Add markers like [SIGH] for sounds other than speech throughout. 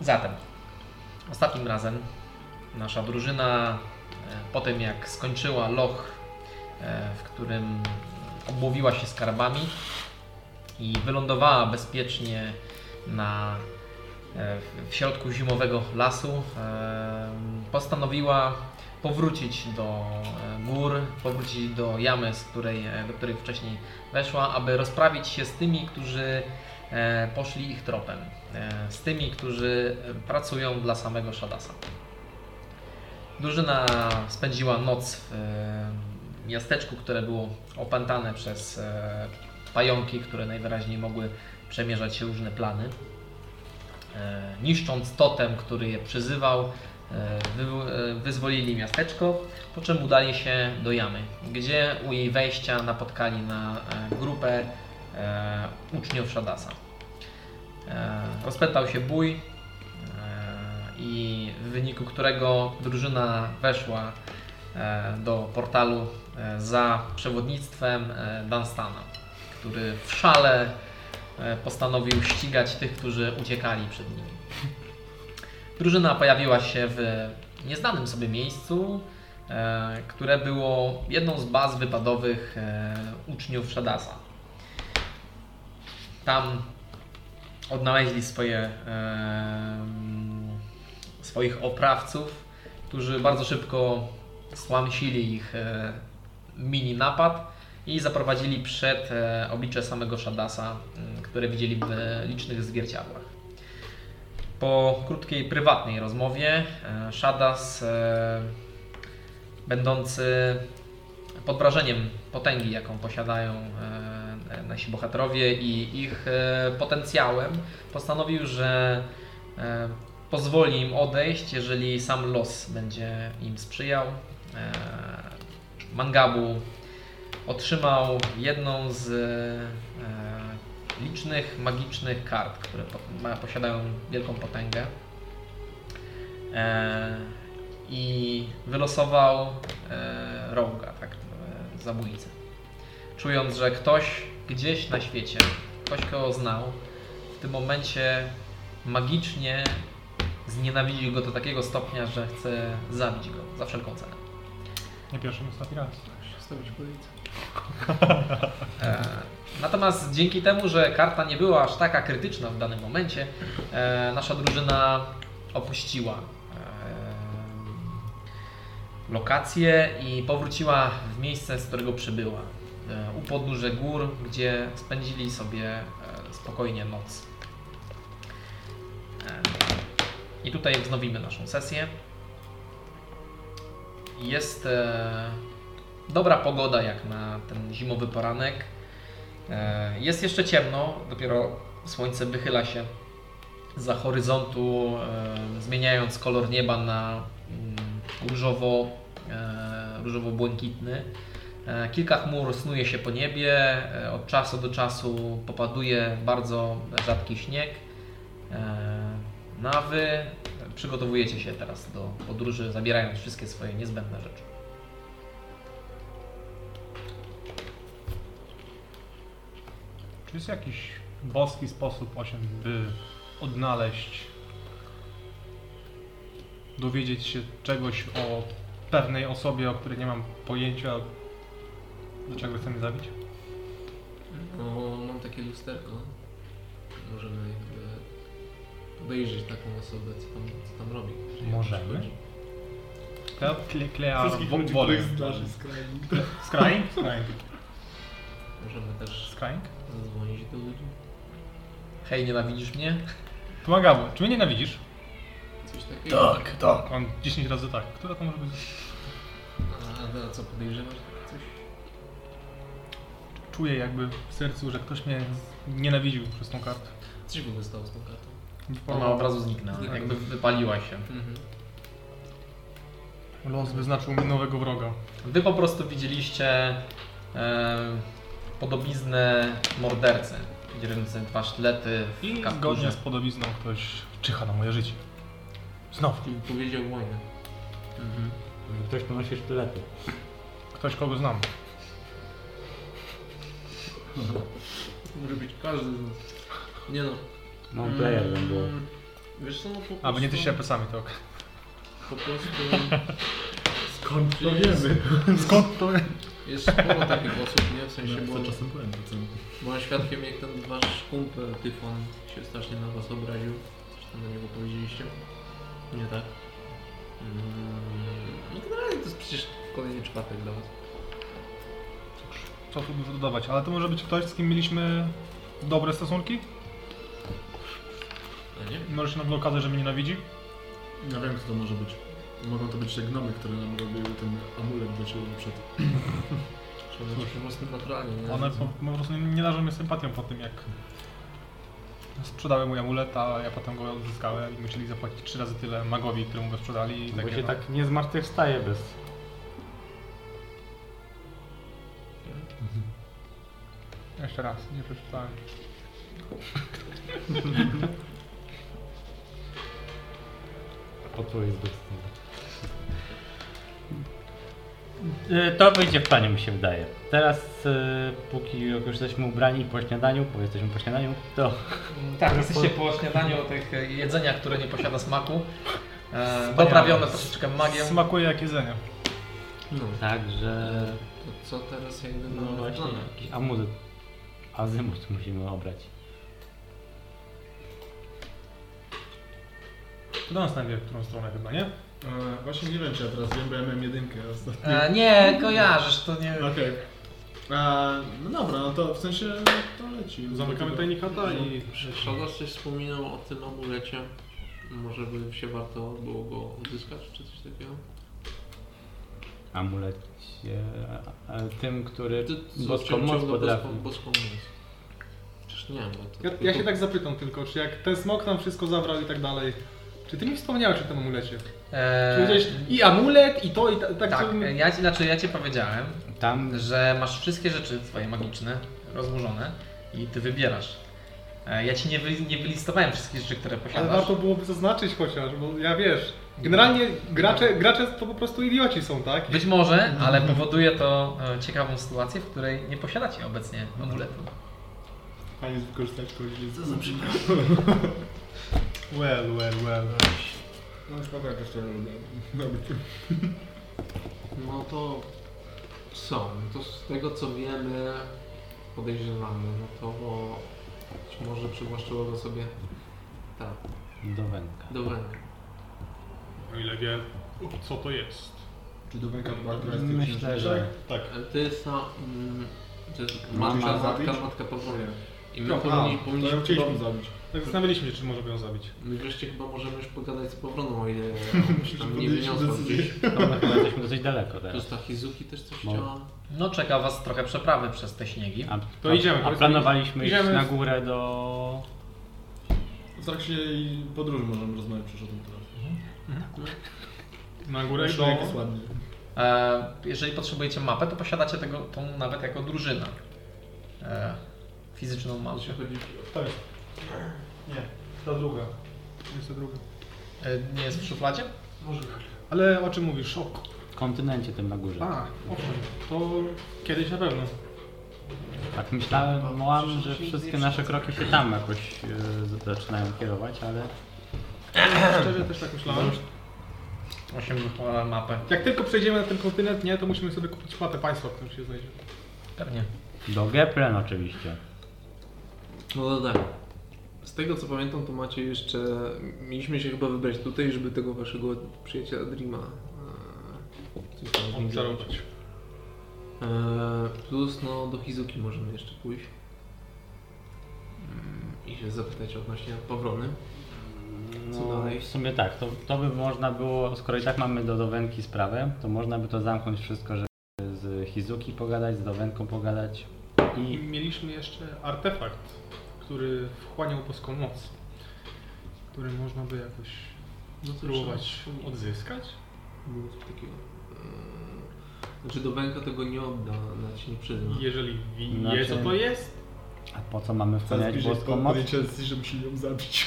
Zatem, ostatnim razem nasza drużyna, e, po tym jak skończyła loch, e, w którym obłowiła się skarbami i wylądowała bezpiecznie na, e, w- w środku zimowego lasu, e, postanowiła powrócić do e, gór, powrócić do jamy, z której, e, do której wcześniej weszła, aby rozprawić się z tymi, którzy e, poszli ich tropem, e, z tymi, którzy pracują dla samego Shadasa. Drużyna spędziła noc w e, miasteczku, które było opętane przez e, pająki, które najwyraźniej mogły przemierzać różne plany. E, Niszcząc totem, który je przyzywał, e, wywo- e, wyzwolili miasteczko, po czym udali się do jamy, gdzie u jej wejścia napotkali na e, grupę e, uczniów Shadasa. E, rozpętał się bój, e, i w wyniku którego drużyna weszła e, do portalu e, za przewodnictwem e, Dunstana, który w szale e, postanowił ścigać tych, którzy uciekali przed nimi. Drużyna pojawiła się w nieznanym sobie miejscu, e, które było jedną z baz wypadowych e, uczniów Shadasa. Tam odnaleźli swoje, em, swoich oprawców, którzy bardzo szybko stłamsili ich e, mini napad i zaprowadzili przed e, oblicze samego Shadasa, m, które widzieli w e, licznych zwierciadłach. Po krótkiej, prywatnej rozmowie e, Shadas, e, będący pod wrażeniem potęgi, jaką posiadają e, nasi bohaterowie i ich e, potencjałem, postanowił, że e, pozwoli im odejść, jeżeli sam los będzie im sprzyjał. E, Mangabu otrzymał jedną z e, licznych magicznych kart, które po- ma- posiadają wielką potęgę. E, I wylosował e, roga, tak, e, zabójcę. Czując, że ktoś gdzieś na świecie, ktoś kogo znał, w tym momencie magicznie znienawidził go do takiego stopnia, że chce zabić go za wszelką cenę. Nie pierwszy, nie ostatni raz. Stawić policję. E, Natomiast dzięki temu, że karta nie była aż taka krytyczna w danym momencie, e, nasza drużyna opuściła e, lokację i powróciła w miejsce, z którego przybyła. E, u podnóże gór, gdzie spędzili sobie e, spokojnie noc. E, I tutaj wznowimy naszą sesję. Jest e, dobra pogoda jak na ten zimowy poranek. E, Jest jeszcze ciemno, dopiero słońce wychyla się za horyzontu, e, zmieniając kolor nieba na mm, różowo, e, różowo-błękitny. E, Kilka chmur snuje się po niebie, e, od czasu do czasu popaduje bardzo rzadki śnieg. E, No a wy przygotowujecie się teraz do podróży, zabierając wszystkie swoje niezbędne rzeczy. Czy jest jakiś boski sposób, osiem, by odnaleźć, dowiedzieć się czegoś o pewnej osobie, o której nie mam pojęcia, dlaczego chce mnie zabić? No, mam takie lusterko. Możemy jakby obejrzeć taką osobę, co tam, co tam robi. Możemy? Kle, kle, klea Wszystkich ludzi, wolę. których zdarzy skrajnie. Skrajnik? Skrajnik. Możemy też Skrajnik? zadzwonić do ludzi. Hej, nienawidzisz mnie? Pomagało. Czy mnie nienawidzisz? Coś takiego. tak. On 10 razy tak. Która to może być? A, a co podejrzewasz? Coś? Czuję jakby w sercu, że ktoś mnie nienawidził przez tą kartę. Coś w ogóle stało z tą kartą. Ona od razu zniknęła, Zniknęła. jakby wypaliła się. Mhm. Los wyznaczył mi nowego wroga. Wy po prostu widzieliście e, podobiznę mordercy. Dzierżący dwa sztylety w I kapturze. zgodnie z podobizną ktoś czyha na moje życie. Znowu. Czyli powiedział wojnę. Mhm. Ktoś ponosi sztylety. Ktoś, kogo znam. Może być każdy z nas. Nie no. No player Mm, tam było. Wiesz co, no po prostu... A, bo nie ty się plecami, to ok. Po prostu Skąd to wiemy? Skąd to? jest sporo takich osób, nie? W sensie, bo Co czasem powiem, to co? byłem świadkiem, jak ten wasz kumpel Tyfon się strasznie na was obraził. Coś tam na niego powiedzieliście. Nie tak? Mm, no generalnie to jest przecież kolejny czwartek dla was. Co tu dużo dodawać, ale to może być ktoś, z kim mieliśmy dobre stosunki? A nie? Może się nagle okazać, że mnie nienawidzi? Ja wiem, kto to może być. Mogą to być te gnomy, które nam robiły ten amulet do siebie przed. Trzeba być po prostu naturalnie, nie? One po, po prostu nie, nie darzą mnie sympatią po tym, jak sprzedały mój amulet, a ja potem go odzyskałem i musieli zapłacić trzy razy tyle magowi, któremu go sprzedali. I Bo takie, się no. tak nie zmartwychwstaje bez. Jeszcze raz, nie przeczytałem. Po twojej zbytce. Y, To wyjdzie w planie, mi się wydaje. Teraz, y, póki jak już jesteśmy ubrani po śniadaniu, bo jesteśmy po śniadaniu, to Tak, jesteście po śniadaniu tych e, jedzenia, które nie posiada smaku. E, Wspaniale. doprawione troszeczkę magią. Smakuje jak jedzenie. No. także To co teraz ja idę na No właśnie, plany? jakiś amuzet, azymut musimy obrać. To do nas najpierw w którą stronę chyba, nie? E, właśnie nie wiem, czy ja teraz wiem, bo ja miałem jedynkę ostatnio. E, nie, kojarzysz, to nie... [LAUGHS] No. Okej. E, No dobra, no to w sensie to leci. Zamykamy tajnikata i... Szodas coś wspominał o tym amulecie. Może by się warto było go odzyskać, czy coś takiego? Amulecie e, e, tym, który Ty- ty- co- boską cią- moc ciągle potrafi. boską- Boską moc. Przecież nie, bo to... Ja, ja się tak zapytam tylko, czy jak ten smok nam wszystko zabrał i tak dalej, czy ty mi wspomniałeś o tym amulecie? Czy E, powiedziałeś i amulet, i to, i ta, tak, tak, żebym- e, ja, ci- znaczy ja ci powiedziałem, Tam że masz wszystkie rzeczy twoje magiczne, rozłożone i ty wybierasz. E, ja ci nie, wy, nie wylistowałem wszystkich rzeczy, które Ale posiadasz. warto byłoby zaznaczyć chociaż, bo ja wiesz, generalnie gracze, gracze to po prostu idioci są, tak? Być może, ale powoduje to e, ciekawą sytuację, w której nie posiadacie obecnie amuletu. Fajnie wykorzystać kogoś. Co za przykład? Well, well, well. No szkoda, jak jeszcze lubię. Dobra. No to... Są. To z tego co wiemy, podejrzewamy, no to... Być może przywłaszczyło go sobie... Tak, do węka. do węgla. O ile wiem, co to jest. Czy do węka była która jest w tych Myślę, że książeczkach? Tak. Ale to jest na... Mm, to jest Mama matka, matka, zabić? matka Pawła. I my No, powinni... a, to ją powinni chcieliśmy zabić. Tak zastanawialiśmy się, czy możemy ją zabić. My wreszcie chyba możemy już pogadać z Pawroną, o ile [LAUGHS] już tam nie Podjęliśmy wyniosła decyzję. gdzieś. no, chyba jesteśmy dosyć daleko To teraz. jest ta Hizuki też coś No. chciała. No czeka was trochę przeprawy przez te śniegi. A, To idziemy, A powiedzmy, planowaliśmy iść idziemy w- na górę do... W trakcie jej Tak podróży możemy rozmawiać przecież o tym teraz. Na górę Myślę, do... jak jest ładnie. E, jeżeli potrzebujecie mapę, to posiadacie tego, tą nawet jako drużyna. E, fizyczną mapę. Jeśli chodzi To jest. Nie, ta druga. Jest ta druga. E, nie jest w szufladzie? Może Ale o czym mówisz? O, W kontynencie tym na górze. a, owszem. To kiedyś na pewno. Tak myślałem, mam, że wszystkie nasze kroki się tam jakoś e, zaczynają kierować, ale... Szczerze też tak myślałem. 8 wychowała mapę. Jak tylko przejdziemy na ten kontynent, nie, to musimy sobie kupić mapę państwa, w którym się znajdzie. Pewnie. Do Geplen oczywiście. No to tak. Z tego co pamiętam, to macie jeszcze. Mieliśmy się chyba wybrać tutaj, żeby tego waszego przyjaciela Dreama. e, coś tam z nim zrobić. Obserwować. E, Plus, no do Hizuki możemy jeszcze pójść. Mm, I się zapytać odnośnie Pawrony. Co No, dalej? w sumie tak, to, to by można było, skoro i tak mamy do Dowenki sprawę, to można by to zamknąć wszystko, żeby z Hizuki pogadać, z Dowenką pogadać I i mieliśmy jeszcze artefakt, który wchłaniał boską moc, który można by jakoś No to spróbować trzeba wspomnieć. odzyskać. Było coś takiego. E, Znaczy, do Węka tego nie odda, ona ci nie przyzna. Jeżeli wie, Znaczy- co to jest, a po co mamy Coraz wchłaniać bliżej boską moc? podjęcia decyzji, że musimy ją zabić.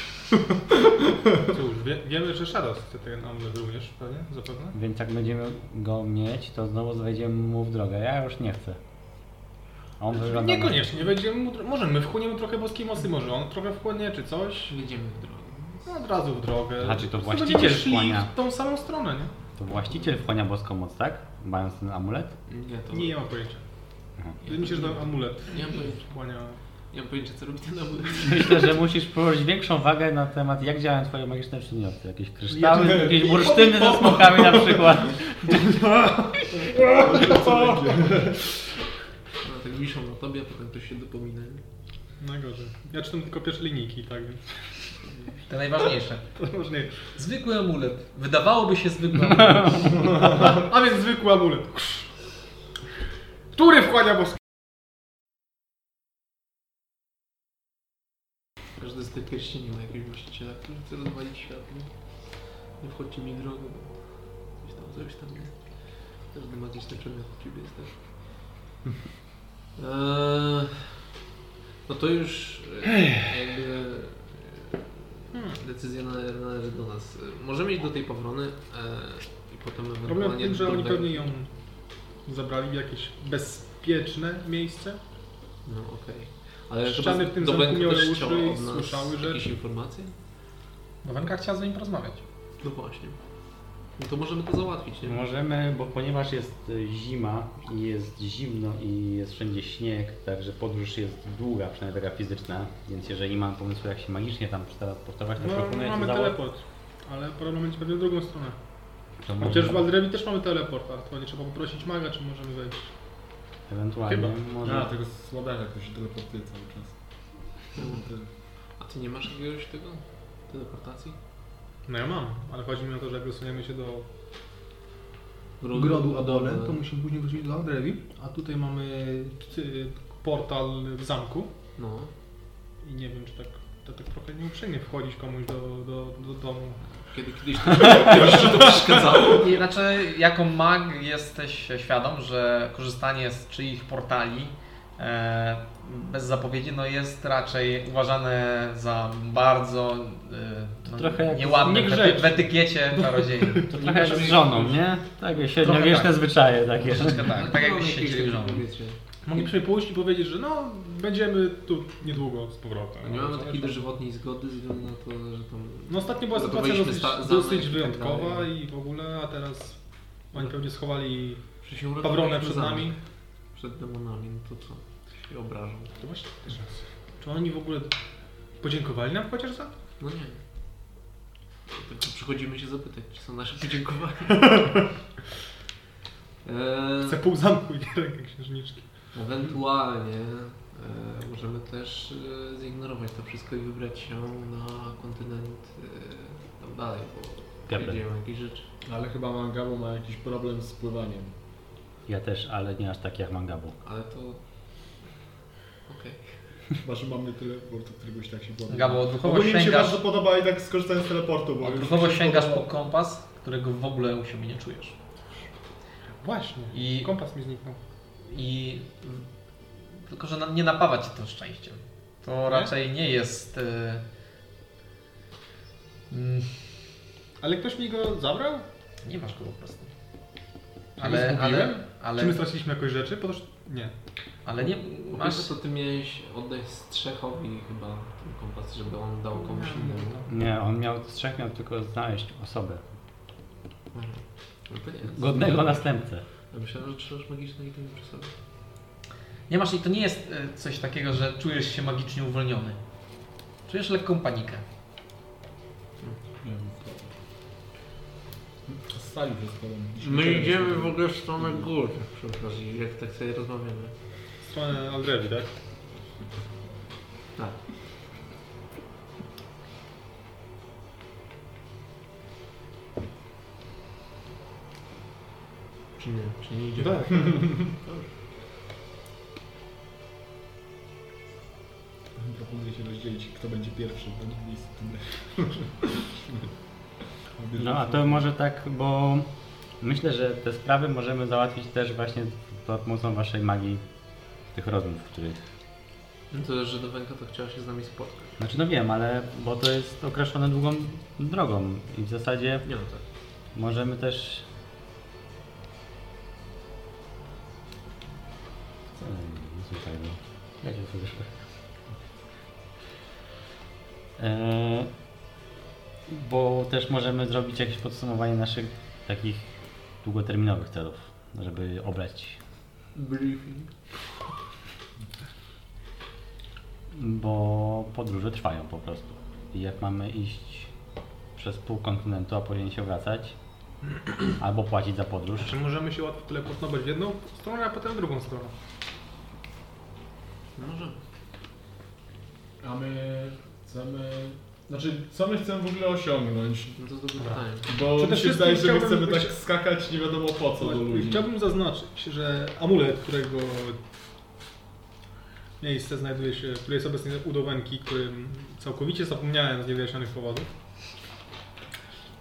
cóż, wie, wiemy, że Shadow chce ten amulet również, pewnie, zapewne. Więc jak będziemy go mieć, to znowu zwejdziemy mu w drogę. Ja już nie chcę. A Znaczy, on No, wygląda... na- Niekoniecznie, będziemy mu, tro- może my wchłoniemy trochę boskiej mocy, może on trochę wchłonie, czy coś. Jedziemy w drogę. No, od razu w drogę. Znaczy, to Po prostu właściciel będziemy szli wchłania. w tą samą stronę, nie? To właściciel wchłania boską moc, tak? Mając ten amulet? Nie, to... Nie, nie mam pojęcia. Aha. Wydaje mi się, że to amulet Nie mam pojęcia. wchłania. Nie mam pojęcia, co robi ten amulet. Myślę, że musisz położyć większą wagę na temat, jak działają twoje magiczne przedmioty. Jakieś kryształy, Ja- jakieś bursztyny ze smokami na przykład. One tak wiszą na tobie, a potem ktoś się dopomina. nie? Najgorzej. Ja czytam tylko pierwsze linijki, tak więc [LAUGHS] Te najważniejsze. to może nie. Zwykły amulet. Wydawałoby się zwykły amulet. A więc zwykły amulet. Który wchłania boskie? Każdy z tych pierścieni ma jakiegoś właściciela, który chce rozwalić świat. Nie, nie wchodźcie mi w drogę. bo Coś tam, coś tam. Nie? Każdy ma gdzieś ten przedmiot od ciebie jest też. Eee, no to już e, jakby e, decyzja nale- należy do nas. E, Możemy iść do tej powrony e, i potem Problem w ewentualnie... tym, że do oni tego- pewnie ją zabrali w jakieś bezpieczne miejsce. No okej. Ale Ściany chyba w tym do zamku Wenku miały też uszy chciał i od nas słyszały rzeczy. jakieś informacje? Bowenka chciała z nim porozmawiać. No właśnie. No to możemy to załatwić, nie? Możemy, bo ponieważ jest y, zima i jest zimno i jest wszędzie śnieg, także podróż jest długa, przynajmniej taka fizyczna, więc jeżeli mam pomysły, jak się magicznie tam teleportować, to No, Tak, proponuję mamy ci teleport. Ale problem będzie pewnie w drugą stronę. to Chociaż w może, Aldrebi też mamy teleport, ale to nie trzeba poprosić maga, czy możemy wejść. ewentualnie może... No, A, No, tego słabenia jakoś teleportuje cały czas. A ty nie masz jakiegoś tego? Teleportacji? No ja mam, ale chodzi mi o to, że jak wysuniemy się do Grodu, to musimy później wrócić do Aldrebi. A tutaj mamy y, portal w zamku. No. I nie wiem, czy tak, to tak trochę nieuprzejmie wchodzić komuś do, do, do domu. Kiedy kiedyś to, [LAUGHS] kiedyś ci to przeszkadzało? I Znaczy, jako mag jesteś świadom, że korzystanie z czyich portali e, bez zapowiedzi no jest raczej uważane za bardzo e, no, trochę jak nieładne w, ety- niegrzeczne. w etykiecie czarodziei. To trochę jak z żoną, nie? Takie średniowieczne tak. zwyczaje [LAUGHS] takie. Troszeczkę tak, tak jakbyś się dzielił żoną. Wiecie, Moglibyśmy pójść i powiedzieć, że no, będziemy tu niedługo z no powrotem. nie mamy Co- takiej dożywotniej zgody ze względu na to, że tam... No ostatnio była No to sytuacja byliśmy dosyć, sta- zamek i dosyć tak wyjątkowa dalej. No. i w ogóle, a teraz oni pewnie schowali Że się uratowaliśmy pawronę przed tak, zamek, nami. Przed demonami, no to co? Się obrażą. To właśnie też raz. Czy oni w ogóle podziękowali nam chociaż za to? No nie. Tylko przychodzimy się zapytać, czy są nasze [LAUGHS] podziękowania. Eee, Chcę pół zamku i rękę księżniczki. Ewentualnie e, możemy też e, zignorować to wszystko i wybrać się na kontynent e, tam dalej, bo Gabriel. się dzieją jakieś rzeczy. Ale chyba Mangabo ma jakiś problem z pływaniem. Ja też, ale nie aż tak jak Mangabu. Ale to... Okej. Chyba, że mamy teleport, od któregoś tak się bawi. Gabo, odruchowo Ogólnie mi się sięgasz, bardzo podoba i tak skorzystałem z teleportu, bo odruchowo już mi się sięgasz po podoba. kompas, którego w ogóle u siebie nie czujesz. Właśnie. I- Kompas mi zniknął. I tylko, że na- nie napawa cię to szczęściem. To raczej nie jest. e, mm, Ale ktoś mi go zabrał? Nie masz go po prostu. Ja go Ale, ale, zgubiłem? Czy ale, my straciliśmy jakąś rzeczy? Bo toż... Nie. ale nie Po masz. pierwsze to ty miałeś oddać Strzechowi chyba ten kompas, żeby on dał komuś innemu. Nie, on miał z trzech miał tylko znaleźć osobę. Mhm. No to nie jest. Godnego następcę. Ja myślałem, że trzymasz magiczne itemy przy sobie. Nie masz i to nie jest e, coś takiego, że czujesz się magicznie uwolniony. Czujesz lekką panikę. Nie wiem. Z sali wyskładam. My idziemy w ogóle w stronę gór, przepraszam, jak tak sobie rozmawiamy. W stronę Aldrewi, tak? Tak. Czy nie, czy nie idzie? Tak. Proponuję się rozdzielić, kto będzie pierwszy, bo nie [LAUGHS] jest tyle. No a to może tak, bo myślę, że te sprawy możemy załatwić też właśnie za pomocą waszej magii tych rozmów, których... No to, że do Wenka to chciała się z nami spotkać. Znaczy no wiem, ale bo to jest określone długą drogą i w zasadzie Nie no tak. możemy też... Co? Nic nie fajnego. Ja się wyszło. Eee, bo też możemy zrobić jakieś podsumowanie naszych takich długoterminowych celów, żeby obrać. Briefing. Bo podróże trwają po prostu. I jak mamy iść przez pół kontynentu, a później się wracać, albo płacić za podróż, Czy możemy się łatwo teleportować w jedną stronę, a potem w drugą stronę? Może. A my chcemy... Znaczy, co my chcemy w ogóle osiągnąć? No to dobre pytanie. Bo Przede mi się wszystkim wydaje, że my chciałbym- chcemy tak chcia- skakać nie wiadomo po co do ludzi. Chciałbym zaznaczyć, że amulet, którego miejsce znajduje się, które jest obecnie u Dowenki, którym całkowicie zapomniałem z niewyjaśnionych powodów,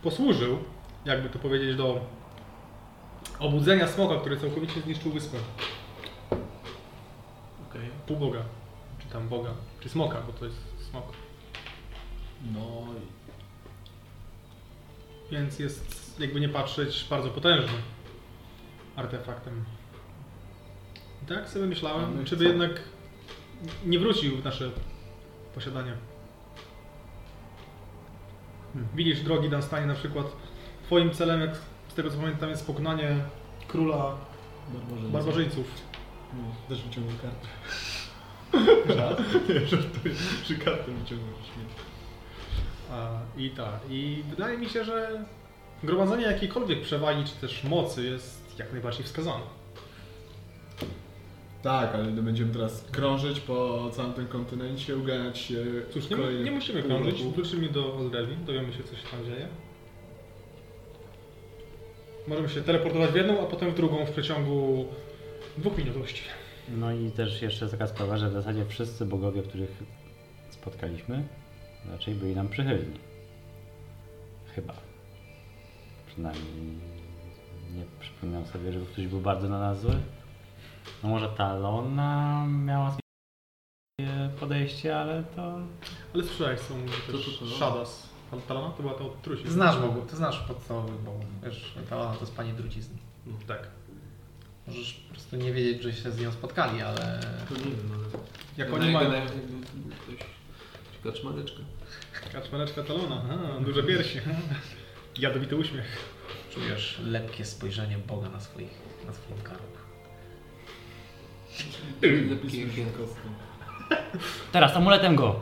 posłużył, jakby to powiedzieć, do obudzenia smoka, który całkowicie zniszczył wyspę. Okej. Półboga, czy tam boga, czy smoka, bo to jest smok. No i... Więc jest, jakby nie patrzeć, bardzo potężnym artefaktem. I tak sobie A my myślałem, czy by co? jednak nie wrócił w nasze posiadanie. Hmm. Widzisz, drogi Dunstanie, na przykład twoim celem, jak z tego co pamiętam, jest pokonanie króla Barbarzyńcy. barbarzyńców. No, też wyciągnął [LAUGHS] kartę. Nie, żartuję. Czy kartę wyciągnąć? Nie. A, I tak. I wydaje mi się, że gromadzenie jakiejkolwiek przewagi czy też mocy jest jak najbardziej wskazane. Tak, ale my będziemy teraz krążyć po całym tym kontynencie, uganiać się... Cóż, nie, kolejne nie musimy pół krążyć. roku. Wrócimy do Odrewi, dowiemy się, co się tam dzieje. Możemy się teleportować w jedną, a potem w drugą w przeciągu dwóch minut właściwie. No i też jeszcze taka sprawa, że w zasadzie wszyscy bogowie, których spotkaliśmy, raczej byli nam przychylni. Chyba. Przynajmniej nie przypominam sobie, żeby ktoś był bardzo na nas zły. No może Talona miała swoje podejście, ale to... Ale słyszałeś, co mówi to, to, też to. Shadas. Pan Talana to była ta od trusi. Znasz Bogu, ty znasz podstawowych Bogów. Wiesz, ta ona to jest pani trucizny. Tak. Możesz po prostu nie wiedzieć, że się z nią spotkali, ale To nie wiem, ale... Jak Gadaj, oni mają... gadaj, jakby Ktoś... Kaczmareczka. Kaczmareczka Talona. A, duże piersi. Jadowity uśmiech. czujesz lepkie spojrzenie Boga na, swoich, na swoim karku. Lepkie Pismy kiełko. kostką. Teraz amuletem go!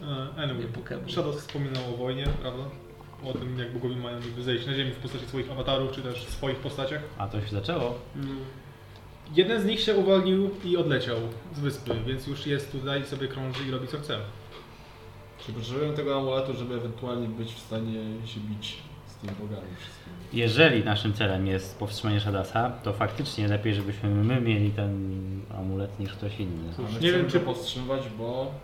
E, Nie Anyway. Pokemon. Shadows wspominał o wojnie, prawda? O tym, jak bogowie mają jakby zejść na ziemię w postaci swoich awatarów, czy też swoich postaciach. A to się zaczęło. Jeden z nich się uwolnił i odleciał z wyspy, więc już jest tutaj i sobie krąży i robi co chce. Czy potrzebujemy tego amuletu, żeby ewentualnie być w stanie się bić z tymi bogami wszystkimi? Jeżeli naszym celem jest powstrzymanie Shadasa, to faktycznie lepiej, żebyśmy my mieli ten amulet niż ktoś inny. A my nie chcemy wiem, go czy- powstrzymywać, bo...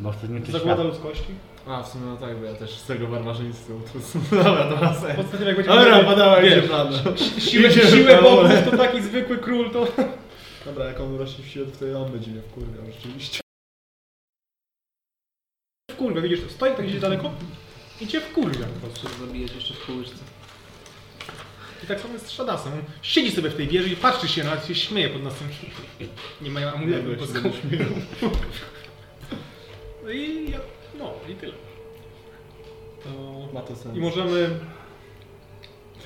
Bo wtedy nie Zagłada ludzkości. A, w sumie no tak, bo ja też z tego barbarzyństwa utrusam. [LAUGHS] Dobra, to ma sens. Podstawiam jak będzie Dobra, miał- podała mi się no, wiesz, plan. Siłę, Idzie siłę w bogów, parole. to taki zwykły król, to... Dobra, jak on rośnie w siłę, to wtedy on będzie mnie wkurwiał rzeczywiście. Kurwa, widzisz, to stoi tak gdzieś daleko i cię wkurwia po prostu. Trzeba zabijać jeszcze w kołysce. I tak samo jest z Shadasem. On siedzi sobie w tej wieży i patrzy się na nas i śmieje pod nosem. Nie mają amuletu, bo skąd No i ja, no i tyle. To... Ma to sens. I możemy.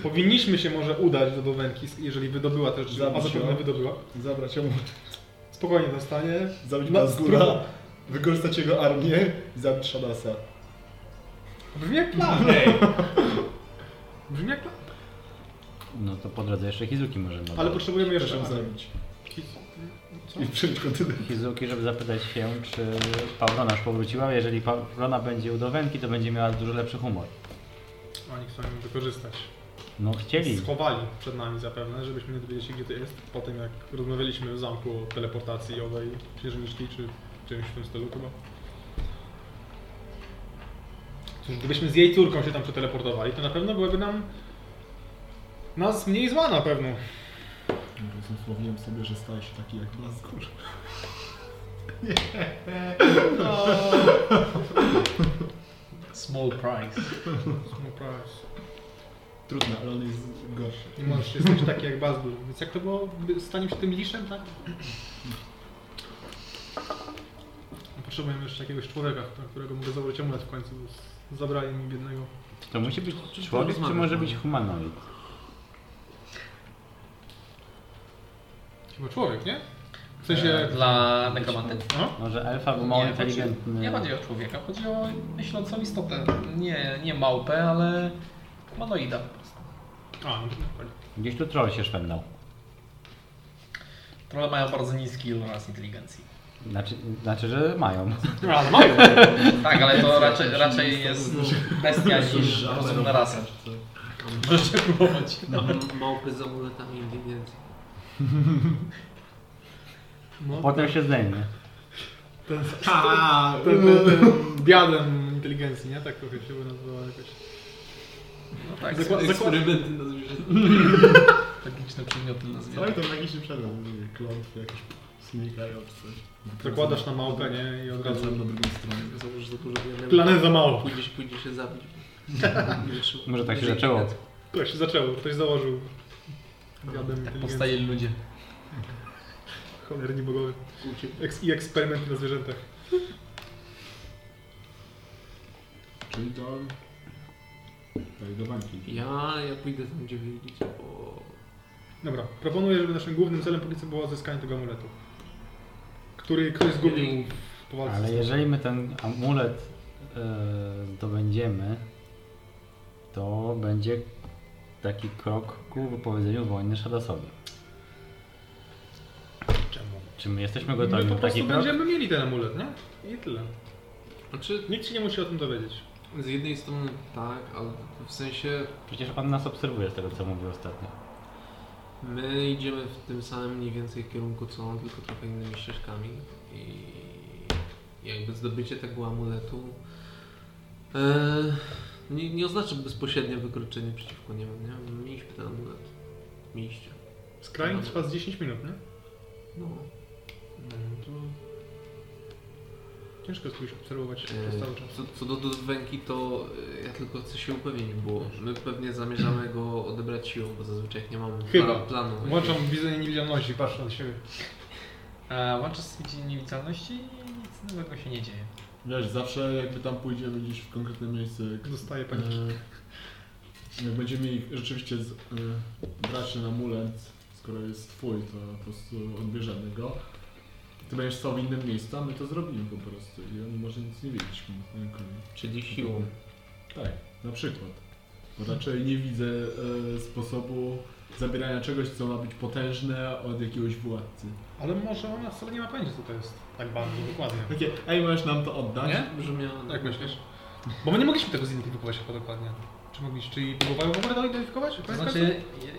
Powinniśmy się może udać do Dowenki, jeżeli wydobyła też drzwi, a Zabić zapewne ją. wydobyła. Zabrać ją, [LAUGHS] Spokojnie dostanie. zabić No, no, Mazgura, wykorzystać jego armię i zabić Shadasa. Brzmi jak plan. Brzmi jak plan. No to po drodze jeszcze Hizuki możemy Ale odwiedzić. potrzebujemy Też jeszcze. ją zabić. Co? I przyjąć kontynent. Hizuki, żeby zapytać się, czy Pawlona już powróciła. Jeżeli Pawlona będzie u Dowenki, to będzie miała dużo lepszy humor. Oni chcą ją wykorzystać. No chcieli. Schowali przed nami zapewne, żebyśmy nie dowiedzieli się gdzie to jest. Po tym jak rozmawialiśmy w zamku o teleportacji owej księżniczki czy czymś w tym stylu chyba. Cóż, gdybyśmy z jej córką się tam przeteleportowali, to na pewno byłaby nam... Nas mniej zła na pewno. Uzmysłowiłem sobie, że staje się taki jak Mazgur. Small price. No prawie. Trudno, ale on jest gorszy. I możesz jesteś taki jak Bazdur. Więc jak to było? Stanie się tym liszem, tak? potrzebuję jeszcze jakiegoś człowieka, na którego mogę zabrać amulet w końcu. bo z- Zabrali mi biednego. Czy to musi być czy to człowiek, czy rozmawiam, może no. być humanoid? Chyba człowiek, nie? W sensie... E, Eee, Dla nekromanty. No? Może elfa był mało Nie, inteligentny. Chodzi, nie chodzi o człowieka, chodzi o myślącą istotę. Nie, nie małpę, ale humanoida. A, no to dokładnie. Gdzieś tu troll się szwendał. Trolle mają bardzo niski oraz inteligencji. Znaczy, znaczy, że No mają. A, mają! Tak, ale to raczej, raczej jest bestia niż rozumna rasa. Proszę próbować. Małpy z amuletami inteligencji. No, Potem się zdejmie. ten, a, ten, ten, ten diadem inteligencji, nie? Tak trochę się by nazywało jakoś. No tak, Zakła- zakła- Eksperymenty na zwierzętach. [LAUGHS] magiczne przedmioty na Ale Tak, zwierzę. Tak to magiczny przedmiot, nie wiem, klątwy jakieś znikają czy coś. Zakładasz na małpę, nie? I od razu... Wracam na drugą stronę. Założysz za dużo wiele. Planet za mało. Pójdziesz, pójdziesz [LAUGHS] się zabić. Może tak się zaczęło. To się zaczęło, ktoś założył. Diadem Tak inteligencji. powstaje ludzie. Cholerni bogowie. Uciekł. Eks- I eksperymenty na zwierzętach. Czyli do... Daj do bańki. Ja, ja pójdę tam, gdzie wyjdziecie, bo... Dobra, proponuję, żeby naszym głównym celem policji było odzyskanie tego amuletu. Który ktoś zgubił w powalce. Ale jeżeli my ten amulet e, zdobędziemy, to będzie taki krok ku wypowiedzeniu wojny Shadosowi. Czemu? Czy my jesteśmy My No gotowi po na taki prostu krok? będziemy mieli ten amulet, nie? I tyle. Znaczy, Nikt się nie musi o tym dowiedzieć. z jednej strony tak, ale w sensie Przecież pan nas obserwuje z tego, co mówił ostatnio. my idziemy w tym samym mniej więcej kierunku co on, tylko trochę innymi ścieżkami i jakby zdobycie tego amuletu e, nie, nie oznacza bezpośrednio wykroczenie przeciwko niemu, nie? Mieliśmy ten amulet. Mieliście. Skrajnie trwa z 10 minut, nie? No. No to... Ciężko jest kogoś obserwować przez cały czas. E, Co, co do dozwenki, to e, ja tylko chcę się upewnić, bo my pewnie zamierzamy go odebrać siłą, bo zazwyczaj jak nie mamy Chyba. pla- planu. Włączam widzenie niewidzialności, patrzę na siebie. E, Włączasz sobie niewidzialności i nic nowego się nie dzieje. Wiesz, zawsze jakby tam pójdziemy gdzieś w konkretne miejsce, jak, Dostaję paniki. e, jak będziemy ich rzeczywiście z, e, brać ten amulet, skoro jest twój, to po prostu odbierzemy go. Ty będziesz stał w innym miejscu, a my to zrobimy po prostu i on może nic nie wiedzieć. moim rękami. Czyli siłą. Tak, na przykład. Bo raczej nie widzę e, sposobu zabierania czegoś, co ma być potężne od jakiegoś władcy. Ale może ona wcale nie ma pojęcia, co to jest. Tak bardzo, dokładnie. Takie, ej, możesz nam to oddać? Nie? Brzmiało. Jak myślisz? Bo my nie mogliśmy tego zidentyfikować chyba dokładnie. Czy mogliście, czyli próbowały w ogóle to identyfikować? To Koniec znaczy, końców?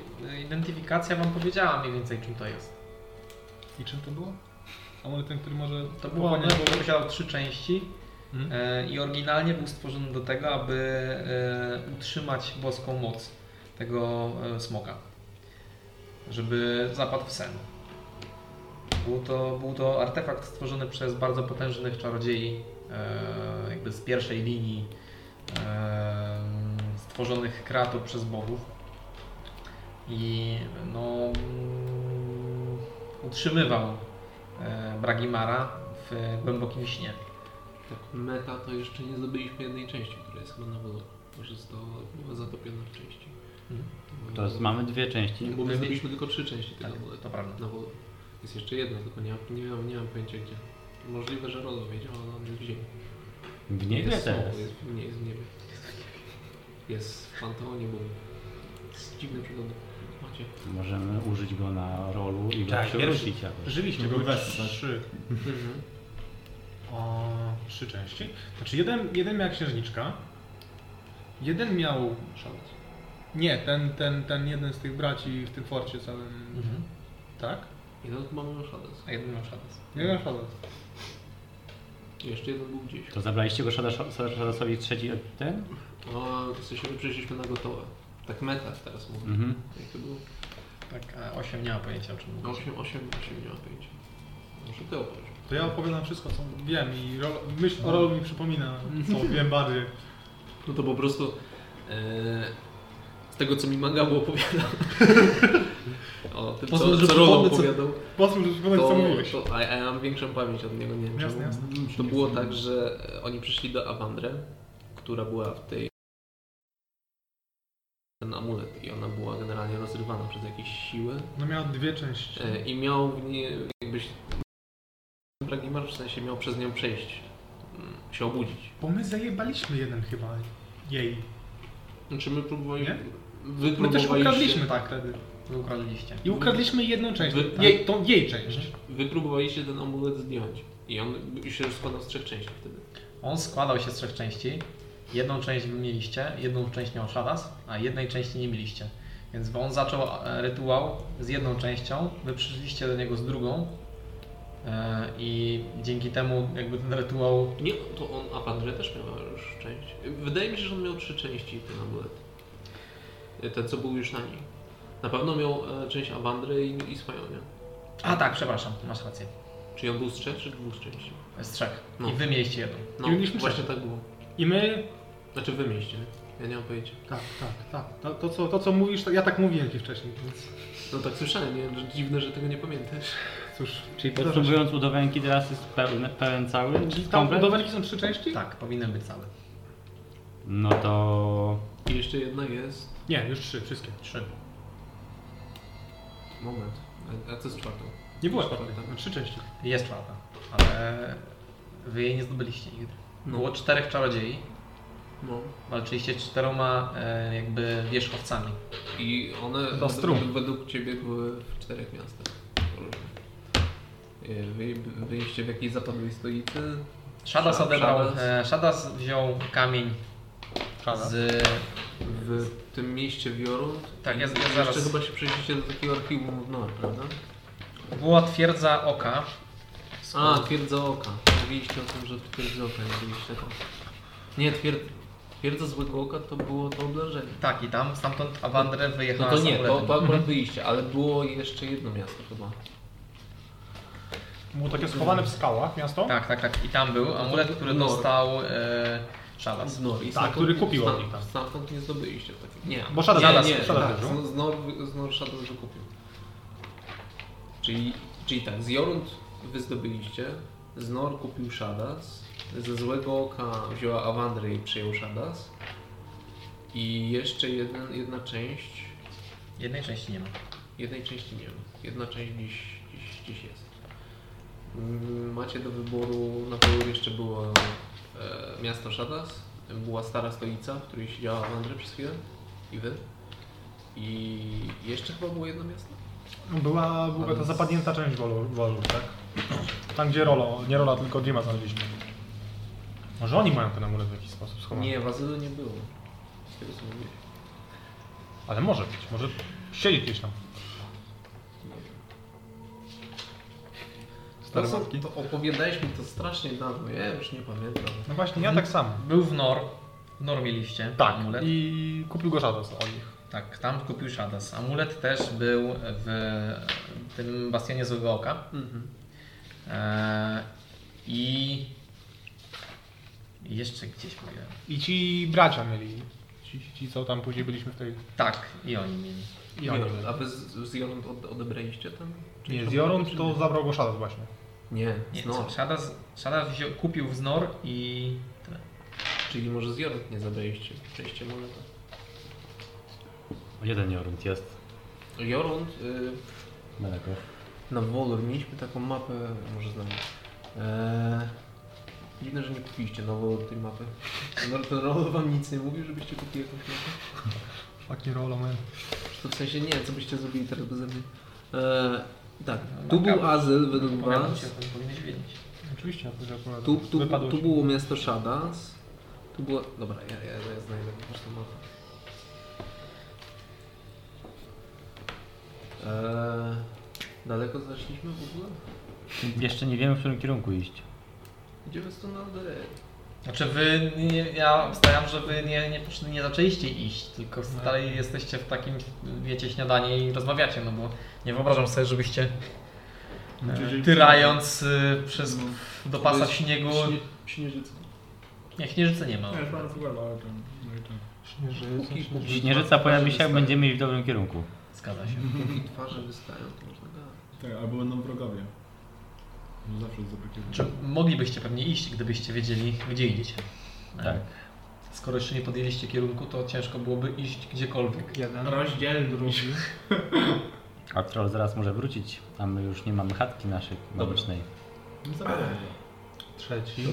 i- identyfikacja wam powiedziała mniej więcej czym to jest. I czym to było? Amulet ten, który może... To było, pochłaniać- on posiadał trzy części No Mhm. e, i oryginalnie był stworzony do tego, aby e, utrzymać boską moc tego e, smoka. Żeby zapadł w sen. Był to, był to artefakt stworzony przez bardzo potężnych czarodziei, e, jakby z pierwszej linii e, stworzonych kreatur przez bogów. I no, mm, utrzymywał e, Bragimara w głębokim śnie. Tak, meta to jeszcze nie zdobyliśmy jednej części, która jest chyba na wodę. Może została była zatopiona w części. Mhm. Bo- To jest, mamy Mhm. dwie części. Bo my zdobyliśmy tylko trzy części Tak, tego amuletu. to prawda. Na wodę. Jest jeszcze jedna, tylko nie, mam- nie, mam, nie mam pojęcia gdzie. Możliwe, że Rodo wiedział, ale on jest w ziemi. W niebie jest teraz. Jest, nie jest w niebie. Jest w Panteonie, bo jest dziwny przygody. Macie. Możemy użyć go na rolu i go Tak, przywrócić jakoś. Rzeczywiście, Mogę były wessać. trzy, Mhm. o, trzy części. Znaczy jeden, jeden miał księżniczka, jeden miał... Szalec. Nie, ten, ten, ten jeden z tych braci w tym forcie całym, Mhm. tak? Jeden od mamy szalec. A jeden miał szadys. Nie wiem, szkoda. Jeszcze jeden był gdzieś. To zabraliście go Shadasho- Shadasowi trzeci ten? No, w sensie my przeszliśmy na gotowe. Tak meta teraz mówię. Mhm. Jak to było? Tak, a 8 nie ma pojęcia o czym mówisz. 8, 8, 8 nie ma pojęcia. Może ty opowiesz. To ja opowiadam wszystko, co wiem i rol, myśl o rolu mi przypomina, co wiem bardziej. No [LAUGHS] to po prostu e, z tego co mi manga było opowiadał. o tym, Pozwól, co, że co Rolo przypomnę, co- opowiadał, Pozwól, że wykonać co to, mówiłeś. to, a, a ja mam większą pamięć od niego, nie wiem Jasne, czemu. jasne. To było tak, że oni przyszli do Avandre, która była w tej... ten amulet i ona była generalnie rozrywana przez jakieś siły No miała dwie części. e, i miał w niej jakbyś... Bragimar w sensie miał przez nią przejść, mm, się obudzić. Bo my zajebaliśmy jeden chyba. Jej. Czy Znaczy, my próbowaliśmy... Nie? Wy My też próbowaliście- ukradliśmy tak wtedy. Wy ukradliście. I ukradliśmy jedną część. Wy- tak. Jej, tą jej część. Wy próbowaliście ten amulet zdjąć i on się składał z trzech części wtedy. On składał się z trzech części. Jedną część wy mieliście, jedną część miał Shadas, a jednej części nie mieliście. Więc on zaczął e, rytuał z jedną częścią, wy przyszliście do niego z drugą e, i dzięki temu jakby ten rytuał... Nie, to on Avandre też miał już część. Wydaje mi się, że on miał trzy części ten amulet. E, Ten, co był już na niej. Na pewno miał e, część Avandry i, i swoją, nie? A tak, przepraszam, masz rację. Czyli on był z trzech czy dwóch części? Z trzech. No. I wy mieliście jedną. No, I mieliśmy właśnie tak było. I my. Znaczy wy mieliście, nie? Ja nie mam pojęcia. Tak, tak, tak. To, to, co, to co mówisz, to ja tak mówiłem ci wcześniej, więc No tak słyszałem, nie? Że Dziwne, że tego nie pamiętasz. cóż. Czyli zdarza się. podsumowując, udowenki teraz jest pełen, pełen cały? Tam Komplet? budowelki są trzy części? Tak, powinien być cały. No to... I jeszcze jedna jest... Nie, już trzy, wszystkie. Trzy. Moment. A, a co z czwartą? Nie było czwartej, no, trzy części. Jest czwarta, ale wy jej nie zdobyliście nigdy. Było czterech czarodziei, No. walczyliście z czteroma e, jakby wierzchowcami. I one Do strum. według, według ciebie były w czterech miastach. różnych. Wy, wyjście w jakiejś zapadłej stolicy. Shadas Sha- odebrał, Shadas. e, Shadas wziął kamień z... W tym mieście Wioru. Tak, ja, ja Jeszcze zaraz... chyba się przejdziecie do takiego archiwum w Nor, prawda? Była twierdza oka. A, twierdza oka. Mówiliście o tym, że twierdza oka nie byliście tam. Nie, twierd... twierdza złego oka to było to oblężenie. Tak, i tam, stamtąd Awandrę No wyjechała to z nie, to, amuletem. to akurat wyjście, ale było jeszcze jedno miasto chyba. Było takie schowane w skałach miasto? Tak, tak, tak. I tam był amulet, który No. dostał e, Shadas. Z Nor. I Tak, stamtąd- który kupił stamtąd- oni tam. Stamtąd nie zdobyliście w takim. Nie. Bo Shadow- nie, Shadow- nie, Shadow tak, wygrał. z, z, Nor, z Nor Shadow wykupił. Czyli, czyli tak, z Jorund wy zdobyliście, z Nor kupił Shadas, ze złego oka wzięła Awandry i przyjął Shadas. I jeszcze jeden, jedna część, Jednej części nie ma. jednej części nie ma. Jedna część gdzieś, gdzieś, gdzieś jest. Mm, Macie do wyboru, na pewno jeszcze było e, miasto Shadas, była stara stolica, w której siedziała Awandry przez chwilę i wy. I jeszcze chyba było jedno miasto? Była, była ta zapadnięta część wolu, wolu tak? Tam gdzie Rolo, nie Rola, tylko Dima znaleźliśmy. Może oni mają ten amulet w jakiś sposób schowany? Nie, w Azylu nie było. Z tego co mówiłeś. Ale może być, może siedzi gdzieś tam. To, Stare są, matki. to opowiadałeś mi to strasznie dawno, ja już nie pamiętam. No właśnie, ja tak samo. Był w Nor. W Nor mieliście Tak, amulet. i kupił go Shadows od nich. Tak, tam kupił Shadas. Amulet też był w tym bastionie złego oka. Mhm. E, I jeszcze gdzieś mówiłem. I ci bracia mieli. Ci, ci, ci co tam później byliśmy w tej... Tak, i oni mieli. I oni A wy z, z Jorund od, odebraliście ten? Czy Nie, to z było, Jorun czy to zabrał go Shadows właśnie. Nie, Nie, z Nor. Shadas, Shadas wziął, kupił w Znor i tyle. Czyli może z Jorund nie zabraliście przejście moneta. Jeden Jorund jest. Jorund y, Daleko. na Wolor mieliśmy taką mapę, może znam. Eee, dziwne, że nie kupiliście na Wolor tej mapy. No, ten Rolo wam nic nie mówił, żebyście kupili jakąś mapę? Fucking Rolo, man. To w sensie nie, co byście zrobili teraz bez mnie. Eee, tak, No, tu był makabra. azyl według Opowiadam was, ci o tym, powinieneś wiedzieć. Oczywiście, ja to akurat tu, tu, wypadło tu ci. było miasto Shadas, tu było... Dobra, ja, ja, ja znajdę po prostu mapę. Eee, daleko zaszliśmy w ogóle? Jeszcze nie wiemy, w którym kierunku iść. Idziemy stąd na dalej. Znaczy wy, nie, ja obstawiam, że wy nie, nie, poszli- nie zaczęliście iść, tylko dalej jesteście w takim, wiecie, śniadanie i rozmawiacie, no bo nie wyobrażam sobie, żebyście No, Znaczy, e, tyrając e, przez, do pasa jest śniegu, Śnieżyca. nie, Śnieżycy nie ma. Ja już mam w ogóle, ale ten... No i ten. Śnieżyca, Kuki, kuki. Śnieżyca pojawi się, jak będziemy iść w dobrym kierunku. Zgadza się. Póki twarze wystają, to można gadać. Tak, albo będą wrogowie. No zawsze jest dobry kierunek. Czy moglibyście pewnie iść, gdybyście wiedzieli, gdzie idziecie? E, Tak. Skoro jeszcze nie podjęliście kierunku, to ciężko byłoby iść gdziekolwiek. Jeden. Rozdziel drugi. A troll zaraz może wrócić, a my już nie mamy chatki naszej magicznej. No zabrałem Trzeci. go.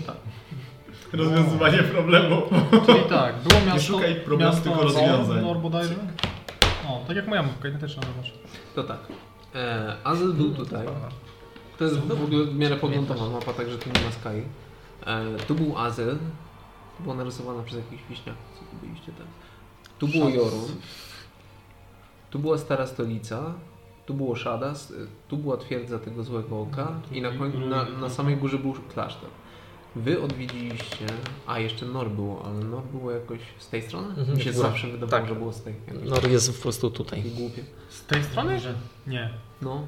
Rozwiązywanie problemu. Czyli tak, było miasto... szukaj problemu, miasto tylko rozwiązań. Nor bodajże. O, tak jak moja mapka identyczna, zobacz. To tak. E, Azel był tutaj. To jest w ogóle w miarę poglądowa mapa, także tu nie ma Sky. E, tu był Azel. Tu była narysowana przez jakichś wieśniaków, co tu byliście tam. Tu było Jorun. Tu była Stara Stolica. Tu było Shadas. e, Tu była Twierdza tego Złego Oka. I na, koń- na, na samej górze był klasztor. Wy odwiedziliście... A, jeszcze Nor było, ale Nor było jakoś z tej strony? Mhm, Mi się góra. zawsze wydawało, Tak. że było z tej. Jakoś No jest po prostu tutaj. takie głupie. Z tej strony? Że Nie. No,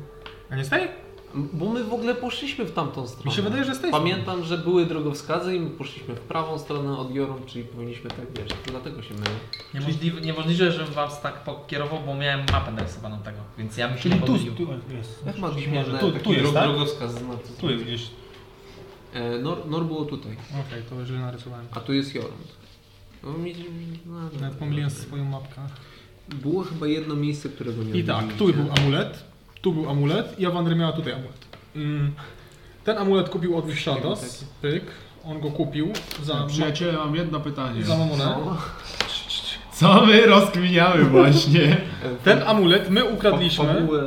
A nie z tej? Bo my w ogóle poszliśmy w tamtą stronę. Mi się wydaje, że z tej Pamiętam, że były drogowskazy i my poszliśmy w prawą stronę od Jorun, czyli powinniśmy tak wiesz, dlatego się mylę. niemożliwe, niemożliwe, żebym was tak pokierował, bo miałem mapę narysowaną tego, więc ja bym się Czyli nie tu, pomylił. tu jest. Jak ma Może śmieszne tu, taki tu jest, dro- tak? drogowskaz znak. Tu jest gdzieś. E, Nor, Nor było tutaj, Okej, to źle narysowałem. a tu jest Jorund. No, mi, no, no, Nawet pomyliłem swoją mapkę. Było chyba jedno miejsce, którego nie I tak, tu odwiedziliście. był amulet, tu był amulet i Awandry miała tutaj amulet. Mm. Ten amulet kupił od nich Shadows, pyk. On go kupił za, Przyjaciele, mam jedno pytanie. za mamonę. No, Co my rozkminiamy właśnie? e, Ten fa- amulet my fa- ukradliśmy. fabułę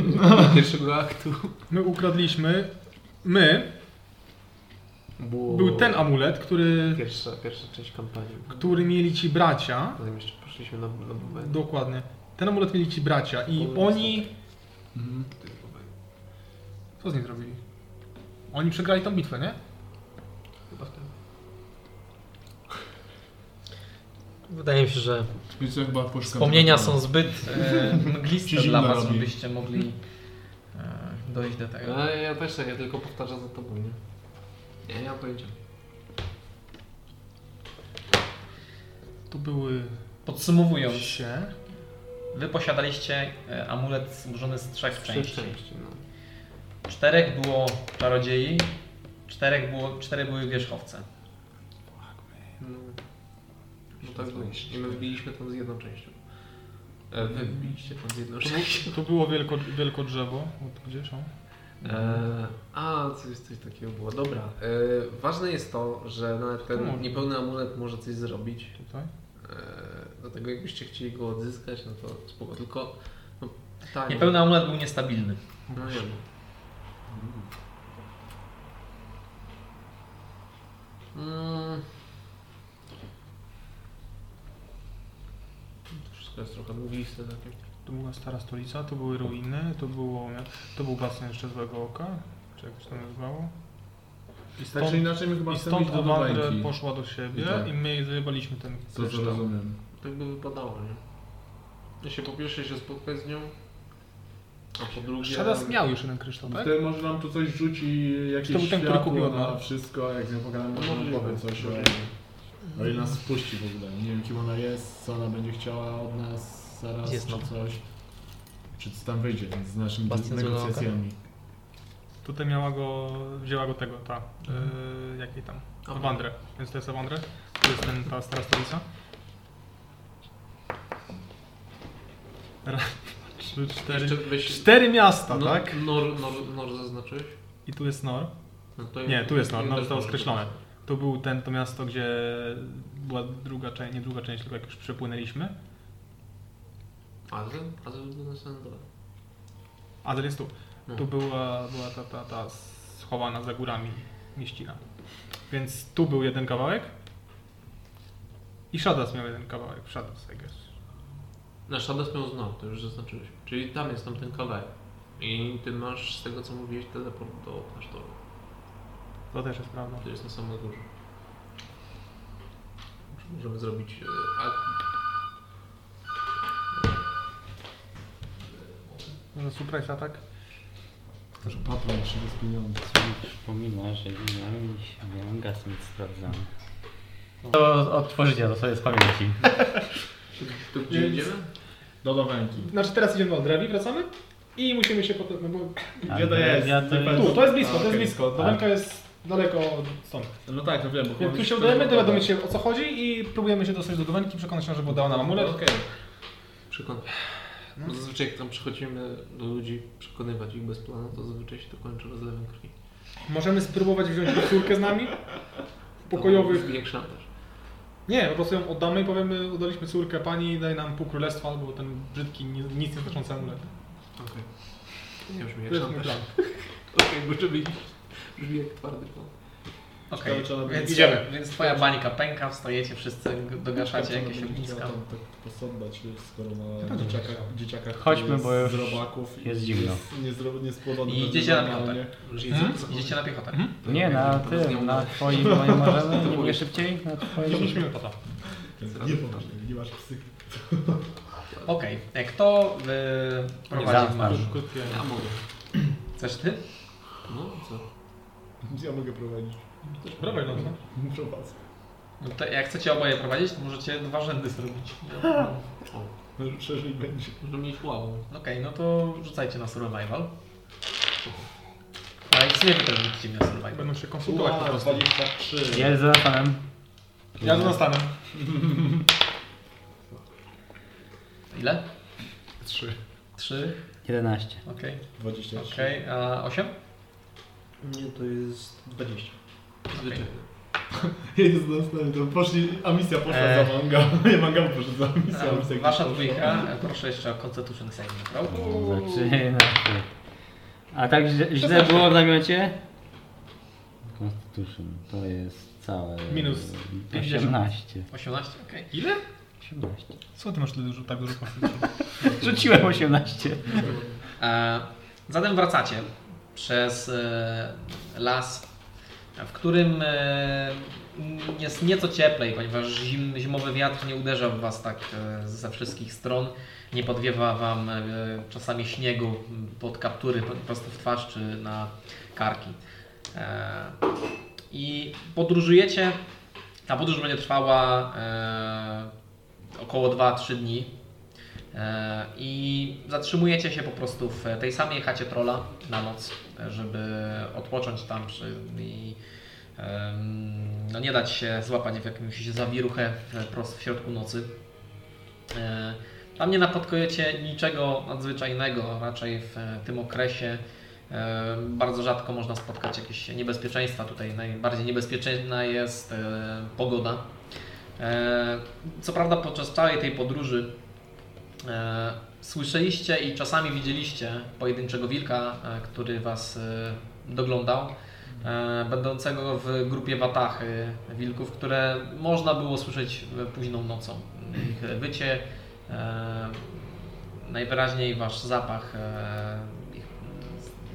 [LAUGHS] pierwszego aktu. My ukradliśmy. My. Było Był ten amulet, który, Pierwsza, pierwsza część kampanii. który mieli ci bracia. Potem jeszcze poszliśmy na, na Bowę. Dokładnie. Ten amulet mieli ci bracia i oni. Mhm. Co z nim zrobili? Oni przegrali tą bitwę, nie? Chyba tak. Wydaje mi się, że Więc jak była puszka wspomnienia wrzucona. są zbyt e, mgliste Ci dla zimno was, robi. żebyście mogli e, dojść do tego. No, ja też tak, ja tylko powtarzam za tobą, nie? Ja nie mam pojęcia. Tu były. Podsumowując, się. Wy posiadaliście e, amulet złożony z trzech części. części, no. Czterech było czarodziei, czterech było, cztery były wierzchowce. No, no tak było. I my wbiliśmy tam z jedną częścią. E, wy wbiliście tam z [LAUGHS] jedną częścią. Tu było wielko, wielko drzewo. Od gdzieś on? E, a, coś, coś takiego było. Dobra. E, ważne jest to, że nawet ten niepełny amulet może coś zrobić. Tutaj. E, dlatego jakbyście chcieli go odzyskać, no to spoko. Tylko, no, tak. Niepełny amulet był niestabilny. No nie wiem. Mm. To wszystko jest trochę mgliste tak takie. Tu była stara stolica, to były ruiny, to było. To był basen jeszcze złego oka. Czy jak to się tam nazywało? I Tak stąd, czy inaczej my chyba i chcemy stąd iść do Awandrę Wańki. poszła do siebie i, I tak. my jej zajebaliśmy ten. To zrozumiem. Tak by wypadało, nie? Ja się po pierwsze się spotkać z nią, a po drugie... Shadas miał już jeden kryształ, tak? Wtedy może nam tu coś rzuci, jakieś Czy to był ten, który światło kupił od na nas? No, wszystko, jak z nią pogadamy, może nam Możliwe, powie coś o... O ile nas wpuści w ogóle. Nie wiem kim ona jest, co ona będzie chciała od nas zaraz, Gdzie jest czy mapa? coś. Czy co tam wyjdzie z naszymi Bastian Złego Oka? negocjacjami. Tutaj miała go, wzięła go tego, ta, yy, jakiej tam, Aha. Awandrę, więc to jest Awandrę, to jest ten, ta stara stolica. Raz, dwa, trzy, Jeszcze cztery, weź... cztery miasta, no, tak? Nor, nor, nor zaznaczyłeś? I tu jest Nor, No to nie, tu jest Nor, Nor też zostało może być. skreślone. Tu był ten, to miasto, gdzie była druga część, nie druga część, tylko jak już przepłynęliśmy. Azel? Azel był na samym dole. A teraz jest tu, No. tu była, była ta, ta, ta schowana za górami mieścina. Więc tu był jeden kawałek. I Shadas miał jeden kawałek. Shadas, I guess. Na Shadows miał znak, to już zaznaczyłeś. Czyli tam jest tamten kawałek. I ty masz z tego co mówiłeś teleport do klasztoru. To też jest prawda. To jest na samej górze. Możemy zrobić. e, A... Może surprise atak? Może patron się rozpieniądze. Przypomina, że miałem, miałem gaz nic sprawdzony. Tu gdzie Więc- idziemy? Do dowenki. Znaczy teraz idziemy do Andrewi, wracamy i musimy się potem, no bo Gdzie to jest? Ja to jest... tu, to jest blisko, A, to jest okej. blisko, Tak. Domenka jest daleko od stąd. No tak, no wiem, bo Jak tu się udajemy, dowiadujemy się o co chodzi i próbujemy się dostać do Domenki, przekonać ją, żeby oddała nam amulet. Okej. Przekonam. No. Bo Zazwyczaj jak tam przychodzimy do ludzi przekonywać ich bez planu, to zazwyczaj się to kończy rozlewem krwi. Możemy spróbować wziąć córkę z nami, To pokojowych. brzmi Jak szantaż. Nie, po prostu ją oddamy i powiemy, udaliśmy córkę pani, daj nam pół królestwa albo ten brzydki, ni- nic nie znaczący amulet. Okej. Nie brzmi To jak jest mój szantaż. plan. [LAUGHS] Okej, okay, możemy iść. Brzmi jak twardy plan. Okej, Ciekawe, czy ona więc, będzie- Idziemy. więc twoja bańka pęka, wstajecie wszyscy, g- dogaszacie jakieś ogniska. Tam tak posądzać, wiesz, skoro ma Tak, dzieciaka, tak. dzieciaka który Chodźmy, jest bo już z robaków i jest zimno. jest niezro- Niespłodony. I będzie idziecie na normalnie. piątek. Może Mhm. jedzą- Idziecie na piechotę. Nie, na tym, na twoim, bo [LAUGHS] nie możemy. Nie mogę szybciej? Na To twoim. musimy tata. Nie poważnie, nie masz psychy. Okej, e, kto y, prowadzi? zamknę. Ja mogę. Chcesz ty? No, co? Ja mogę prowadzić. Dawaj, no co? Prowadzę. No to jak chcecie oboje prowadzić, to możecie dwa rzędy zrobić. No, no. O, No, Szerzej będzie. możemy iść ławą. Okej, no to rzucajcie na survival. Ale nic nie wy też rzucicie mi na survival. Będą się tak konsultować po prostu. 23. Ja jestem fanem. Ja tu nastanę. Ile? Trzy. Trzy? 11. Okej. 23. Okej, a osiem? Nie, to jest 20. Zwyczajnie. Jest dostępny, to poszli, a misja poszła Eee. za manga. [LAUGHS] Nie, manga poszedł za misją, a misja A, Wasza gdzieś dwójka, e, proszę jeszcze o Constitution Saving Throw. Zaczyna się. A tak źle, źle było w namiocie? Constitution to jest całe. Minus 18. 18, okej. Ile? 18. Co ty masz tyle dużo, tak dużo konfliktu? Rzuciłem 18. E, Zatem wracacie przez e, las, w którym e, jest nieco cieplej, ponieważ zim, zimowy wiatr nie uderza w Was tak e, ze wszystkich stron. Nie podwiewa Wam e, czasami śniegu pod kaptury po prostu w twarz czy na karki. E, I podróżujecie. Ta podróż będzie trwała e, około 2-3 dni. E, I zatrzymujecie się po prostu w tej samej chacie trola na noc, e, żeby odpocząć tam przy, i em, no nie dać się złapać w jakąś zawiruchę w- prosto w środku nocy. E, Tam nie napotkujecie niczego nadzwyczajnego, raczej w e, tym okresie e, bardzo rzadko można spotkać jakieś niebezpieczeństwa. Tutaj najbardziej niebezpieczna jest e, pogoda. E, Co prawda podczas całej tej podróży E, Słyszeliście i czasami widzieliście pojedynczego wilka, e, który was e, doglądał, e, będącego w grupie watachy wilków, które można było słyszeć e, późną nocą. Ich wycie, e, najwyraźniej wasz zapach e, ich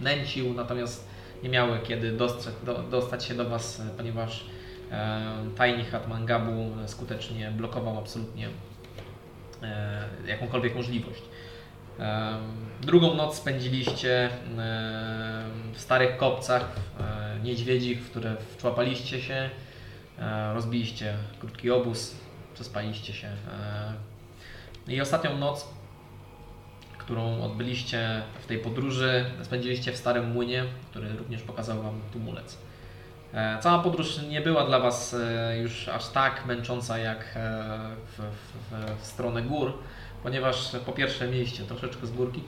nęcił, natomiast nie miały kiedy dostrzec, do, dostać się do was, e, ponieważ e, tajni Hatmangabu skutecznie blokował absolutnie e, jakąkolwiek możliwość. E, Drugą noc spędziliście e, w starych kopcach e, niedźwiedzich, w które wczłapaliście się, e, rozbiliście krótki obóz, przespaliście się. e, I ostatnią noc, którą odbyliście w tej podróży, spędziliście w starym młynie, który również pokazał Wam tumulec. E, Cała podróż nie była dla Was e, już aż tak męcząca jak e, w, w, w stronę gór, ponieważ po pierwsze mieliście troszeczkę z górki,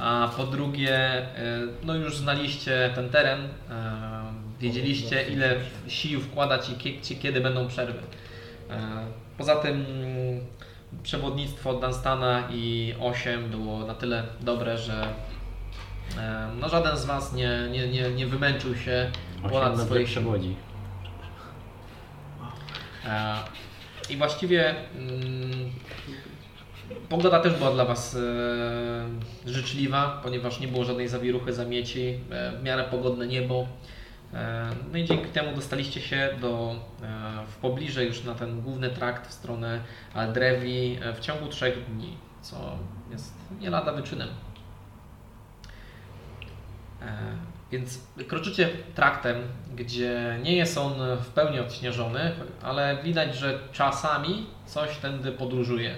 a po drugie e, no już znaliście ten teren, e, wiedzieliście ile sił wkładać i kie- kiedy będą przerwy. E, Poza tym mm, przewodnictwo Dunstana i 8 było na tyle dobre, że e, no żaden z Was nie, nie, nie, nie wymęczył się Ponad Ponad swoich swoich przewodzi. E, I właściwie mm, pogoda też była dla Was e, życzliwa, ponieważ nie było żadnej zawiruchy, zamieci, e, w miarę pogodne niebo. E, no i dzięki temu dostaliście się do, e, w pobliże już na ten główny trakt w stronę Aldrewi e, w ciągu trzech dni, co jest nie lada wyczynem. E, Więc kroczycie traktem, gdzie nie jest on w pełni odśnieżony, ale widać, że czasami coś tędy podróżuje.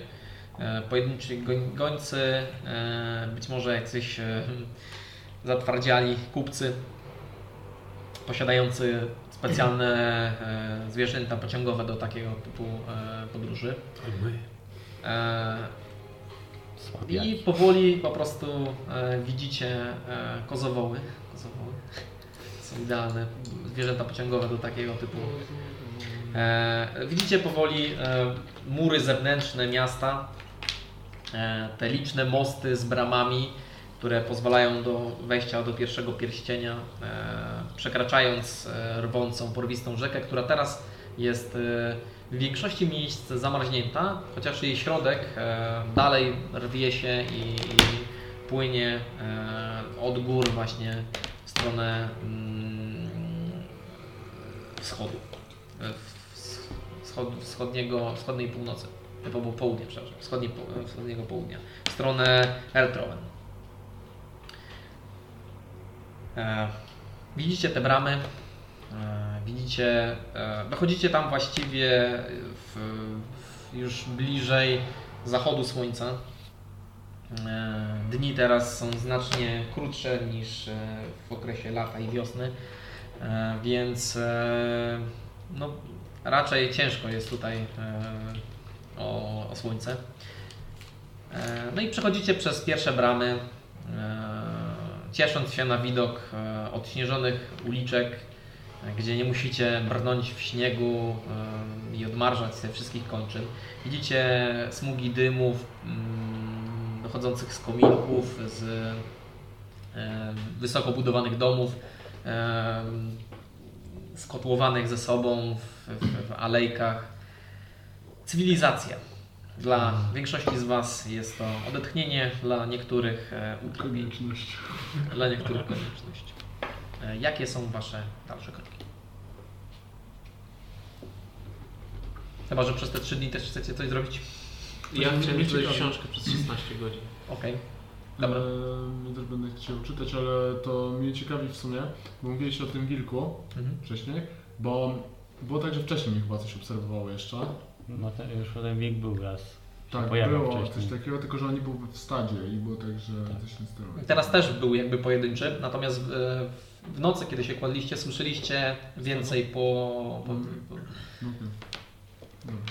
e, pojedynczy goń, gońcy, e, być może jacyś e, [LAUGHS] zatwardziali kupcy posiadający specjalne e, zwierzęta pociągowe do takiego typu e, podróży. E, I Słabiaki. powoli po prostu e, widzicie e, kozowoły. kozowoły. Są idealne zwierzęta pociągowe do takiego typu. E, widzicie powoli e, mury zewnętrzne miasta, e, te liczne mosty z bramami, które pozwalają do wejścia do pierwszego pierścienia, e, przekraczając e, rwącą, porwistą rzekę, która teraz jest e, w większości miejsc zamarznięta, chociaż jej środek e, dalej rwie się i, i płynie e, od gór właśnie w stronę mm, wschodu, e, w- wschod, wschodniego, wschodniej północy, e, po- po- południa, przepraszam, wschodniej, po- e, wschodniego południa, w stronę Eltrowen. E, widzicie te bramy, E, Widzicie, e, dochodzicie tam właściwie w, w już bliżej zachodu słońca. E, Dni teraz są znacznie krótsze niż e, w okresie lata i wiosny, E, więc e, no, raczej ciężko jest tutaj e, o, o słońce. E, No i przechodzicie przez pierwsze bramy, e, ciesząc się na widok e, odśnieżonych uliczek, gdzie nie musicie brnąć w śniegu em, i odmarzać sobie wszystkich kończyn. Widzicie smugi dymów mm, dochodzących z kominków, z em, wysoko budowanych domów, em, skotłowanych ze sobą w, w, w alejkach. Cywilizacja. Dla większości z Was jest to odetchnienie, dla niektórych e, utrudnienie. Konieczność. Dla niektórych konieczność. E, Jakie są Wasze dalsze kroki? Chyba, że przez te 3 dni też chcecie coś zrobić? Ja Nie- chciałem nie czytać ciekawe. książkę przez 16 godzin. Okej. Dobra. Dobra. Ja E, też będę chciał czytać, ale to mnie ciekawi w sumie, bo mówiłeś o tym wilku Mhm. wcześniej, bo było tak, że wcześniej mnie chyba coś obserwowało jeszcze. No to już ten wilk był raz. Tak, pojawiał było wcześniej. coś takiego, tylko że oni był w stadzie i było tak, że Tak. coś nie sterowało. Teraz też był jakby pojedynczy, natomiast e, w nocy, kiedy się kładliście, słyszeliście więcej po... po, po No, okej. Dobra.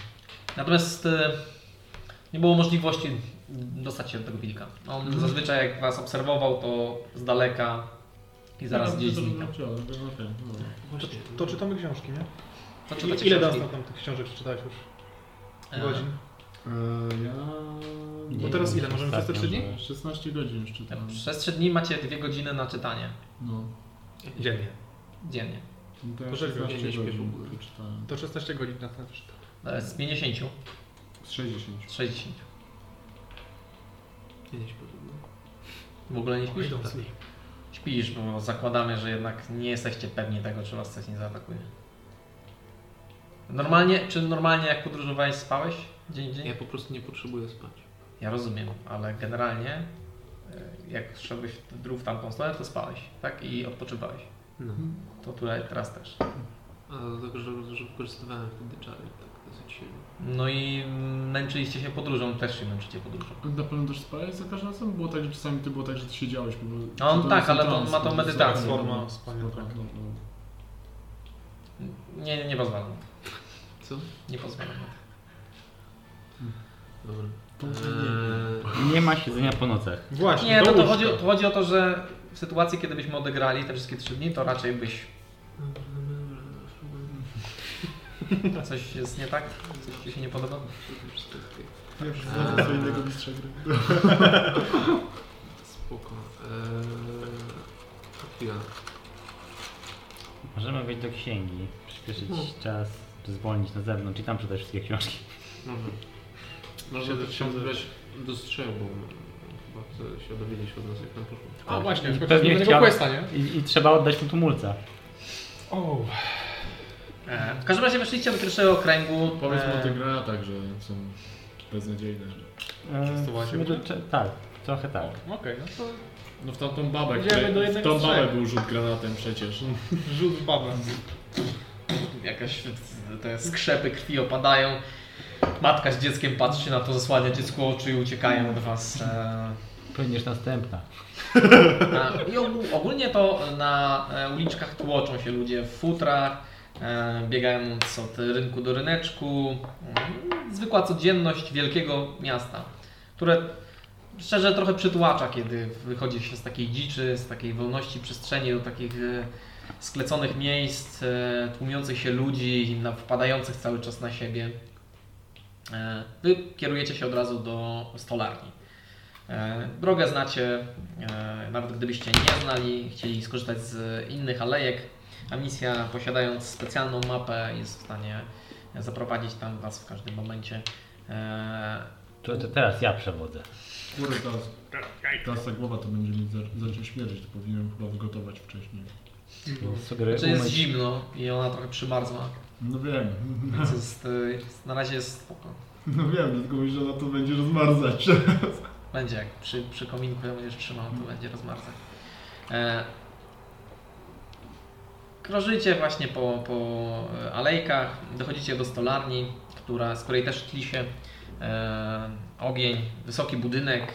Natomiast e, nie było możliwości dostać się do tego wilka. On zazwyczaj jak was obserwował, to z daleka i zaraz No, gdzieś to- to- znika. to- to- to- okej, dobra. To, Właśnie. to czytamy książki, nie? To Ile czytacie ile książki? nas tam tych książek przeczytałeś już? E, Godzin? E, ja... Bo teraz ile? Możemy przez te ostatnio 3 dni? byłem. 16 godzin już czytam. Przez 3 dni macie 2 godziny na czytanie No. Dziennie. dziennie. No to ja Poczekaj, 16 nie śpiesz godzin w ogóle. czytałem. To 16 godzin nas tam przeczytał. E, Z 50, Z 60. z 60. Nie, nie śpię w ogóle. W ogóle nie śpisz? Idąc. Śpisz, bo zakładamy, że jednak nie jesteście pewni tego, czy was coś nie zaatakuje. Normalnie, czy normalnie jak podróżowałeś spałeś dzień w dzień? Ja po prostu nie potrzebuję spać. Ja rozumiem, ale generalnie e, jak szedłeś w drugą w tamtą stronę, to spałeś, tak? I odpoczywałeś. No. To tutaj teraz też. A dlatego, że, że wykorzystywałem wtedy czary tak dosyć silnie. No i męczyliście się podróżą, też się męczycie podróżą. Na pewno też spałeś za każdym razem? Było tak, że czasami ty było tak, że ty siedziałeś. Bo A on to tak, jest ale to trans, ma tą jest medytację. taka Forma wspaniała. No tak, no, no. Nie, nie, nie pozwalam. Co? Nie pozwalam. na to. Dobra. To nie Eee, Nie ma siedzenia po nocach. Właśnie, Nie, do no to łóżka. chodzi, to chodzi o to, że w sytuacji, kiedy byśmy odegrali te wszystkie trzy dni, to raczej byś [LAUGHS] dobra, dobra, coś jest nie tak, coś ci się nie podoba. dobra, dobra. Nie wiem, że co innego mistrza gry. Eee. Spoko. Eee, chwila. Możemy wejść do księgi, przyspieszyć Hmm. czas, czy zwolnić na zewnątrz i tam przeczytać wszystkie książki. Dobra. Można Siedzę, to siedzę. wziąć do strzału, bo chyba chce się dowiedzieć od nas jak nam poszło. A właśnie, I chociaż nie pewnie chciał- Tak. chciałem... questa, nie? I, i trzeba oddać mu tumulca. O, E, w każdym razie weszliście do pierwszego okręgu. Powiedz mu o e, tych granatach, że są beznadziejne. E, Testowałaś w sumie ogólnie? to cze- tak, trochę tak. okej, no to No w tamtą babę, Idziemy której- do w jednego tą z babę trzech. był rzut granatem przecież. rzut w babę. jakaś te skrzepy krwi opadają. Matka z dzieckiem patrzy na to, zasłania dziecku oczy i uciekają od was. E, Będziesz następna. A, E, I ogół, ogólnie to na e, uliczkach tłoczą się ludzie w futrach, e, biegając od rynku do ryneczku. Mm, Zwykła codzienność wielkiego miasta, które szczerze trochę przytłacza, kiedy wychodzi się z takiej dziczy, z takiej wolności przestrzeni do takich e, skleconych miejsc, e, tłumiących się ludzi, na- wpadających cały czas na siebie. E, Wy kierujecie się od razu do stolarni. E, Drogę znacie, e, nawet gdybyście nie znali, chcieli skorzystać z innych alejek, a misja posiadając specjalną mapę jest w stanie zaprowadzić tam Was w każdym momencie. E, To, to teraz ja przewodzę. Kurde, teraz, teraz ta głowa to będzie mi za- zaczął śmierdzić, to powinienem chyba wygotować wcześniej. No. Sugeruję Znaczy, Czy jest umyć- zimno i ona trochę przymarzła, No wiem, [LAUGHS] więc jest, e, jest, na razie jest spoko. no wiem, dlatego mówię, że ona to będzie rozmarzać. [LAUGHS] Będzie jak przy, przy kominku ją będziesz trzymał, to będzie rozmarzać. E, krążycie właśnie po, po e, alejkach, dochodzicie do stolarni, która, z której też tli się e, ogień, wysoki budynek,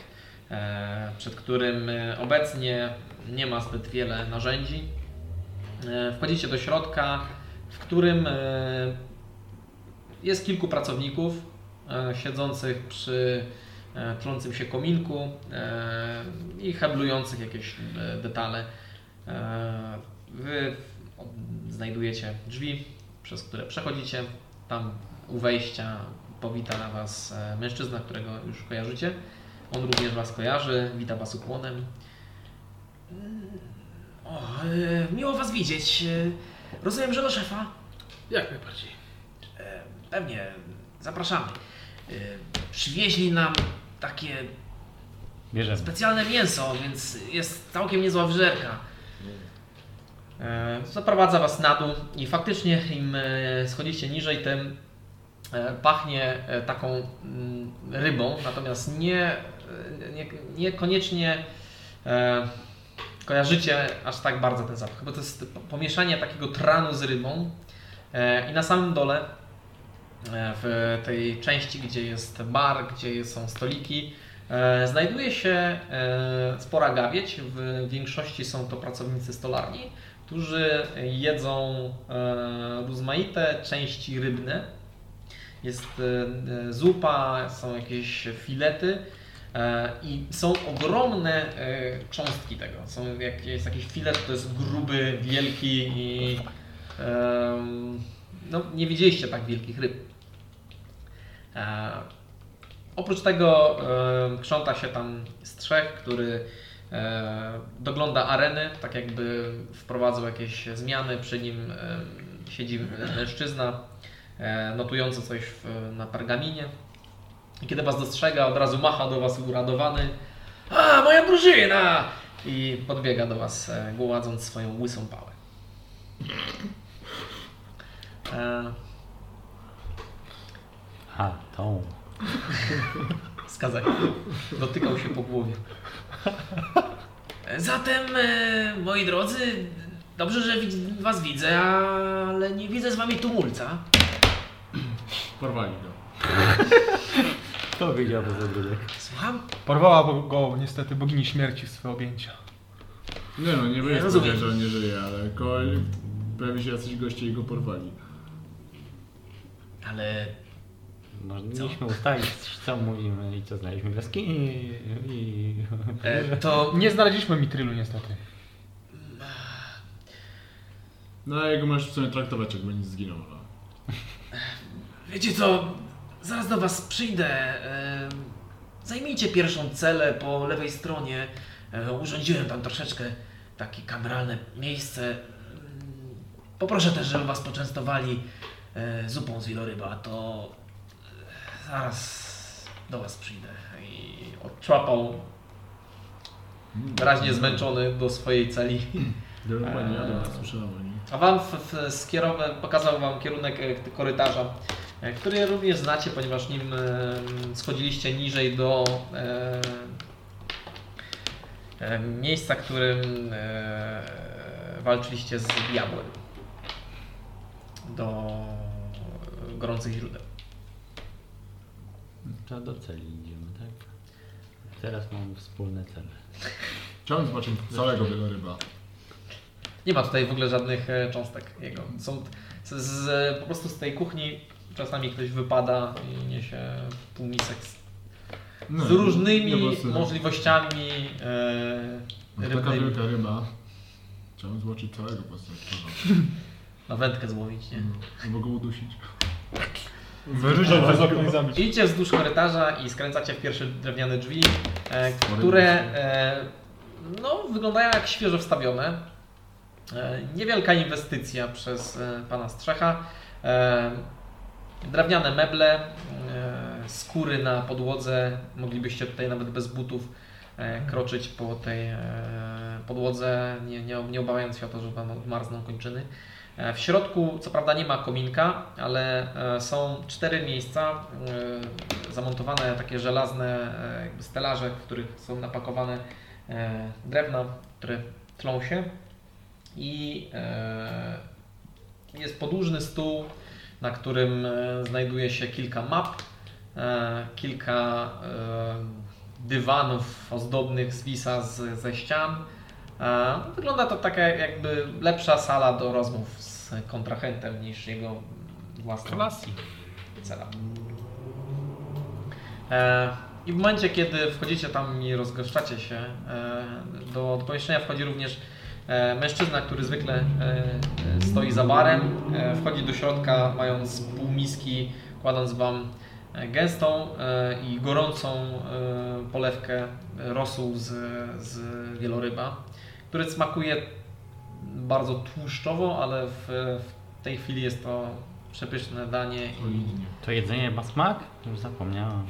e, przed którym e, obecnie nie ma zbyt wiele narzędzi. E, wchodzicie do środka, w którym e, jest kilku pracowników e, siedzących przy e, tlącym się kominku e, i heblujących jakieś e, detale. E, Wy w- od- znajdujecie drzwi, przez które przechodzicie. Tam u wejścia powita na Was e, mężczyzna, którego już kojarzycie. On również Was kojarzy, wita Was ukłonem. Mm, O, e, miło Was widzieć. E, Rozumiem, że do szefa. Jak najbardziej. E, Pewnie, zapraszamy. E, Przywieźli nam takie Bierzemy. specjalne mięso, więc jest całkiem niezła wrzerka. E, Zaprowadza was na dół i faktycznie im e, schodzicie niżej, tym e, pachnie e, taką mm, rybą, natomiast nie, e, nie, niekoniecznie e, kojarzycie aż tak bardzo ten zapach, bo to jest po- pomieszanie takiego tranu z rybą e, i na samym dole e, w tej części, gdzie jest bar, gdzie są stoliki, E, Znajduje się e, spora gawieć. W większości są to pracownicy stolarni, którzy jedzą e, rozmaite części rybne. Jest e, e, zupa, są jakieś filety e, i są ogromne e, cząstki tego. Są jak, jest jakiś filet, to jest gruby, wielki i em, no, nie widzieliście tak wielkich ryb. E, Oprócz tego e, krząta się tam strzech, który e, dogląda areny, tak jakby wprowadzał jakieś zmiany. Przy nim e, siedzi mężczyzna e, notujący coś w, na pergaminie. I kiedy was dostrzega, od razu macha do was uradowany. A, moja drużyna! I podbiega do was, e, gładząc swoją łysą pałę. E, A, tą. Wskazaj. Dotykał się po głowie. Zatem, e, moi drodzy, dobrze, że widz- was widzę, ale nie widzę z wami tumulca. Porwali go. To widział bez ogródek. Słucham? Porwała go niestety bogini śmierci w swoje objęcia. Nie no, nie Ja będę rozumiem. powiedział, że on nie żyje, ale ko- pojawi się jacyś goście i go porwali. Ale Mogliśmy ustalić, co mówimy i co znaliśmy w jaskini. I, i... e, to Nie znaleźliśmy mitrylu niestety. No a jego możesz w sumie traktować, jakby nie zginął. No. Wiecie co, zaraz do was przyjdę. Em, Zajmijcie pierwszą celę po lewej stronie. E, Urządziłem tam troszeczkę takie kameralne miejsce. Mm, Poproszę też, żeby was poczęstowali e, zupą z wieloryba, to e, zaraz do was przyjdę. I odczłapał, wyraźnie zmęczony do swojej celi. Dobra, pani Eee. jadą, słyszałem o nim. A wam w, w skierowa- pokazał wam kierunek e, k- korytarza, e, który również znacie, ponieważ nim e, schodziliście niżej do e, e, miejsca, którym e, walczyliście z diabłem. Do gorących źródeł. To do celi idziemy, tak? Teraz mamy wspólne cele. Chciałbym zobaczyć całego wieloryba. Nie ma tutaj w ogóle żadnych e, cząstek jego. Są t- z, z, po prostu z tej kuchni czasami ktoś wypada i niesie półmisek z, No, z nie- różnymi nie było syna. możliwościami e, No, Taka rybnymi. wielka ryba. Chciałbym zobaczyć całego po prostu. jak porządku. Na wędkę złowić, nie? No, Albo go udusić. Wyryżać przez okno i zabić. Idziecie wzdłuż korytarza i skręcacie w pierwsze drewniane drzwi, e, które e, no, wyglądają jak świeżo wstawione. E, niewielka inwestycja przez e, pana Strzecha. E, drewniane meble, e, skóry na podłodze. Moglibyście tutaj nawet bez butów e, kroczyć po tej e, podłodze, nie, nie, nie obawiając się o to, że wam odmarzną kończyny. E, W środku, co prawda, nie ma kominka, ale e, są cztery miejsca e, zamontowane takie żelazne e, jakby stelaże, w których są napakowane e, drewna, które tlą się. I e, jest podłużny stół, na którym e, znajduje się kilka map, e, kilka e, dywanów ozdobnych z wisa z, ze ścian. E, Wygląda to taka jakby lepsza sala do rozmów z kontrahentem niż jego własna Klasik. cela. E, I w momencie, kiedy wchodzicie tam i rozgoszczacie się, e, do, do pomieszczenia wchodzi również e, mężczyzna, który zwykle e, e, stoi za barem. E, wchodzi do środka, mając pół miski, kładąc wam e, gęstą e, i gorącą e, polewkę e, rosół z, z wieloryba, który smakuje bardzo tłuszczowo, ale w, w tej chwili jest to przepyszne danie i Solidnie. To jedzenie ma smak? Już zapomniałam.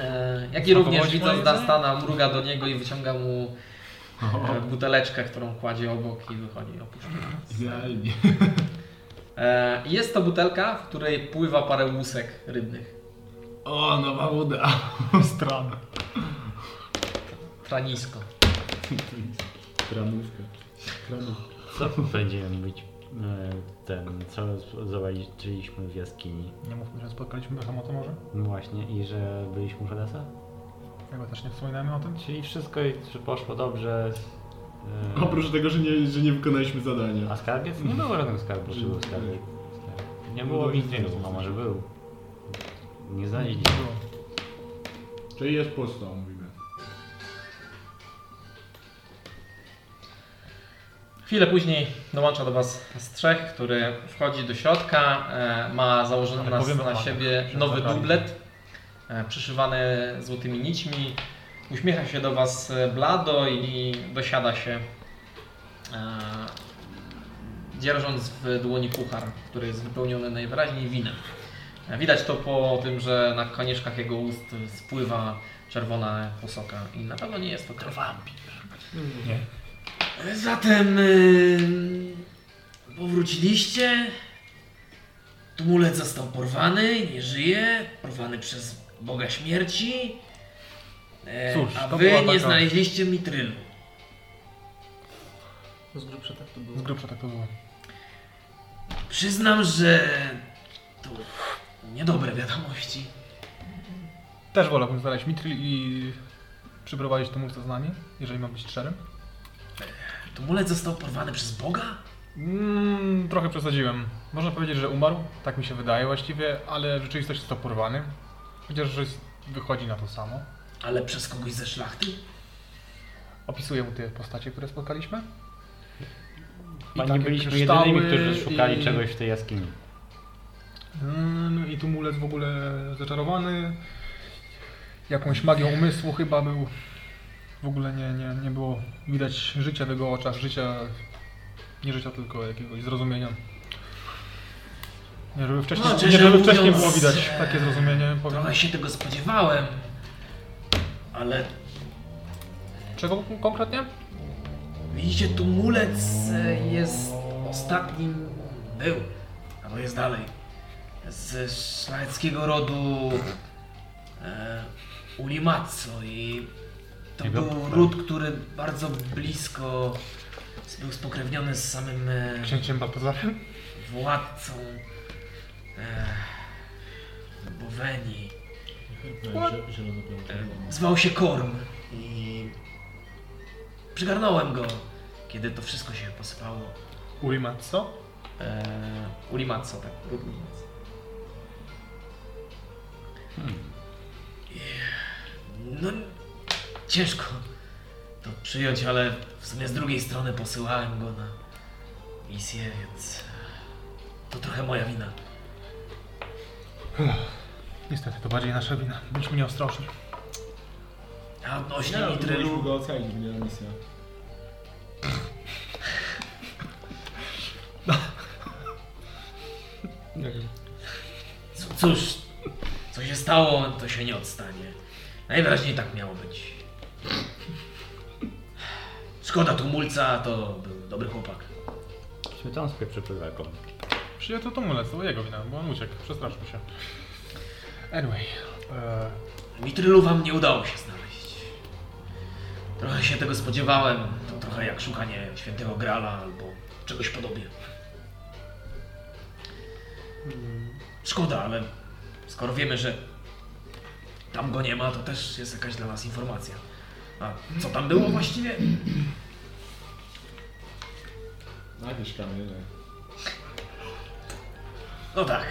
E, jak i Smakowało również ci widząc moje Dunstana, mruga do niego i wyciąga mu e, buteleczkę, którą kładzie obok i wychodzi i opuszcza. Mhm. Idealnie. E, jest to butelka, w której pływa parę łusek rybnych. O, nowa woda. Stran. Tranisko. Kranówka. Kranówka. Co będziemy mówić? e, Ten, co zobaczyliśmy w jaskini. Nie mówmy, że spotkaliśmy behemota może? No Właśnie, i że byliśmy u Hadesa? Chyba też nie wspominamy o tym? Czyli wszystko i- czy poszło dobrze. e, Oprócz tego, że nie, że nie wykonaliśmy zadania. A skarbiec? Nie było żadnego skarbu, czy był skarbiec. Nie było nic niego, a może był. Nie znaleźliśmy. Było. Czyli jest pusto, mówimy. Chwilę później dołącza do Was Strzech, który wchodzi do środka, e, ma założony Ale na, powiemy o na panach, siebie że nowy zabrali. dublet, e, przyszywany złotymi nićmi. Uśmiecha się do Was e, blado i dosiada się, e, dzierżąc w dłoni puchar, który jest wypełniony najwyraźniej winem. E, Widać to po tym, że na konieczkach jego ust spływa czerwona posoka i na pewno nie jest to krew. Nie. Zatem y, powróciliście. Tumulec został porwany, nie żyje, porwany przez Boga Śmierci. E, Cóż, a to wy była nie taka- znaleźliście mitrylu. Z grubsza tak to było. Z grubsza tak to było. Przyznam, że to niedobre wiadomości. Też wolałbym znaleźć Mitril i przyprowadzić tumulca z nami, jeżeli mam być szczerym. Tumulec został porwany przez Boga? Mm, trochę przesadziłem. Można powiedzieć, że umarł, tak mi się wydaje właściwie, ale w rzeczywistości został porwany. Chociaż że wychodzi na to samo. Ale przez kogoś ze szlachty? Opisuję mu te postacie, które spotkaliśmy. Chyba nie takie byliśmy kryształy jedynymi, którzy szukali i- czegoś w tej jaskini. Mm, I tumulec w ogóle zaczarowany. Jakąś magią umysłu chyba był. W ogóle nie, nie, nie było widać życia w jego oczach, życia, nie życia tylko jakiegoś zrozumienia. Nie, żeby wcześniej, No, nie, szczerze żeby wcześniej mówiąc, było widać e, takie zrozumienie, powiem. Trochę się tego spodziewałem. Ale Czego konkretnie? Widzicie, tumulec e, jest ostatnim, był, a to jest dalej, z szlacheckiego rodu e, Ulimazzo i to Jego- był ród, który bardzo blisko z- był spokrewniony z samym e, Księciem Baltazarem? władcą e, Boweni. No i się, i się rozebrał. E, Zwał się Korm i przygarnąłem go, kiedy to wszystko się posypało. Urimatso? Eee, Ulimatso, tak. No, ciężko to przyjąć, ale w sumie z drugiej strony posyłałem go na misję, więc to trochę moja wina. Niestety, to bardziej nasza wina. Byliśmy nieostrożni. A odnośnie Nie, no, nitrylu... mogliśmy go ocalić, nie misja. C- Cóż, co się stało, to się nie odstanie. Najwyraźniej tak miało być. Szkoda tumulca, to był dobry chłopak. Śmietam sobie przepływaką. Przyjechał to tumulec, to była jego wina, bo on uciekł, przestraszył się. Anyway, e, Mitrylu wam nie udało się znaleźć. Trochę się tego spodziewałem. To trochę jak szukanie świętego Grala albo czegoś podobnie. Mm, Szkoda, ale skoro wiemy, że tam go nie ma, to też jest jakaś dla nas informacja. A co tam było właściwie? A jakieś kamienie. No tak,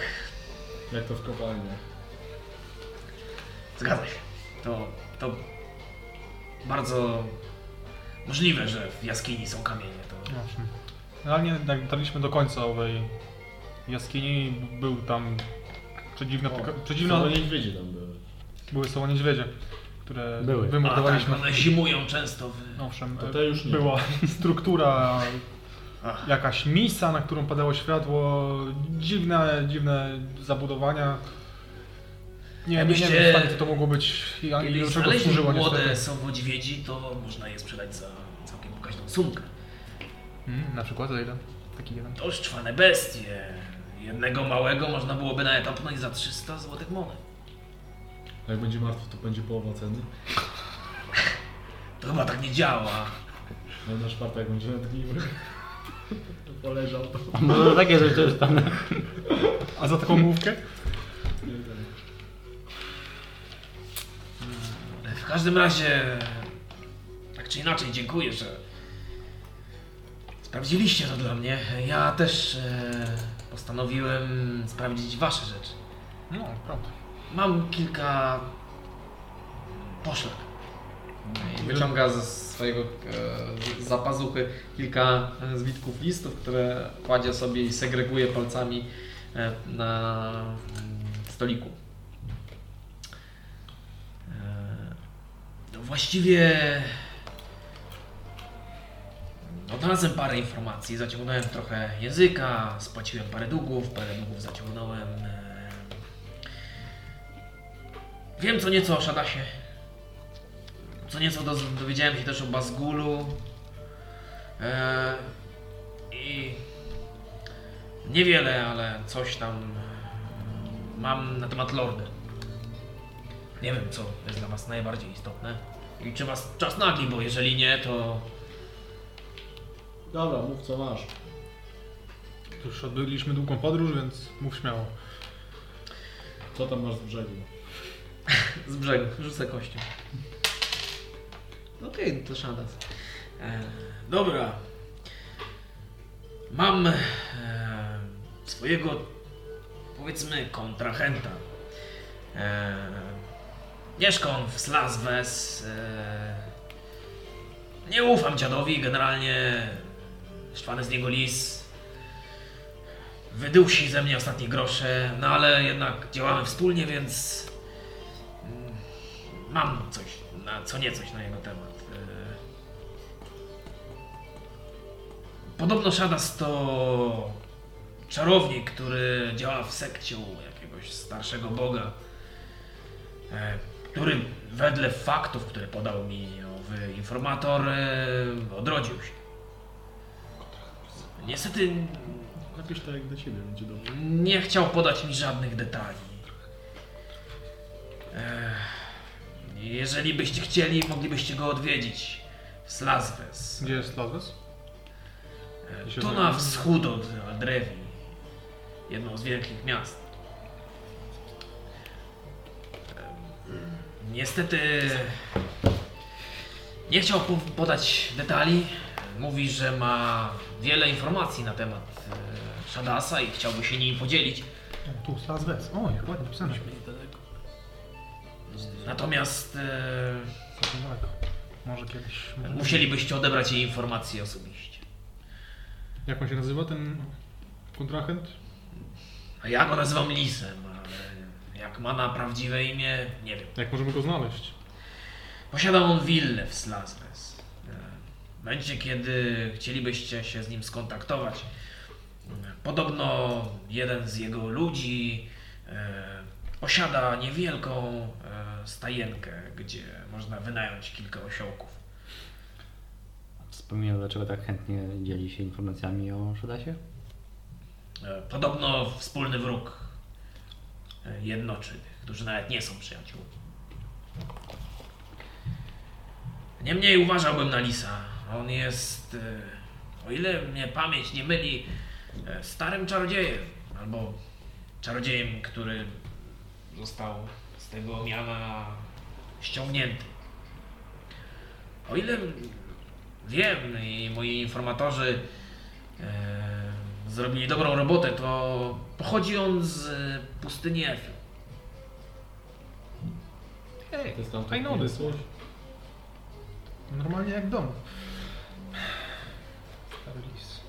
Jak to w kopalniach. Zgadza się. To, to bardzo możliwe, że w jaskini są kamienie. To... owszem. Realnie jak tak, dotarliśmy do końca owej jaskini, b- był tam przedziwna... tyka- przedziwna No niedźwiedzie tam były. były słowa niedźwiedzie, które Były. A, tak, no, wymordowaliśmy. one zimują często w... Owszem, To e, te już nie. była [LAUGHS] struktura, Ach. jakaś misa, na którą padało światło, dziwne, dziwne zabudowania. Nie, nie, nie Jakbyście- wiem w stanie, co to mogło być i ani Kiedy do czego znaleźli służyło młode niestety. sowodźwiedzi, to można je sprzedać za całkiem pokaźną sumkę. Mm, na przykład za ile? Taki jeden. To szczwane bestie. Jednego małego można byłoby naetapnąć za 300 złotych monet. Jak będzie martwy, to będzie połowa ceny. To chyba tak nie działa. Ale No na czwartek będzie nadgniły. Poleżał to. No takie rzeczy, że tam A za taką mówkę? Nie tak. W każdym razie, tak czy inaczej, dziękuję, że sprawdziliście to dla mnie. Ja też e, postanowiłem sprawdzić wasze rzeczy. No, prawda. Mam kilka poszlak. Wyciąga ze swojego e, zapazuchy kilka e, zbitków listów, które kładzie sobie i segreguje palcami e, na mm, stoliku. E, no Właściwie odnalazłem no, parę informacji, zaciągnąłem trochę języka, spłaciłem parę długów, parę długów zaciągnąłem. e, Wiem co nieco o Shadasie. Co nieco do, dowiedziałem się też o Bazgulu. E, I niewiele, ale coś tam mam na temat Lordy. Nie wiem, co jest dla Was najbardziej istotne. I czy Was czas nagli, bo jeżeli nie, to Dobra, mów co masz. Już odbyliśmy długą podróż, więc mów śmiało. Co tam masz z brzegu? z brzegu rzucę kością. Okej, no to Shadas. E, dobra. Mam e, swojego, powiedzmy, kontrahenta. E, mieszka on w Slasves. E, nie ufam dziadowi, generalnie szwany z niego lis. Wydusi ze mnie ostatnie grosze, no ale jednak działamy wspólnie, więc mm, mam coś, na, co niecoś na jego temat. E, Podobno Shadas to czarownik, który działa w sekcie u jakiegoś starszego boga, e, który wedle faktów, które podał mi owy informator, e, odrodził się. Niestety Napisz tak jak do ciebie, będzie dobrze. nie chciał podać mi żadnych detali. Ech, jeżeli byście chcieli, moglibyście go odwiedzić w Slasves. Gdzie jest Lazwes? E, To na wschód od Aldrewi, jedno z wielkich miast. Em, Niestety nie chciał po- podać detali. Mówi, że ma wiele informacji na temat e, Shadasa i chciałby się nimi podzielić. O, Tak, tu, Las Vegas. O, jak ładnie napisane. Natomiast e, Całkiem daleko. Może kiedyś... może- musielibyście odebrać jej informacje osobiście. Jak on się nazywa, ten kontrahent? A ja go nazywam Lisem, ale jak ma na prawdziwe imię, nie wiem. Jak możemy go znaleźć? Posiada on willę w Slasnes. W momencie, kiedy chcielibyście się z nim skontaktować, e, podobno jeden z jego ludzi e, posiada niewielką e, stajenkę, gdzie można wynająć kilka osiołków. Wspominał, dlaczego tak chętnie dzieli się informacjami o Szodasie? E, Podobno wspólny wróg e, jednoczy tych, którzy nawet nie są przyjaciółmi. Niemniej uważałbym na Lisa. On jest, e, o ile mnie pamięć nie myli, e, starym czarodziejem. Albo czarodziejem, który został z tego miana ściągnięty. O ile wiem i moi informatorzy e, zrobili dobrą robotę, to pochodzi on z e, pustyni Efi. Hej, To jest tam fajny odysł. Tak, Normalnie jak w domu. Stary lis.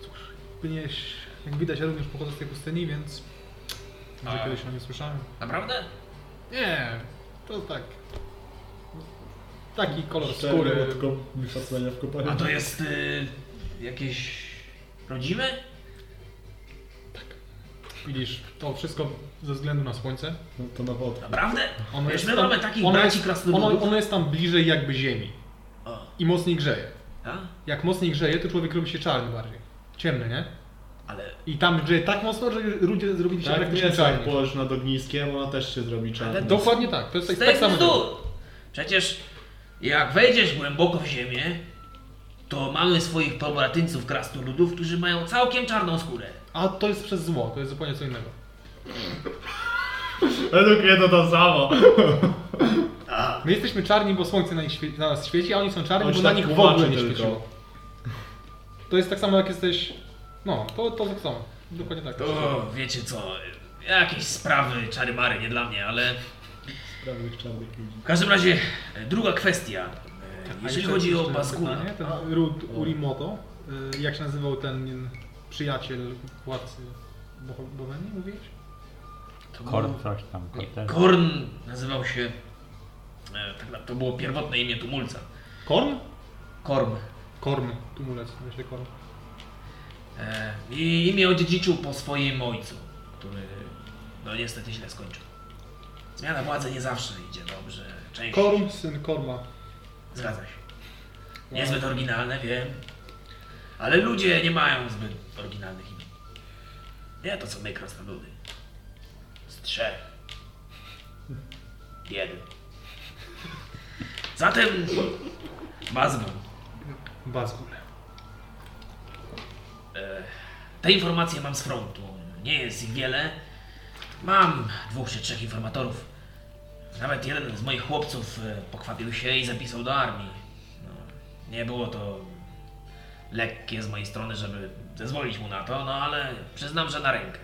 Cóż, powinieneś, jak widać, ja również pochodzę z tej pustyni, więc może A. kiedyś o nie słyszałem. Naprawdę? Tak. Nie, to tak. Taki kolor Szczery skóry. od kop- wyszasania w kopalni. A to jest y, jakieś rodzime? Widzisz, to wszystko ze względu na słońce. No, to na wodę. Naprawdę? Ono Wiesz, my mamy takich braci krasnoludów. ono, ono jest tam bliżej jakby ziemi O, i mocniej grzeje. a? Jak mocniej grzeje, to człowiek robi się czarny bardziej. Ciemny, nie? Ale I tam grzeje tak mocno, że ludzie zrobili się Tak, nie praktycznie jest jak czarni. położysz nad ogniskiem, ona też się zrobi czarna. Ale Dokładnie tak, to jest z tak, to tak jest samo. działa. bzdur. Przecież jak wejdziesz głęboko w ziemię, to mamy swoich pobratyńców krasnoludów, którzy mają całkiem czarną skórę. A to jest przez zło, to jest zupełnie co innego. Według mnie to to samo. My jesteśmy czarni, bo słońce na, nich świe- na nas świeci, a oni są czarni, On bo się na tak nich w tłumaczy ogóle nie tylko. świeciło. To jest tak samo jak jesteś... No, to, to tak samo. Dokładnie tak. To wiecie co, jakieś sprawy czary-mary, nie dla mnie, ale... Prawych czarnych ludzi. W każdym razie e, druga kwestia. E, Tak, A Jeżeli jeszcze chodzi o jeszcze Baskuna, pytanie, Ten Rud Urimoto, y, jak się nazywał ten przyjaciel władcy Bohol- Bohemii, mówiłeś? to Korn, No. był- coś tam, korter. Korn nazywał się. e, tak na- To było pierwotne imię tumulca. Korn? Korm. Korm, tumulec, myślę Korn. E, I imię odziedziczył po swoim ojcu, który no niestety źle skończył. Zmiana władzy nie zawsze idzie dobrze. Część. Korm, syn Korma. Zgadza się. Niezbyt oryginalne, wiem. Ale ludzie nie mają zbyt oryginalnych imion. Nie to co my, krasnoludy. Z trzech. Jeden. Zatem... Bazmon. Bazgul. E, Te informacje mam z frontu. Nie jest ich wiele. Mam dwóch czy trzech informatorów. Nawet jeden z moich chłopców e, pokwapił się i zapisał do armii. No, nie było to lekkie z mojej strony, żeby zezwolić mu na to, no ale przyznam, że na rękę.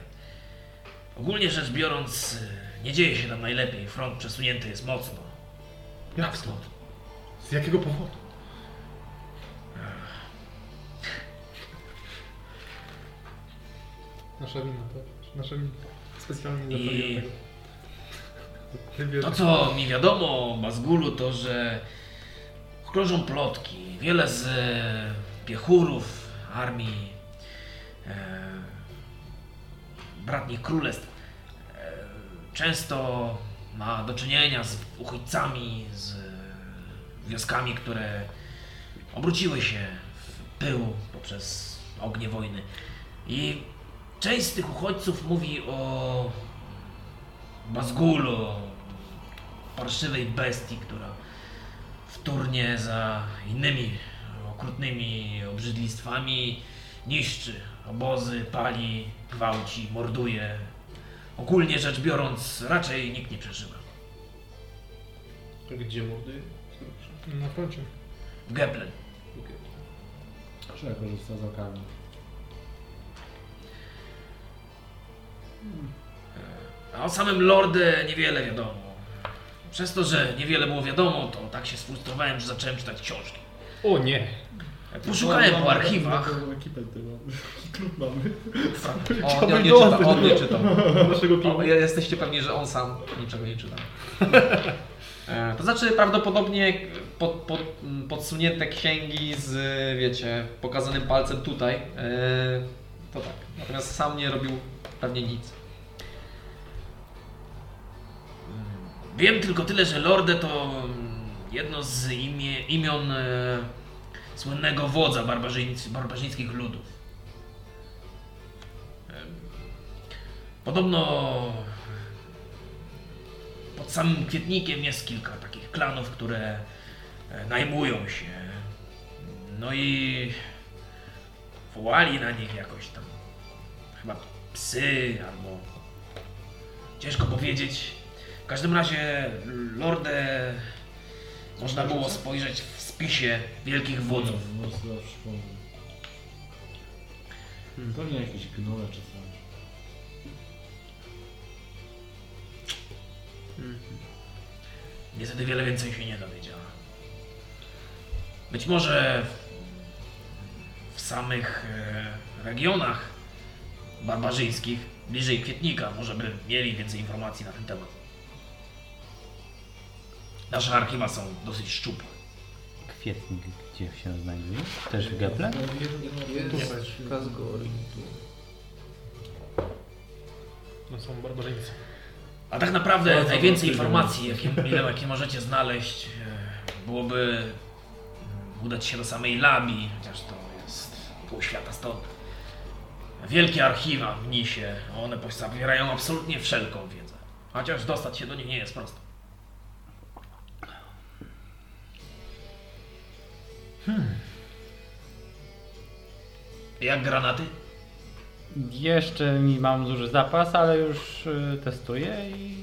Ogólnie rzecz biorąc, e, nie dzieje się tam najlepiej. Front przesunięty jest mocno. Tak Na Jak wschód. Z jakiego powodu? Nasza wina, tak? Nasza wina. Specjalnie I- zapaliłem tego. Ty wiesz, To, co mi wiadomo o Bazgulu, to że krążą plotki. Wiele z e, piechurów armii e, bratnich królestw e, często ma do czynienia z uchodźcami, z e, wioskami, które obróciły się w pył poprzez ognie wojny. I część z tych uchodźców mówi o Bazgulu, parszywej bestii, która wtórnie za innymi okrutnymi obrzydlistwami niszczy obozy, pali, gwałci, morduje ogólnie rzecz biorąc raczej nikt nie przeżywa. Gdzie młody? Proszę. Na froncie. Geblen. Okej. Trzeba korzystać z okami. A o samym Lordzie niewiele wiadomo. Przez to, że niewiele było wiadomo, to tak się sfrustrowałem, że zacząłem czytać książki. O nie! Poszukałem No, po archiwach. Mamy ekipę tego. [LAUGHS] Klub mamy. O, Chciałbym on nie Lorda. czyta, on nie czyta. Naszego O, ja- jesteście pewni, że on sam niczego nie czyta. E, To znaczy prawdopodobnie pod, pod, m, podsunięte księgi z, wiecie, pokazanym palcem tutaj. e, To tak. Natomiast sam nie robił pewnie nic. Wiem tylko tyle, że Lorde to mm, jedno z imie, imion e, słynnego wodza barbarzyńc, barbarzyńskich ludów. Em, Podobno pod samym kwietnikiem jest kilka takich klanów, które e, najmują się. No i wołali na nich jakoś tam. Chyba psy albo. Ciężko powiedzieć. W każdym razie Lordę można było spojrzeć w spisie wielkich wodzów. No, zaraz przypomnę. Hmm. Pewnie jakieś gnole czy coś. Niestety wiele więcej się nie dowiedziała. Być może w, w samych e, regionach barbarzyńskich, bliżej kwietnika, może by mieli więcej informacji na ten temat. Nasze archiwa są dosyć szczupłe. Kwietnik gdzie się znajduje? Też w Geple? Jest Kazgori. No są barbarzyńcy. A tak naprawdę Bardzo najwięcej dobrze informacji, jakie, ile- jakie możecie znaleźć, e, byłoby mm, udać się do samej Labi, chociaż to jest pół świata stąd. Wielkie archiwa w Nisie, one po- zawierają absolutnie wszelką wiedzę. Chociaż dostać się do nich nie jest prosto. Hmm. Jak granaty? Jeszcze mi mam duży zapas, ale już y, testuję i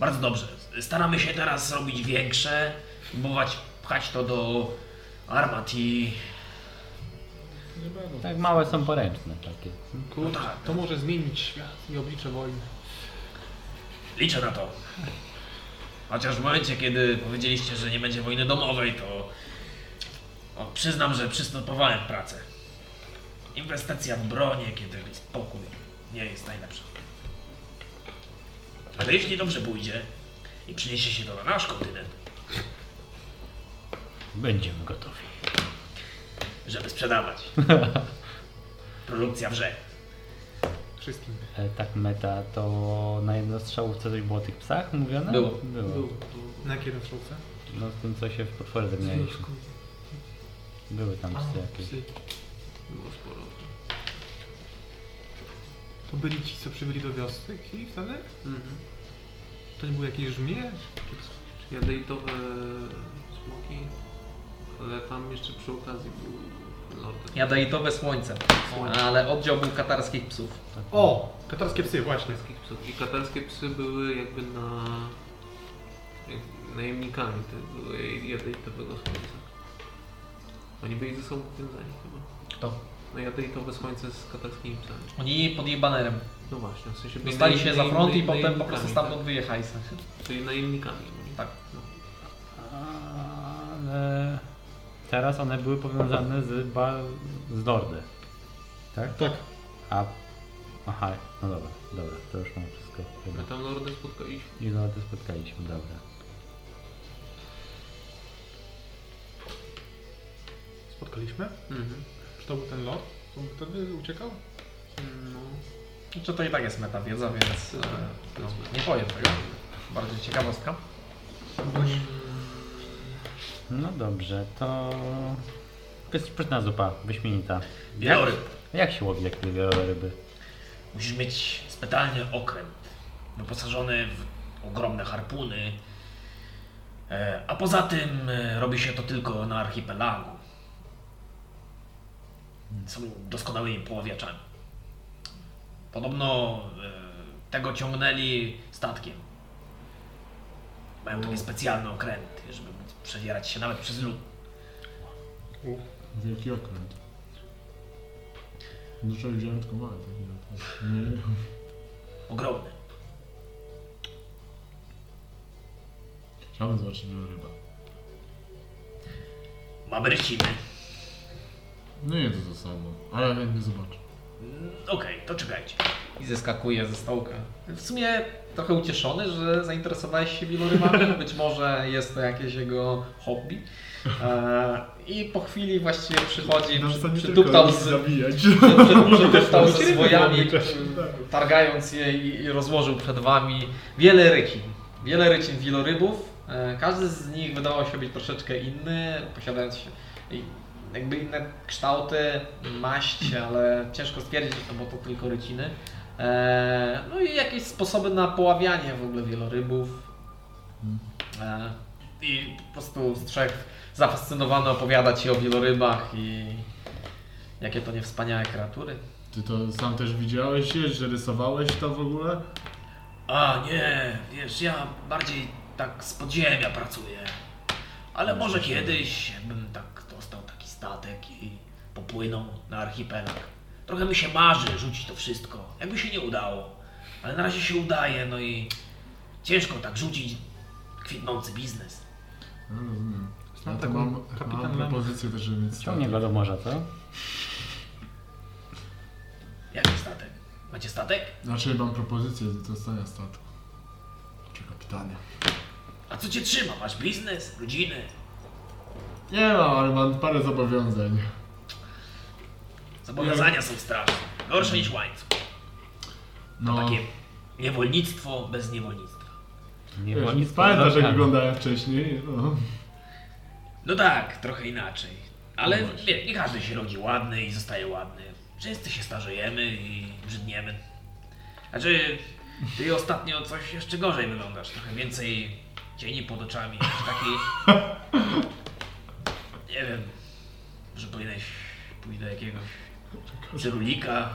Bardzo dobrze. Staramy się teraz robić większe, próbować pchać to do armat i... tak małe są poręczne takie. No tak, To może zmienić świat i oblicze wojny. liczę na to. Chociaż w momencie, kiedy powiedzieliście, że nie będzie wojny domowej, to o, przyznam, że przystępowałem pracę. Inwestycja w bronię, kiedy jest pokój, nie jest najlepsza. Ale jeśli dobrze pójdzie i przyniesie się to na nasz kontynent, Będziemy gotowi. żeby sprzedawać. Produkcja wrze. Wszystkim. E, tak meta, to na jedno strzałówce coś było o tych psach mówione? Było. Było. Był. Na jakiej rozrzucę? No z tym co się w potworze zamienialiśmy. Były tam psy jakieś. Było sporo. To byli ci, co przybyli do wiosny i wtedy? Mhm. To nie były jakieś żmije? Jadejtowe smoki. Ale tam jeszcze przy okazji był Lorda. Jadaitowe słońce. Ale oddział był katarskich psów. Tak. O! Katarskie psy, właśnie. katarskich psów. I katarskie psy były jakby na jak, najemnikami tego jadejtowego słońca. Oni byli ze sobą powiązani chyba. Kto? No jadejtowe słońce z katarskimi psami. Oni pod jej banerem. No właśnie, w sensie byli Dostali się najem- za front i potem najem- po najemnikami, prostu tak? stamtąd wyjechali. Czyli najemnikami. oni. Tak. No. Ale teraz one były powiązane z, ba... z Lordy. Tak? Tak. A... Aha, no dobra, dobra, to już mam wszystko. My tam Lorda spotkaliśmy. I Lordy spotkaliśmy, dobra. Spotkaliśmy? Mhm. Czy to był ten lord? On wtedy uciekał? No. Czy to i tak jest meta wiedza, więc e, no, nie powiem tego. Bardziej ciekawostka. No dobrze, to... Jest pyszna zupa, wyśmienita. Wieloryb. Jak się łowi takie wieloryby? Musisz mieć specjalny okręt, wyposażony w ogromne harpuny. E, A poza tym e, robi się to tylko na archipelagu. Są doskonałymi poławiaczami. Podobno e, Tego ciągnęli statkiem. Mają takie specjalne okręty, żeby móc przedzierać się nawet przez lód. Wielki okręt. No człowiek wziąłem tylko mały taki na to. Nie wiem. Ogromne. Chciałbym zobaczyć była ryba. Mamy ryciny. No nie to to samo, ale ja chętnie zobaczę. Mm, Okej, to czekajcie. I zeskakuje ze stołka. W sumie trochę ucieszony, że zainteresowałeś się wielorybami. Być może jest to jakieś jego hobby. E, I po chwili właściwie przychodzi, No, przy, przytuptał z, zabijać. Przytuptał z swojami, targając je i i rozłożył przed wami wiele rycin. Wiele rycin wilorybów. E, Każdy z nich wydawał się być troszeczkę inny, posiadając się i- jakby inne kształty, maść, ale ciężko stwierdzić, no bo to tylko ryciny. E, No i jakieś sposoby na poławianie w ogóle wielorybów. E, I po prostu z trzech zafascynowany opowiada ci o wielorybach i jakie to nie wspaniałe kreatury. Ty to sam też widziałeś je, że rysowałeś to w ogóle? A nie, wiesz, ja bardziej tak z podziemia pracuję. Ale może kiedyś bym tak dostał taki statek i popłynął na archipelag. Trochę mi się marzy rzucić to wszystko, jakby się nie udało. Ale na razie się udaje, no i ciężko tak rzucić kwitnący biznes. No rozumiem. Znam Ja to taką mam, kapitan mam Lem. propozycję też, żeby mieć Ciągnie go do morza, co? Jaki statek? Macie statek? Znaczy mam propozycję do dostania statku. Czy kapitanie? A co cię trzyma? Masz biznes, rodziny? Nie mam, ale mam parę zobowiązań. Zobowiązania są straszne. Gorsze niż łańcuch. No, Takie niewolnictwo bez niewolnictwa. Nie było wiesz, nic pamiętasz jak poza rokami. wyglądałem wcześniej? No. No tak, trochę inaczej. Ale No właśnie. nie, nie każdy się rodzi ładny i zostaje ładny. Wszyscy się starzejemy i brzydniemy. Znaczy, ty ostatnio coś jeszcze gorzej wyglądasz. Trochę więcej cieni pod oczami. Jakiś Taki... [LAUGHS] Nie wiem, może powinieneś pójść do jakiegoś cyrulika.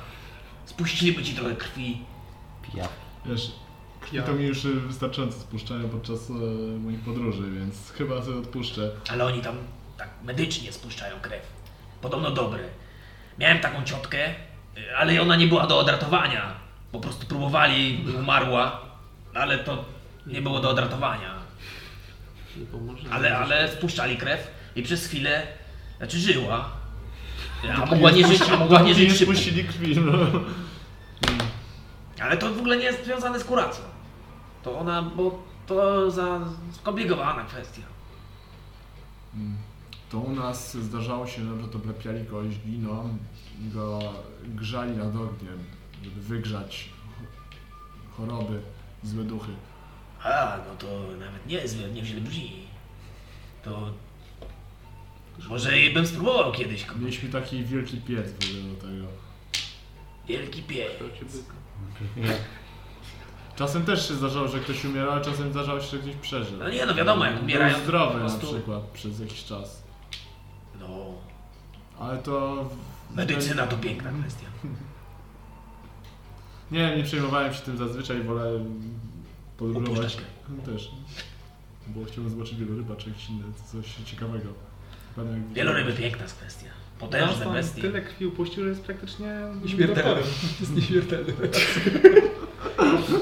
Spuściliby ci trochę krwi. Pijak. Wiesz, Ja- ja. to mi już y, wystarczająco spuszczają podczas e, moich podróży, więc chyba sobie odpuszczę. Ale oni tam tak medycznie spuszczają krew. Podobno dobre. Miałem taką ciotkę, y, ale ona nie była do odratowania. Po prostu próbowali, umarła, ale to nie było do odratowania. Nie pomoże. Ale, ale spuszczali krew i przez chwilę, znaczy żyła. A mogła No nie żyć, a mogła nie żyć szybko. spuścili krwi, no. Ale to w ogóle nie jest związane z kuracją. To ona, bo to za skomplikowana kwestia. To u nas zdarzało się, że to plepiali kogoś giną i go grzali nad ogniem, żeby wygrzać choroby, złe duchy. A, no to nawet niezłe, nieźle brzmi. To... Może i bym spróbował kiedyś. ko- Mieliśmy taki wielki piec w ogóle do tego. Wielki pies. To cię byka. Czasem też się zdarzało, że ktoś umierał, a czasem zdarzało się, że ktoś przeżył. No nie, no wiadomo, jak umierają, Był zdrowy po prostu- na przykład przez jakiś czas. No, Ale to... medycyna to piękna Mhm. kwestia. Nie wiem, nie przejmowałem się tym zazwyczaj, wolę podróżować. Opuszczać. No Też. Bo chciałbym zobaczyć wieloryba czy jakieś inne, coś ciekawego. Będę- Wieloryby piękna jest kwestia. Nasz Potężne tam bestie. No, tyle krwi upuścił, że jest praktycznie Śmiertelny. doktorem. Jest [LAUGHS] nieśmiertelny.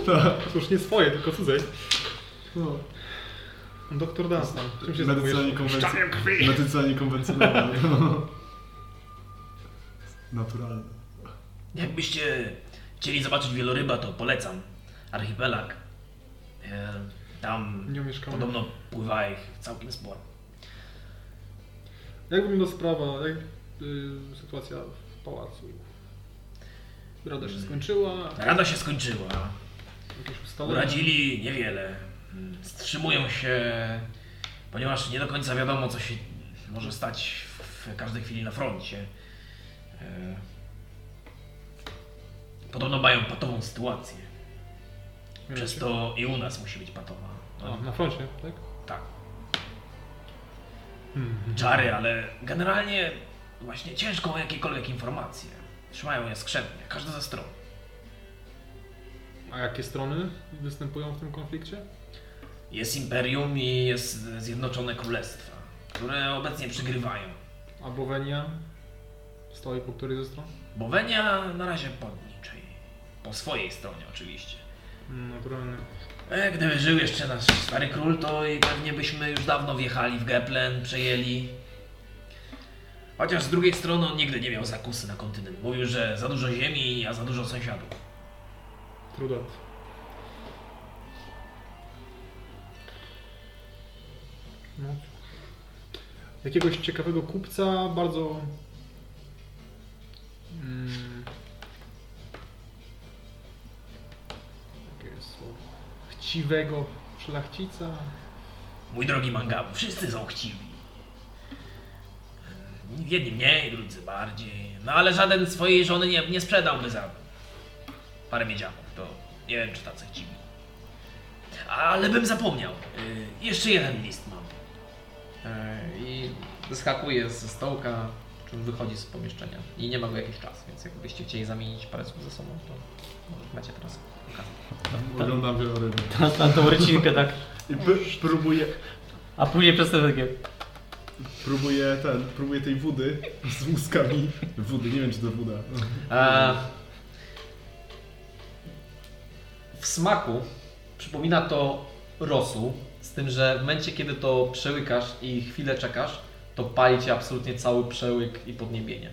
Tak, Już nie swoje, tylko cudze. No. Doktor Dunstan. Czym się Medycyna zajmujesz? niekonwencjonalna. Medycyna niekonwencjonalna. [LAUGHS] no. Naturalna. Jakbyście chcieli zobaczyć wieloryba, to polecam. Archipelag. E, Tam Nie umieszkamy. podobno pływa ich całkiem sporo. Jak wygląda sprawa, jak y, sytuacja w pałacu? Rada się skończyła, Rada się skończyła. jakieś ustalenia. Uradzili niewiele. Wstrzymują się, ponieważ nie do końca wiadomo, co się może stać w każdej chwili na froncie. E, Podobno mają patową sytuację. Hmm. Przez to i u nas musi być patowa. No, A, na froncie, tak? Tak, Hmm. czary, ale generalnie właśnie ciężko o jakiekolwiek informacje. Trzymają je skrzętnie, każda ze stron. A A jakie strony występują w tym konflikcie? Jest imperium i jest Zjednoczone Królestwa, które obecnie przygrywają. A Bowenia stoi po której ze stron? Bowenia na razie po niczej. Po swojej stronie oczywiście. Mm, Naturalnie. E, gdyby żył jeszcze nasz stary król, to i pewnie byśmy już dawno wjechali w Geplen, przejęli. Chociaż z drugiej strony on nigdy nie miał zakusy na kontynent. Mówił, że za dużo ziemi, a za dużo sąsiadów. Trudat. No. Jakiegoś ciekawego kupca, bardzo. Mm, jakie jest słowo? Chciwego szlachcica. Mój drogi Mangabu, wszyscy są chciwi. Yy, Jedni mniej, drudzy bardziej. No ale żaden swojej żony nie, nie sprzedałby za parę miedziaków. To nie wiem, czy tacy chciwi. Ale bym zapomniał. Y, Jeszcze jeden list mam. e, I wyskakuje ze stołka, czym wychodzi z pomieszczenia. I nie ma go jakiś czas, więc jakbyście chcieli zamienić parę słów ze sobą, to macie teraz okazję. Oglądam wieloryby. Teraz na tą rycinkę tak, Tak, I p- próbuję, a później przez te takie... próbuję ten, próbuję tej wody z łuskami. Wody, nie wiem czy to woda. E, w smaku przypomina to rosół, z tym, że w momencie, kiedy to przełykasz i chwilę czekasz, to pali cię absolutnie cały przełyk i podniebienie.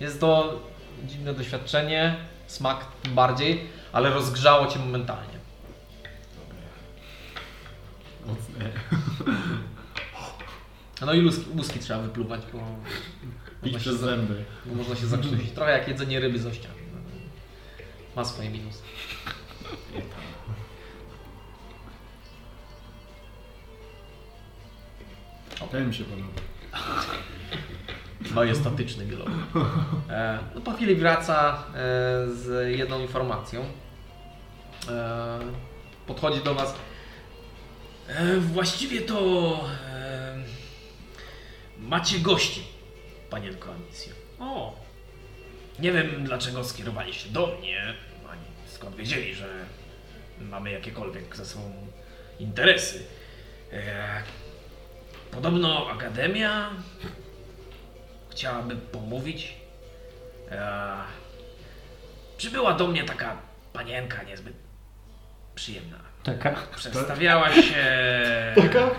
Jest to dziwne doświadczenie, smak tym bardziej, ale rozgrzało cię momentalnie. Mocne. No i luski, łuski trzeba wypluwać, bo, Pić przez zęby. bo No można się zakrztusić. Trochę jak jedzenie ryby z ościami. Ma swoje minusy. Ten mi się podoba. No jest statyczny biolog. E, no po chwili wraca e, z jedną informacją. E, podchodzi do Was. E, właściwie to e, macie gości, panienko Anicjo. O! Nie wiem dlaczego skierowali się do mnie, ani skąd wiedzieli, że mamy jakiekolwiek ze sobą interesy. E, podobno Akademia chciałaby pomówić. Eee, przybyła do mnie taka panienka niezbyt przyjemna. Taka. Przedstawiała się [LAUGHS] Taka?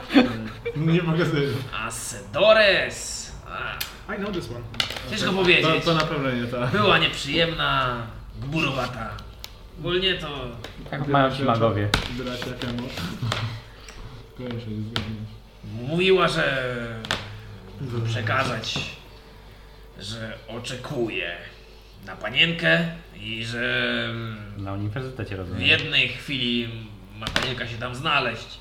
Nie pokazuję. Asedores. A, I know this one. ciężko To, powiedzieć. to na pewno nie ta. Była nieprzyjemna, gburowata. Ogólnie to Tak mają ci magowie. Wybrać jakiemu. Kojarzę, jest zgodnie. mówiła, że No. przekazać, że oczekuje na panienkę i że mm, Na uniwersytecie W rozumiem. jednej chwili ma panienka się tam znaleźć.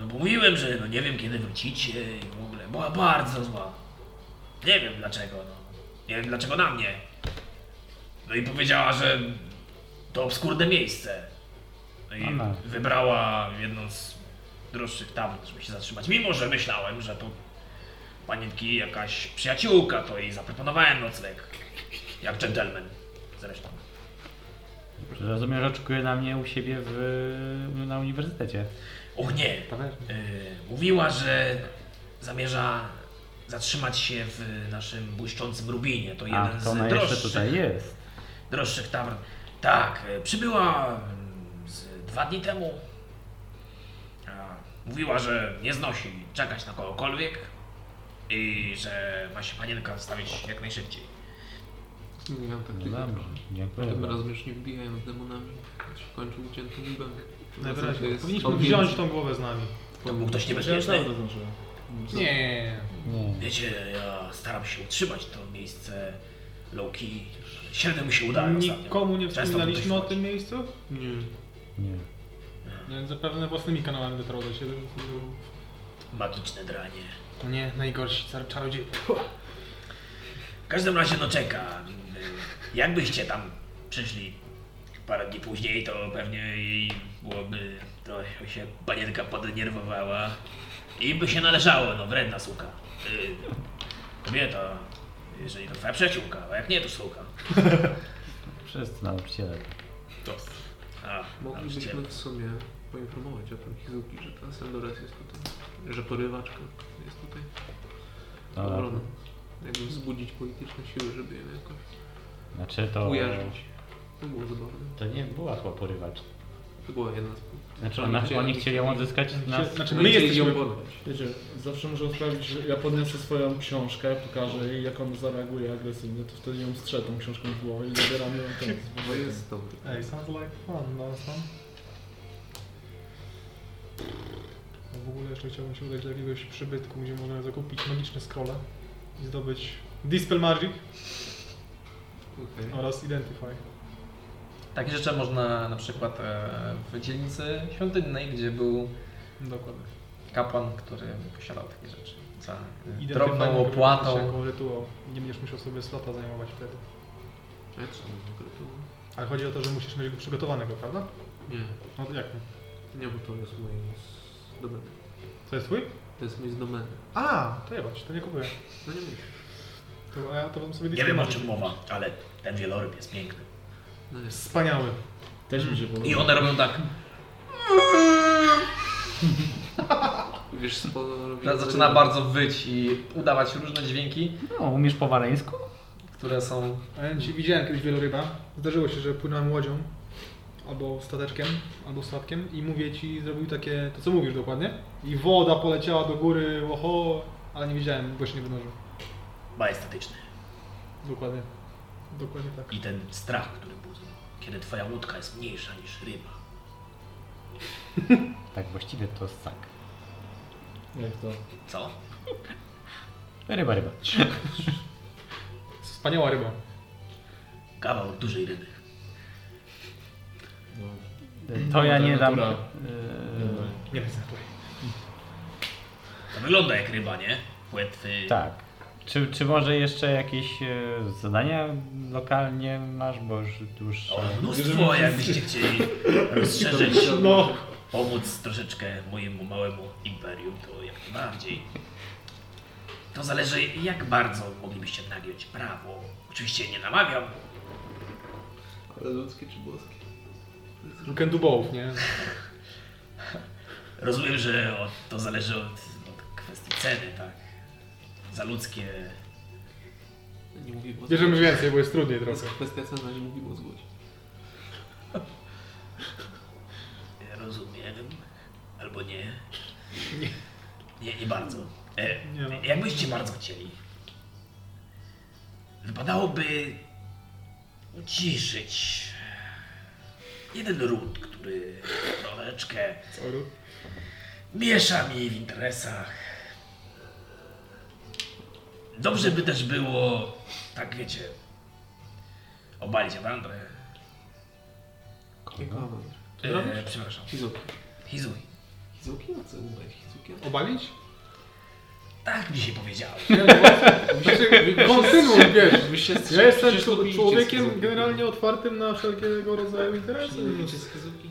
No bo mówiłem, że no nie wiem kiedy wrócicie i w ogóle. Była bardzo zła. Nie wiem dlaczego, no. Nie wiem dlaczego na mnie. No i powiedziała, że to obskurne miejsce. No i Aha. wybrała jedną z droższych tam, żeby się zatrzymać. Mimo, że myślałem, że to panienki jakaś przyjaciółka, to jej zaproponowałem nocleg. Jak dżentelmen zresztą. Rozumiem, że oczekuje na mnie u siebie w, na uniwersytecie. Och nie, Tawernie. Yy, mówiła, że zamierza zatrzymać się w naszym błyszczącym rubinie. To A, jeden to ona z jeszcze droższych, tutaj jest. droższych tawern. Tak, yy, przybyła mm, z dwa dni temu. A, Mówiła, że nie znosi czekać na kogokolwiek i że ma się panienka wstawić jak najszybciej. Nie mam No taktyki. dobrze, dziękuję. Tym razem już nie wbijają z demonami. Już w końcu uciętym libem. Najwyraźniej. Powinniśmy wziąć tą głowę z nami. To był ktoś Ja niebezpieczny. sam to znaczy. Nie. Nie. Wiecie, ja staram się utrzymać to miejsce Loki. Średnio mi się udaje ostatnio. Nikomu nie Często wspominaliśmy o tutaj tym miejscu? Nie. Nie. Nie, Zapewne własnymi kanałami dotarło się. Magiczne dranie. Nie, najgorsi czar- czarodziej. W każdym razie no czeka. Jakbyście tam przyszli parę dni później, to pewnie jej byłoby trochę się panienka poddenerwowała i by się należało, no wredna suka. Y, Kobieta, jeżeli to twoja przyjaciółka, a jak nie, to suka. Wszyscy nauczyciele. To. A, Moglibyśmy w sumie poinformować o tym Hizuki, że ta Sandoras jest tutaj, że porywaczka jest tutaj To, obroną. Jakby wzbudzić polityczne siły, żeby ją jakoś znaczy to... ujarzyć. To było zabawne. To nie była chyba porywacz. To była jedna z punktów. Znaczy ona, oni chcieli ją odzyskać na... Znaczy No my i chcieli jesteśmy... ją porwać. Wiecie, zawsze można sprawdzić, że ja podniosę swoją książkę, pokażę jej, jak on zareaguje agresywnie, to wtedy ją strzelę tą książką w głowę i zabieram ją ten. z No, To powrotem. jest dobry. Ej, sounds like fun, no są. No w ogóle jeszcze chciałbym się udać do jakiegoś przybytku, gdzie możemy zakupić magiczne scrolle i zdobyć Dispel Magic Okej. oraz Identify. Takie rzeczy można na przykład e, w dzielnicy świątynnej, gdzie był Dokładnie. kapłan, który posiadał takie rzeczy. Za e, Identyfy drobną mogą opłatą. być Jako rytuał. Nie będziesz musiał sobie slota zajmować wtedy. A co w ogóle tu? Ale chodzi o to, że musisz mieć go przygotowanego, prawda? Nie, No to jak nie? nie, bo to jest mój z domeny. To jest twój? To jest mój z domeny. A, to jebać, to nie kupuję. No nie myślę. To, a ja to bym sobie Nie Dispel wiem o Magic. czym mowa, ale ten wieloryb jest piękny. No jest. Wspaniały. Też mi się podoba. I one robią tak. Wiesz, sporo Teraz Zaczyna bardzo wyć i udawać różne dźwięki, No, umiesz po waleńsku? które są A ja ci widziałem kiedyś wieloryba. Zdarzyło się, że płynąłem łodzią, albo stateczkiem, albo statkiem i mówię ci, zrobił takie, to co mówisz dokładnie. I woda poleciała do góry, oho, ale nie widziałem, bo się nie wynurzył. Majestatyczny. Dokładnie. Dokładnie tak. I ten strach, który budzi, kiedy twoja łódka jest mniejsza niż ryba. Tak, właściwie to ssak. Jak to? Co? Ryba, ryba. Wspaniała ryba. Kawał dużej ryby. No. To ja nie dam... Temperatura. Yy, Nie wyznaczaj. To wygląda jak ryba, nie? Płetwy. Tak. Czy, czy może jeszcze jakieś e, zadania lokalnie masz, bo już O, dłuższe. mnóstwo, jakbyście chcieli rozszerzyć, No. pomóc troszeczkę mojemu małemu imperium, to jak najbardziej. To zależy, jak bardzo moglibyście nagiąć prawo. Oczywiście nie namawiam, Ale ludzkie czy boskie? You can do both, nie? Rozumiem, że od, to zależy od, od kwestii ceny, tak? Za ludzkie. Nie mówi o Bierzemy więcej, bo jest trudniej To jest trochę. kwestia cena, nie mówi o złocie. Rozumiem. Albo nie. Nie, nie bardzo. E, Nie no. jakbyście bardzo chcieli, wypadałoby uciszyć jeden ród, który troszeczkę miesza mi w interesach. Dobrze by też było, tak wiecie, obalić Awandrę. Jaka awantura? E, przepraszam. Hizuki. Hizuj. Hizuki? A co mówisz? Hizuki? Obalić? Tak mi się powiedziało. Znaczy, kontynuuj, wiesz. Wy się Ja jestem wszyscy czł- bijcie z człowiekiem Hizuki. generalnie otwartym na wszelkiego rodzaju interesy. Nie lubicie z Hizuki?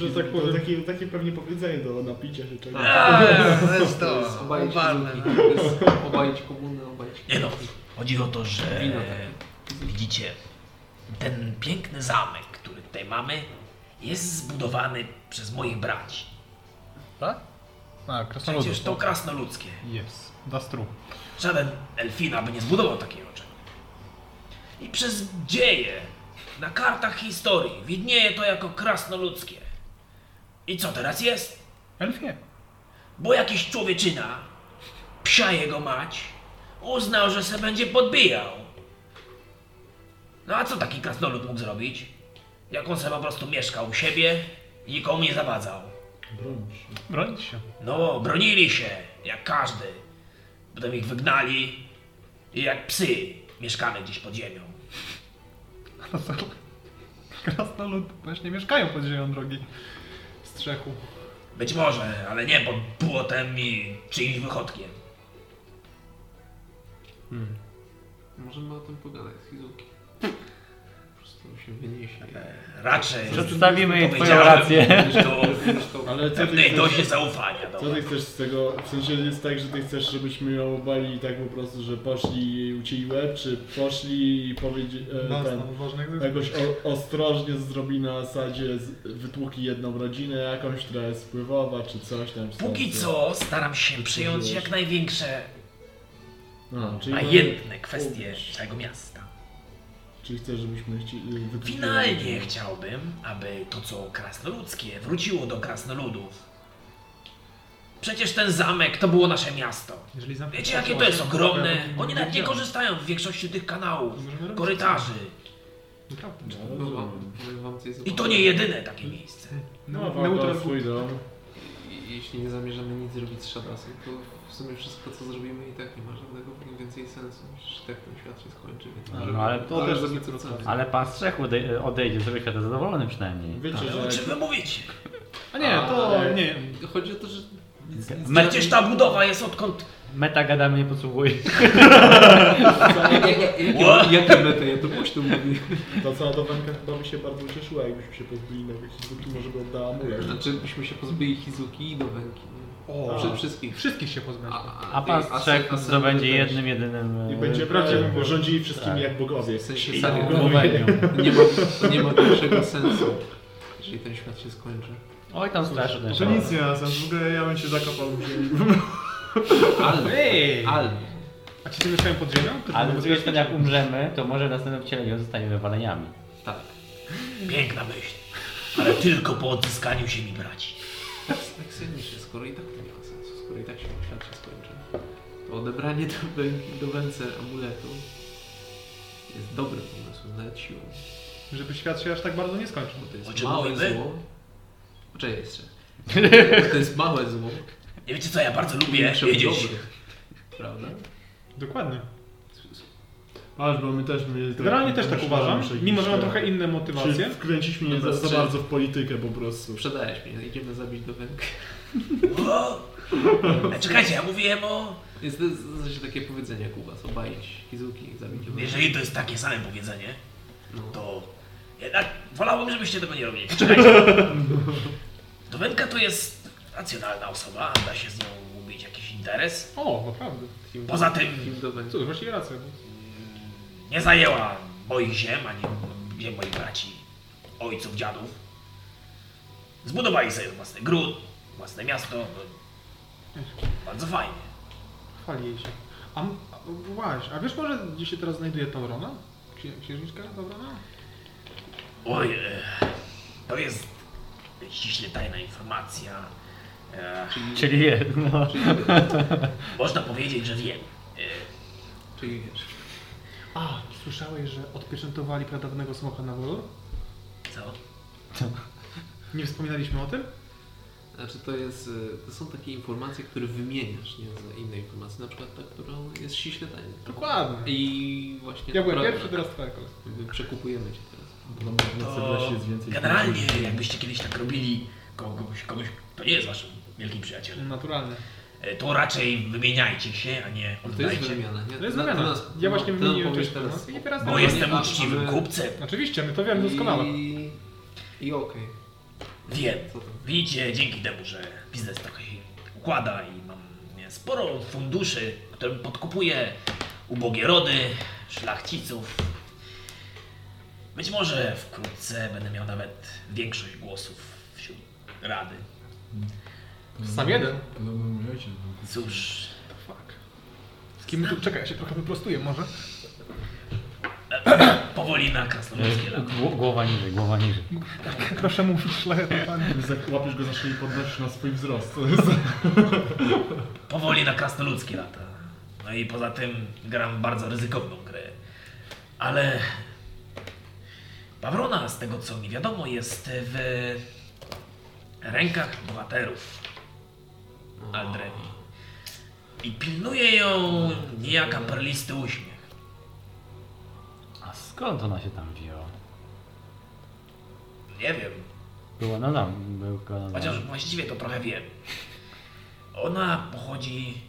że tak To powiem. takie, takie pewnie powiedzenie do napicia się czegoś. Tak. Eee, to jest To No, jest obalić Hizuki. To jest obalić komunę, obalić Nie no, chodzi o to, że Wino takie. widzicie, ten piękny zamek, który tutaj mamy, jest zbudowany przez moich braci. Tak? A, Przecież to krasnoludzkie. Yes, that's true. Żaden elfina by nie zbudował takiego czegoś. I przez dzieje na kartach historii widnieje to jako krasnoludzkie. I co teraz jest? Elfie. Bo jakiś człowieczyna, psia jego mać, uznał, że se będzie podbijał. No a co taki krasnolud mógł zrobić? Jak on se po prostu mieszkał u siebie i nikomu nie zawadzał. Broń się. Bronić się. [LAUGHS] No, bronili się, jak każdy. Potem ich wygnali i jak psy mieszkamy gdzieś pod ziemią. Krasnolud właśnie mieszkają pod ziemią drogi. Strzechu. Być może, ale nie pod płotem i czyimś wychodkiem. Możemy o tym pogadać z Hizuki. Po prostu prostu się wyniesie. Raczej. Przedstawimy twoją Powiedziałem, rację. Już do Ale co ty pewnej chcesz, dozie zaufania. co Dobra. ty chcesz z tego? W sensie jest tak, że ty chcesz, żebyśmy ją obali tak po prostu, że poszli i ucięli łeb, czy poszli i powiedzieli... E, Nas ten, tam ważnych jakoś o, ostrożnie zrobi na sadzie, z, wytłuki jedną rodzinę jakąś, która jest wpływowa, czy coś tam. stąd, Póki co staram się przyjąć jak największe, A, No, a czyli, mamy- jedne kwestie tego miasta. czyli chcesz, żebyśmy chcieli... wytłukli Finalnie rodzinę. chciałbym, aby to, co krasnoludzkie, wróciło do krasnoludów. Przecież ten zamek to było nasze miasto. Jeżeli zamknę- Wiecie, jakie to jest ogromne? Oni nawet nie korzystają w większości tych kanałów, korytarzy. Naprawdę. No, No, rozumiem. wam- powiem wam coś I to nie jedyne takie miejsce. No, Neutral no swój dom. I- Jeśli nie zamierzamy nic zrobić z Shadasem, to w sumie wszystko co zrobimy i tak nie ma żadnego więcej sensu. Przecież i tak ten świat się skończy, więc No, możemy no, ale to też też- zrobić co chcemy. Ale pan Strzech odej- odejdzie z świata zadowolony przynajmniej. Wiecie, Ale No, o że... czym wy mówicie? A nie, to Ale- nie. Chodzi o to, że Me- Przecież ta budowa jest odkąd... Tak. meta gadamy nie podsłuchuje. jakie, jakie mety, ja to głośno mówię. Ta cała dowenka chyba by się bardzo ucieszyła, jakbyśmy się pozbyli nowych Hizuki, może by oddała amulet. Znaczy byśmy się pozbyli Hizuki i do Węki. O, Przede wszystkim. Wszystkich się pozbędziemy. A pan Strzech zdobędzie jednym, jedynym... I e, będzie e, prawdziwie rządzili wszystkimi tak. jak bogowie. W sensie I serio, głowenią. nie ma, nie ma większego sensu, jeżeli ten świat się skończy. Oj, tam straszne. To nic nie ma sensu, w ogóle ja bym się zakopał w ziemi. Ale, Ej! ale, A ci ty mieszkają pod ziemią? Ty Ale ty z drugiej strony jak umrzemy, to może w następnym wcieleniu zostaniemy waleniami. tak. Piękna myśl. Ale tylko po odzyskaniu ziemi braci. Tak sobie się, skoro i tak to nie ma sensu, skoro i tak się świat się skończy, to odebranie do, wę- do Wence amuletu jest dobrym pomysłem, nawet siłą. Żeby świat się aż tak bardzo nie skończył. Bo to O jest czym małe mówimy? zło. Poczekaj jeszcze. [LAUGHS] To jest małe zło. Nie wiecie co, ja bardzo lubię Większe od wiedzieć. dobrych. Prawda? Dokładnie. Aż, bo my też... My Generalnie też tak uważam, mimo że mam trochę inne motywacje. e, Czy wkręcić mnie Dobra, za, za czy- bardzo w politykę po prostu. Sprzedajesz mnie, no idziemy zabić do Węk. O! A E, Czekajcie, ja mówiłem o... [LAUGHS] Jest to jest w sensie takie powiedzenie Kuba, co baić Kizuki, zabić do Węg. Jeżeli to jest takie same powiedzenie, No. to jednak wolałbym, żebyście tego nie robili. Czekajcie. Domenka to jest racjonalna osoba, da się z nią umówić jakiś interes. O, naprawdę. Kim- Poza tym- Kim do Węg. Cóż, właściwie rację. Nie zajęła moich ziem, ani ziem moich braci, ojców, dziadów. Zbudowali sobie własny gród, własne miasto. no, Bardzo fajnie. Chwali jej się. A, m- a właśnie, a wiesz może gdzie się teraz znajduje Taurona? Księ- Księżniczka Taurona? Oj, e, to jest ściśle tajna informacja. E, Czyli je, no. Można powiedzieć, że wiem. E, Czyli wiesz. A, słyszałeś, że odpieczętowali pradawnego smoka na wolu? Co? Nie wspominaliśmy o tym? Znaczy to jest, y, to są takie informacje, które wymieniasz, nie z innej informacji, na przykład ta, którą jest ściśle tajna. Dokładnie. I właśnie... Ja byłem prawda. pierwszy, teraz twoja kolej. My Przekupujemy cię teraz. No, bo na Syblasi jest więcej... Generalnie, jakbyście kiedyś tak robili kogoś, kogoś, kto nie jest waszym wielkim przyjacielem, Naturalnie. e, to raczej wymieniajcie się, a nie To jest oddajcie. wymiana, nie? To jest Na- wymiana. to nas- Ja no, właśnie to nam wymieniłem powiesz coś teraz i teraz- Bo No, jestem a- uczciwym a my- kupcem. Oczywiście, my to wiemy doskonale. I, i okej. Wiem. Co tam? Widzicie, dzięki temu, że biznes trochę się układa i mam nie, sporo funduszy, którym podkupuję ubogie rody, szlachciców. Być może wkrótce będę miał nawet większość głosów wśród rady. Sam jeden. Podobno mój ojciec był Cóż, Fuck. Z kim my tu... Czekaj, ja się trochę wyprostuję może. [LAUGHS] powoli na krasnoludzkie lata. Gło- Głowa niżej, głowa niżej. Proszę mówić szlachetny panie. kupiec. Łapiesz go za szyję i podnosisz na swój wzrost. [LAUGHS] To jest- Powoli na krasnoludzkie lata. No i poza tym gram bardzo ryzykowną grę. Ale Pawrona, z tego co mi wiadomo, jest w rękach bohaterów Aldrewi. I pilnuje ją niejaka perlisty uśmiech. A skąd ona się tam wzięła? Nie wiem, Była na dam, była na chociaż dam. właściwie to trochę wiem. Ona pochodzi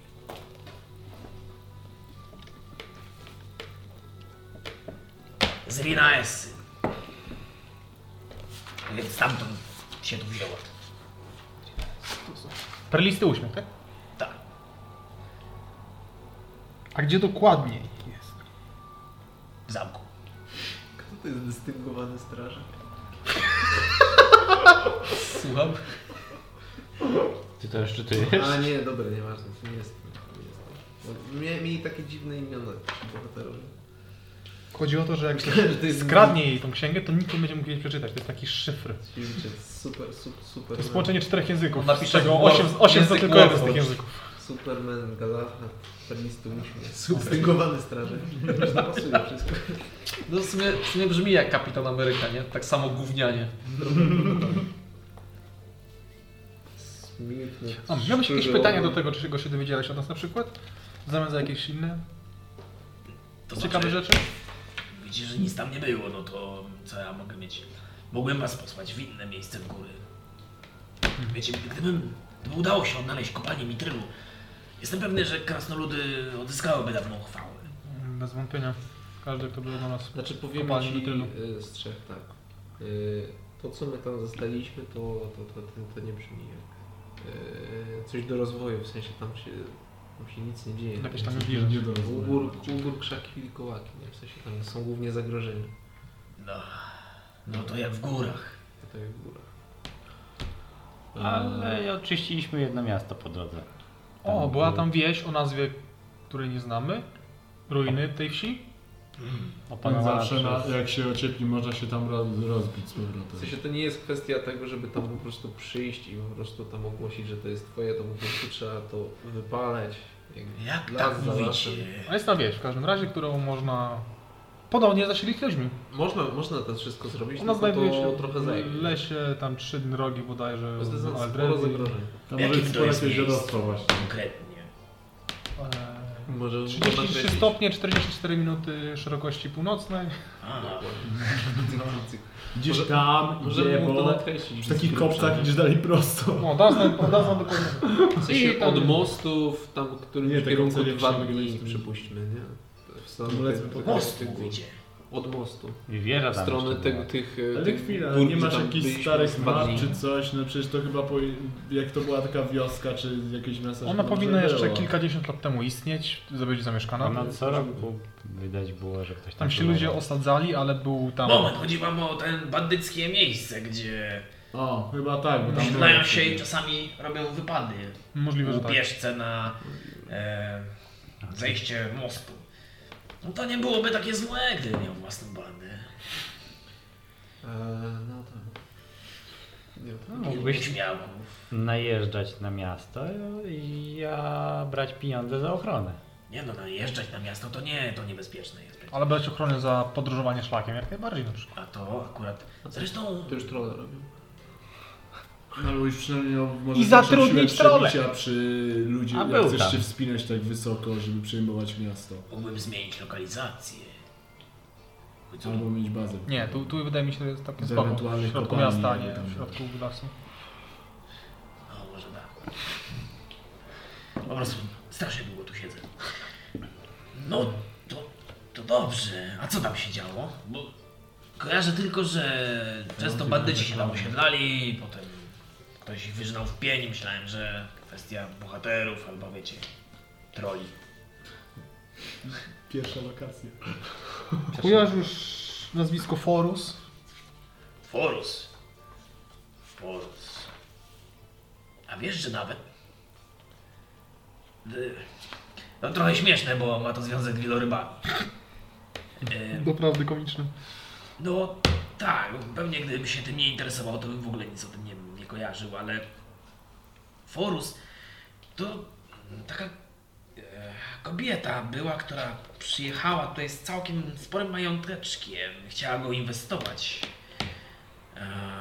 z Rinaesy. Więc stamtąd się tu wzięło. Perlisty uśmiech, tak? Tak. A gdzie dokładniej jest? W zamku. Kto to jest dystyngowany strażak? Słucham. Ty to jeszcze ty. A nie, dobra, nieważne, to nie jest. Nie jest. Bo mie- Mieli takie dziwne imiona ci bohaterowie. Chodzi o to, że jak ktoś Każdy z skradnie jej tą księgę, to nikt nie będzie mógł jej przeczytać. To jest taki szyfr. nich ćwiczy Super, super, super. To jest połączenie czterech języków, On napisze z czego Word- osiem, osiem to język tylko jeden z tych Word. języków. Superman, Galahad, [LAUGHS] Perlisty Uśmiech, Dystyngowany Strażak. Już napasuje wszystko. No w sumie, w sumie brzmi jak Kapitan Ameryka, nie? Tak samo gównianie. Smilknę. A, miałeś jakieś pytania do tego, czego się dowiedziałeś od nas na przykład? W zamian za jakieś inne To ciekawe znaczy, rzeczy? Widzicie, że nic tam nie było, no to co ja mogę mieć? Mogłem was posłać w inne miejsce w góry. Wiecie, gdybym, gdyby udało się odnaleźć kopalnię mitrylu, jestem pewny, że krasnoludy odzyskałyby dawną chwałę. Mm, Bez wątpienia. Każdy, kto był do nas. Znaczy powiem Kopalni ci metrylu. y, z trzech, tak. Y, To co my tam zostaliśmy, to, to, to, to, to nie brzmi jak y, coś do rozwoju, w sensie tam się, tam się nic nie dzieje. Jakieś tam Nie, bliżej. nie do rozwoju. Ubór, ubór krzaki i kołaki, nie? w sensie tam są głównie zagrożeni. No, no to jak w górach. Tutaj w górach. Ale oczyściliśmy jedno miasto po drodze. O, była tam wieś o nazwie, której nie znamy. Ruiny tej wsi. No Pan Opanowana zawsze na, przez- jak się ociepli, można się tam roz- rozbić z W powrotem. sensie to nie jest kwestia tego, żeby tam po prostu przyjść i po prostu tam ogłosić, że to jest twoje, to po prostu trzeba to wypalać. jakby. Jak Las tak za mówicie? A jest ta wieś w każdym razie, którą można podobnie zasilić ludźmi. Można, można to wszystko zrobić, No, Ona tylko znajduje to się trochę w zajmie. lesie, tam trzy drogi bodajże. To jest w sporo Aldredzi. zagrożeń. Tam Jakie może to jest sporo jest miejsce? jeziorostwo właśnie. Konkretnie. Eee, Może 33 stopnie, 44 minuty szerokości północnej. No, A, Gdzieś Może- tam, Możemy idzie, mu to bo nakreślić. w takich kopcach idziesz dalej prosto. No, dawno, dawno dokładnie. W I sensie tam- od mostów, tam w którymś Nie, No, nie, tego kierunku celu dwa przemygnęliśmy. dni, przypuśćmy, nie? W stronę To lecę tych- pod tych- most no, tych gór. mówicie. Od mostu. I wieża W tam stronę jeszcze tego, była. tych... e, Ale tych chwila, gór, nie gdzie masz tam jakichś byliśmy starych dwa map dni. czy coś? No przecież to chyba po, jak to była taka wioska czy jakieś miasto. Ona to może powinna jeszcze było. kilkadziesiąt lat temu istnieć, być zamieszkana. Ona co roku widać było, że ktoś tam... Tam się pływał. ludzie osadzali, ale był tam... Moment, chodzi wam o ten bandyckie miejsce, gdzie O, chyba tak, bo tam źdlają było się i wtedy. czasami robią wypady. Możliwe, że tak. Ubieżce na e, zejście mostu. No to nie byłoby takie złe, gdyby miał własną bandę. Eee, No tak. Nie, to... Mógłbyś No, Mógłbyś- śmiał. najeżdżać na miasto i ja brać pieniądze za ochronę. Nie no, najeżdżać na miasto to nie, to niebezpieczne jest. Ale brać ochronę za podróżowanie szlakiem, jak najbardziej na przykład. A to akurat. Zresztą To już trolle robią. No albo już przynajmniej no, może I zatrudnić siłę trole. przebicia przy ludzi, A jak był chcesz tam. się wspinać tak wysoko, żeby przejmować miasto. mógłbym zmienić lokalizację. Co? Albo mieć bazę. Nie, tu, tu wydaje mi się, że jest takie Z spoko. W ewentualnych środku kopalni, miasta, a nie jakby tam. w środku lasu. No może tak. Po prostu strasznie długo tu siedzę. No to, to dobrze. A co tam się działo? Bo kojarzę tylko, że często bandyci się tam osiedlali, potem ktoś ich wyżynał w pień. Myślałem, że kwestia bohaterów albo wiecie, troli. Pierwsza lokacja. Kojarz już nazwisko Forus? Forus. Forus. A wiesz, że nawet. Y, No trochę śmieszne, bo ma to związek z wielorybami. Y, Doprawdy komiczne. No tak, pewnie gdybym się tym nie interesował, to bym w ogóle nic o tym nie, nie kojarzył, ale Forus to taka e, kobieta była, która przyjechała tutaj z całkiem sporym mająteczkiem. Chciała go inwestować,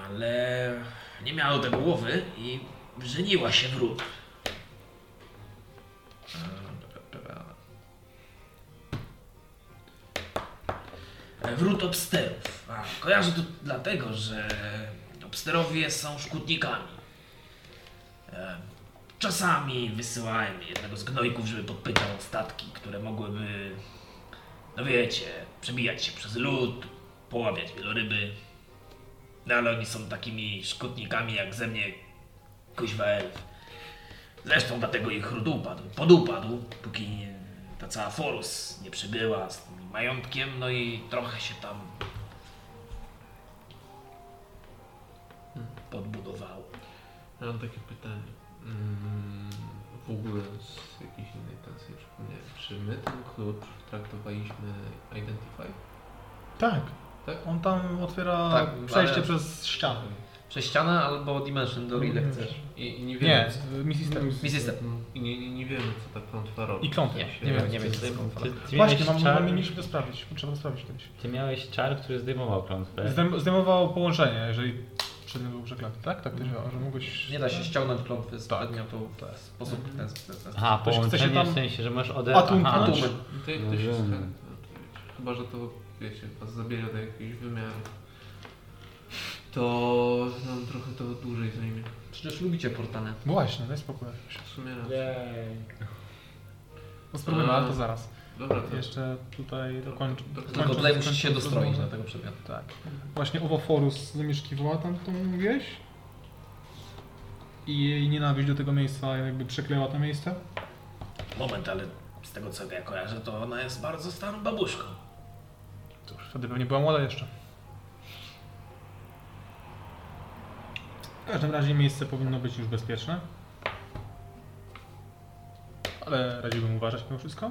ale nie miała do tego głowy i żeniła się w ród. Wrót obsterów. A, kojarzę to dlatego, że obsterowie są szkutnikami. E, Czasami wysyłałem jednego z gnojków, żeby podpytał o statki, które mogłyby, no wiecie, przebijać się przez lód, poławiać wieloryby. No ale oni są takimi szkutnikami jak ze mnie kuźwa elf. Zresztą dlatego ich ród upadł, podupadł, póki nie, ta cała Forus nie przybyła z tym majątkiem, no i trochę się tam podbudowało. Ja mam takie pytanie. Mm, w ogóle z jakiejś innej pensji przypomniałem. Czy my ten klucz traktowaliśmy Identify? Tak. Tak? On tam otwiera Tak, przejście ale- przez ścianę. Przez ścianę albo Dimension Door, ile chcesz. I, i nie wiemy. Nie, co- Missy Mi system. I nie, nie, nie wiemy, co ta klątwa robi. I klątwa. Nie, Się- nie wiem, nie wiem. się co jest zdejmą. konfront. Ty Właśnie, miałeś mam, czar- mamy mieliśmy to sprawdzić. Trzeba to sprawdzić kiedyś. Ty miałeś czar, który zdejmował Tak. klątwę. Zdejm- Zdejmowało połączenie, jeżeli przed nim był przeklęty, tak? Tak to działa, że mogłeś... Mhm. Nie da się ściągnąć klątwy z Tak. Mhm. podmiotu w sposób ten, ten, ten, ten. Aha, Ktoś chce się połączenie tam- w sensie, że możesz oderwać. Atum, Aha, atum. No To jak to się Rozumiem. skręca, oczywiście. Chyba, że to, wiecie, was zabiera do jakichś wymiarów. To nam trochę to dłużej zajmie. Przecież lubicie portale. Właśnie, daj spokój. W sumie raz. Jej. No spróbujmy, Mhm. Eee. ale to zaraz. Dobra, to Jeszcze tutaj dokończę. Tylko tutaj musicie się dostroić do na tego przedmiotu. Tak. Właśnie owa Forus zamieszkiwała tam tą wieś i jej nienawiść do tego miejsca jakby przekleła to miejsce. Moment, ale z tego co ja kojarzę, to ona jest bardzo starą babuszką. Cóż, wtedy pewnie była młoda jeszcze. W każdym razie miejsce powinno być już bezpieczne. Ale radziłbym uważać mimo wszystko.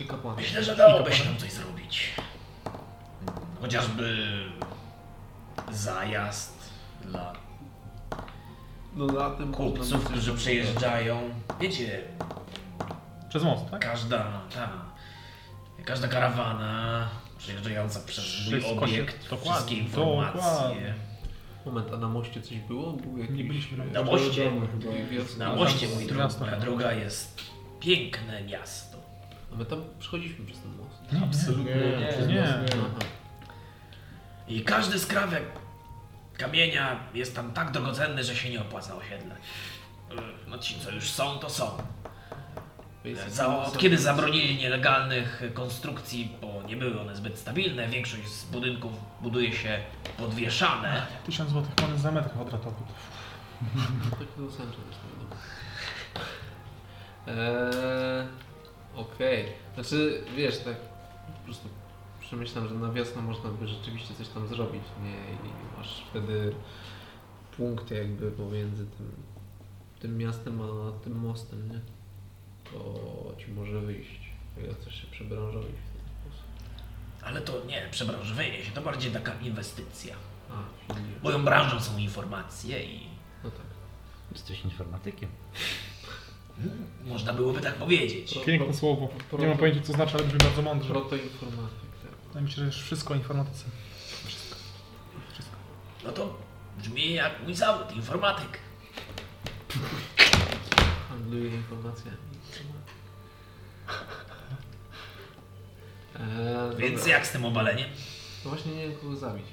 i kapłan. Myślę, że dałoby się tam coś zrobić. Hmm, Chociażby zajazd dla No na tym kupców, którzy przyjeżdżają. Wiecie, Przez most, tak? każda ta, każda karawana przejeżdżająca przez mój Wszystko się- obiekt, dokładnie, wszystkie informacje. dokładnie. Moment, a na moście coś było? Był jakiś... Nie byliśmy na- e, Na moście, wiosna? na moście No, mój Miasto. droga, droga jest piękne miasto. A my tam przechodziliśmy przez ten most. Tak. Mhm. Absolutnie. Nie, przez nie. nas nie. Aha. I każdy skrawek kamienia jest tam tak drogocenny, że się nie opłaca osiedlać. No ci, co już są, to są. Za, od kiedy zabronili nielegalnych konstrukcji, bo nie były one zbyt stabilne, większość z budynków buduje się podwieszane. 1000 zł monet za metr kwadratowy. Tak do sędzia też tak dobrze. Eee, Okej. Znaczy, wiesz, tak po prostu przemyślam, że na wiosnę można by rzeczywiście coś tam zrobić, nie? I masz wtedy punkt jakby pomiędzy tym, tym miastem a tym mostem, nie? To ci może wyjść, o ile chcesz się przebranżować w ten sposób. Ale to nie przebranżowienie się, to bardziej taka inwestycja. A, czyli... Moją branżą są informacje i No tak. Jesteś informatykiem. hmm, można byłoby tak powiedzieć. Piękne słowo. Nie mam pojęcia co znaczy, ale brzmi bardzo mądrze. Protoinformatyk, tak. Wydaje mi się, że jest wszystko o informatyce. No to brzmi jak mój zawód, informatyk. Handluje informacjami. Eee, Więc dobra. jak z tym obaleniem? No właśnie nie wiem kogo zabić.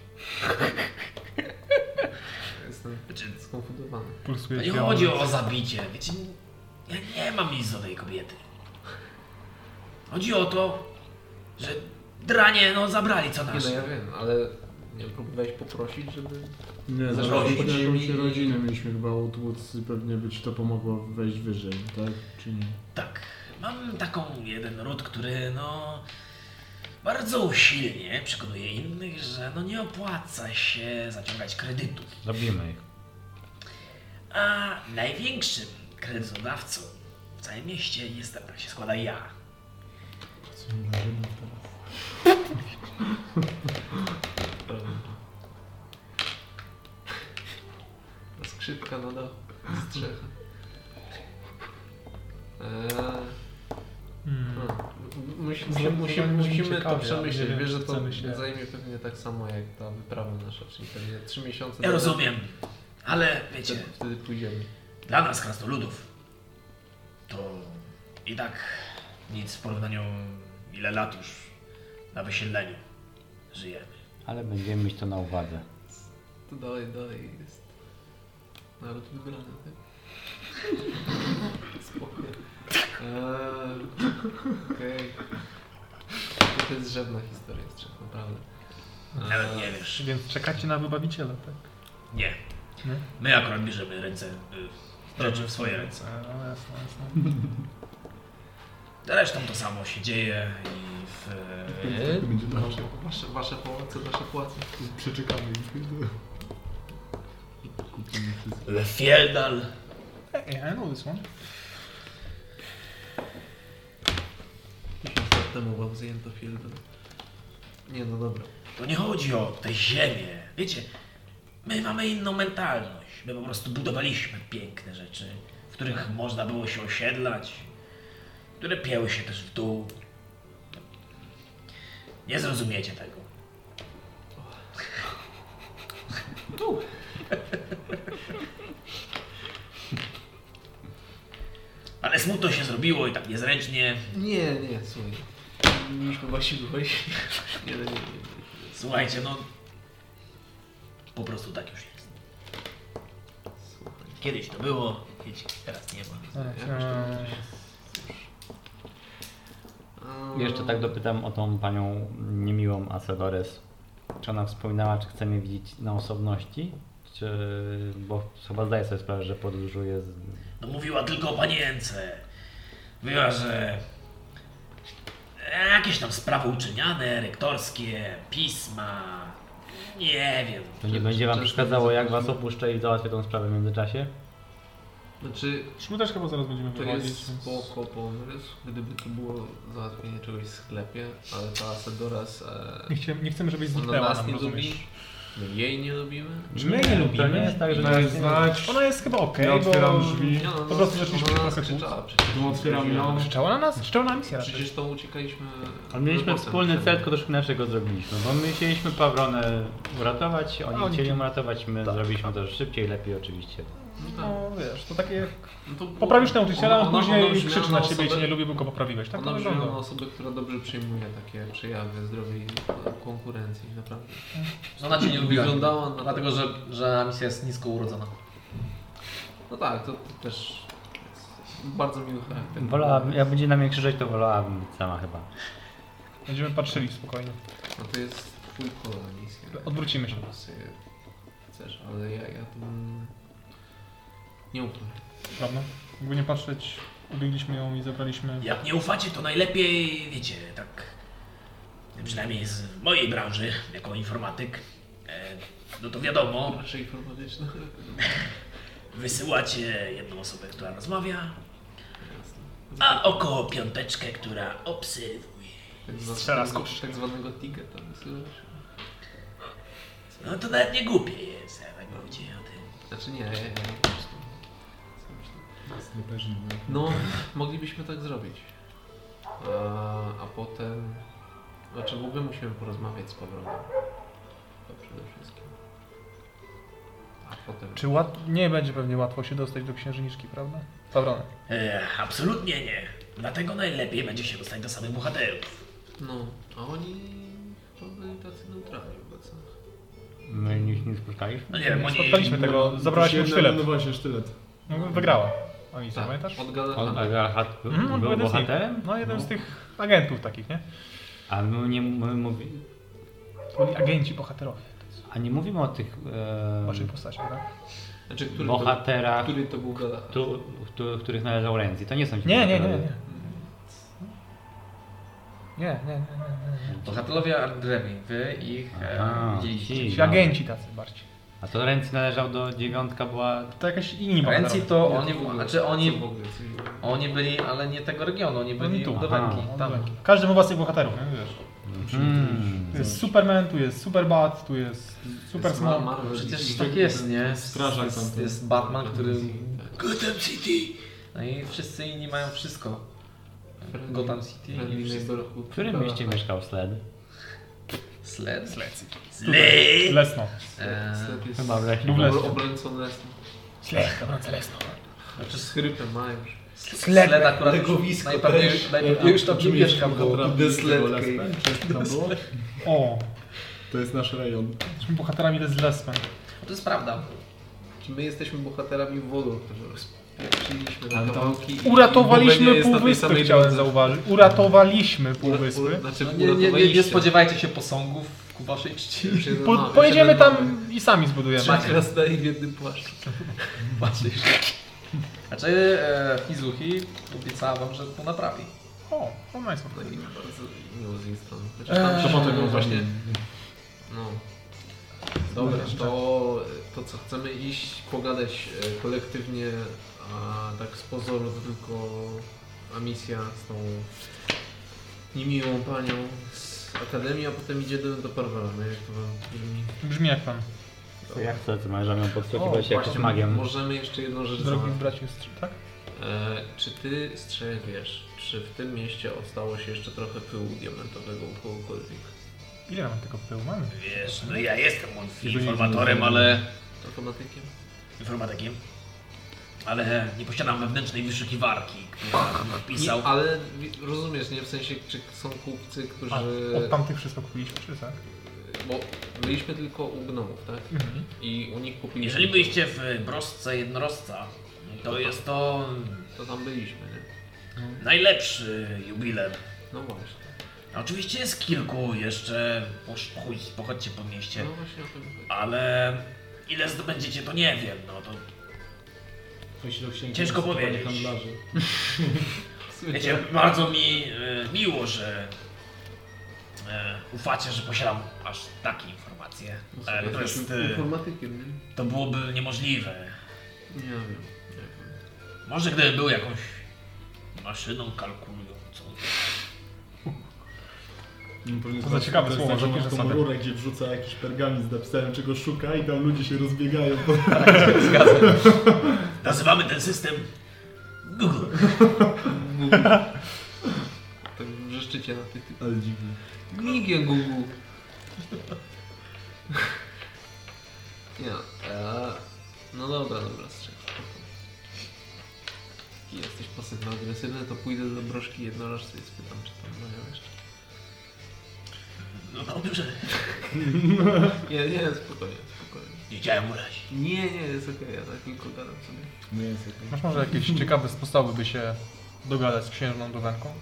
Jestem Znaczy, skonfundowany. Pulsuje To nie biało. chodzi o zabicie. Wiecie, ja nie mam nic do tej kobiety. Chodzi o to, że dranie, no zabrali co Nie no, ja nasze. wiem, ale nie próbowałeś poprosić, żeby... Nie, Zaraz zaraz chodzi- jakąś rodzinę mieliśmy chyba utłuc i pewnie by ci to pomogło wejść wyżej, tak? Czy nie? Tak, mam taką jeden ród, który no bardzo usilnie przekonuje innych, że no nie opłaca się zaciągać kredytów. Robimy ich. A największym kredytodawcą w całym mieście jestem, tak się składa ja. Skrzypka na dach, strzecha. Eee, Mm. no. M- musi- Zro- musi- zrobimy musimy to ciekawie, przemyśleć. nie wiem, Wiesz, że czy to chcemy się- zajmie pewnie tak samo jak ta wyprawa nasza, czyli pewnie 3 miesiące. Ja rozumiem, ale wiecie, Wtedy, wtedy pójdziemy. Dla nas, krasnoludów, to i tak nic w porównaniu, ile lat już na wysiedleniu żyjemy. Ale będziemy mieć to na uwadze. To dalej, dalej jest. Naród wybrany, tak? Spoko. Eee, Okej. To jest żadna historia z trzech, naprawdę. Nawet nie wiesz. Więc czekacie na wybawiciela, tak? Nie. Nie? My akurat bierzemy ręce, y, rzeczy w swoje ręce. No jasne, jasne. Zresztą to samo się dzieje i w... Tak będzie dobrze. Eee, Wasze, wasze pałace, wasze płace. Przeczekamy ich. Kupimy wszystko. Lefieldal. Hey, I know this one. Tysiąc lat temu wam zjęto Fieldon. Nie no dobra. To nie chodzi o tę ziemię. Wiecie, my mamy inną mentalność. My po prostu budowaliśmy piękne rzeczy, w których można było się osiedlać, które pięły się też w dół. Nie zrozumiecie tego. Ale smutno się zrobiło i tak niezręcznie. Nie, nie, słuchaj. Mieliśmy właśnie wychodzić. [LAUGHS] Nie, nie, nie, nie. Słuchajcie, no. Po prostu tak już jest. Słuchaj. Kiedyś to było, kiedyś teraz nie ma. Jakoś to E, będzie się- Eee, Jeszcze tak dopytam o tą panią niemiłą Asadores. Czy ona wspominała, czy chce mnie widzieć na osobności? Czy... bo chyba zdaje sobie sprawę, że podróżuje z... No mówiła tylko o panience. Mówiła, że jakieś tam sprawy uczyniane, rektorskie, pisma, nie wiem. To nie Czy- będzie czy wam często przeszkadzało, jak zapraszam? was opuszczę i załatwię tą sprawę w międzyczasie? Znaczy, Szmu też chyba zaraz będziemy to wychodzić. jest spoko pomysł, gdyby to było załatwienie czegoś w sklepie, ale ta Asedoras... E, Nie, chcemy, nie chcemy, żebyś ona zniknęła nas nam, nie rozumiesz? lubi, my jej nie lubimy. Czy my nie lubimy? To nie jest tak, że... Daj znać. Ona jest chyba okej, Ja otwieram bo... drzwi. Nie, no, ona Mm, Po nas- prostu zaczęliśmy ona nas trochę kłócić. krzyczała przecież. Tu otwieram ją. Krzyczała na nas? Krzyczała na misję raczej. Przecież to uciekaliśmy... Ale mieliśmy robotem wspólny przed- cel, tylko troszkę inaczej go zrobiliśmy, bo my chcieliśmy Pawronę uratować, A oni oni chcieli tu- ją uratować, my zrobiliśmy to szybciej, lepiej oczywiście. No tak. No wiesz, to takie... No to było- Poprawisz nauczyciela, ona- on ona- ona później brzmiała krzyczy na ciebie i cię osobę- nie lubi, bo go poprawiłeś. Tak to Ona brzmiała wygląda. na osobę, która dobrze przyjmuje takie przejawy zdrowej e, konkurencji, naprawdę. Ona cię nie lubiła. Wyglądała na- Dlatego, że, że misja jest nisko urodzona. No tak, to, to też jest bardzo miły charakter. Wolałabym, jak będzie na mnie krzyczeć, to wolałabym być sama chyba. Będziemy patrzyli spokojnie. No to jest twój kola misja. Odwrócimy się. Może sobie chcesz, ale ja, ja tu bym nie ufam. Prawda? Jakby nie patrzeć, ubiegliśmy ją i zabraliśmy... Jak nie ufacie, to najlepiej, wiecie, tak przynajmniej z mojej branży, jako informatyk, e, no to wiadomo, Raczej informatyczna. wysyłacie jedną osobę, która rozmawia, a około piąteczkę, która obserwuje. Tak zwa- Strzela z tak- koszy. Tak zwanego ticketa wysyłasz. No to nawet nie głupie jest, jak tak mówicie o tym. Znaczy nie, ja, ja, ja po prostu. co myślę? No, moglibyśmy tak zrobić. A, a potem. Znaczy w ogóle musimy porozmawiać z Pawronem. To przede wszystkim. A potem. Czy łat... nie będzie pewnie łatwo się dostać do księżniczki, prawda? Pawrona. E, absolutnie nie. Dlatego najlepiej będzie się dostać do samych bohaterów. No, a oni chyba byli tacy neutralni wobec nas. My ich nie spotkaliśmy? No nie Mm, wiem, oni... Spotkaliśmy tego, zabrałaś mu Jedna- sztylet. No właśnie, sztylet. No, wygrała. Oni tak. Tak, pamiętasz? odgadam. On, a Galahad był, Mhm, on był był jeden z nich. bohaterem? No jeden z tych agentów takich, nie? A my nie my mówi, To byli agenci bohaterowie a nie mówimy o tych e, w waszej postaci, prawda? Znaczy, który to, bohaterach, który to był Galahad? tu, tu, których należał Renzi. To nie są ci Nie, nie, nie, bohaterowie. nie. Nie, nie, nie, nie. Bohaterowie Ardrevi, wy ich e, Aha, widzieliście. ci, Ci no. agenci tacy bardziej. A to Renzi należał do dziewiątka, była To jakaś inni Renci bohaterowie. to Nie, oni, w ogóle, znaczy co oni, w ogóle, co w ogóle. oni byli, ale nie tego regionu, oni byli Oni tu. do Aha. Wenki, tam. No, tak. Każdy ma własnych bohaterów, nie? Wiesz. Hmm. Tu jest Superman, tu jest Superbat, tu jest Super Jest Mar- Snow. Marvel. Przecież tak jest, nie? Strażak tam. Jest, jest Batman, który... Tak. Gotham City! No i wszyscy inni mają wszystko. Friendly- Gotham City Friendly i wszystko. Neighborhood. W którym Galahad. mieście mieszkał Sled? Sled? Zlej! Lesno. E, Sled jest Chyba w lesie. Był w lesie. obrońcą lesnym. Sled, dobra, Lesno. znaczy Z chrypem ma już. Sled akurat Legowisko najprawdopodobniej też. najprawdopodobniej już tam nie Brzmi mieszka, jak bo... Dobra, Desletkę. Lespe. Czy tam było? O, To jest nasz rejon. jesteśmy bohaterami Les Lesmen. To jest prawda. Czy my jesteśmy bohaterami wodu, którzy rozpieprzyliśmy na Ale to- kawałki i- i Uratowaliśmy Bobenia jest na tej półwyspy, samej chciałem drodze. zauważyć. Uratowaliśmy Ura- ura- półwyspy. Znaczy, No nie, nie, nie, nie uratowaliście. spodziewajcie się posągów, ku waszej czci. [LAUGHS] Już jeden Po, mamy, już pojedziemy jeden mamy. tam i sami zbudujemy. Trzy krasnali w jednym płaszczu. Waszej czci. Znaczy e, Fizuchi obiecała wam, że to naprawi. O, to nice. No i bardzo miło z jej strony. Znaczy, Eee. tam się potem ją właśnie... No. Dobra, to, to co, chcemy iść, pogadać e, kolektywnie, a tak z pozoru to tylko a misja z tą niemiłą panią z Akademii, a potem idzie do, do Parwela, no jak to wam brzmi? Brzmi jak pan. To ja chcę, to możemy ją O, podsłuchiwać jak właśnie, z magiem. Możemy jeszcze jedną rzecz Drogi zrobić. braciu, tak? E, czy ty, Strzel, wiesz, czy w tym mieście ostało się jeszcze trochę pyłu diamentowego u kogokolwiek? Ile mamy tego pyłu? Mamy. Wiesz, no ja jestem nie informatorem, ale... Informatykiem? informatykiem, ale nie posiadam wewnętrznej wyszukiwarki, która wpisał. Nie, ale wi- rozumiesz, nie w sensie, czy są kupcy, którzy. A, od tamtych wszystko kupiliśmy, czy tak? Bo byliśmy tylko u gnomów, tak? Mhm. I u nich kupiliśmy. Jeżeli byliście w brosce jednorosca, to jest to No. To tam byliśmy, nie? najlepszy jubilem. No właśnie. A Oczywiście jest kilku jeszcze, posz- chuj, pochodźcie po mieście, No właśnie o tym mówię. ale ile zdobędziecie to nie wiem, no to Ciężko powiedzieć. Handlarzy. wiecie, bardzo mi e, miło, że e, ufacie, że posiadam aż takie informacje, e, to jest, Jesteśmy e, informatykiem, nie? to byłoby niemożliwe. Nie wiem. Nie wiem. Może gdyby był jakąś maszyną kalkulującą. No, znaczy, To za ciekawe słowo, że żołnierze masz tą sobie. rurę, gdzie wrzuca jakiś pergamin z napisem, czego szuka i tam ludzie się rozbiegają. Nazywamy ten system Google. Tak wrzeszczycie na tych Ale dziwne. Migiem Google. [LAUGHS] Nie, e, no dobra, dobra, strzel. Jeśli jesteś pasywno-agresywny, to pójdę do broszki jednorożcy i spytam, czy tam mają jeszcze. No dobrze, Nie, nie, spokojnie, spokojnie. nie chciałem urazić. Nie, nie, jest okej, ja tak tylko gadam sobie. Nie jest okej. Masz może jakieś ciekawe sposoby, by się dogadać z księżną Dowenką?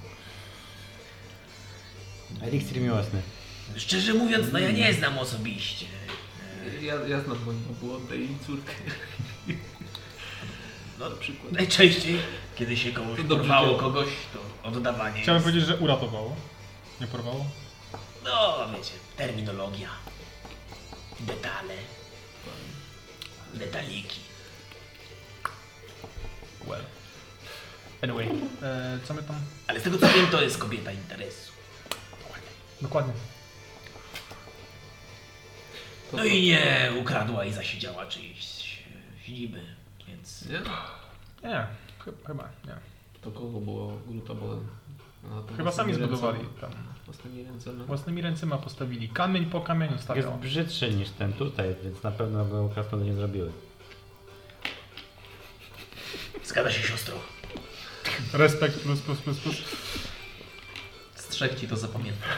Eliksir miłosny. Szczerze mówiąc, no ja Hmm. nie znam osobiście. Ja, ja znam moją obłodę i córkę. [LAUGHS] No, Na przykład. najczęściej, kiedy się komuś To dobrze porwało działa. kogoś, to oddawanie Chciałbym jest... powiedzieć, że uratowało. Nie porwało? No, wiecie, terminologia, detale, detaliki. Well. Anyway. E, co my tam? Ale z tego co wiem, to jest kobieta interesu. Dokładnie. To No co? i nie ukradła i zasiedziała czyjejś e, siedziby, więc... Nie? Nie, chy- chyba nie. To kogo było glutobolem? Chyba sami zbudowali tam. Ostatnie ręce, no. Własnymi ręcyma postawili. Kamień po kamieniu Jest stawiał. brzydszy niż ten tutaj, więc na pewno go krasnoludy nie zrobiły. Zgadza się siostro. Respekt plus plus plus plus. Z trzech ci to zapamiętam.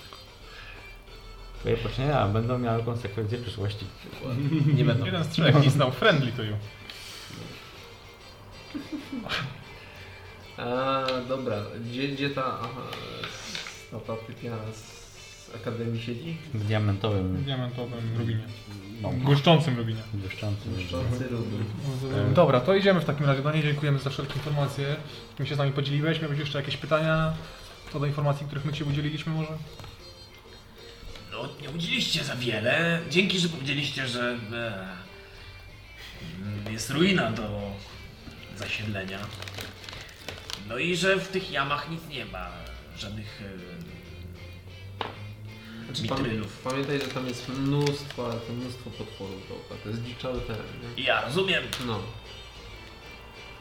[LAUGHS] Twoje poczynienia będą miały konsekwencje w przyszłości. Nie będą. Jeden z trzech [LAUGHS] i znał friendly to you. A, dobra, gdzie, gdzie ta, aha, ta, ta typiara z Akademii siedzi? W diamentowym, Diamentowym rubinie. Błyszczącym rubinie. błyszczącym. Szczący rudy. E. Mhm. Dobra, to idziemy w takim razie. Danie, dziękujemy za wszelkie informacje, którymi się z nami podzieliłeś. Miałeś jeszcze jakieś pytania co do informacji, których my Cię udzieliliśmy może? No, nie udzieliście za wiele. Dzięki, że powiedzieliście, że e, jest ruina do zasiedlenia. No i że w tych jamach nic nie ma. Żadnych e, mitrylów. Znaczy, Pamiętaj, że tam jest mnóstwo, ale to mnóstwo potworów dookoła, to jest dziczały teren, nie? Ja rozumiem. No.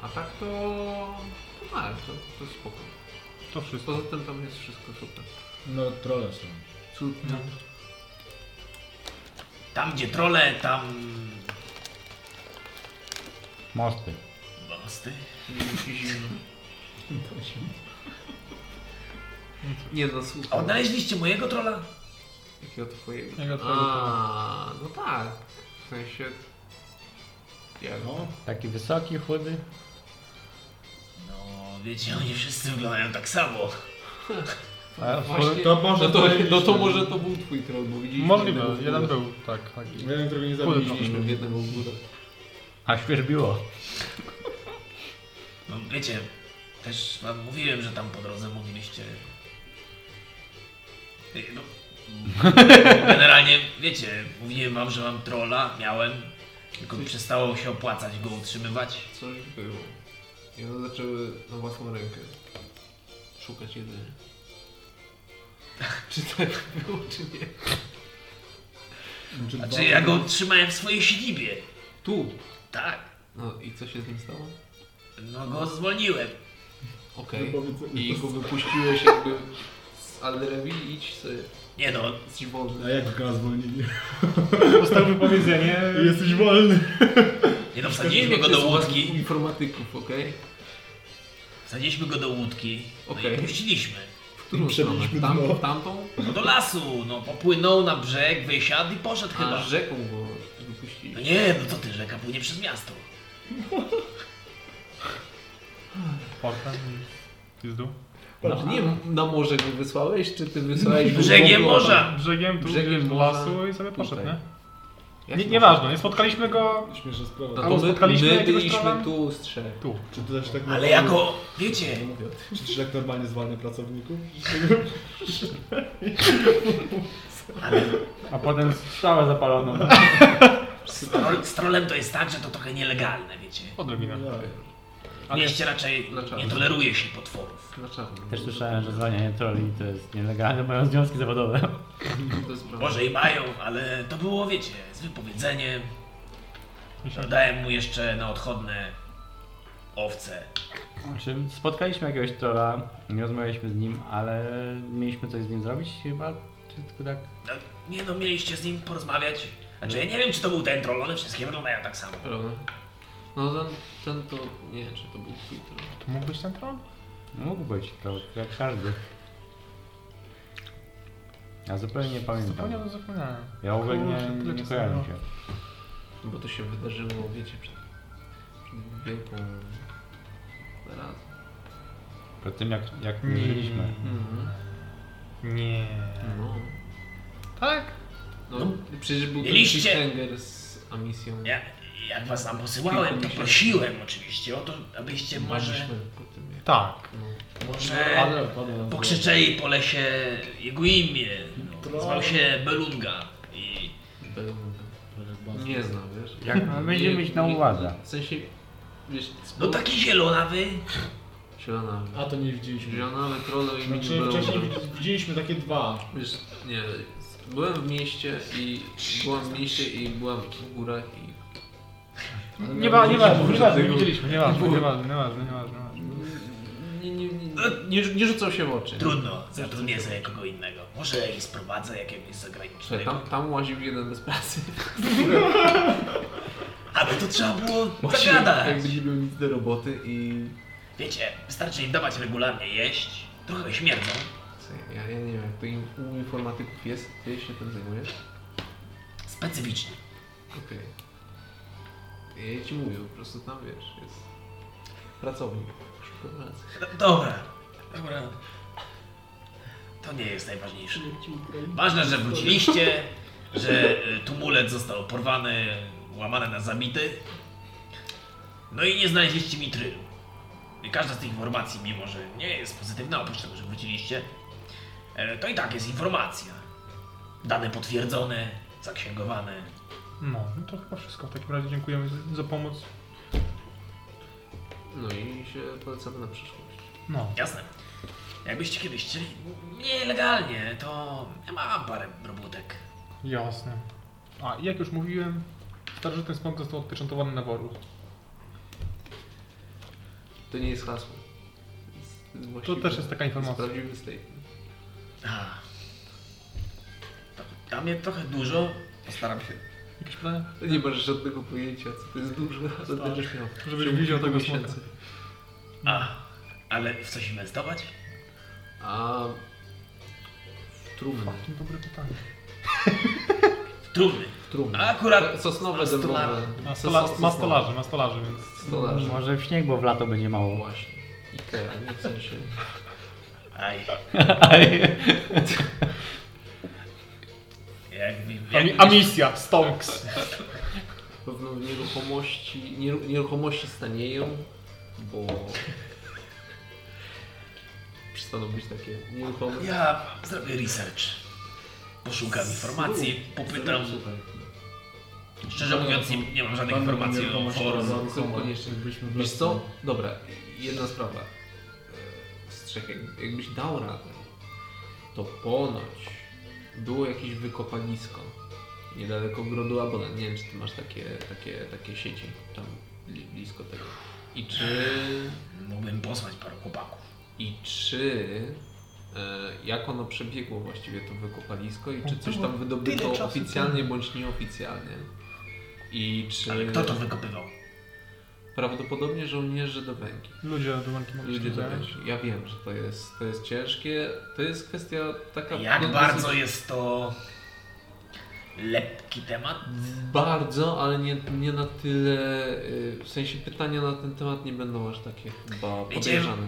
A tak to... to tak, to, to spoko. To wszystko. Poza tym tam jest wszystko super. No, trolle są. Cud... No. Tam, gdzie trole, tam Mosty. mosty. i zimno. Nie no, A słuchaj. odnaleźliście mojego trola? Jakiego twojego? Jakiego twojego A, no tak. W sensie... Jak? No, Taki wysoki, chudy. No, wiecie, oni wszyscy wyglądają tak samo. A, Właśnie- To może No to, powiedzieć, no to że- może to był twój troll, bo widzieliśmy Możliwe, jednego w jeden górę. był, tak. taki. Jeden, którego nie Kurde, zabiliśmy. Widzieliśmy jednego w górę. A świerbiło. No, wiecie, też wam mówiłem, że tam po drodze mówiliście. Ej, No, generalnie, wiecie, mówiłem wam, że mam trolla, miałem, tylko przestało się opłacać go utrzymywać. Coś było. I one zaczęły na własną rękę szukać jedzenia. czy tak było, czy nie? Znaczy, Znaczy, ja go trzymałem w swojej siedzibie. Tu! Tak, No i co się z nim stało? no go zwolniłem. Okej. Nie powiedz- I go wypuściłeś jakby z Alderewi idź sobie, Nie no, jesteś A wolny. jak go zwolnili? [LAUGHS] Dostał wypowiedzenie. Jesteś wolny. nie no, wsadziliśmy go do Jest was łódki. Informatyków, okej? Wsadziliśmy go do łódki, no Okej. i puściliśmy. W którą stronę? Przebiliśmy Tam, dno. w tamtą? No do lasu, no popłynął na brzeg, wysiadł i poszedł A chyba. rzeką go No wypuścili. nie, no co ty, rzeka płynie przez miasto. Portem i z dół. No, nie tak. na morze go wysłałeś, czy ty wysłałeś go Brzegiem w ogóle? morza! Brzegiem tu Brzegiem Brzegiem do morza, lasu i sobie poszedł, tutaj. nie? Jak nie? to? Nieważne, nie spotkaliśmy go Śmieszna sprawa. No Albo to my, spotkaliśmy my jakiegoś byliśmy trolla? tu z trzech. tu. Czy ty też tak No Ale normalnie- jako, wiecie, Czy ty tak normalnie zwalnia pracowników? A potem strzałę zapaloną. z, troll, z trolem to jest tak, że to trochę nielegalne, wiecie. Odrobinę. No, W mieście raczej Dlaczego? nie toleruje się potworów. Na czarno. Też słyszałem, że zwalnianie troli to jest nielegalne, mają związki zawodowe. tak. To jest prawda. Może i mają, ale to było, wiecie, z wypowiedzeniem. Myślę, że- Dałem mu jeszcze na odchodne owce. Znaczy, spotkaliśmy jakiegoś trola, nie rozmawialiśmy z nim, ale mieliśmy coś z nim zrobić chyba, czy tylko tak? No, nie no, mieliście z nim porozmawiać. Znaczy, ja nie wiem, czy to był ten troll, one wszystkie wyglądają tak samo. Prawda. No ten, ten to, nie wiem czy to był twój troll. To mógł być ten tron? Mógł być troll, jak każdy. Ja zupełnie nie pamiętam. Zupełnie zapomniałem. Ja w ogóle nie, Kurczę, tyle nie czasu kojarzę minęło. się. Bo to się wydarzyło, wiecie, przed, przed wielką zaraz. Po tym jak, jak Nie. nie żyliśmy. Mhm. Nie. No. Tak? No, przecież był ten Mieliście- cliffhanger z Amisją. Ja, jak was tam posyłałem, to prosiłem oczywiście o to, abyście może, Marzyliśmy po tym jak... Tak. No. może pada na pokrzyczeli po lesie jego imię. No, nazywał się Belunga. I Belunga. Belunga. Nie znam, wiesz? Jak Nie- [LAUGHS] będziemy mieć na nie- uwadze. W sensie, wiesz, no taki zielonawy. Zielona. A to nie widzieliśmy. Zielona trolo i Znaczy mini wcześniej Belunga. widzieliśmy takie dwa. Wiesz, nie, byłem w mieście i byłam w mieście i byłam w górach i Nie ma, nie ważne, nie ważne, nie tego. widzieliśmy, nie ważne, nie ważne, nie ważne, nie ważne. nie, nie, nie, nie, nie rzucał się w oczy. Trudno, zatrudnię sobie kogo innego. Może ich sprowadzę jakiegoś Słuchaj, zagranicznego. tam, tam łaził jeden bez pracy. Ale to trzeba było Łaził, zagadać. Tak, Jakby nie miał nic do roboty i... Wiecie, wystarczy im dawać regularnie jeść, trochę śmierdzą. Słuchaj, Ja, ja nie wiem, jak to im, u informatyków jest, ty się tym zajmujesz? Specyficznie. Okej. Ja ci mówię, po prostu tam wiesz, jest pracownik. Szuka pracy. No, dobra, dobra. To nie jest najważniejsze. Ważne, że wróciliście, że y, tumulec został porwany, łamany na zabity. No i nie znaleźliście mitrylu. I każda z tych informacji, mimo że nie jest pozytywna, oprócz tego, że wróciliście, e, to i tak jest informacja. Dane potwierdzone, zaksięgowane. No, no to chyba wszystko. W takim razie dziękujemy za- za pomoc. No i się polecamy na przyszłość. No. Jasne. Jakbyście kiedyś chcieli nielegalnie, to ja mam parę robótek. Jasne. A, i jak już mówiłem, starożytny smok został odpieczętowany na woru. To nie jest hasło. To jest To właściwy- też jest taka to jest informacja. Prawdziwy statement. A. To- Tam jest trochę dużo. Postaram się. Jakieś pytania? Ty Nie masz żadnego pojęcia, co to jest dużo, a to będziesz miał. w Żebyś ciągu widział kilku tego smoka. miesięcy. A, ale w coś inwestować? A w trumny. Fucking dobre pytanie. W trumny. W trumny. A akurat Te Sosnowe a stolar- dębowe. Ma, Sos- stola, ma sosnowe. stolarzy, ma stolarzy, więc... Stolarze. Może w śnieg, bo w lato będzie mało. Właśnie. Ikea, nie w sensie. Aj, jak, mi- A, jak, mi, mi- a misja, Tak, Stonks. Pewno nieruchomości, nieru- nieruchomości stanieją, bo [LAUGHS] przestaną być takie nieruchome. ja zrobię research. Poszukam informacji, popytam. Słuchaj, Szczerze mówiąc, nie, nie mam żadnych informacji o forum. są konieczne. Wiesz co? Dobra, jedna sprawa. E, Z trzech, jak- jakbyś dał radę, to ponoć było jakieś wykopalisko niedaleko Grodu Abona. Nie wiem, czy ty masz takie, takie, takie sieci tam bli- blisko tego. I czy, Mógłbym posłać paru chłopaków. i czy e, jak ono przebiegło właściwie to wykopalisko Tak, i czy coś tam wydobyto oficjalnie bądź nieoficjalnie? I czy Ale kto to wykopywał? prawdopodobnie żołnierze do węgi. Ludzie do ręki mogą Ludzie się to zająć. wiesz. Ja wiem, że to jest, to jest ciężkie. To jest kwestia taka. no, Jak dosyć- bardzo jest to lepki temat? Bardzo, ale nie, nie na tyle. y, W sensie pytania na ten temat nie będą aż takie chyba Wiecie- podejrzane.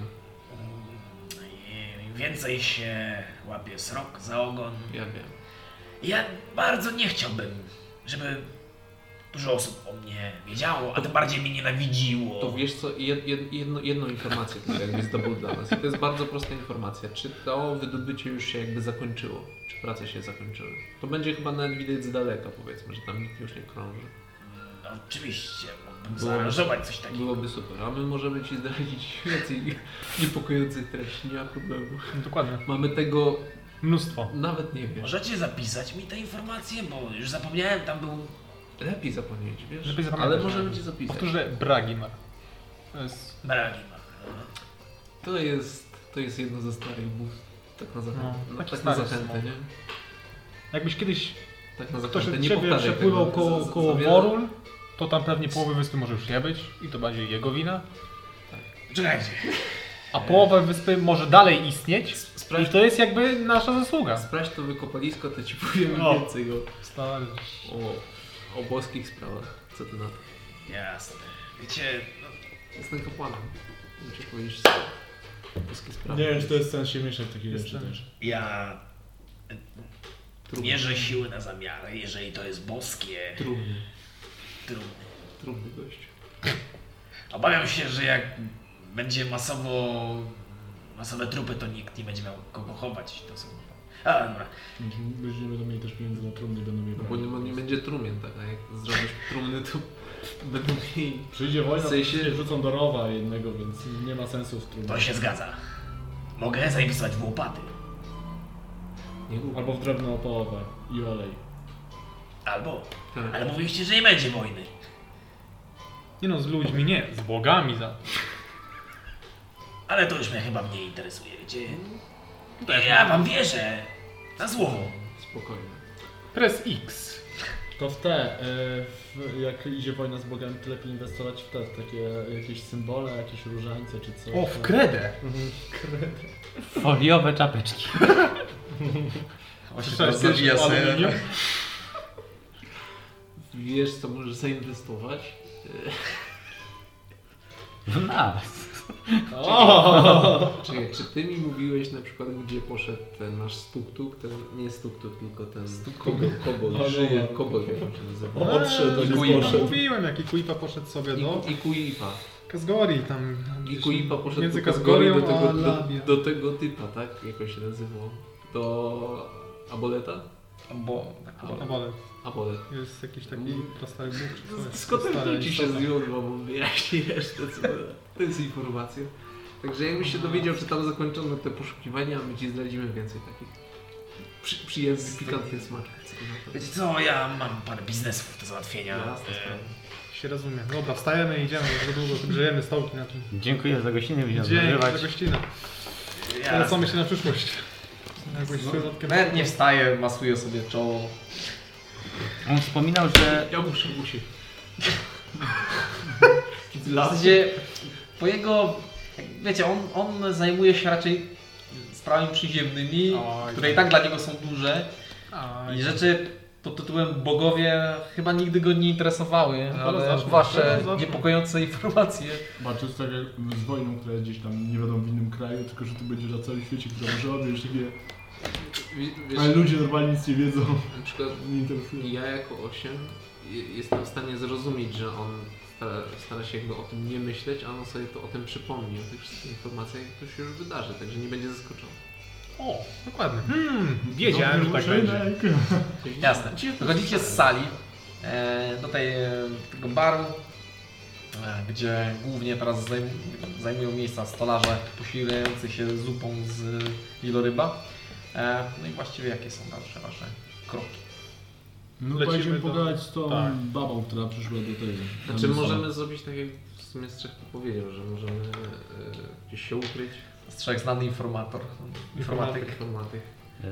Im więcej się łapie srok za ogon. Ja wiem. Ja bardzo nie chciałbym, żeby dużo osób o mnie wiedziało, a tym bardziej mnie nienawidziło. To wiesz co, jed, jed, jedno, jedną informację tutaj jakby zdobył dla nas. I to jest bardzo prosta informacja. Czy to wydobycie już się jakby zakończyło? Czy prace się zakończyły? To będzie chyba nawet widać z daleka powiedzmy, że tam nikt już nie krąży. Oczywiście, mógłbym Było- zaaranżować coś takiego. Byłoby super, a my możemy Ci zdradzić więcej niepokojących treści, nie ma problemu. No, dokładnie. Mamy tego, Mnóstwo. nawet nie wiem, Możecie zapisać mi te informacje, bo już zapomniałem, tam był... lepiej zapomnieć, wiesz? Lepiej zapamiętać. Ale możemy Ci zapisać. Powtórzę, Bragimar. To jest... Bragima. To jest, to jest jedno ze starych bów, tak na zachętę, No, no, taki tak na stary zachętę, smok. nie? Jakbyś kiedyś Tak na ktoś zachętę, od nie ciebie powtarzaj przepłynął tego. koło, Za- za- koło za wiele- Morul, to tam pewnie połowy wyspy może już nie być i to będzie jego wina. Czekajcie. A połowa wyspy może dalej istnieć i Sprawdź, to jest jakby nasza zasługa. sprawdź to wykopalisko, to Ci powiem No. O. więcej o, Stary. o, o boskich sprawach. Co Ty na to? Jasne. Wiecie, no, Jestem kapłanem. Musisz powiedzieć boskie sprawy. Nie wiem, czy to jest sens się mieszać w takie Jestem. rzeczy też. ja Trudno. mierzę siły na zamiary, jeżeli to jest boskie, Trudny, trudno. trudny gość. Obawiam się, że jak będzie masowo masowe trupy, to nikt nie będzie miał kogo chować. To są... A, dobra. Ludzie nie będą mieli też pieniędzy na trumny, będą mieli... No bo nie, ma- nie będzie trumien, tak? A jak zrobisz trumny, to będą mieli. Przyjdzie wojna, W w sensie- sensie... rzucą do rowa jednego, więc nie ma sensu w trumnie. To się zgadza. Mogę zainwestować w łopaty. Nie głupie. Albo w drewno opałowę i olej. Albo. Tak. Ale mówiliście, że nie będzie wojny. Nie no, z ludźmi nie, z bogami za. Ale to już mnie chyba mniej interesuje, wiecie? Ja wam wierzę. Na słowo. Spokojnie. Press X. To w te, y, w, jak idzie wojna z Bogiem, to lepiej inwestować w te, w takie jakieś symbole, jakieś różańce czy coś. O, w kredę. Foliowe czapeczki. Właśnie To teraz jest też zabija sobie. aluminium. Wiesz, co możesz zainwestować? W nas. Czekaj, czy ty mi mówiłeś na przykład, gdzie poszedł ten nasz stuktuk? Ten, nie stuktuk, tylko ten kobo, kobo, No, żyje, no. kobo, jak on się nazywa. O, odszedł, nie Kuipa. poszedł. Mówiłem, jaki Kuipa poszedł sobie No. do I, i Kuipa. Kazgori tam. I gdzieś Kuipa poszedł Między do Kogorią Kazgorią do a tego, do, Labia. do tego typa, tak? Jak on się nazywał? Do Aboleta? Bo No ale Abolet. jest jakiś taki prostary bóg czy coś. Mm. Z kotem Stary to ci się istota. zjudło, bo wyjaśni jeszcze co. To jest informacja. Także jakbyś się dowiedział, czy tam zakończono te poszukiwania, my ci zdradzimy więcej takich przy, przyjemnych, pikantnych smaczków. Co ty na to? Wiecie co, ja mam parę biznesów do załatwienia. Jasna E, sprawa. Się rozumie. Dobra, wstajemy i idziemy, już za długo grzejemy stołki na tym. Dziękuję za gościnę, będziemy Dzień za odżywać. gościnę. jasne. Polecamy się na przyszłość. Jakbyś No. z środkiem- Nawet nie wstaje, masuje sobie czoło. On wspominał, że Ja muszę musieć. W zasadzie po jego. jak Wiecie, on, on zajmuje się raczej sprawami przyziemnymi, No. Oj. tak które i tak dla niego są duże. Aj. I rzeczy pod tytułem Bogowie chyba nigdy go nie interesowały, No, ale zacznę, wasze zaraz zacznę. niepokojące informacje. Walczysz tak jak z wojną, która jest gdzieś tam, nie wiadomo, w innym kraju, tylko że tu będzie na całym świecie, która może objąć takie... Wi- Ale Wiesz, ludzie normalnie nic nie wiedzą, [LAUGHS] na przykład nie interesują. ja jako 8 jestem w stanie zrozumieć, że on stara, stara się jakby o tym nie myśleć, a on sobie to o tym przypomni, o tych wszystkich informacjach, które się już wydarzy, także nie będzie zaskoczony. O, dokładnie. Hmm, wiedziałem, że tak Dobrze, będzie. Szynek. Jasne. Dziwne Wychodzicie z sali e, do tej, e, tego baru, e, gdzie głównie teraz zajm, zajmują miejsca stolarze posiłkujący się zupą z wieloryba. E, no i właściwie jakie są dalsze wasze kroki? No Lecimy będziemy do- pogadać z tą Tak. babą, która przyszła do tego. Znaczy Tam możemy zrobić tak jak w sumie Strzech to powiedział, że możemy e, gdzieś się ukryć. Z trzech znany informator, informatyk. Informatyk. e,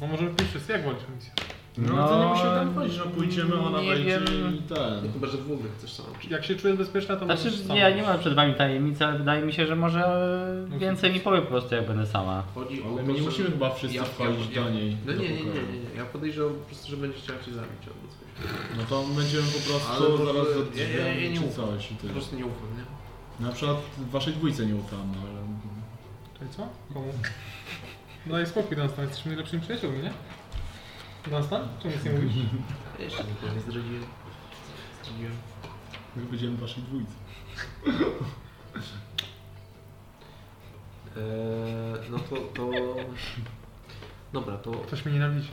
Bo możemy pójść wszyscy, jak włączyć misję? No, no to nie musimy tam chodzić, no pójdziemy, ona nie wejdzie wiem. i ten. Chyba, że w ogóle chcesz sam. Jak się czujesz bezpieczna, to Znaczy, możesz sam ja nie iść. mam przed wami tajemnic, ale wydaje mi się, że może e, więcej mi powie po prostu, jak będę sama. Chodzi o Ale to, my nie że- musimy chyba wszyscy Ja- ja- wchodzić ja- do niej. No do nie, nie, nie, pokoju. nie, nie. Ja podejrzewam po prostu, że będzie chciała cię zabić albo coś. No to będziemy po prostu Ale może- zaraz za ja- ja- ja nie drzwiami czy ufam. coś i Po tyle. prostu nie ufam, nie? Na przykład waszej dwójce nie ufam, ale... Czyli co? Komu? Daj spokój, Dunstan, jesteśmy najlepszymi przyjaciółmi, nie? Dunstan? Czemu nic nie mówisz? Ja jeszcze nikogo nie zdradziłem. Zdradziłem. My będziemy waszej dwójce. Eee, no to, to... Dobra, to Ktoś mnie nienawidzi.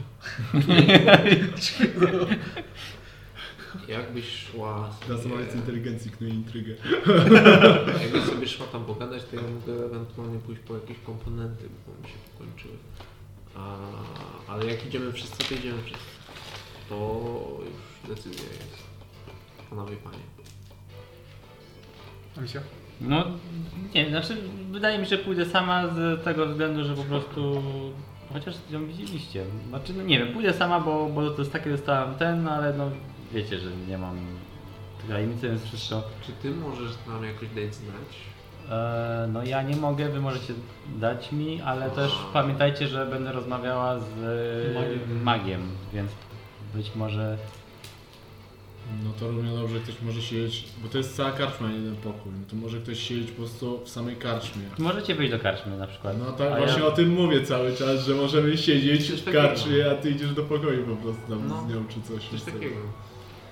jakbyś szła... Dla samej sobie- inteligencji knuje intrygę. Jakby sobie szła tam pogadać, to ja mogę ewentualnie pójść po jakieś komponenty, bo mi się pokończyły. A, ale jak idziemy wszyscy, to idziemy wszyscy. To już decyzja jest. Panowie panie. A misja? No, nie wiem, znaczy, wydaje mi się, że pójdę sama z tego względu, że po prostu. Chociaż ją widzieliście. Znaczy, no nie wiem, pójdę sama, bo, bo to jest takie, dostałam ten, no ale no wiecie, że nie mam tajemnicy, więc wszystko. Czy ty możesz nam jakoś dać znać? E, no ja nie mogę, wy możecie dać mi, ale też pamiętajcie, że będę rozmawiała z magiem, magiem więc być może. No to równie dobrze ktoś może siedzieć, bo to jest cała karczma, jeden pokój. No to może ktoś siedzieć po prostu w samej karczmie. Możecie wyjść do karczmy na przykład. No tak A właśnie ja- o tym mówię cały czas, że możemy siedzieć Coś w takiego. karczmie, a ty idziesz do pokoju po prostu tam No. z nią czy coś. Coś z tego. takiego.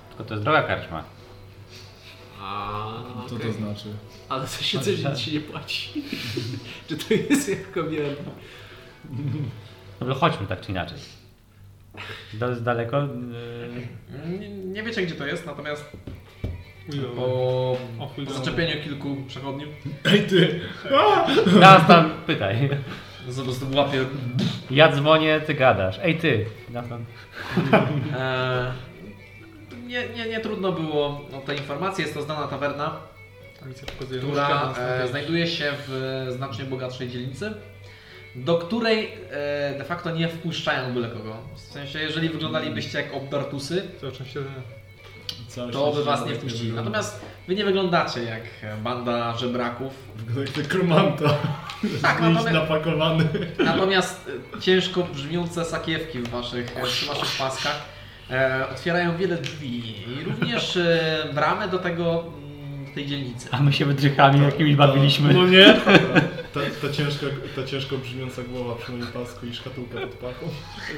Tylko to jest droga karczma. A, Co okej. to znaczy? Ale co się coś nic ci nie płaci. [LAUGHS] Czy to jest jak kobieta? Dobra, chodźmy tak czy inaczej. To jest daleko. e, [COUGHS] Nie, nie wiecie gdzie to jest, natomiast Ujdo. po O chuj, dobra. zaczepieniu kilku przechodniów Ej ty! Teraz tam pytaj. z- po prostu łapie Ja dzwonię, ty gadasz. Ej ty! Nathan. E, nie, nie, nie trudno było o te informacje. Jest to znana tawerna, A misja pokazuje nóżkę, która e, Dunstan też. znajduje się w znacznie bogatszej dzielnicy, do której e, de facto nie wpuszczają byle kogo. W sensie, jeżeli wyglądalibyście jak obdartusy, To oczywiście, że nie. Całe to by szczęście, was że nie tak wpuścili. wygląda. Natomiast wy nie wyglądacie jak banda żebraków. Wygląda jak dekromanta. Tak, Jakiś natomiast- napakowany. Natomiast e, ciężko brzmiące sakiewki w waszych, e, przy waszych paskach e, otwierają wiele drzwi i również e, bramy do tego mm, tej dzielnicy. A my się wydrychami No, jakimiś bawiliśmy. No nie? Ta, ta, ciężka, ta ciężko brzmiąca głowa przy moim pasku i szkatułka pod pachą.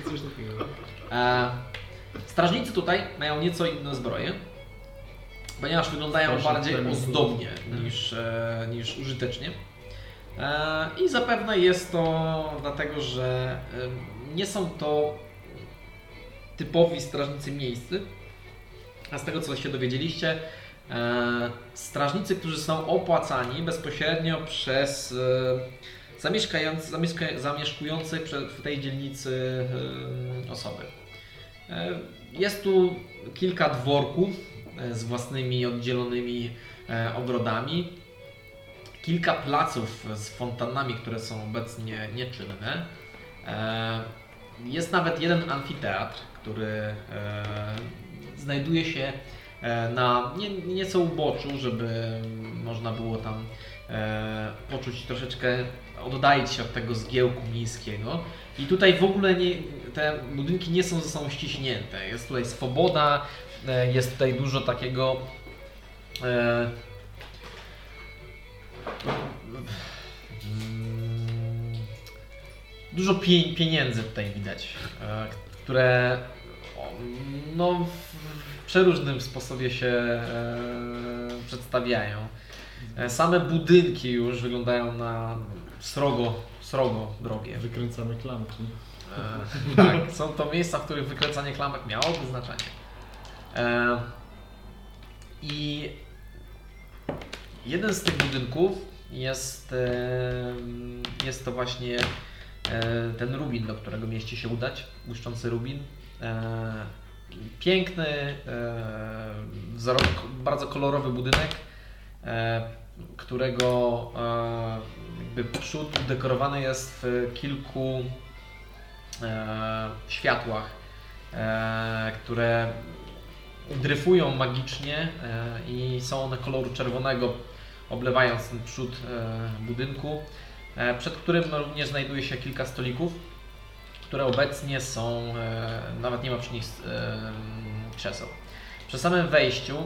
Coś takiego. E, strażnicy tutaj mają nieco inne zbroje, ponieważ wyglądają Strażnik bardziej plemię ozdobnie niż, e, niż użytecznie. E, I zapewne jest to dlatego, że em, nie są to typowi strażnicy miejscy. A z tego co się dowiedzieliście, e, strażnicy, którzy są opłacani bezpośrednio przez e, zamieszkający, zamieszka, zamieszkujące prze- w tej dzielnicy e, osoby. E, Jest tu kilka dworków e, z własnymi oddzielonymi e, ogrodami, kilka placów z fontannami, które są obecnie nieczynne. E, Jest nawet jeden amfiteatr, który e, znajduje się e, e, na nie, nieco uboczu, żeby można było tam e, poczuć troszeczkę, oddalić się od tego zgiełku miejskiego. I tutaj w ogóle nie, te budynki nie są ze sobą ściśnięte. Jest tutaj swoboda, e, jest tutaj dużo takiego. E, mm, dużo pie, pieniędzy tutaj widać, e, które o, no, w- w przeróżnym sposobie się e, przedstawiają. E, Same budynki już wyglądają na srogo, srogo drogie. Wykręcamy klamki. E, tak, są to miejsca, w których wykręcanie klamek miałoby znaczenie. E, I jeden z tych budynków jest, e, jest to właśnie e, ten rubin, do którego mieści się udać, błyszczący rubin. E, piękny, e, wzorok, bardzo kolorowy budynek, e, którego e, jakby przód dekorowany jest w kilku e, światłach, e, które dryfują magicznie e, i są one koloru czerwonego, oblewając ten przód e, budynku, e, przed którym również znajduje się kilka stolików, które obecnie są, e, nawet nie ma przy nich e, krzeseł. Przy samym wejściu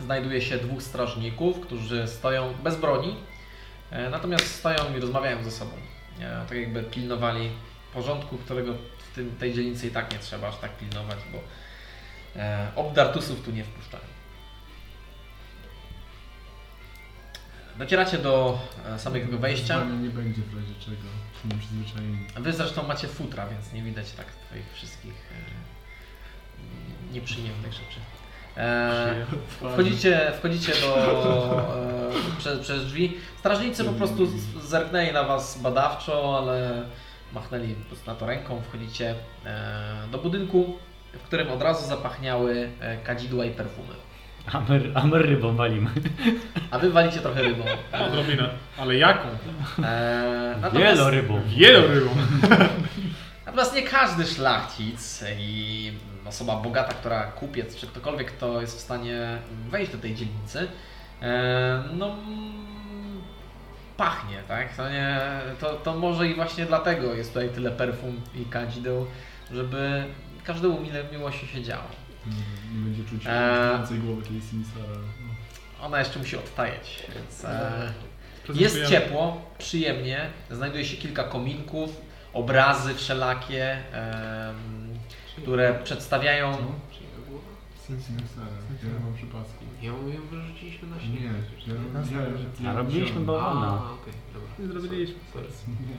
znajduje się dwóch strażników, którzy stoją bez broni, e, natomiast stoją i rozmawiają ze sobą. E, tak jakby pilnowali porządku, którego w tym, tej dzielnicy i tak nie trzeba aż tak pilnować, bo e, obdartusów tu nie wpuszczają. Docieracie do e, samego wejścia. Zwalnia nie będzie w razie czego. Jestem przyzwyczajeni. A Wy zresztą macie futra, więc nie widać tak Twoich wszystkich e, nieprzyjemnych rzeczy. E, wchodzicie, wchodzicie do, e, przez, przez drzwi. Strażnicy po prostu z- zerknęli na Was badawczo, ale machnęli po prostu na to ręką. Wchodzicie e, do budynku, w którym od razu zapachniały e, kadzidła i perfumy. A my, a my rybą walimy. A Wy walicie trochę rybą. Odrobinę. Ale jaką? E, natomiast- Wielorybą. Wielorybą. Natomiast nie każdy szlachcic i osoba bogata, która kupiec czy ktokolwiek, kto jest w stanie wejść do tej dzielnicy, e, no mm, pachnie, tak? To, nie, to, to może i właśnie dlatego jest tutaj tyle perfum i kadzideł, żeby każdemu mile miło się siedziało. Nie- Nie będzie czuć Eee. więcej głowy tej Sinisara. Ona jeszcze musi odtajeć, więc... E, Prezentujemy. Jest ciepło, przyjemnie, znajduje się kilka kominków, obrazy wszelakie, em, które przedstawiają... Czy ja było? Sinisara. Ja mam przypaski. Ja mówię, wyrzuciliśmy na Nie, śnieg. ja, ja, ja, A robiliśmy A, bałwana. okej, Nie dobra. zrobiliśmy. Sorry. [LAUGHS]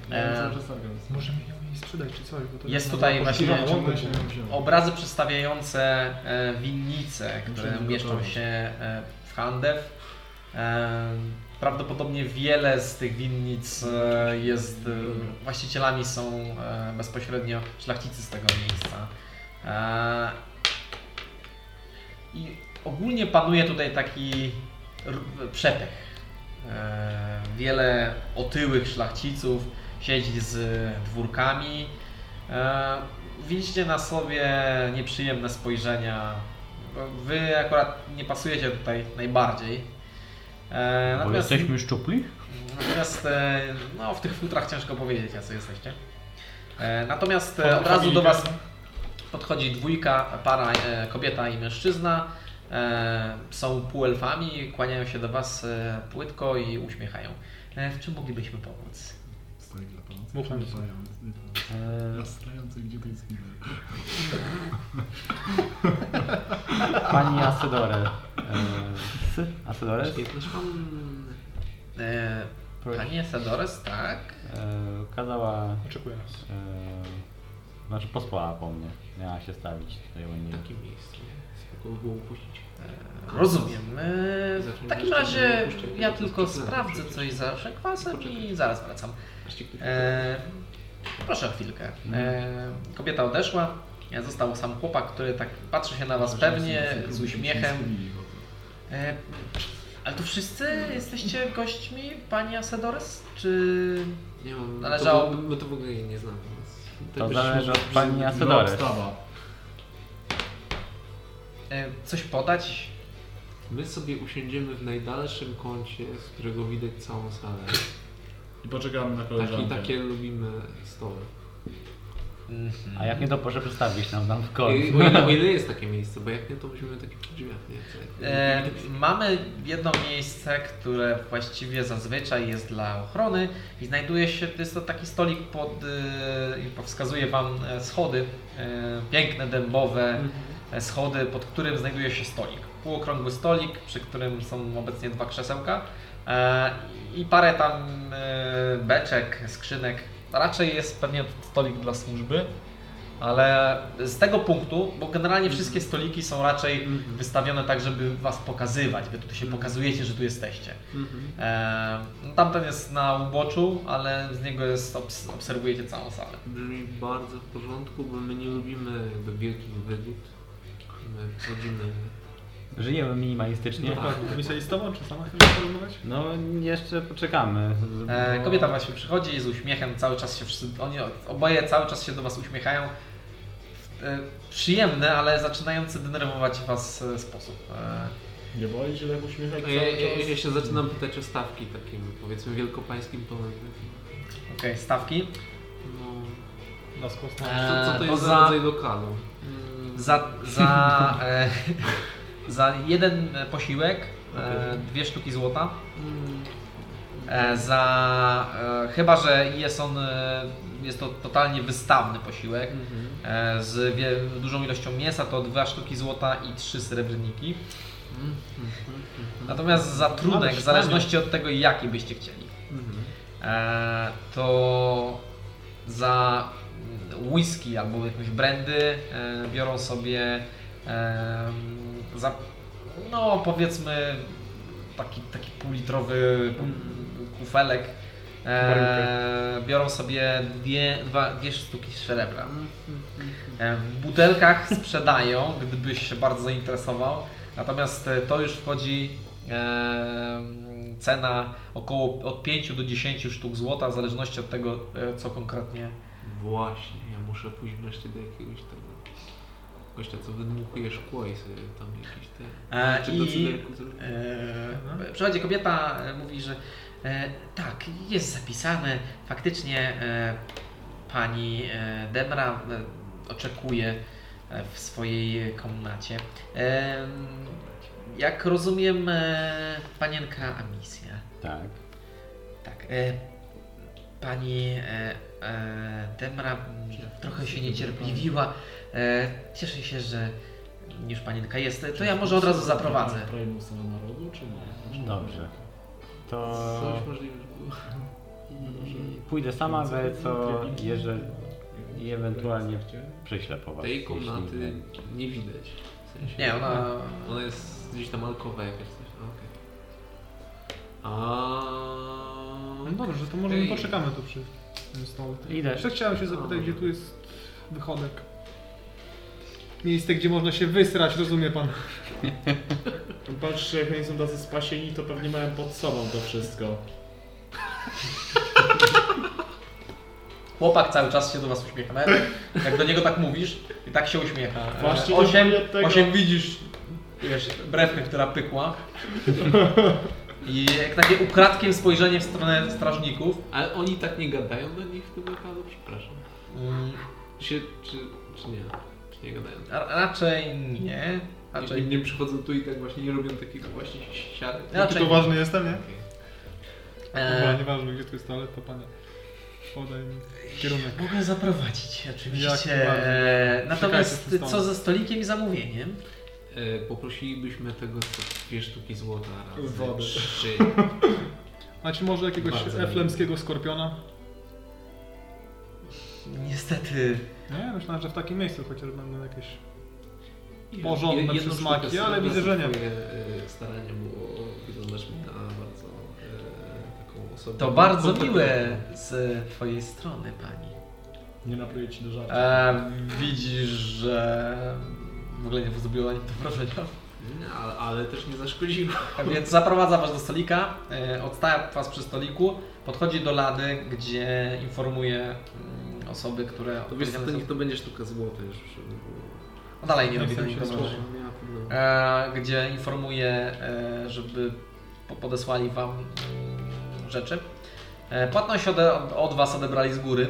Ja Eee. cały czas targam. Możemy ją jej sprzedać czy coś, bo to Jest tutaj właśnie Siwa ciągle się nie wziął. obrazy przedstawiające e, winnice, które Muszę mieszczą przygotować. się e, w Handew. Em, Prawdopodobnie wiele z tych winnic e, jest, e, właścicielami są e, bezpośrednio szlachcicy z tego miejsca. E, I ogólnie panuje tutaj taki r- przepych. E, Wiele otyłych szlachciców siedzi z dwórkami. E, Widzicie na sobie nieprzyjemne spojrzenia. E, Wy akurat nie pasujecie tutaj najbardziej. E, Bo Natomiast, jesteśmy szczupli? natomiast e, no, w tych futrach ciężko powiedzieć, jacy jesteście. E, Natomiast e, od razu do Was podchodzi dwójka, para, e, kobieta i mężczyzna. E, są półelfami, kłaniają się do Was e, płytko i uśmiechają. E, w czym moglibyśmy pomóc? Stoi dla pana. Mówmy. Eee, Zastający, gdzie to jest winner. pani Asedore. Eee, Asedore? Świetny szpan. E, Panie Sedores, tak. Eee, kazała Oczekuje nas. Eee, znaczy posłała po mnie. Miała się stawić tutaj u niej. Takie miejsce, nie? Spoko było upuścić. Rozumiem. E, W takim razie ja tylko sprawdzę coś za kwasem i zaraz wracam. Właściwie ktoś- E, proszę o chwilkę. E, kobieta odeszła, e, został sam chłopak, który tak patrzy się na was pewnie, z uśmiechem. E, ale to wszyscy jesteście gośćmi pani Asedores? Czy... Nie mam. Należało- to w- My to w ogóle jej nie znamy. więc- To byś zależy może- od pani Dobra Asedore. obstawa. E, Coś podać? My sobie usiądziemy w najdalszym kącie, z którego widać całą salę. I poczekamy na Taki, koleżankę. takie lubimy stoły. Mhm. A jak nie to proszę przedstawić nam tam w I, o, końcu. ile, o ile jest takie miejsce, bo jak nie, to byśmy takie przy drzwiach, nie? Tak. E, mamy jedno miejsce, które właściwie zazwyczaj jest dla ochrony i znajduje się, to jest to taki stolik pod, e, i wskazuje Wam e, schody, e, piękne, dębowe e, schody, pod którym znajduje się stolik. Półokrągły stolik, przy którym są obecnie dwa krzesełka e, i parę tam e, beczek, skrzynek. Raczej jest pewnie stolik dla służby. Ale z tego punktu, bo generalnie wszystkie stoliki są raczej wystawione tak, żeby was pokazywać. Wy tu się pokazujecie, że tu jesteście. E, no tamten jest na uboczu, ale z niego jest, obs obserwujecie całą salę. Brzmi bardzo w porządku, bo my nie lubimy jakby wielkich wygód. My wchodzimy. Żyjemy minimalistycznie. Dokładnie. Komisaristową czy sama chcesz porozmawiać? No jeszcze poczekamy. E, bo- kobieta właśnie przychodzi z uśmiechem, cały czas się wszyscy, oni oboje cały czas się do was uśmiechają. E, przyjemny, ale zaczynający denerwować was e, sposób. E, Nie boi się tak uśmiechać A Ja, cały ja, czas? ja się zaczynam pytać o stawki takim, powiedzmy, wielkopańskim tonem. Okej, stawki. No, Na skostę. co, co to E, jest za poza- Mm, rodzaj lokalu? Mm, Za, za, e, za jeden posiłek, e, dwie sztuki złota. mm, E, za, e, chyba, że jest on, e, jest to totalnie wystawny posiłek e, z wie, dużą ilością mięsa, to dwa sztuki złota i trzy srebrniki. Natomiast za trunek, w zależności od tego jaki byście chcieli, Mhm. e, to za whisky albo jakąś brandy e, biorą sobie e, za, no powiedzmy taki, taki półlitrowy kufelek e, biorą sobie dwie, dwa, dwie sztuki srebra. E, w butelkach sprzedają, gdybyś się bardzo zainteresował, natomiast e, to już wchodzi e, cena około od 5 do 10 sztuk złota, w zależności od tego, e, co konkretnie Właśnie, ja muszę pójść wreszcie do jakiegoś tego gościa, co wydmuchuje szkło i sobie tam jakiś te... E, Czy do I cyberku zrobić? e, przychodzi kobieta, e, mówi, że e, tak, jest zapisane, faktycznie e, pani e, Demra e, oczekuje e, w swojej komnacie. E, jak rozumiem, e, panienka Amisja. Tak. Tak. E, pani e, e, Demra mm, trochę się niecierpliwiła. E, cieszę się, że już panienka jest. To ja może od razu zaprowadzę. Primusa narodu, czy nie? Znaczy, Czy- Dobrze. To Coś możliwe, że było. pójdę sama, ale co jeżeli i ewentualnie przyślę po was. Tej jeśli- komnaty nie widać. W sensie, Nie, ona. Ona jest gdzieś tam alkowa jakaś coś. no, Okej. No A... dobrze, to może my Ej. No. poczekamy tu przy tym stole. Idę. Jeszcze chciałem się zapytać, gdzie tu jest wychodek. Miejsce, gdzie można się wysrać, rozumie pan. Patrzcie, jak oni są tacy spasieni, to pewnie mają pod sobą to wszystko. Chłopak cały czas się do was uśmiecha. Nawet jak do niego tak mówisz, i tak się uśmiecha. E, Właśnie osiem, od tego- osiem widzisz, wiesz, brewkę, która pykła. I jak takie ukradkiem spojrzenie w stronę strażników. Ale oni tak nie gadają do nich w tym lokalu? Przepraszam. Mm, Czy, się- czy, czy nie? Czy nie gadają? ra- raczej nie. Raczej Raczej nie przychodzą tu i tak właśnie nie robią takiego właśnie siary. Jaki Raczej- to ważny jestem, nie? Okej. Dobra, E, nieważne, gdzie tu jest toalet, to panie. Podaj mi kierunek. Mogę zaprowadzić, Jak oczywiście. najbardziej. E, natomiast Czekajcie przy co stole. ze stolikiem i zamówieniem? E, Poprosilibyśmy tego co dwie sztuki złota razy Wody. trzy. Macie może jakiegoś Bardzo eflemskiego skorpiona? Niestety. Nie, myślałem, że w takim miejscu chociaż będą jakieś... I Porządne jedną sztukę przysmaki, ale srebra widzę, za że nie. Twoje e, staranie było, wyglądasz mi na bardzo e, taką osobę. To bardzo kompetentną. miłe z twojej strony, pani. Nie napluję ci do żarcia. E, widzisz, że w ogóle nie zrobiło ani to wrażenia. Nie, ale, ale też nie zaszkodziło. Więc zaprowadza was do stolika, e, odstawia was przy stoliku, podchodzi do lady, gdzie informuje mm, osoby, które To wiesz, odpowiedzialne to są. niech to będzie sztuka złota już. żeby było. No dalej nie Nie robi chcę to się nikomu. rozpoznać. Ja tu No. e, gdzie informuje, e, żeby po- podesłali Wam mm, rzeczy. E, Płatność ode, od Was odebrali z góry.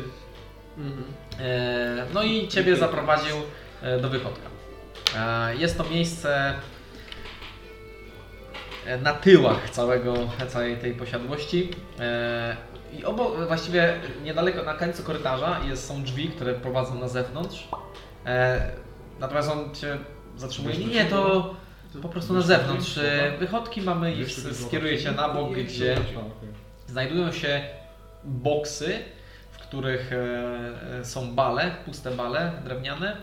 Mhm. E, No i Ciebie zaprowadził e, do wychodka. E, Jest to miejsce e, na tyłach całego, całej tej posiadłości. E, I obok, właściwie niedaleko na końcu korytarza jest, są drzwi, które prowadzą na zewnątrz. E, Natomiast on Cię zatrzymuje. Nie, nie, to po prostu na zewnątrz. E, Wychodki mamy i s- skieruje się na bok, gdzie znajdują się boksy, w których e, e, są bale, puste bale drewniane,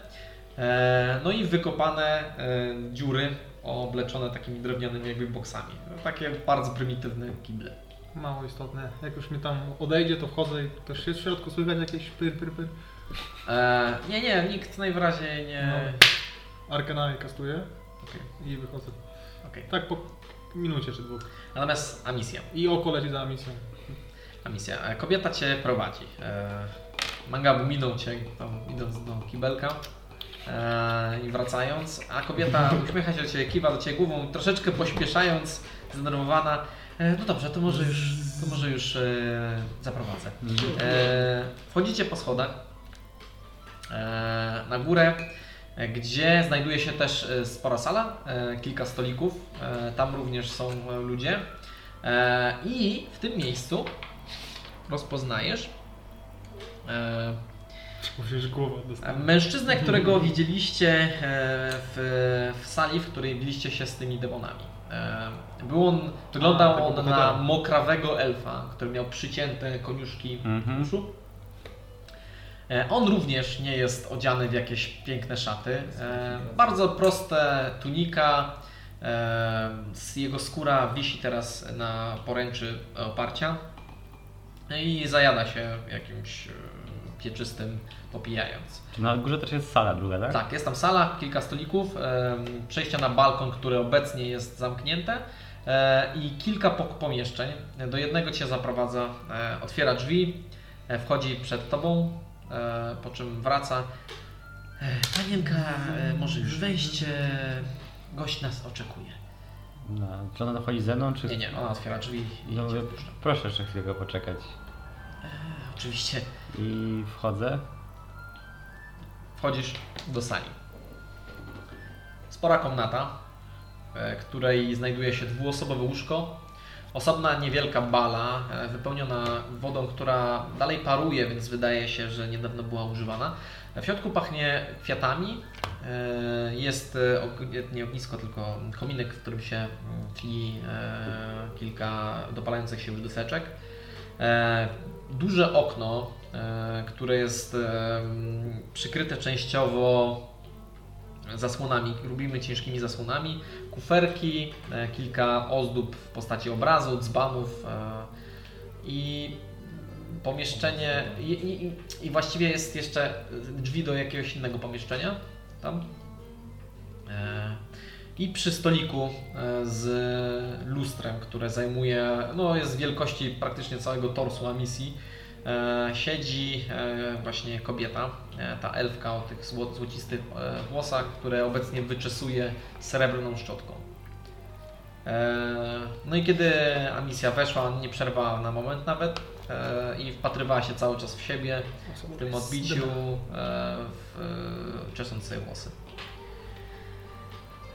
e, no i wykopane e, dziury obleczone takimi drewnianymi jakby boksami. No, takie bardzo prymitywne kible. Mało istotne. Jak już mi tam odejdzie, to wchodzę i też jest w środku słychać jakieś pyr, pyr, pyr. E, nie, nie, nikt najwyraźniej nie... No. Arkenami kastuję Eee. Okej. i wychodzę. Okej. Tak po minucie czy dwóch. Natomiast Amisja. I oko leci za misją. Amisja, e, kobieta Cię prowadzi. E, Mangabu minął Cię tam idąc do kibelka e, i wracając, a kobieta uśmiecha się do Ciebie, kiwa do Ciebie głową, troszeczkę pośpieszając, zdenerwowana. E, no dobrze, to może już, to może już e, zaprowadzę. E, wchodzicie po schodach e, na górę, e, gdzie znajduje się też e, spora sala, e, kilka stolików, e, tam również są e, ludzie. E, I w tym miejscu rozpoznajesz e, Musisz głowę dostać. mężczyznę, [LAUGHS] którego widzieliście e, w, w sali, w której biliście się z tymi demonami. E, Był on, A, tego wyglądał on na bohatera. mokrawego elfa, który miał przycięte koniuszki Mhm. uszu. E, On również nie jest odziany w jakieś piękne szaty. E, Bardzo proste tunika. e, z- Jego skóra wisi teraz na poręczy oparcia No i zajada się jakimś e, pieczystym, popijając. Czy na górze też jest sala druga, tak? Tak, jest tam sala, kilka stolików, em, przejścia na balkon, które obecnie jest zamknięte e, i kilka pok- pomieszczeń. Do jednego Cię zaprowadza, e, otwiera drzwi, e, wchodzi przed Tobą, e, po czym wraca. E, Panienka, e, może już wejść, e, gość nas oczekuje. No, czy ona dochodzi ze mną, czy... no, Nie, nie, ona otwiera drzwi i Ja Cię mówię, wpuszcza. proszę jeszcze chwilę poczekać. E, Oczywiście I wchodzę. Wchodzisz do sali. Spora komnata, e, której znajduje się dwuosobowe łóżko, osobna niewielka bala, e, wypełniona wodą, która dalej paruje, więc wydaje się, że niedawno była używana. E, W środku pachnie kwiatami. e, Jest e, og- nie ognisko, tylko kominek, w którym się mm, tli e, kilka dopalających się już dyseczek. E, duże okno, e, które jest e, m, przykryte częściowo zasłonami, lubimy ciężkimi zasłonami, kuferki, e, kilka ozdób w postaci obrazu, dzbanów e, i pomieszczenie i, i, i- i właściwie jest jeszcze drzwi do jakiegoś innego pomieszczenia tam e, i przy stoliku e, z lustrem, które zajmuje, no jest wielkości praktycznie całego torsu Amisji, e, siedzi e, właśnie kobieta, e, ta elfka o tych zło, złocistych e, włosach, które obecnie wyczesuje srebrną szczotką. E, No i kiedy Amisja weszła, nie przerwała na moment nawet e, i wpatrywała się cały czas w siebie, w tym odbiciu, e, w e, czesąc sobie włosy.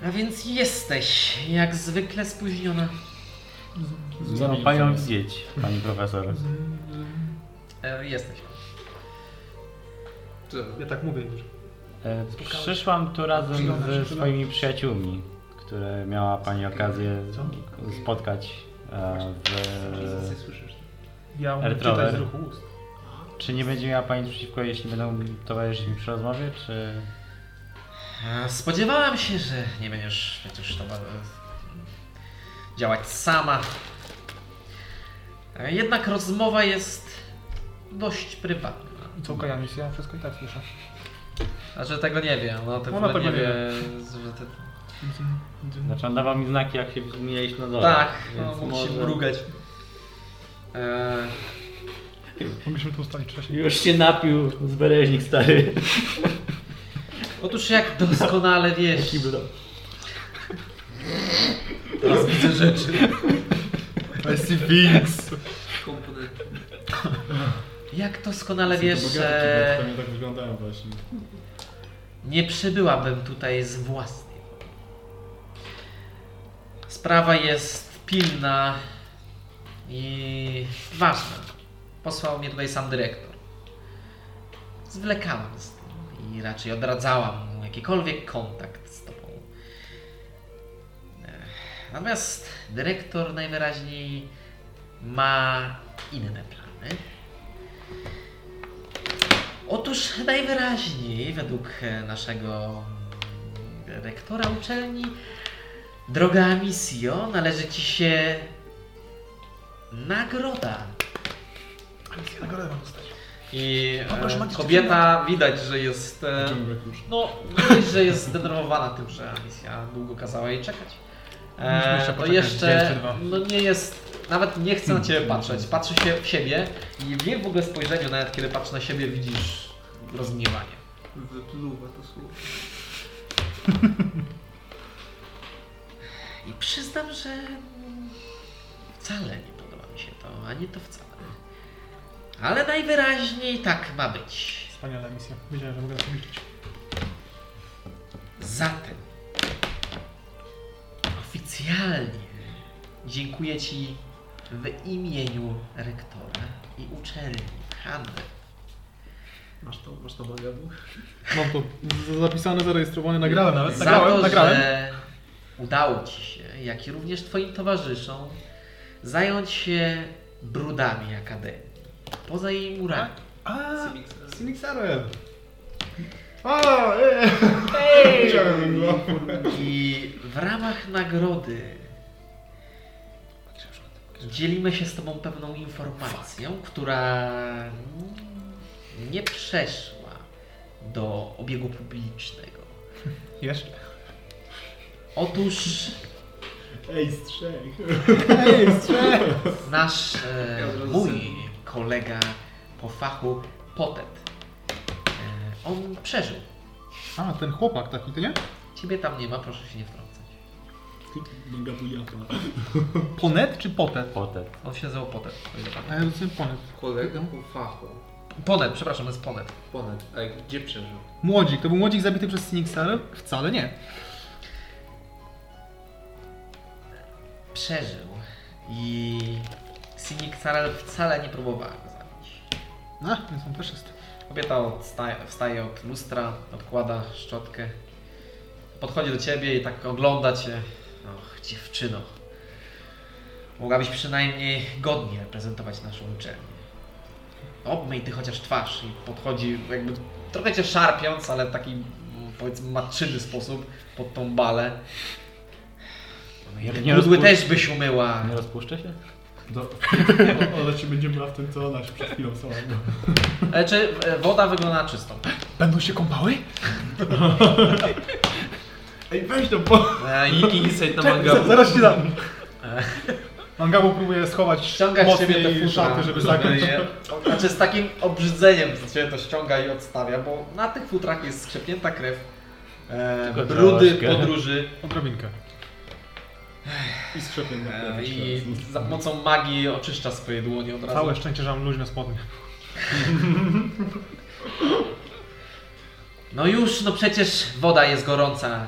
A więc jesteś, jak zwykle spóźniona. No, panią zjedź, pani profesor. E, jesteś. Co? Ja tak mówię już. E, Przyszłam tu razem ze swoimi przyjaciółmi, które miała pani okazję spotkać e, Jezus, w... nie słyszysz? tak? Ja umiem Ertrower. czytać z ruchu ust. Czy nie będzie miała pani przeciwko, jeśli będą towarzyszyć mi przy rozmowie, czy... E, Spodziewałam się, że nie będziesz przecież to, e, działać sama. E, Jednak rozmowa jest dość prywatna. Co okaja misja? Wszystko i tak słyszę. Znaczy tego nie wie, ona tego Ona nie, tego nie wie, że ty... Znaczy on dawał mi znaki, jak się mieliśmy na dole. Tak, no, więc mógł się mrugać. E, Mogliśmy tu ustalić wcześniej. Już się napił z bereźnik stary. Otóż jak doskonale wiesz, Kiblo. te rzeczy. SCPX. Komponenty. Jak doskonale Są to wiesz, bogate że kibetki, Pewnie tak wyglądają właśnie. nie przybyłabym tutaj z własnej woli. Sprawa jest pilna i ważna. Posłał mnie tutaj sam dyrektor. Zwlekałam z tym i raczej odradzałam mu jakikolwiek kontakt z tobą. Ech, Natomiast dyrektor najwyraźniej ma inne plany. Otóż najwyraźniej, według e, naszego mm, rektora uczelni, droga Amisjo, należy ci się nagroda. Nagrodę mam dostać. I Poproszę, e, No, macie kobieta widać, że jest. E, Ciągle kurz. no, widać, że jest zdenerwowana tym, że Amisja długo kazała jej czekać. E, Musimy jeszcze to poczekać dzień czy jeszcze dwa. Hmm. no nie jest. Nawet nie chce na ciebie patrzeć. Patrzy się w siebie i w jej w ogóle spojrzeniu, nawet kiedy patrzy na siebie, widzisz rozgniewanie. Wypluwa to słowo. I przyznam, że wcale nie podoba mi się to, ani to wcale. Ale najwyraźniej tak ma być. Wspaniała misja. Wiedziałem, że mogę na to liczyć. Zatem oficjalnie dziękuję Ci w imieniu rektora i uczelni Hanry. Masz to, masz to magabu? Mam to z- zapisane, zarejestrowane, nagrałem nawet. Za Nagrałem, to, nagrałem. że udało Ci się, jak i również Twoim towarzyszom, zająć się brudami Akademii. Poza jej murami. A, Cymiksa. Z Mixerem! A, eee! Widziałem go. I w ramach nagrody dzielimy się z Tobą pewną informacją, która nie przeszła do obiegu publicznego. jeszcze. Otóż Ej, strzech! nasz, e, Ja od razu mój sobie- kolega po fachu Potet, e, on przeżył. A, ten chłopak taki, ty nie? Ciebie tam nie ma, proszę się nie wtrącać. Mega bujaka. Ponet czy potet? Potem. On się nazywał Potet. o ile A pamiętam. ja dostałem ponet. Kolega po fachu. Ponet, przepraszam, jest Ponet. Ponad. A gdzie przeżył? Młodzik. To był młodzik zabity przez Snicksar? Wcale nie. przeżył i Sinik Sarel wcale nie próbowała go zabić. A, więc on też jest. Kobieta odstaje, wstaje od lustra, odkłada szczotkę, podchodzi do ciebie i tak ogląda cię. Och, dziewczyno. Mogłabyś przynajmniej godnie reprezentować naszą uczelnię. Obmyj ty chociaż twarz i podchodzi jakby trochę cię szarpiąc, ale w taki mm, powiedzmy matczyny sposób pod tą balę. No i Nie brudły rozpuszcz- też byś umyła. Nie rozpuszczę się? Do... [LAUGHS] no, Ona ci będzie brała w tym, co ona się przed chwilą sama. Ale czy e, woda wygląda na czystą? Będą się kąpały? Ej, weź to, bo... E, i- I insight na magabu. Zaraz ci dam. [LAUGHS] Mangabu próbuje schować Ściąga z ciebie te mocniej futra, szaty, żeby zakryć. je- Znaczy z takim obrzydzeniem z ciebie to ściąga i odstawia, bo na tych futrach jest skrzepnięta krew, e, Tylko brudy troszkę. podróży Odrobinkę. I skrzepię na e, pewno i teraz. za pomocą magii oczyszcza swoje dłonie od razu. Całe szczęście, że mam luźne spodnie. No już, no przecież woda jest gorąca.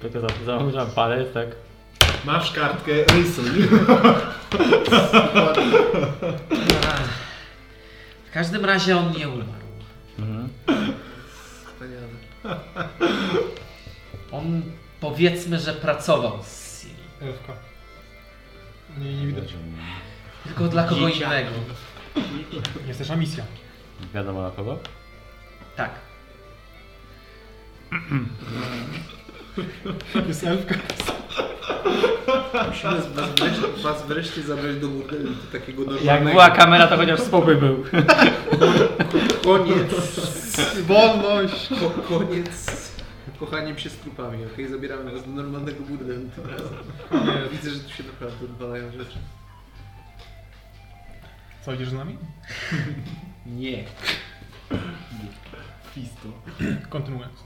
Tylko za- zamierzam palec, tak? Masz kartkę, rysuj. Ach. W każdym razie on nie umarł. Mhm. Wspaniale. On powiedzmy, że pracował z Siri. Ewka. Nie, nie widać. Tylko dla kogo Dzieciaki. innego. Jest też misja. Wiadomo na kogo? Tak. Jest elfka. Musimy z- was wreszcie, was wreszcie zabrać do burdelu, do takiego Jak normalnego. była kamera, to chociaż spokój był. Koniec. Wolność! Ko koniec. Kochaniem się z trupami, okej? Zabieramy was do normalnego burdelu tym razem. Widzę, że tu się naprawdę odwalają rzeczy. Co, idziesz z nami? Nie. Fisto. Kontynuując.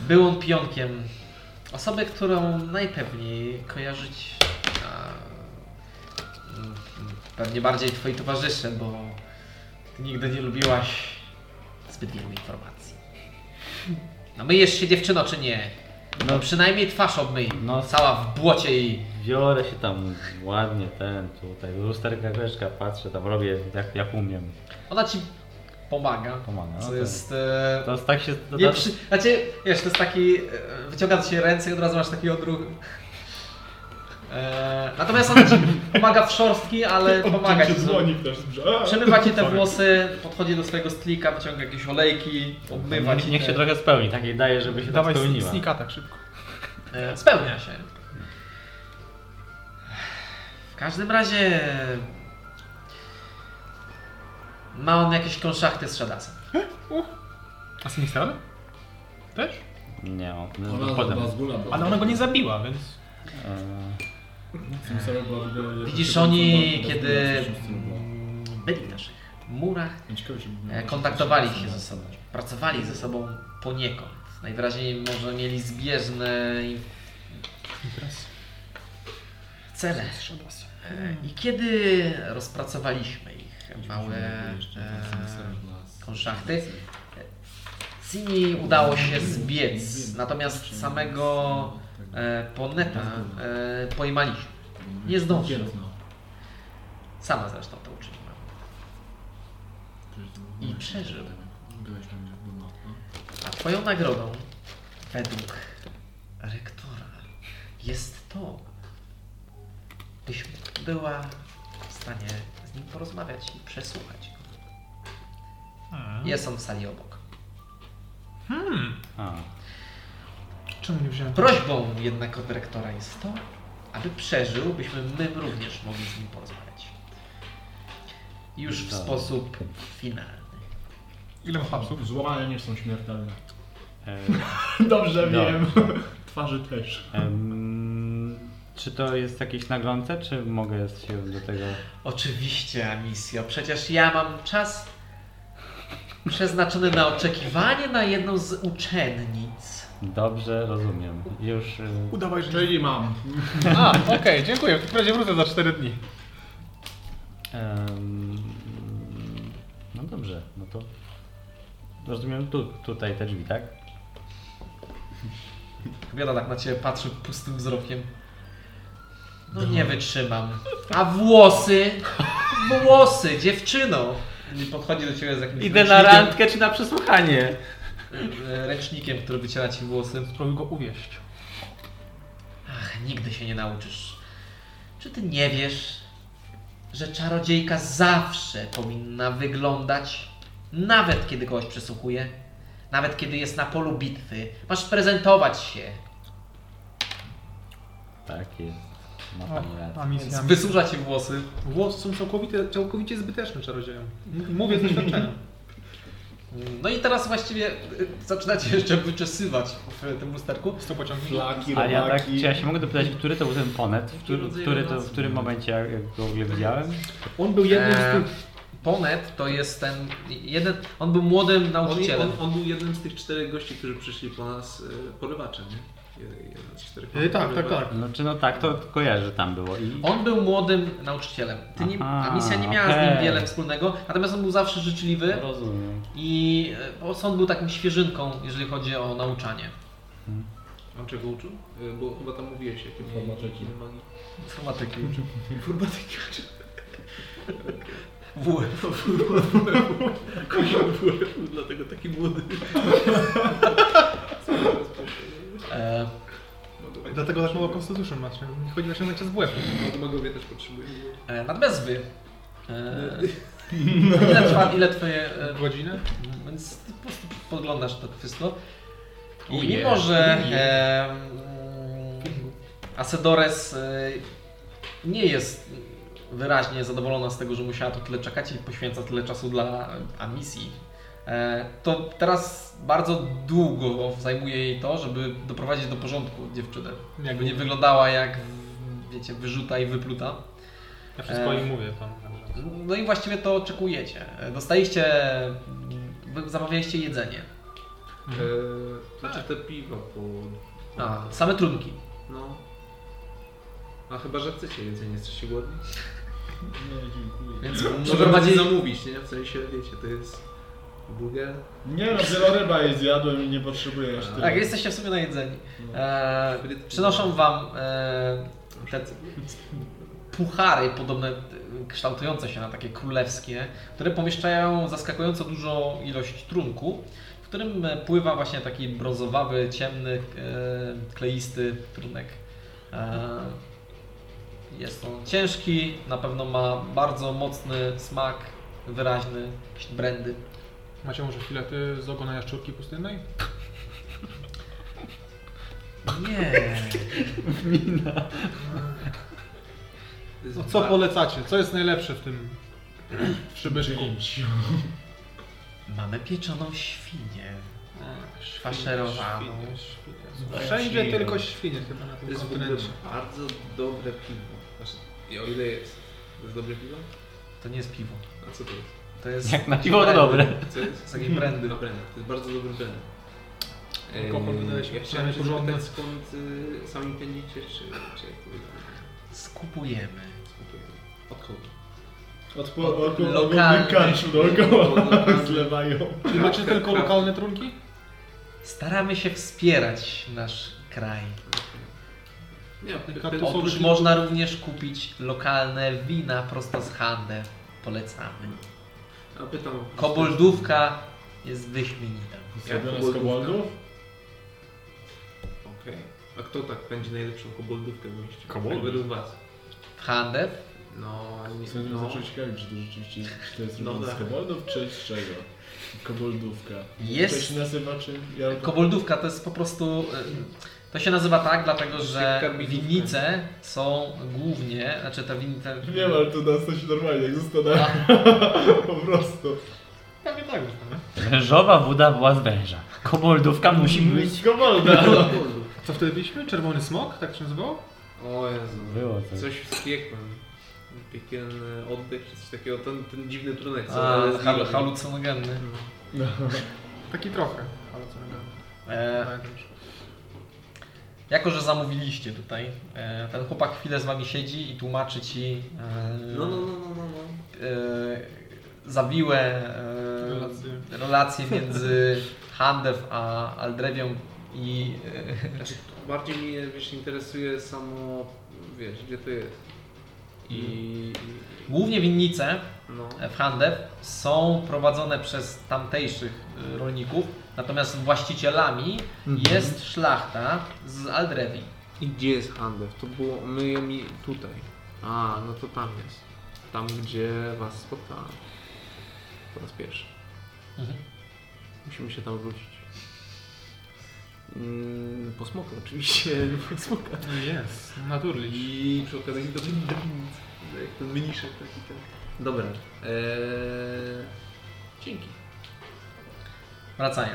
Był on pionkiem. Osobę, którą najpewniej kojarzyć a, mm, pewnie bardziej twoi towarzysze, bo ty nigdy nie lubiłaś zbyt wielu informacji. No myjesz się dziewczyno, czy nie? No, No. przynajmniej twarz obmyj. No. Cała w błocie i... Biorę się tam ładnie ten, tutaj, do lusterka greczka patrzę, tam robię jak, jak umiem. Ona ci pomaga. Pomaga, no Co tak. jest... E... To jest tak się... To, Nie to, przy... Znaczy, wiesz, to jest taki... e, Wyciąga ci się ręce i od razu masz taki odruch. E, natomiast [LAUGHS] ona ci pomaga w szorstki, ale pomaga ci. Odcięcie dłoni też brzmi. Przemywa ci te włosy, podchodzi do swojego stlika, wyciąga jakieś olejki, obmywa niech, ci niech te- się trochę spełni, tak jej daje, żeby się Dawaj tak spełniła. snika tak szybko. E, Spełnia się. W każdym razie... Ma on jakieś konszachty z Shadasem. A Sinistrada? Też? Nie, on No, Ona potem. była z góla. Ale ona go nie zabiła, więc... e, Simsera była w ogóle... Widzisz, znaczy, jakaś oni tam kiedy była, coś tam była. mm, byli w naszych murach, No ciekawe się E, kontaktowali się ze sobą, pracowali ze sobą poniekąd. Najwyraźniej może mieli zbieżne i- cele. E, I kiedy rozpracowaliśmy ich małe e, konszachty, Sini udało się zbiec, natomiast samego e, Poneta e, pojmaliśmy. nie zdążył. Sama zresztą to uczyniła. I przeżył. no, A twoją nagrodą, według rektora, jest to, byś była w stanie z nim porozmawiać i przesłuchać go. Jest on w sali obok. a, hmm. Czemu nie wziąłem? Prośbą jednak od rektora jest to, aby przeżył, byśmy my również mogli z nim porozmawiać. Już w Dobra. sposób finalny. Ile ma hapsów? Złamania nie są śmiertelne. [LAUGHS] e, Dobrze No. wiem. Twarzy też. em, czy to jest jakieś naglące, czy mogę się do tego... Oczywiście, Amisjo, przecież ja mam czas przeznaczony na oczekiwanie na jedną z uczennic. Dobrze, rozumiem. Już... e, Udawaj, że... Czyli mam. A, okej, dziękuję. W takim razie wrócę za 4 dni. Em, no dobrze, no to rozumiem tu, tutaj te drzwi, tak? Kobieta tak na ciebie patrzy pustym wzrokiem. No nie wytrzymam. A włosy? Włosy, dziewczyno! I podchodzi do ciebie z jakimś Idę na ręcznikiem, randkę czy na przesłuchanie? e, ręcznikiem, który wyciera ci włosy. Spróbuj go uwieść. Ach, nigdy się nie nauczysz. Czy ty nie wiesz, że czarodziejka zawsze powinna wyglądać, nawet kiedy kogoś przesłuchuje, nawet kiedy jest na polu bitwy, masz prezentować się, Tak jest. Ma O, pani rację. a misja. wysusza ci włosy. Włosy są całkowite, całkowicie zbyteczne czarodziejom. M- Mówię z doświadczenia. No i teraz właściwie y, zaczynacie jeszcze wyczesywać w tym lusterku. Z to pociągnie. Flaki, Ale ja tak, czy robaki. ja się mogę dopytać, który to był ten ponet? W, który, który to, w którym momencie ja go w ogóle widziałem? On był jednym z Eee, tych... Ponet to jest ten jeden, on był młodym On, nauczycielem. on, on był jednym z tych czterech gości, którzy przyszli po nas e, porywacze, nie? Jeden- Jeden z czterech E, tak, tak, tak. No czy no tak, to kojarzę, że tam było. I On był młodym nauczycielem. Ty nie, Aha, a misja nie miała z nim okej. wiele wspólnego, natomiast on był zawsze życzliwy rozumiem. i e, bo on był takim świeżynką, jeżeli chodzi o nauczanie. A czego uczył? E, Bo chyba tam mówiłeś, jakie Informatyki. inne magii. Informatyki. Informatyki uczył. WF. Kozioł był, dlatego taki młody. No, E, Dlatego też mowa Constitution masz. Nie chodzi na ściągnięcie z błędu. Magowie też potrzebują. e, natomiast wy. E, ile, trwa, ile twoje. E, Godzinę? więc ty po prostu podglądasz to wszystko. I Ujej. mimo, że e, mm, Asedores e, nie jest wyraźnie zadowolona z tego, że musiała tu tyle czekać i poświęca tyle czasu dla a, misji, e, to teraz bardzo długo zajmuje jej to, żeby doprowadzić do porządku dziewczynę. Jakby nie wyglądała jak, wiecie, wyrzuta i wypluta. Ja wszystko E. im mówię tam. No i właściwie to oczekujecie. Dostaliście, wy zamawialiście jedzenie. Mhm. To czy znaczy te piwa po... A, Tak. same trunki. No. A chyba, że chcecie więcej, nie jesteście głodni? Nie, dziękuję. Więc Może bardziej przeprowadzili, zamówić, nie? W sensie, wiecie, to jest burger. Nie no, wieloryba jej zjadłem i nie potrzebuję aż tyle. tak, jesteście w sumie najedzeni. No. E, przynoszą wam e, te c- puchary podobne, e, kształtujące się na takie królewskie, które pomieszczają zaskakująco dużą ilość trunku, w którym e, pływa właśnie taki brązowawy, ciemny, e, kleisty trunek. E, jest on ciężki, na pewno ma bardzo mocny smak, wyraźny, jakiś brandy. Macie może filety z ogona jaszczurki pustynnej? Nie. No, co tak. polecacie? Co jest najlepsze w tym przybyszku? Mamy pieczoną świnię. e, Faszerowaną. Faszerowaną. Wszędzie tylko świnie chyba na To tym jest w ogóle kontynencie. bardzo dobre piwo. Znaczy, i o ile jest? To jest dobre piwo? To nie jest piwo. A co to jest? To jest. Jak na piwo to dobre. Co jest? Takie brandy. No brandy. To jest bardzo dobry brandy. Alkohol wydaje się ja chciałem się porządny. zapytać, skąd y, sami pędzicie, czy, czy jak to wygląda? Skupujemy. Skupujemy. Od kogo? Od po, od po Lokalny. lokalnym kanczu [LAUGHS] dookoła Lokalny. zlewają. Czy macie tylko lokalne trunki? Staramy się wspierać nasz kraj. Nie, pe- Kartofle. pe- Otóż można również kupić lokalne wina prosto z handel. Polecamy. a pytam. Koboldówka jest wyśmienita. Zrobione z koboldów? Okej. A kto tak będzie najlepszą koboldówkę w mieście? Kobold? Tak Według was. W handel? No, nie, Chcę no. no. zacząć ciekawić, czy to rzeczywiście czy to jest No zrobione tak. z koboldów, czy z czego? Koboldówka. To Jest. się nazywa czy... Ja... Koboldówka to jest po prostu. y, To się nazywa tak, dlatego że Karbidówka. winnice są głównie, znaczy te winnice. Wiem, ale to nas to się normalnie jak zastanawia. [LAUGHS] po prostu. Pewnie tak, że tak. Wężowa woda była z węża. Koboldówka musi być. Z kobolda. Koboldów. Co wtedy byliśmy? Czerwony smok? Tak się nazywało? O Jezu. Było coś. Coś z piekłem. Piekielny oddech czy coś takiego. Ten, ten dziwny trunek, co A, ale z hal- Lilą. halucynogenny. Taki trochę. Ale co nie E, gadam. Jako, że zamówiliście tutaj, e, ten chłopak chwilę z wami siedzi i tłumaczy ci e, No, no, no, no, no. no. e, zawiłe e, Relacje. relacje między Handew a Aldrewią i e, Znaczy, bardziej mnie wiesz, interesuje samo, wiesz, gdzie to jest. I, i głównie winnice no. w Handew są prowadzone przez tamtejszych e, rolników, natomiast właścicielami jest szlachta z Aldrewi. I gdzie jest Handew? To było myje mi tutaj. A, no to tam jest. Tam, gdzie was spotkałem. Po raz pierwszy. Mhm. Musimy się tam wrócić. Mm, po smoku oczywiście, [LAUGHS] po smoka. No Jest, naturlisz. I przy okazji do winnicy. Jak ten mniszek taki tak. ten. Dobra. Eee, dzięki. Wracają.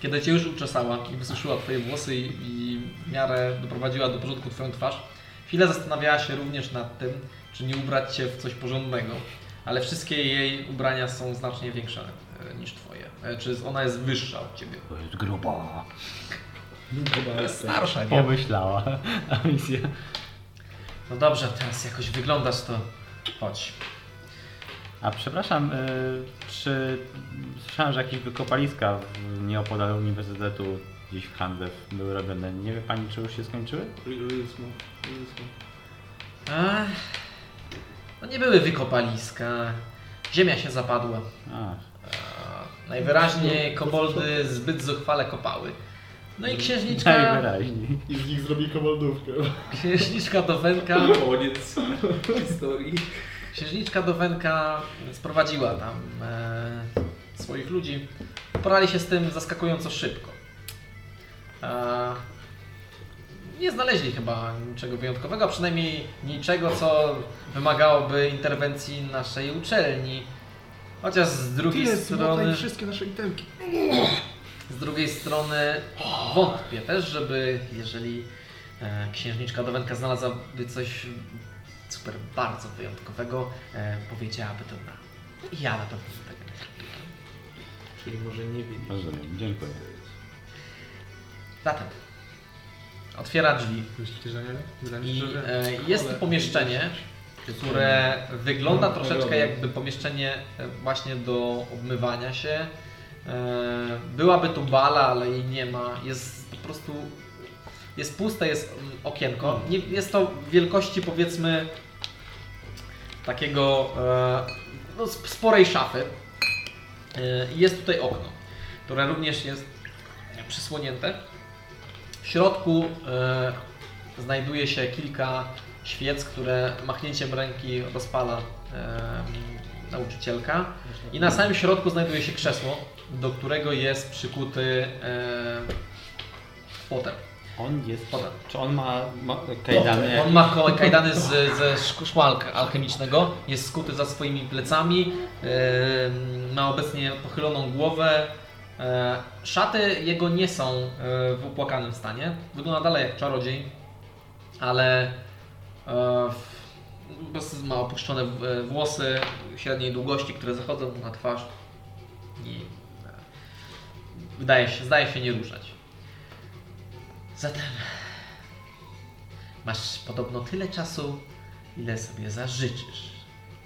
Kiedy cię już uczesała i wysuszyła twoje włosy i, i w miarę doprowadziła do porządku twoją twarz, chwilę zastanawiała się również nad tym, czy nie ubrać cię w coś porządnego, ale wszystkie jej ubrania są znacznie większe e, niż twoje. E, Czy z- ona jest wyższa od ciebie? To jest gruba. Chyba jest tak. Starsza, nie? Pomyślała. A misja. No dobrze, teraz jakoś wyglądasz, to chodź. A przepraszam, y, czy słyszałem, że jakieś wykopaliska w- nieopodal uniwersytetu gdzieś w Handew były robione. Nie wie pani, czy już się skończyły? Real smoke. Real smoke. Ach, no nie były wykopaliska, ziemia się zapadła. A, A, Najwyraźniej koboldy zbyt zuchwale kopały. No i księżniczka, najwyraźniej. I z nich zrobi koboldówkę. księżniczka do węka, Koniec [LAUGHS] historii. księżniczka do węka sprowadziła tam e, swoich ludzi. Porali się z tym zaskakująco szybko. E, nie znaleźli chyba niczego wyjątkowego, a przynajmniej niczego, co wymagałoby interwencji naszej uczelni. Chociaż z drugiej strony... wszystkie nasze itemki. Z drugiej strony wątpię też, żeby jeżeli e, księżniczka Dowenka znalazłaby coś super bardzo tak wyjątkowego, e, powiedziałaby to nam. Ja na pewno bym tego nie zrobił. Czyli może nie wiedzieć. Rozumiem, dziękuję. Zatem otwiera drzwi Myślicie, że nie? Wydaje mi i się, że e, nie. jest pomieszczenie, które wygląda troszeczkę jakby pomieszczenie e, właśnie do obmywania się. E, Byłaby tu bala, ale jej nie ma. Jest po prostu jest puste, jest mm, okienko. Nie, jest to wielkości powiedzmy takiego e, no, sp- sporej szafy. E, i Jest tutaj okno, które również jest przysłonięte. W środku e, znajduje się kilka świec, które machnięciem ręki rozpala em, nauczycielka. I na samym środku znajduje się krzesło, do którego jest przykuty e, potem. On jest. Potem. Czy on ma, ma kajdany? On ma ko- kajdany z, ze szk- szkłalka alchemicznego, jest skuty za swoimi plecami, em, ma obecnie pochyloną głowę. E, Szaty jego nie są e, w opłakanym stanie. Wygląda dalej jak czarodziej, ale e, w- po prostu ma opuszczone w- włosy średniej długości, które zachodzą na twarz i e, wydaje się, zdaje się nie ruszać. Zatem Masz podobno tyle czasu, ile sobie zażyczysz.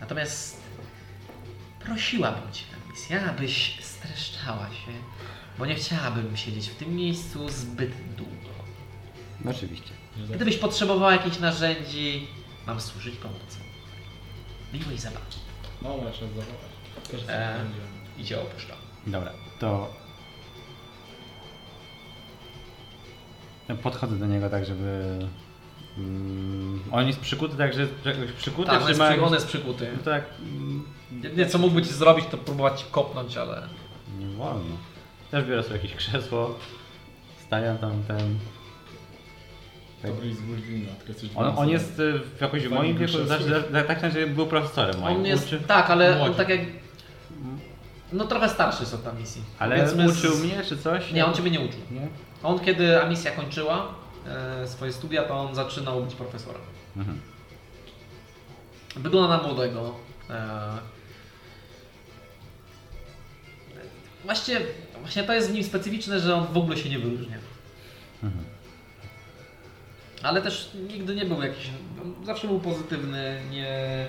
Natomiast prosiłabym Cię, misja, abyś streszczała się, bo nie chciałabym siedzieć w tym miejscu zbyt długo. No, Oczywiście. Gdybyś potrzebowała jakichś narzędzi, mam służyć pomocą. Miłej zabawy. No właśnie, zabawa. Też E. będzie. I Cię opuszczam. Dobra, to. Podchodzę do niego tak, żeby. Mm, on jest przykuty, tak, że. że jakoś Przykuty, Tak, on czy jest, ma przy, on jakieś- jest przykuty. No Tak. mm, Jedyne co mógłby Ci zrobić, to próbować Cię kopnąć, ale... Nie wolno. Też biorę sobie jakieś krzesło. Staję tam ten. To byli z Gulwina, tylko jesteś tak. On, on wąsem. jest y, w- jakoś w Fajnie moim wieku, krzesło. znaczy, tak, tak znaczy był profesorem moim. On jest, Uczy, tak, ale on młodzi. tak jak... No trochę starszy jest od tam misji. ale Powiedzmy z- uczył mnie czy coś? Nie, on Ciebie nie uczył. Nie? On kiedy Amisja kończyła e, swoje studia, to on zaczynał być profesorem. Mhm. Wygląda na młodego. E, właśnie, właśnie to jest w nim specyficzne, że on w ogóle się nie wyróżnia. Mhm. Ale też nigdy nie był jakiś. on Zawsze był pozytywny, nie,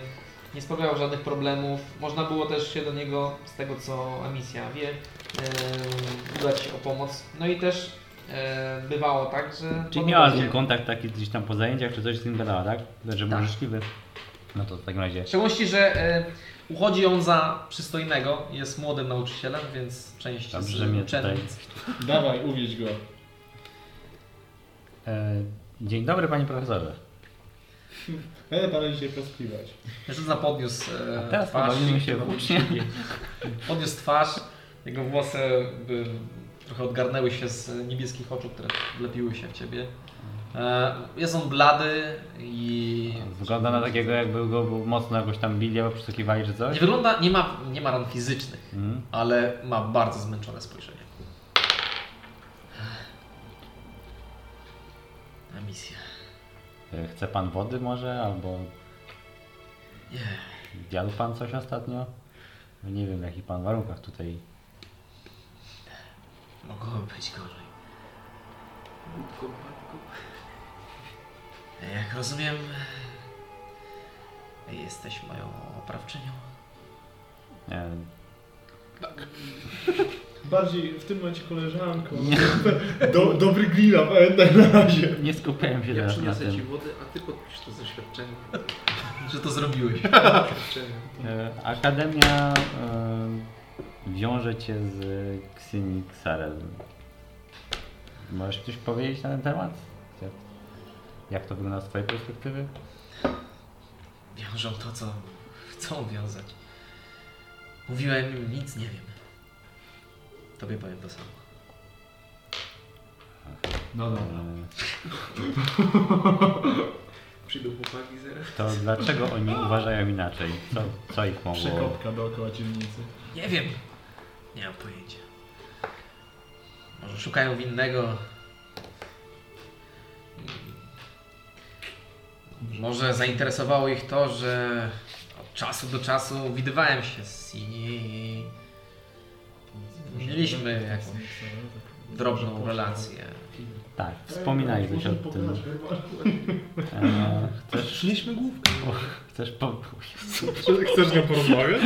nie sprawiał żadnych problemów. Można było też się do niego, z tego co Amisja wie, e, udać o pomoc. No i też e, bywało tak, że. Czyli podobał miała z się- nim kontakt taki gdzieś tam po zajęciach, czy coś z nim gadała, tak? Że był Tak. życzliwy. No to w takim razie W szczególności, że e, uchodzi on za przystojnego, jest młodym nauczycielem, więc część Dobrze z mnie uczennic. Dawaj, uwieź go. E, Dzień dobry panie profesorze. Będę pana dzisiaj prospiwać. Mężczyzna podniósł e, A teraz twarz. pobawimy się w ucznie. Podniósł twarz, jego włosy by trochę odgarnęły się z niebieskich oczu, które wlepiły się w ciebie. E, jest on blady i. Wygląda na takiego jakby go mocno jakoś tam bili albo przeszukiwali czy Nie coś. wygląda, nie ma, nie ma ran fizycznych, Mhm. ale ma bardzo zmęczone spojrzenie. Na misję. E, Chce pan wody może albo Nie. jadł pan coś ostatnio? No Nie wiem w jakich pan warunkach tutaj. Mogłoby być gorzej. Jak rozumiem, jesteś moją oprawczynią. E, Bardziej w tym momencie koleżanką. Do, dobry grilla, pamiętaj na razie. Nie skupiałem się Ja teraz na przyniosę ci tym. wody, a ty podpisz to zaświadczenie. Że to zrobiłeś. Zaświadczenie. E, Akademia e, wiąże cię z Xyni Xarel. Możesz coś powiedzieć na ten temat? Jak, jak to wygląda z twojej perspektywy? Wiążą to, co chcą wiązać. Mówiłem im, nic nie wiem. Tobie powiem to samo. No dobra. E, Przyjdą chłopaki zaraz. To dlaczego oni uważają inaczej? Co, co ich mogło? Przekopka dookoła dzielnicy. Nie wiem. Nie mam pojęcia. Może szukają winnego. Może zainteresowało ich to, że od czasu do czasu widywałem się z Sini i mieliśmy jakąś drobną relację. Tak, wspominajmy o tym. E, chcesz, Szliśmy główkę. chcesz po... Chcesz nam porozmawiać?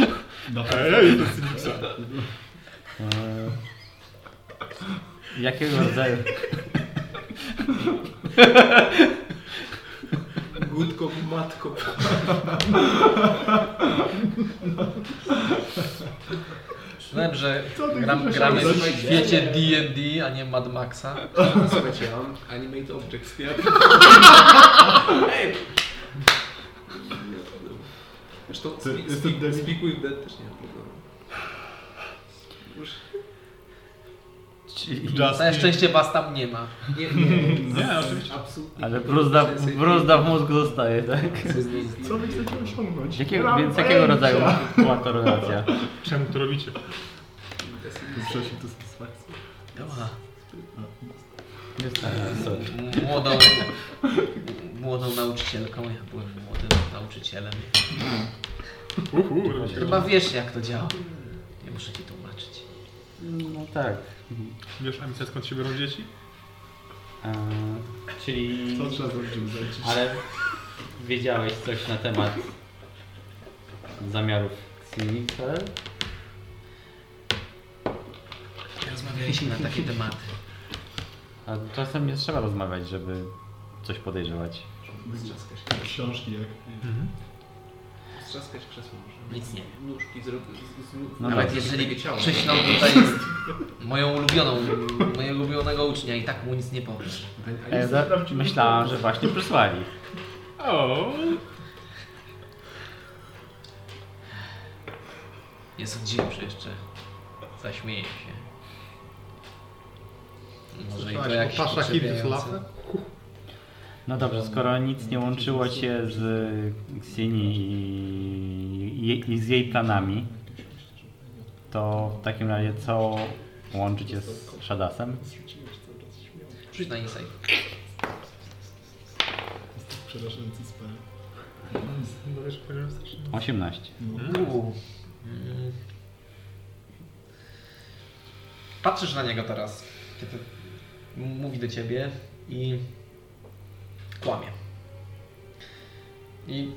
No tak. Ej, to jest cyniczne. E, jakiego rodzaju... Gutko, matko. [LAUGHS] Wiem, że ty gram, chcesz gramy w robić? świecie D&D, a nie Mad Maxa. Słuchajcie, ja mam animate objects, ja... [LAUGHS] Ej! Zresztą Ty- speak, jestem speak, debil. speak with Dead też nie ma problemu. Już... Na szczęście was tam nie ma. Nie, nie, [LAUGHS] Nie, oczywiście. absolutnie. Ale bruzda, [LAUGHS] bruzda w mózgu zostaje, tak? Co wy chcecie osiągnąć? Jakiego, więc jakiego rodzaju była to relacja? Czemu to robicie? Przeszli to satysfakcję. Dobra. Nie stałem, E, sorry. Młodą, młodą nauczycielką, ja byłem młodym nauczycielem. Uhu, robicie. Chyba wiesz jak to działa. Nie muszę ci tłumaczyć. No tak. Wiesz, Amicia, skąd się biorą dzieci? E, czyli... Co trzeba zrobić, żeby zaliczyć? Ale wiedziałeś coś na temat zamiarów Xenixel? Rozmawialiśmy na takie tematy. A czasem nie trzeba rozmawiać, żeby coś podejrzewać. Strzaskać, Książki jak... Mhm. strzaskać krzesło może. Nic nie wiem. Nóżki zrobić. No Nawet tak. jeżeli Krzyśno tutaj jest moją ulubioną, mojego ulubionego ucznia i tak mu nic nie powiem. E, za- myślałam, że właśnie przysłali. O, No Nie sądziłem, że jeszcze zaśmieje się. Może i to Słyszałeś o jakiś Pasza Hitler pokrzepiający. Laffer? No dobrze, skoro nic nie łączyło cię z Xini i, i, i z jej planami, to w takim razie co łączy cię z Shadasem? Rzuć na insight. Jest to przerażający spell. 18. Uuu. Mm. Patrzysz na niego teraz, kiedy m- mówi do ciebie i kłamie. I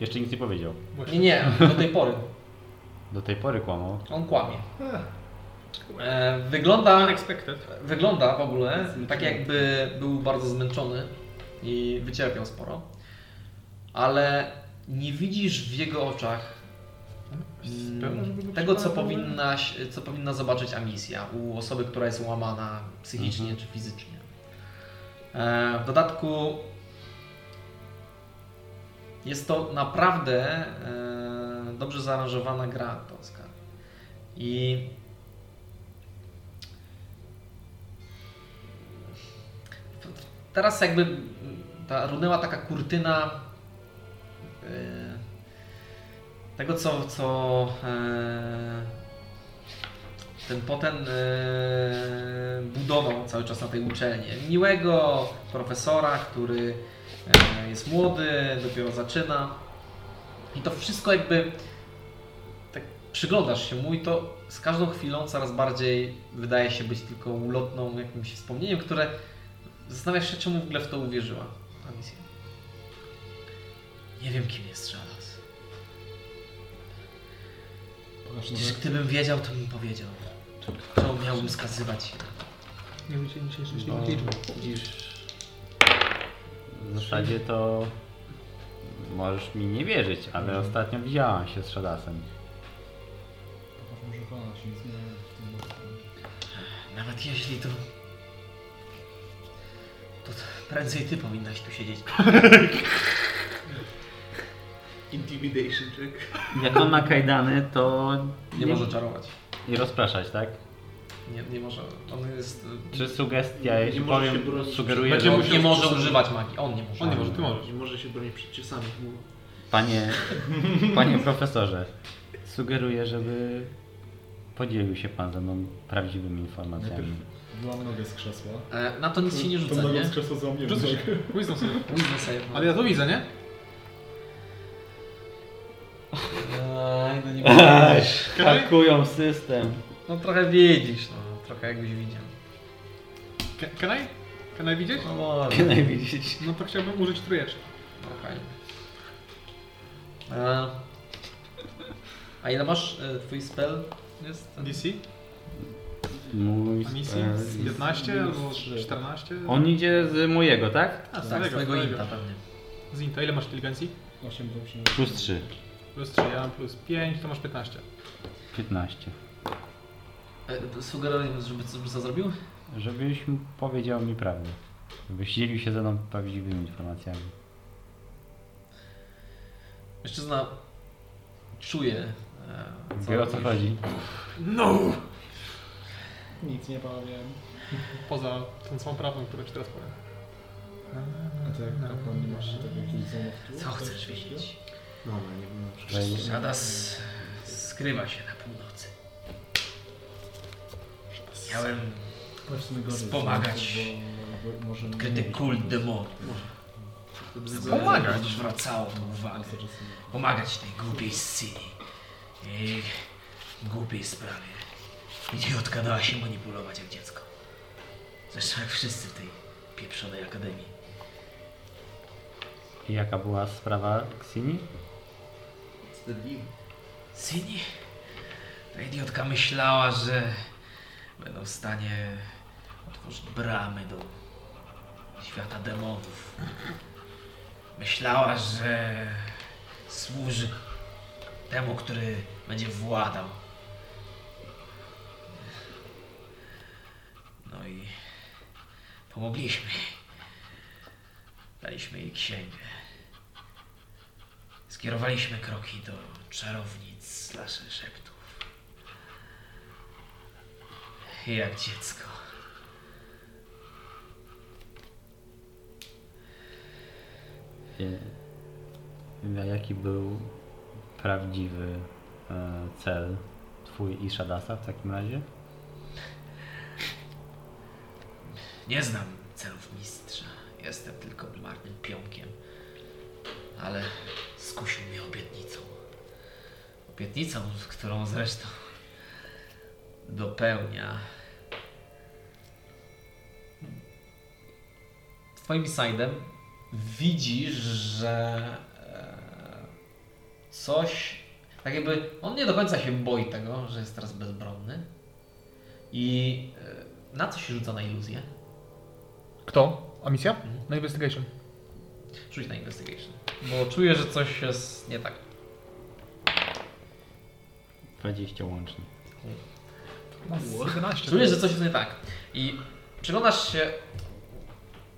Jeszcze nic nie powiedział. nie, nie, do tej pory. Do tej pory kłamał. On kłamie. E, wygląda, unexpected. wygląda w ogóle tak jakby był bardzo zmęczony i wycierpiał sporo, ale nie widzisz w jego oczach mm, Pewno, żeby go tego, co przekonać, ale- powinnaś, co powinna zobaczyć Amisja u osoby, która jest łamana psychicznie czy fizycznie. E, W dodatku jest to naprawdę e, dobrze zaaranżowana gra aktorska. I teraz jakby ta runęła taka kurtyna e, tego, co, co e, ten potem e, budował cały czas na tej uczelni. Miłego profesora, który e, jest młody, dopiero zaczyna. I to wszystko jakby tak przyglądasz się mu i to z każdą chwilą coraz bardziej wydaje się być tylko ulotną jakimś wspomnieniem, które Zastanawiasz się, czemu w ogóle w to uwierzyła ta misja. Nie wiem, kim jest Szalas. Pokaż Przecież Mhm. nowe. gdybym wiedział, to bym powiedział. Czemu miałbym skazywać się? Nie wiem, dzisiaj dzisiaj No, szczęśliwych liczb. widzisz, w zasadzie to możesz mi nie wierzyć, ale ostatnio widziałam się z Shadasem. Pokaż może pana, się nie zmienia w tym roku. Nawet jeśli to... To prędzej ty powinnaś tu siedzieć. Intimidation check. Jak on ma kajdany, to Nie może czarować. I rozpraszać, tak? Nie, nie może. On jest... Czy sugestia, jeśli może się powiem, bronić. sugeruję, Będzie że on musiał- nie może używać magii. On nie może. On nie może, ty możesz. Nie może się bronić przed ciosami. Bo... panie, panie profesorze, sugeruję, żeby podzielił się pan ze mną prawdziwymi informacjami. Byłam nogę z krzesła. E, Na to nic się nie Tą rzuca, nogą nie? z krzesła złamiłem. Rzucę się. Wisdom sobie. Wisdom save. Ale ja to widzę, nie? Eee, no nie Hakują system. No trochę wiedzisz, no, trochę jakbyś widział. Can, can I? Can I widzieć? No może. Kiedy widzieć? No to chciałbym użyć trójeczki. Okej. A- A ile masz e, twój spell? Tak, Jest ten? DC? Mój Misji? spell Z jest- 15 albo 14? On idzie z mojego, tak? A tak, Swojego, z twojego swojego. inta pewnie. Z Inta, ile masz inteligencji? 8 do Plus 3. Plus 3, ja mam plus 5, to masz 15. 15. E, Sugerowałem, żeby co, co zrobił? Żebyś mi powiedział mi prawdę. Żebyś dzielił się ze mną prawdziwymi informacjami. Mężczyzna czuje, e, Wie o co robisz. chodzi. Nic nie powiem. Poza tą całą prawdą, którą ci teraz powiem. A ty jak kapłan nie masz tak jakichś zamów Co chcesz wiedzieć? No, ale nie wiem, na przykład. Że Szadas skrywa się na północy. Miałem Wspomagać. kryty kult demonu. Pomagać? Zwracało to uwagę. Pomagać tej głupiej scenie. Jej głupiej sprawie. Idiotka dała się manipulować jak dziecko. Zresztą jak wszyscy w tej pieprzonej akademii. I jaka była sprawa Ksini? Syni? Ta idiotka myślała, że będą w stanie otworzyć bramy do świata demonów. Myślała, że służy temu, który będzie władał. No i pomogliśmy. Daliśmy jej księgę. Skierowaliśmy kroki do czarownic slash szeptów. Jak dziecko. I- A Yy, no, jaki był prawdziwy e, cel twój i Shadasa w takim razie? Nie znam celów mistrza. Jestem tylko marnym pionkiem. Ale skusił mnie obietnicą. Obietnicą, którą zresztą dopełnia. Twoim side'em widzisz, że e, coś, tak jakby on nie do końca się boi tego, że jest teraz bezbronny i e, na co się rzuca na iluzję? Kto? A misja? Mhm. Na investigation. Rzuć na investigation, bo czuję, że coś jest nie tak. 20 łącznie. No, 11. Czujesz, że coś jest nie tak. I przyglądasz się.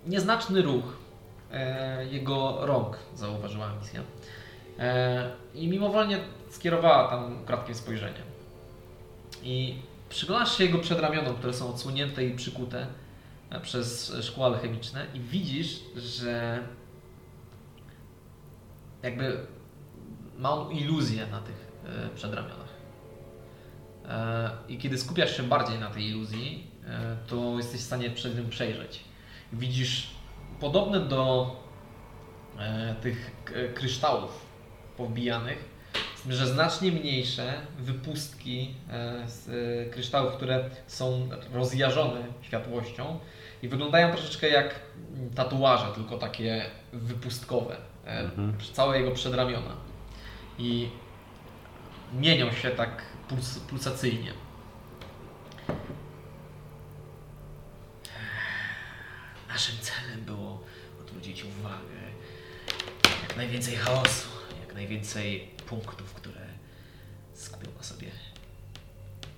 Nieznaczny ruch e, jego rąk zauważyła misja. E, I mimowolnie skierowała tam kratkiem spojrzenie. I przyglądasz się jego przedramionom, które są odsłonięte i przykute e, przez szkło alchemiczne, i widzisz, że jakby ma on iluzję na tych e, przedramionach. E, I kiedy skupiasz się bardziej na tej iluzji, e, to jesteś w stanie przed tym przejrzeć. Widzisz podobne do e, tych k- kryształów powbijanych, z tym, że znacznie mniejsze wypustki e, z e, kryształów, które są rozjażone światłością i wyglądają troszeczkę jak mm, tatuaże, tylko takie wypustkowe, e, Mhm. przy- całe jego przedramiona. I mienią się tak puls, pulsacyjnie. Naszym celem było odwrócić uwagę. Jak najwięcej chaosu, jak najwięcej punktów, które skupią na sobie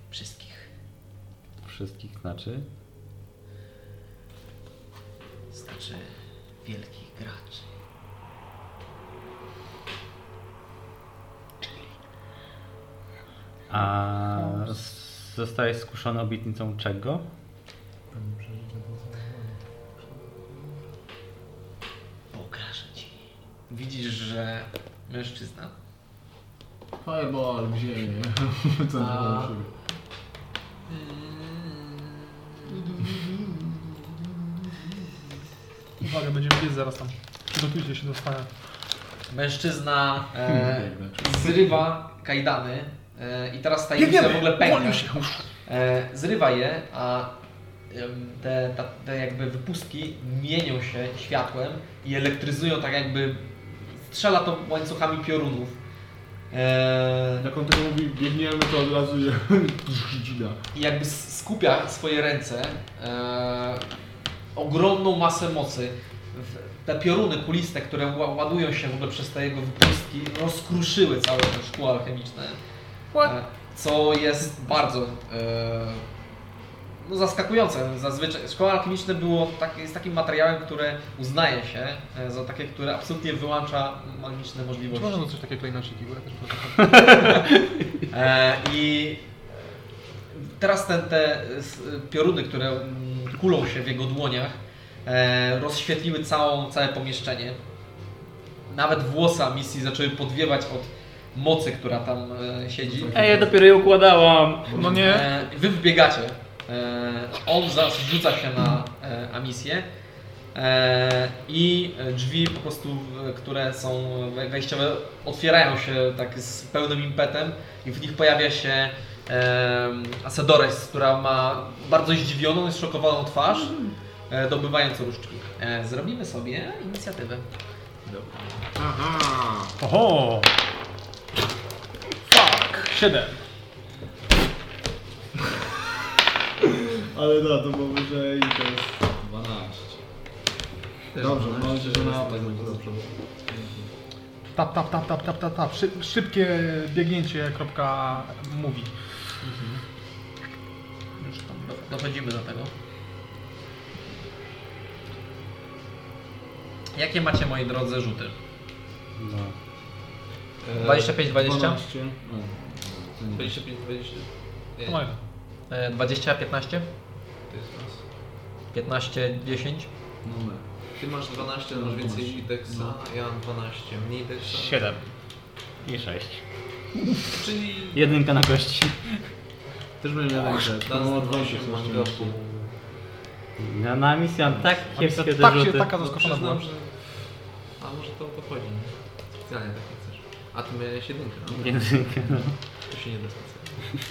wszystkich. Wszystkich znaczy? Znaczy wielkich graczy. A s- zostałeś skuszony obietnicą czego? Pokażę ci. Widzisz, że mężczyzna Fireball, [LAUGHS] gdzie nie? Co nie A. mam siebie. Uwaga, będziemy biec zaraz tam. Przygotujcie się do spania. Mężczyzna e, zrywa kajdany e, i teraz ta iluzja w ogóle pęka. E, zrywa je, a em, te, ta, te jakby wypustki mienią się światłem i elektryzują tak jakby strzela to łańcuchami piorunów. E, Jak on tego mówi, biegniemy, to od razu je [LAUGHS] drzwia. i jakby s- skupia swoje ręce e, ogromną masę mocy. W- Te pioruny kuliste, które ła- ładują się w ogóle przez te jego wypustki, rozkruszyły całe to szkło alchemiczne. E, co jest bardzo e, no, zaskakujące. Zazwyczaj szkło alchemiczne było tak, jest takim materiałem, które uznaje się e, za takie, które absolutnie wyłącza magiczne Czy możliwości. można coś takiego klejnociki, bo ja też potrafię. E, I teraz ten, te s- pioruny, które mm, kulą się w jego dłoniach, e, rozświetliły całą, całe pomieszczenie. Nawet włosa misji zaczęły podwiewać od mocy, która tam e, siedzi. Ej, ja dopiero je układałam. No nie. E, wy wbiegacie. E, on zaraz rzuca się na e, Amisję. E, I e, drzwi po prostu, w- które są we- wejściowe, otwierają się tak z pełnym impetem i w nich pojawia się e, Asedores, która ma bardzo zdziwioną i zszokowaną twarz, e, dobywając różdżki. E, zrobimy sobie inicjatywę. Aha! Oho! Fuck! 7. Ale da, to było wyżej i to jest 12. Dobrze, mam nadzieję, że na atak będzie dobrze. Tap, tap, tap, tap, tap, tap, tap. Szyb, szybkie biegnięcie, kropka mówi. Już tam do- dochodzimy do tego. Jakie macie, moi drodzy, rzuty? No. 25, 20? 12. O, to nie. 25, 20. Nie, To mają. E, 20, 15? to jest nas. 15, 10? No my. Ty masz 12, masz więcej deksa, a ja mam 12, mniej deksa. 7. I 6. Czyli Jedynka na kości. Też będę miał rękę. nas No, 12 20 mam gopu. Na, na misję mam tak Misja kiepskie tak się, dorzuty. taka No zaskoczona była. przyznam, że... A może to o to chodzi, nie? Specjalnie tak nie chcesz. A ty miałeś jedynkę, no. Jedynka, no. to się nie da specjalnie.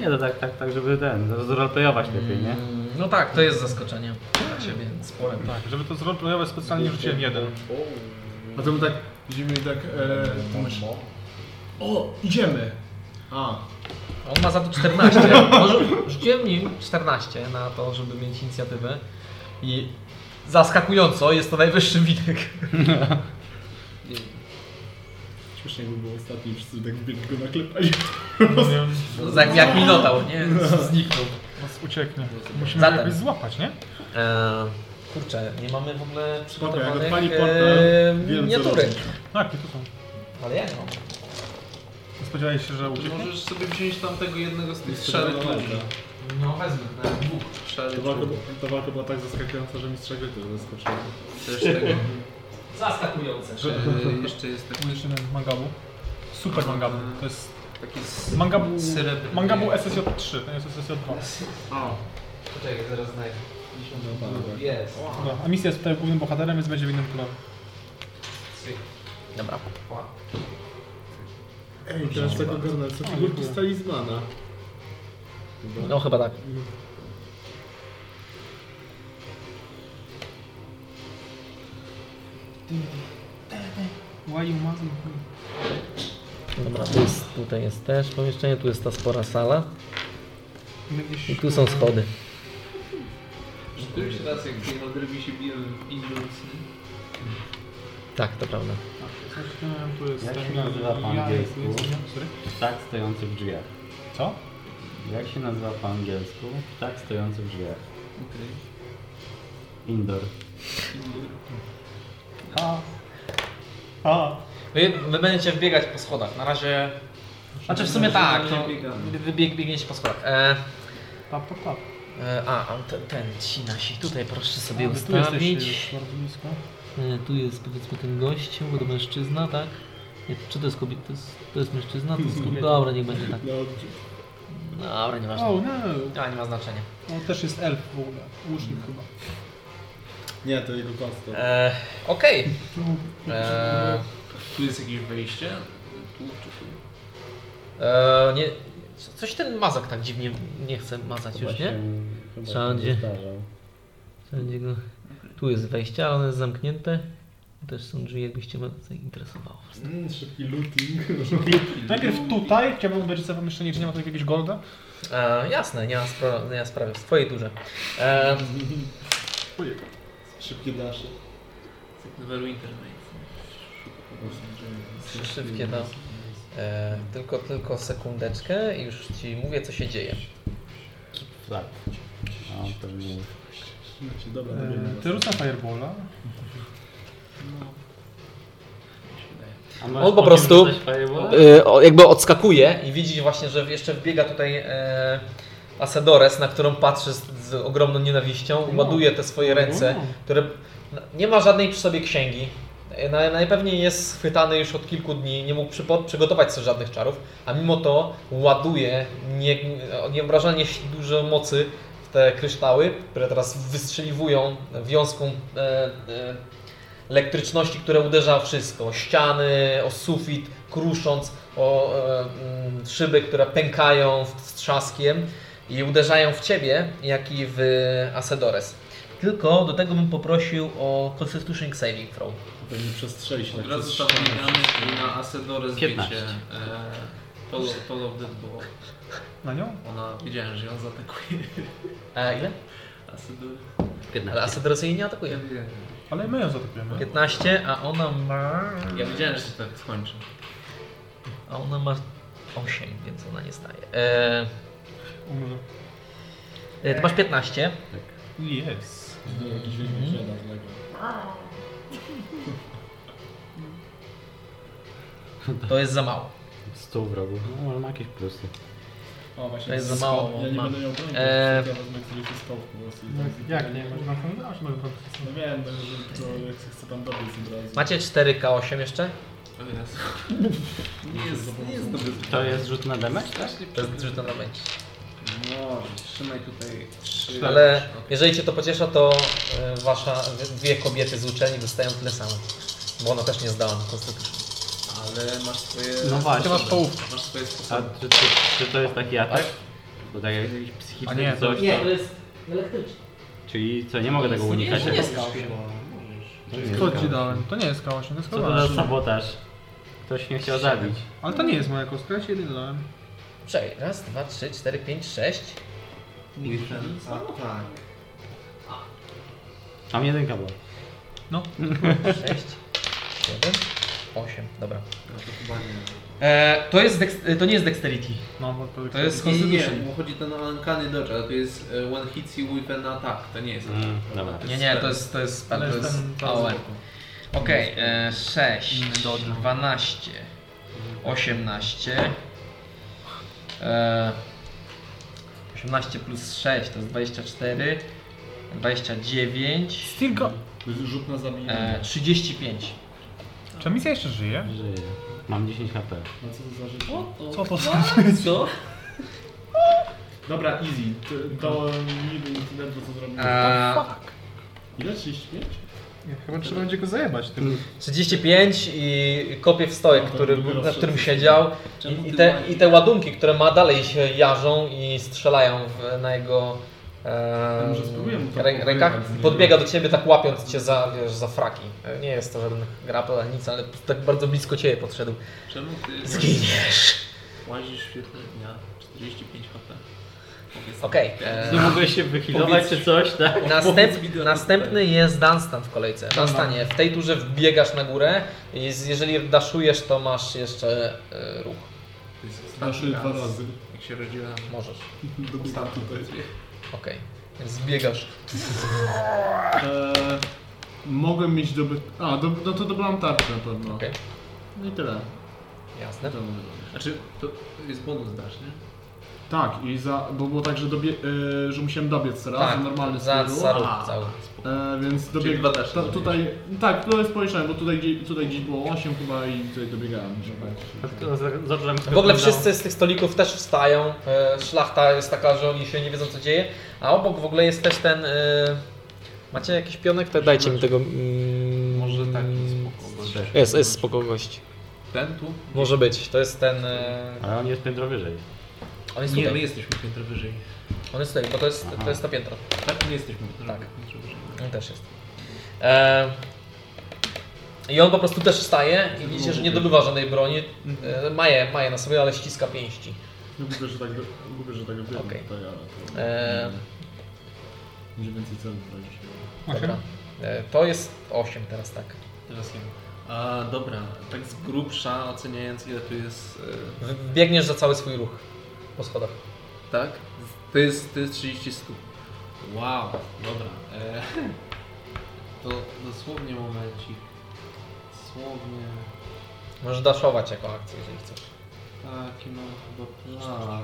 Nie, to tak, tak, tak, żeby ten, zroleplayować lepiej, nie? No tak, to jest zaskoczenie dla Ciebie, spore. Tak, żeby to zrobić, specjalnie rzuciłem jeden. A to my tak widzimy i tak... E, to myśl. O, idziemy! A, On ma za to 14. No, rzu- Rzuciłem nim 14 na to, żeby mieć inicjatywę i zaskakująco jest to najwyższy widok. śmiesznie jakby było ostatni, wszyscy tak biegli go naklepali. No nie. Jak, jak minotaur, nie? Zniknął. Nas ucieknie. Musimy Zatem. jakoś złapać, nie? Eee, kurczę, nie mamy w ogóle przygotowanych odpali portal, eee, wiem, co miniatury. robić. Tak, to są. Ale no? ja nie mam. Nie Spodziewałeś się, że To ucieknie? możesz sobie wziąć tam tego jednego z tych Jest szarych to ludzi. walka. No wezmę. Szary Ta walka, czub. ta walka była tak zaskakująca, że mistrza gry też zaskoczyła. Też tego. Zaskakujące. Czy jeszcze jest taki, Jeszcze jeden mangabu. Super mangabu. To jest taki s- mangabu, Srebrny. mangabu SSJ3, to jest SSJ2. O, Poczekaj, zaraz znajdę. Jest. Dobra, a misja jest tutaj głównym bohaterem, więc będzie w innym planie. Dobra. Ej, teraz tak ogarnę, co figurki z talizmana. Chyba. No chyba tak. Why you must Dobra, tu jest, tutaj jest też pomieszczenie, tu jest ta spora sala i tu są schody. Rzeczywiście raz jak Geralt Ryby się biją w Indulcy. Tak, to prawda. Tu jest Jak ten- się nazywa po ja- angielsku? Sorry? Ptak Tak stojący w drzwiach. Co? Jak się nazywa po angielsku? Ptak stojący w drzwiach. Okej. Indoor. Indur. A. A. Wy, wy będziecie wbiegać po schodach. Na razie. Znaczy w sumie tak, to biegamy. wy bieg, biegniecie po schodach. E, Pap, pap, pap. e, a, a ten, ten ci nasi tutaj proszę sobie A, wy tu jesteście ustawić. już bardzo blisko. E, tu jest powiedzmy ten gościu, bo to mężczyzna, tak? Nie, czy to jest kobieta? To jest, to jest mężczyzna? To [LAUGHS] jest kobieta. Dobra, niech będzie tak. Dobrze. Dobra, nie O, ważne. no. A, nie ma znaczenia. On też jest elf w ogóle. Łucznik chyba. Nie, to jego pasta. E, Okej. E, Tu jest jakieś wejście? Tu czy tu? E, nie, Co- Coś ten mazak tak dziwnie nie chce mazać już, nie? Chyba Sądzie. się nie zdarzał. Będzie go... Tu jest wejście, ale ono jest zamknięte. Też są drzwi, jakbyście mnie zainteresowało. Mm, szybki looting. Najpierw tutaj, chciałbym obejrzeć sobie pomieszczenie, czy nie ma tu jakiegoś golda. E, jasne, nie ma, spro- nie ma sprawy. W twojej turze. E, Szybkie dasze. Jak Neverwinter Nights. szybkie no. E, tylko, tylko sekundeczkę i już ci mówię, co się dzieje. Tak. No, pewnie Znaczy, Dobra, E, eee, ty rzucam fireballa. A On po prostu y, o, jakby odskakuje i widzi właśnie, że jeszcze wbiega tutaj e, Asedores, na którą patrzy z, z ogromną nienawiścią, ładuje te swoje ręce, które nie ma żadnej przy sobie księgi. E, Na, najpewniej jest schwytany już od kilku dni, nie mógł przypo- przygotować sobie żadnych czarów, a mimo to ładuje nie, nieobrażalnie dużo mocy w te kryształy, które teraz wystrzeliwują wiązką e, e, elektryczności, które uderza w wszystko. O ściany, o sufit, krusząc, o e, mm, szyby, które pękają w- z trzaskiem i uderzają w Ciebie, jak i w Asedores. Tylko do tego bym poprosił o Constitution Saving Throw. Pewnie tak przez 6. Od razu tak. zapomniany i na Asedorę zbicie 15. e, Toll of- Toll of Dead, bo Na nią? ona wiedziałem, że ją zaatakuje. E, ile? Asedorę. Ale Asedores jej nie atakuje. wiem. Ale my ją zaatakujemy. 15, a ona ma... Ja wiedziałem, że się tak skończy. A ona ma 8, więc ona nie staje. E, Umrze. e, ty masz 15. Yes. Jakiś Mhm. wielki przedar, Lego. To jest za mało. 100 wrogów. No, może ma jakieś plusy. O, właśnie. To jest za skok. mało, Ja nie mam. będę ją bronił. Eee. Ja wezmę któryś ze skok po prostu. i No, tak- jak nie? Może na ten dasz, może po prostu. No wiem, no, że to jak się chce tam dobiec od razu. Macie 4K8 jeszcze? O Jezu. Nie jest, nie jest dobry. To jest rzut na damage, tak? Strasznie To jest rzut na damage. No, trzymaj tutaj trzy. Ale jeżeli Cię to pociesza, to e, wasza dwie kobiety z uczelni dostają tyle samo. Bo ona też nie zdała na konstytucji. Ale masz swoje. No właśnie. masz połówkę. Masz swoje A sposoby. czy, czy, czy to jest taki atak? Bo tak jak jakiś psychiczny A nie, to- coś, to... jest elektryczne. Czyli co, nie mogę tego unikać? nie jak- jest To nie Co jest ci K8. dałem? To nie jest K8, to jest Co to za K8. sabotaż? Ktoś mnie chciał zabić. Ale to nie jest moja kostka, ja ci jedynie dałem. Czekaj, raz, dwa, trzy, cztery, pięć, sześć. tak. Tam jedynka była. No. Sześć, siedem, osiem. Dobra. No E, to, jest deks- to nie jest dexterity. No, bo to, To jest Nie, nie, nie, constitution. bo chodzi ten o Uncanny Dodge, ale to jest e, One Hits You With An Attack, to nie jest atak. Mm, dobra. Nie, nie, to jest, to jest spell, to Ale jest jestem- AOE. Okej, e, sześć, dwanaście, osiemnaście. e, 18 plus 6 to jest 24, 29, Stilko! To jest rzut na zabijanie. e, 35. Czy misja jeszcze żyje? Żyję. Mam 10 HP. No co to za rzecz? Co to za... Co? Dobra, easy. To- To niby incydent, to co zrobiłem. E, Ile? 35? Chyba trzeba będzie go zajebać tym. 35 i kopie w stojek, No to który, drugi raz na którym wszyscy. siedział. Czemu I, i, ty te, łazisz? I te ładunki, które ma dalej się jarzą i strzelają w, na jego e, może spróbujemy to rę, pokrywać, rękach. nie? Podbiega do ciebie tak łapiąc cię za, wiesz, za fraki. Nie jest to żaden grapple ani nic, ale tak bardzo blisko ciebie podszedł. Czemu ty Zginiesz! łazisz w świetle dnia 45 HP? Powiedz- Okej. [LAUGHS] Nie e, mogłeś się wyhealować czy coś, tak? Następ, Powiedz mi, do- następny jest Dunstan w kolejce. Dunstanie, w tej turze wbiegasz na górę. i z- Jeżeli daszujesz, to masz jeszcze e, ruch. To jest ostatni Nasze dwa raz, razy. Jak się rodziłem. Możesz. Dobra, tutaj. Okej. Więc zbiegasz. Eee, mogłem mieć doby... A, do, no to dobrałam tarczę na pewno. Okej. No i tyle. Jasne. To mogę zrobić. Znaczy, to jest bonus dasz, nie? Tak, i za, bo było tak, że, dobie, e, że musiałem dobiec raz, Tak, normalny za, stylu. za A, ruch cały. E, więc Czyli dobieg... dwa też ta, zrobiłeś. tutaj, tak, to jest policzone, bo tutaj, gdzie- tutaj gdzieś było 8 chyba i tutaj dobiegałem. tak żeby- Tak, Zacząłem W ogóle wszyscy z tych stolików też wstają. e, Szlachta jest taka, że oni się nie wiedzą co dzieje. A obok w ogóle jest też ten. e, Macie jakiś pionek? To dajcie mi tego. mm, Może taki spoko. bo- Jest, jest spoko gość. Ten tu? Może być. To jest ten. e, Ale on jest piętro wyżej. On jest Nie, my tutaj. jesteśmy piętro wyżej. On jest tutaj, bo to jest, to Aha. jest to piętro. Tak? My jesteśmy Tak. piętro wyżej. On też jest. E, I on po prostu też staje i widzicie, że nie dobywa żadnej broni. E, ma, je, ma je na sobie, ale ściska pięści. No gubię, że tak, do- gubię, że tak biegam Okej. tutaj, ale to... E, Będzie więcej celów tragicznie. dobra. E, to jest 8 teraz, tak. Teraz ja. A, dobra, tak z grubsza oceniając ile tu jest, e, W- Biegniesz za cały swój ruch po schodach. tak? To jest, to jest 30 stóp. Wow, dobra. E, to dosłownie momencik. Dosłownie Możesz daszować jako akcję, jeżeli chcesz. taki mam chyba plan.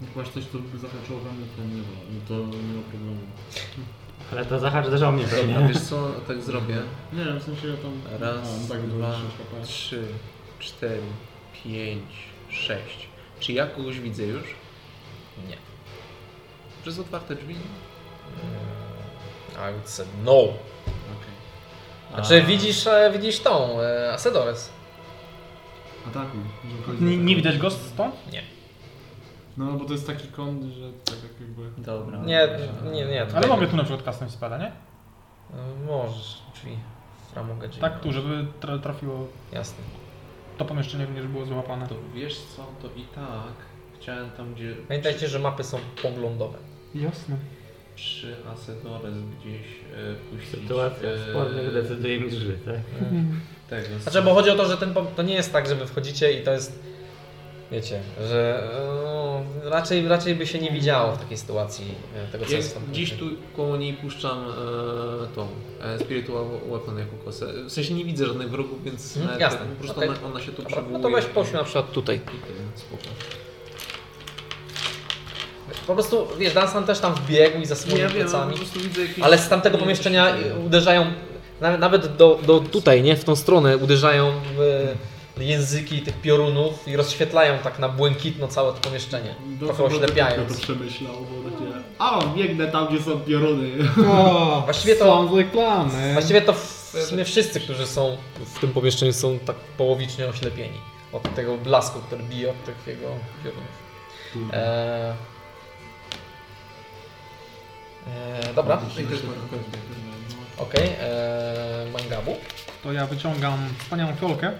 Jak masz No coś, co by zahaczyło we mnie, to nie ma, no to nie ma problemu. Ale to zahacz też o mnie pewnie. Dobra, wiesz co, tak zrobię. Nie wiem, w sensie ja tam... Raz, mam tak dużo dwa, sześć HP. trzy, cztery, pięć, sześć. Czy ja kogoś widzę już? Nie. Przez otwarte drzwi? Mm, I would say no. Znaczy widzisz, e, widzisz tą, e, Asedores. Atakuj. żeby kogoś Nie, nie zaatakować. widać go stąd? tak No bo to jest taki kąt, że tak jak jakby... Dobra. Nie, nie, nie. tutaj Ale nie. mogę tu na przykład kasnąć spada, nie? E, Możesz, drzwi. Framugę drzwi. Tak tu, żeby tra- trafiło Jasne. to pomieszczenie, również było złapane. To wiesz co, to i tak chciałem tam gdzie Pamiętajcie, że mapy są poglądowe. Jasne. przy Asedores gdzieś e, puścić Sytuacja Eee. e, spornych decyduje mi gry, tak? tego. Znaczy, bo chodzi o to, że ten, pom- to nie jest tak, że wy wchodzicie i to jest, wiecie, że e, raczej, raczej by się nie widziało w takiej sytuacji e, tego, co Jak jest tam. Dziś tu koło niej puszczam e, tą e, Spiritual Weapon jako kosę. W sensie nie widzę żadnych wrogów, więc Mhm, nawet jasne, tak po prostu okej. ona, ona się tu Dobra, przywołuje. no to weź poszli na przykład tutaj. I tyle, spoko. Po prostu, wiesz, Dansan też tam wbiegł i za Nie, swoimi ja wiem, no, po plecami. prostu widzę jakieś... Ale z tamtego nie, pomieszczenia coś takiego. uderzają, na- nawet do, do tutaj, nie? W tą stronę uderzają w języki tych piorunów i rozświetlają tak na błękitno całe to pomieszczenie. Trochę Ja to oślepiając. przemyślał, bo takie... A, biegnę tam, gdzie są pioruny. O, Właściwie to- są reklamy. Właściwie to w sumie wszyscy, którzy są w tym pomieszczeniu są tak połowicznie oślepieni od tego blasku, który bije od tych jego piorunów. Eee... [LAUGHS] Eee, dobra, I też mam okej. Eee, mangabu. To ja wyciągam wspaniałą fiolkę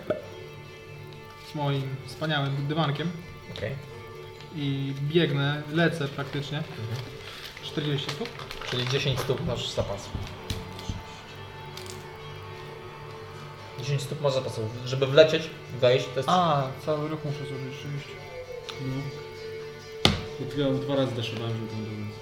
z moim wspaniałym dywankiem Okej. i biegnę, lecę praktycznie. 40 stóp. Czyli 10 stóp masz zapasu. 10 stóp masz zapasu. Żeby wlecieć, wejść, to jest... A, cały ruch muszę zużyć rzeczywiście. No. Ja tylko dwa razy daszowałem, żeby tam dobrać.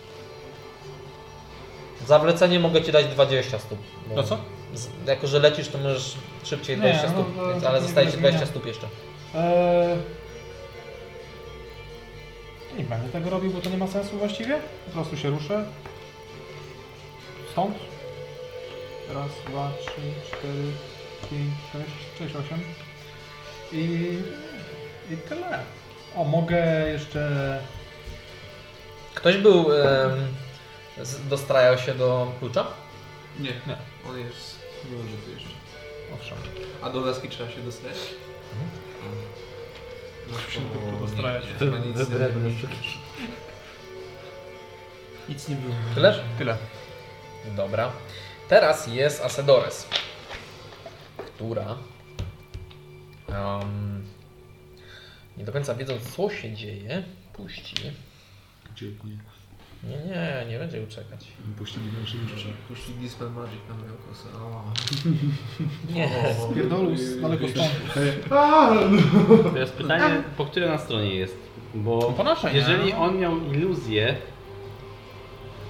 Za wlecenie mogę ci dać 20 stóp. bo- To co? Z, jako, że lecisz, to możesz szybciej Nie, 20 no, stóp, no, więc, to ale nie zostaje ci zmienia. 20 stóp jeszcze. Eee... Nie będę tego robił, bo to nie ma sensu właściwie. Po prostu się ruszę. Stąd. Raz, dwa, trzy, cztery, pięć, sześć, sześć, osiem. I, I tyle. O, mogę jeszcze... Ktoś był... em, z, dostrajał się do klucza? Nie, Nie. on jest nieożyty jeszcze. Owszem. A do laski trzeba się dostać? No, tylko dostrajać. nie, To chyba nic nie drewno. Nic nie było. Tyle? Tyle. Dobra. Teraz jest Asedores, która em, nie do końca wiedząc co się dzieje, puści. Dziękuję. Nie, nie, nie będzie uczekać. Puścili większy niż Puścił Dispel Magic na moją kosę. O. Nie. Pierdolus, daleko stąd. To jest pytanie, po której na stronie jest? Bo Po naszej, nie? jeżeli on miał iluzję,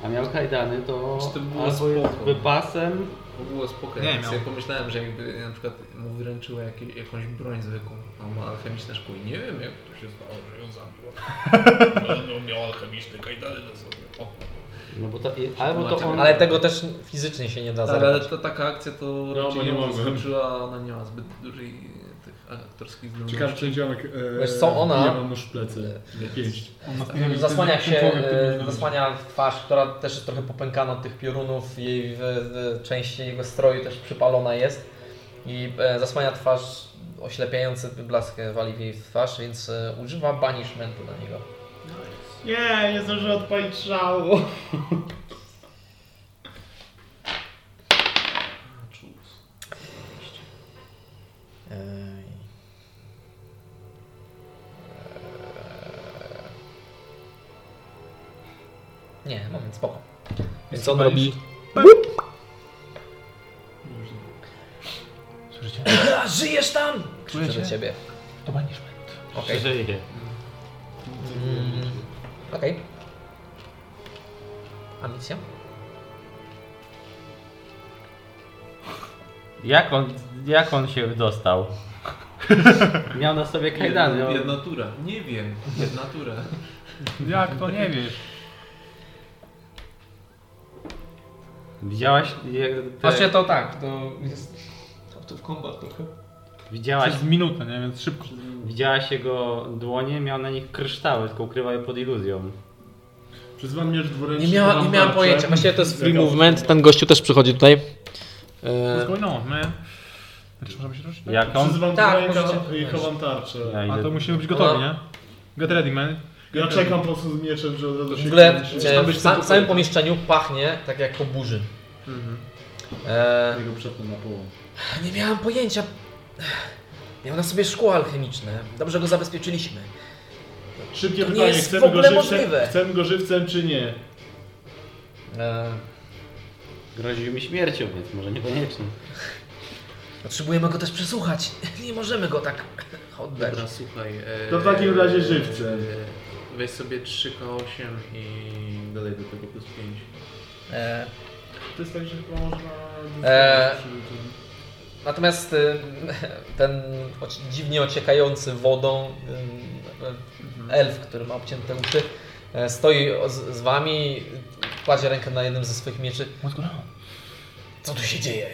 a miał kajdany, to Czy to było albo jest spoko? wypasem, To było spoko. Nie Nie ja miał. sobie pomyślałem, że jakby na przykład mu wyręczyła jakieś, jakąś broń zwykłą, a ma alchemiczne szkło. I nie wiem jak to się stało, że ją [LAUGHS] zabiło. Ale on No, miał alchemiczne kajdany na sobie. O. no bo to, i- albo to on... Ale tego też fizycznie się nie da Tak, ale zabrać. to taka akcja to No, bo raczej nie ją mogłem. zaskoczyła, a ona nie ma zbyt dużej tych aktorskich zdolności. Ciekawe, czy dziomek... e, Wiesz co, ona- E, Ja mam nóż w plecy. Pięść. On nas nie widzi. Zasłania Ten się, człowiek, który e, nie widzi. zasłania twarz, która też jest trochę popękana od tych piorunów, e, jej w, w, część jego stroju też przypalona jest i e, zasłania twarz oślepiający blask wali w jej twarz, więc e, używa banishmentu na niego. Nie, nie zdążę odpalić [LAUGHS] szału. Ej. Eee. Nie, moment, spoko. Więc on robi... Słyszycie? A, żyjesz tam? Krzyczy do Czujecie? ciebie. To banishment. Okej. Żyje. Mm, Okej. A misja? Jak on, jak on się dostał? Miał na sobie kajdany. Jedna, no. on- jedna tura. Nie wiem, jedna tura. Jak to nie wiesz? Widziałaś, jak Właśnie te, to tak, to jest... To w kombat trochę. widziałaś, Przez minutę, nie? Więc szybko. widziałaś jego dłonie, miał na nich kryształy, tylko ukrywa je pod iluzją. Przyzywam miecz dwuręczny. Nie, miała, nie mam miałam tarczę. pojęcia, właściwie to jest free Zegał. movement, ten gościu też przychodzi tutaj. Eee, What's no, man? Znaczy, możemy się ruszyć? Jak on? Przyzywam Tak, dwuręka możecie. i chowam tarczę. Ja A idę- to musimy być gotowi, nie? Get ready, man. Ja czekam po prostu z mieczem, że od razu się w ogóle kręci. e, w, sa, w samym pomieszczeniu pachnie tak jak po burzy. Eee, Ja go przetnę na połowę. Nie miałam pojęcia. Miał na sobie szkło alchemiczne. Dobrze go zabezpieczyliśmy. Szybkie To nie pytanie, jest chcemy, w ogóle go możliwe. żywcem, chcemy go żywcem czy nie? Eee, Groził mi śmiercią, więc może niekoniecznie. potrzebujemy go też przesłuchać. [LAUGHS] Nie możemy go tak [LAUGHS] oddać. Dobra, słuchaj. e, To w takim razie żywcem. e, Weź sobie 3K8 i dodaj do tego plus 5. Eee, To jest tak, że chyba można... Eee. Przy- natomiast y, ten oci- dziwnie ociekający wodą y, elf, który ma obcięte uszy, e, stoi o- z, z wami, kładzie rękę na jednym ze swoich mieczy. What's going on? Co tu się dzieje?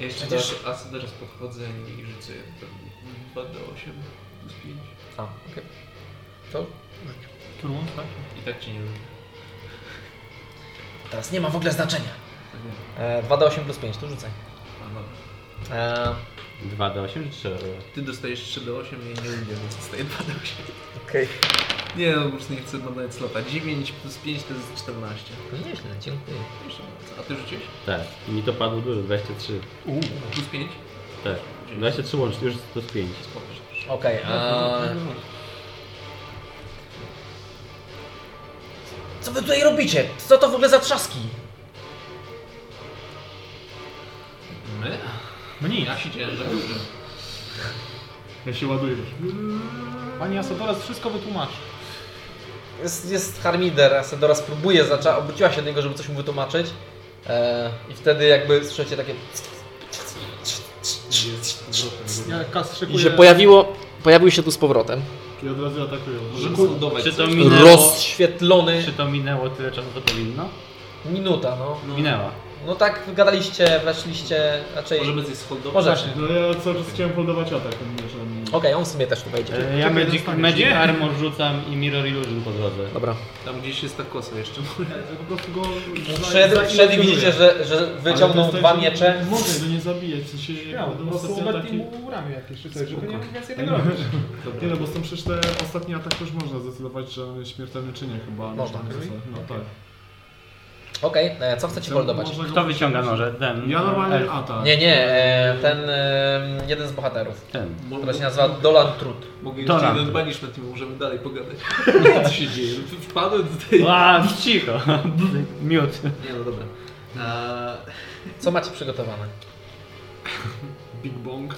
Ja jeszcze Przecież- Przecież... do asy teraz podchodzę i rzucę 2D8 plus 5. A, okej. To Turun, tak? I tak cię nie lubię. teraz nie ma w ogóle znaczenia. E, 2d8 plus 5, to rzucaj. Tak A no. E, 2 do 8 czy 3 do Ty dostajesz 3D8 i nie lubię, więc dostaję 2D8. Okej. Nie, no po prostu nie chcę nadać slota. 9 plus 5 to jest 14. Nieźle, dziękuję. Proszę bardzo. A ty rzuciłeś? Tak. I mi to padło dużo, 23. Plus 5? Tak. 23 łącznie, już to z 5. Okej, a... Co wy tutaj robicie? Co to w ogóle za trzaski? My? No Mni. Ja się dzieje, że dobrze. Ja się ładuję. Pani Asadores wszystko wytłumaczy. Jest, jest harmider, Asedora spróbuje, zaczęła, obróciła się do niego, żeby coś mu wytłumaczyć. E, I wtedy jakby słyszycie takie... Ja kas I szykuję. się pojawiło, pojawił się tu z powrotem. I od razu atakują. Możemy sądować. Czy to coś. minęło? Rozświetlony... Czy to minęło tyle czasu, co powinno? Minuta, no. Minęła. No tak, gadaliście, weszliście, raczej... Możemy zjeść holdować. Możesz. No ja cały czas chciałem podawać atak, on nie, że on... Okej, on w sumie też tu wejdzie. E, Ja Czekaj, Magic, dostaniesz. Magic Nie. Armor rzucam i Mirror Illusion po drodze. Dobra. Tam gdzieś jest ta kosa jeszcze. Ja po prostu go... No Wszedł, wszedł i widzicie, że, tak, że wyciągnął dwa miecze. tak, Mogę go nie zabijać, w sensie... Miał, po będą prostu ostatnie ataki... obetnij mu ramię jakieś czy coś, żeby nie Spoko. więcej tego robić. Nie no, bo są przecież te ostatnie ataki już można zdecydować, że on jest śmiertelny czy nie chyba. Można. Można No tak. Okej, e, co chcecie mordować? Można go- Kto wyciąga noże? Ten. Ja normalnie elf. atak. Nie, nie, e, ten e, jeden z bohaterów, Ten. Mo- który się nazywa Dolan Trud. Mogę To jeszcze nam. jeden banishment i możemy dalej [LAUGHS] pogadać. Co się dzieje? Wpadłem do tej... Ła, cicho. Miód. Nie no dobra. E, A, Co macie przygotowane? Big Bong.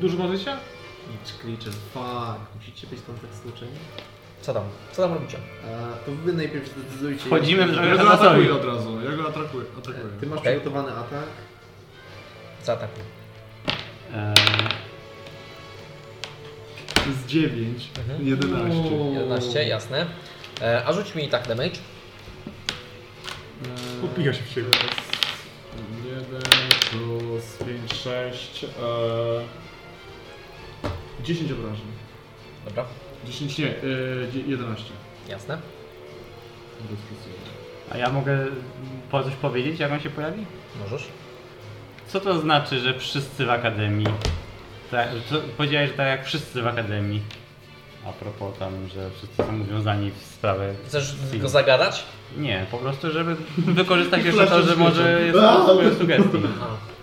Dużo możecie? Glitch, glitch, fuck. Musicie być tam tak skoczeni. Co tam? Co tam robicie? A, to wy najpierw zdecydujcie. Wchodzimy w Ja drogę go na atakuję od razu, ja go atakuję. atakuję. E, Ty masz Okej. przygotowany atak. Za ataku. To jest 9, Mhm. 11. 11, jasne. E, a rzuć mi i tak damage. Upija się w siebie. 1 plus 5, 6, e, 10 obrażeń. Dobra, 10 nie, e, dzie- 11. jasne. A ja mogę po coś powiedzieć, jak on się pojawi? Możesz. Co to znaczy, że wszyscy w Akademii Tak, że to- powiedziałeś, że tak jak wszyscy w Akademii. A propos tam, że wszyscy są uwiązani w sprawę. Chcesz Sim. go zagadać? Nie, po prostu, żeby [LAUGHS] wykorzystać jeszcze to, że może jest swoją sugestii.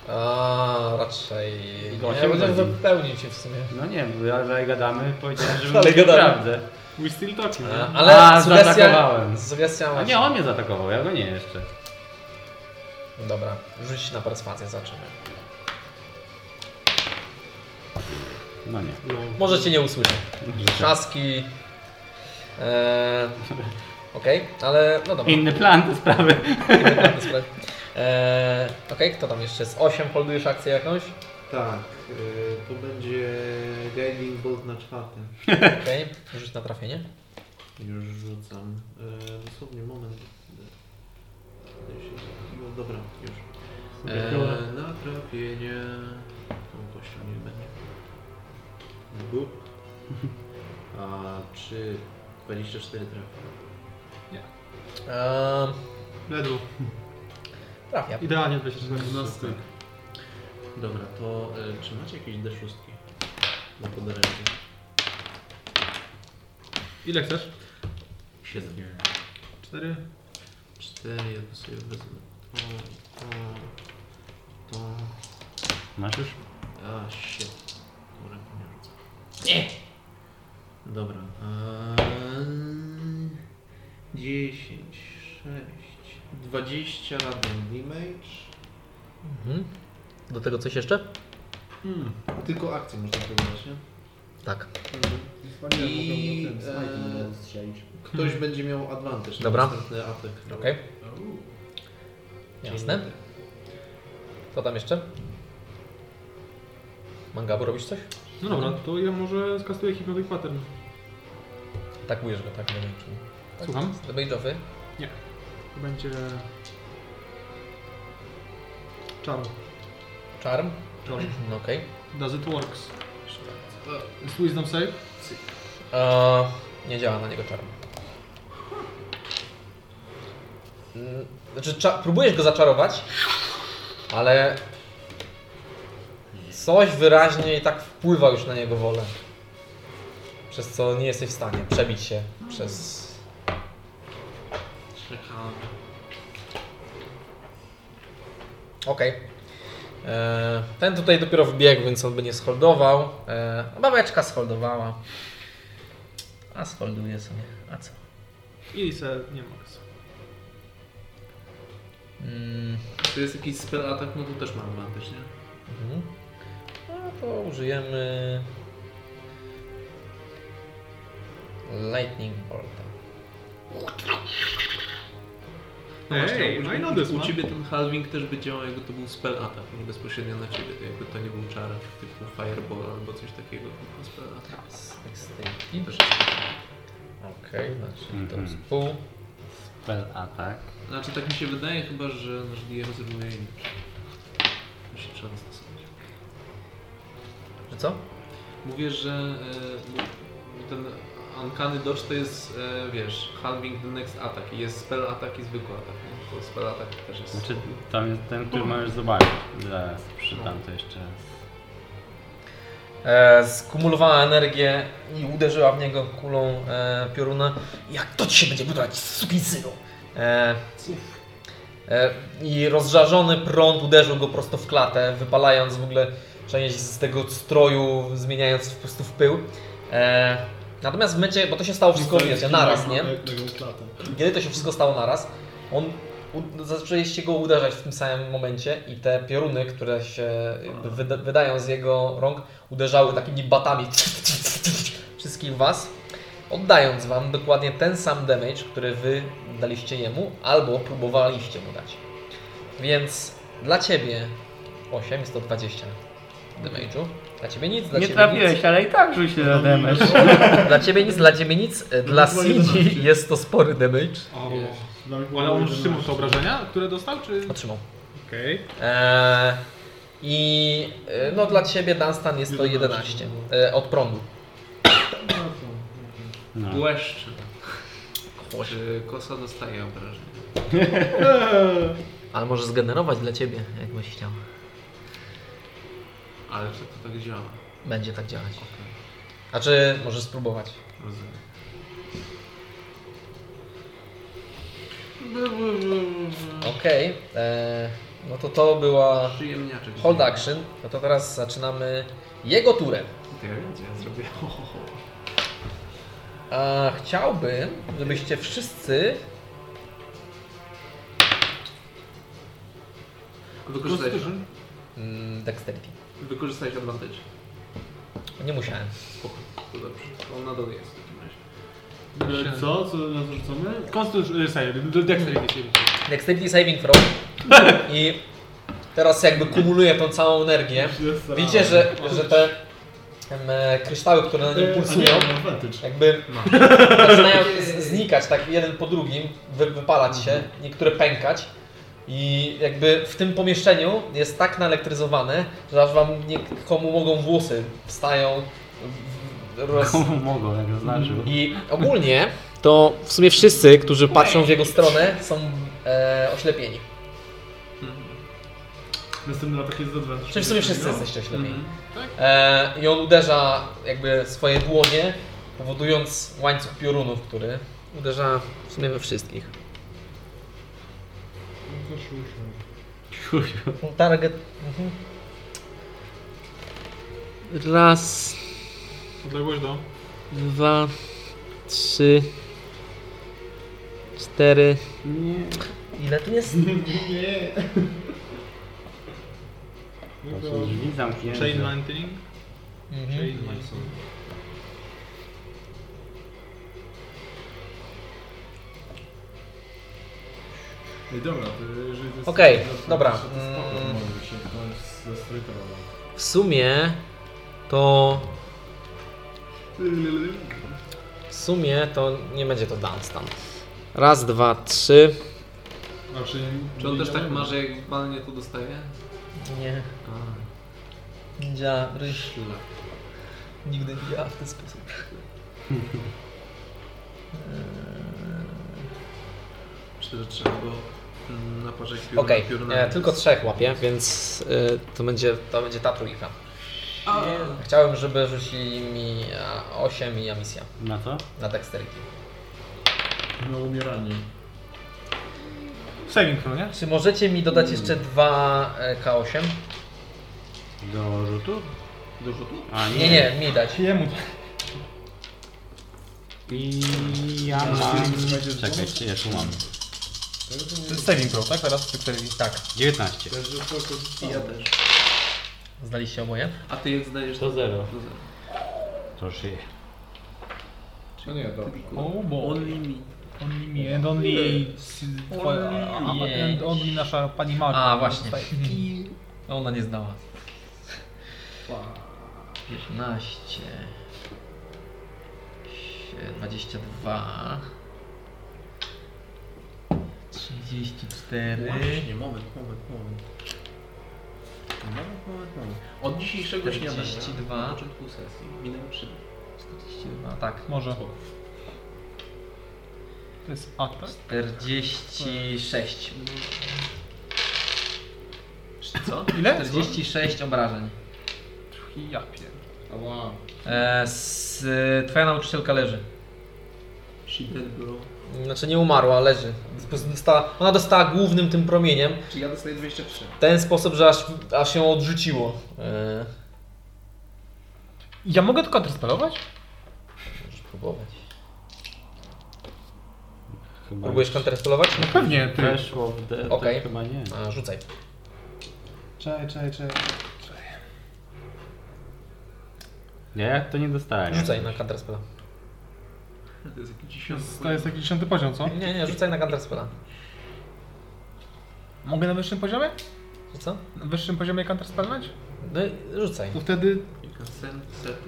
A raczej. I go Nie, się będę urodzi. wypełnił cię w sumie. No nie, bo ja dalej gadamy, powiedziałem, że Dalej mówił gadamy. prawdę. We still talking. A, E, Ale A, sugestia. zaatakowałem. Sugestia A masz. nie, on mnie zaatakował, ja go nie jeszcze. Dobra, rzuć na perswazję, zobaczymy. No nie. Może cię nie usłyszę. Trzaski. Eee, Okej, ale no dobra. Inny plan te sprawy. Bez spraw. Eee, Okej, kto tam jeszcze jest? 8 holdujesz akcję jakąś? Tak, y, to będzie Guiding Bolt na czwartym. Okej, rzuć na trafienie. Już rzucam. Y, Dosłownie moment. Y, się zabiło. Dobra, już. E, na trafienie. Tą kością nie będzie. Bup. [LAUGHS] A czy 24 trafi? Eee, Ledwo. trafia. Idealnie 24 12. Dobra, to y, czy macie jakieś D6? Na podręczy. Ile chcesz? 7. 4. 4, ja to sobie wezmę. To, to, to. Masz już? A, shit. Dobra, nie rzucę. Nie! Dobra. Eee, 10, 6, 20 random damage. Mhm. Do tego coś jeszcze? Tylko akcję można wybrać, nie? Tak. I, I... e, Ktoś będzie miał advantage Dobra. na następny atak. Okej. Czyli Jasne. Kto tam jeszcze? Mangabu, robisz coś? No dobra, to ja może skastuję hipnotic pattern. Atakujesz go, tak? Nie wiem, czy... tak? Słucham? Debage'owy. To będzie... Czar. Charm. Czar. No, Okej. Does it works? Jest wisdom save? Eee, nie działa na niego czarno. Mm, Znaczy, cza- próbujesz go zaczarować, ale coś wyraźnie i tak wpływa już na jego wolę. Przez co nie jesteś w stanie przebić się przez. Okej. Eee, Ten tutaj dopiero wbiegł, więc on by nie sholdował. Eee, a babeczka scholdowała. A sfolduje sobie. A co? I se nie max. Mm, To jest jakiś spell atak, no to też ma advantage, nie? mhm. No to użyjemy. Lightning Bolta. No Ej, właśnie, no u- i no u- this U one. ciebie ten halving też by działał, jakby to był spell atak, nie bezpośrednio na ciebie, to jakby to nie był czar typu fireball albo coś takiego, tylko spell atak. Sextynki. Też jest. Okej, znaczy to Mhm. z pół. Spell atak. Znaczy tak mi się wydaje chyba, że nasz DM zrównuje inaczej. To się trzeba dostosować. Że co? Mówię, że e, ten Uncanny Dodge to jest, e, wiesz, halving the next attack. I Jest spell atak i zwykły atak, nie? To spell atak też jest... Znaczy tam jest ten, który możesz zobaczyć. Zaraz przydam to jeszcze raz. E, skumulowała energię i uderzyła w niego kulą e, pioruna. Jak to ci się będzie budować, sukinsynu? E, e, I rozżarzony prąd uderzył go prosto w klatę, wypalając w ogóle część z tego stroju, zmieniając po prostu w pył. E, natomiast w momencie, bo to się stało e, wszystko, wiecie, naraz, nie? Kiedy to się wszystko stało naraz, on u- no, zaczęliście go uderzać w tym samym momencie i te pioruny, które się jakby wyda, wydają z jego rąk, uderzały takimi batami [LAUGHS] wszystkich was, oddając wam dokładnie ten sam damage, który wy daliście jemu albo próbowaliście mu dać. Więc dla ciebie 8 jest to 20 damage'u. Dla ciebie nic, dla Nie ciebie nic. trafiłeś, ale i tak rzuć się na damage. Dla ciebie nic, dla ciebie nic. E, Dla było Sini 11. jest to spory damage. O, Dla mnie ale było on już 11. trzymał te obrażenia, które dostał, czy... Otrzymał. Okej. Eee, I e, no dla ciebie Dunstan jest to 11 e, od prądu. No. Błeszczy. Czy kosa dostaje obrażenia? Ale możesz zgenerować dla ciebie, jakbyś chciał. Ale czy to tak działa? Będzie tak działać. A czy możesz spróbować? Rozumiem. Okej. e, No to to była Przyjemniaczek. hold action. No to teraz zaczynamy jego turę. To ja wiem, co ja zrobię. [LAUGHS] Ho, ho, ho. A chciałbym, żebyście wszyscy Wykorzystałeś, mm, dexterity. wykorzystałeś advantage. Nie musiałem. Spoko, to dobrze. On na dole jest w takim razie. E, co? Co nas rzucamy? e, Konstytucja, sorry, dexterity saving throw. Dexterity saving throw. I teraz jakby kumuluje tą całą energię. Widzicie, E, że, że te em, e, kryształy, które na nim pulsują, no, jakby zaczynają z- znikać tak jeden po drugim, wy, wypalać się, niektóre pękać. I jakby w tym pomieszczeniu jest tak naelektryzowane, że aż wam niekomu mogą włosy wstają. w- w- Roz... Komu [LAUGHS] mogą, jak znaczy. zaznaczył. I ogólnie to w sumie wszyscy, którzy patrzą w jego stronę, są e, oślepieni. Następny atak jest z advantage. Czyli w sumie wszyscy jesteście oślepieni. Mhm. E, I on uderza jakby swoje dłonie, powodując łańcuch piorunów, który uderza w sumie we wszystkich. No, Target. Mhm. Raz, Odległość do? dwa, trzy, cztery. Ile tu jest? To są drzwi Chain zamknięte. lightning? Mhm. Chain lightning. Ej, dobra, to jeżeli to jest... Okej, advantage, dobra, To spoko, to mm. może się ktoś zestrytował. W sumie to. W sumie to nie będzie to dance tam. Raz, dwa, trzy. Znaczy, Czy on też tak ma, że jak walnie to dostaje? Nie. A, Ninja ryż szlak. nigdy nie działa w ten sposób. Myślę, że trzeba go mm, naparzać piór, Okej, piór e, tylko trzech łapię, więc e, to, będzie, to będzie ta trójka. A, Chciałem, żeby rzucili mi 8 i emisja Na co? na dexterity. No umieranie. Saving throw, nie? Czy możecie mi dodać jeszcze e, 2 K8? Do rzutu? do rzutu? A Nie, nie, mi dać. Jemu I ja mam... Czekajcie, ja tu mam. to jest saving throw, tak? Teraz czy saving? Tak, 19. I ja też. zdaliście oboje? A ty jak zdajesz To zero. To zero. To żyje. No nie, dobrze. O bo. Only me. Only me and only... Twoja, a, a, you. and only nasza pani Magda. A, właśnie. No, Ona nie zdała. 15. sie- 22. 34. Właśnie, moment, moment, moment. Moment, moment, moment. Od dzisiejszego śniadania, 42. na początku sesji, minęły trzy. 42. Tak. Może. To jest atak? 46. Co? Ile? 46 obrażeń. Ja pier... Ała. E, s, twoja nauczycielka leży. She dead bro. Znaczy nie umarła, leży. Dostała, ona dostała głównym tym promieniem. Czy ja dostaję 23? W ten sposób, że aż, aż ją odrzuciło. E, Ja mogę tylko kontrspalować? możesz próbować. Chyba Próbujesz kontrastować? No pewnie, ty. Weszło w D, to Okej. chyba nie. A, rzucaj. Czaj, czaj, czaj. Ja to nie dostałem. Rzucaj na counterspella. To jest jakiś dziesiąty. To jest taki 10 poziom, co? Nie, nie, rzucaj na counterspella. Mogę na wyższym poziomie? Że co? Na wyższym poziomie counterspelnąć? No i rzucaj. To wtedy... No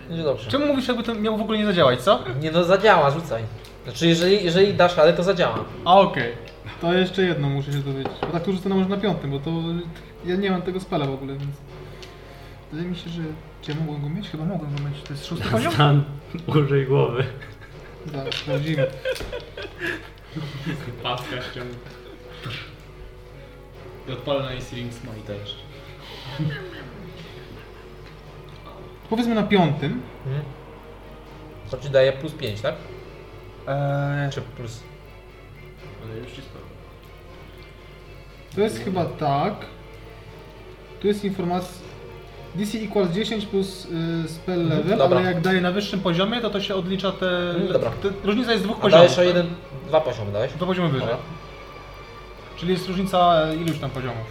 Będzie dobrze. Czemu mówisz, jakby to miało w ogóle nie zadziałać, co? Nie no, zadziała, rzucaj. Znaczy, jeżeli, jeżeli dasz radę, to zadziała. A okej. To jeszcze jedno muszę się dowiedzieć. Bo tak to rzucę na może na piątym, bo to... Ja nie mam tego spala w ogóle, więc... Wydaje mi się, że... Czy ja mogłem go mieć? Chyba mogłem go mieć. To jest szósty [LAUGHS] poziom? Stan, użyj głowy. Zaraz, sprawdzimy. Paska ściągnę. I odpalę na Ace Rings Smite jeszcze. Powiedzmy na piątym. Mhm. To ci daje plus 5, tak? Eee, Czy plus... Ale już ci sprawdzę. to jest chyba tak. Tu jest informacja. DC equals 10 plus y, spell Mhm, level, dobra. ale jak daje na wyższym poziomie, to to się odlicza te... Mm, dobra. te różnica jest z dwóch A dajesz poziomów. o jeden, dwa poziomy dałeś? Dwa poziomy wyżej. Dobra. Czyli jest różnica e, iluś tam poziomów.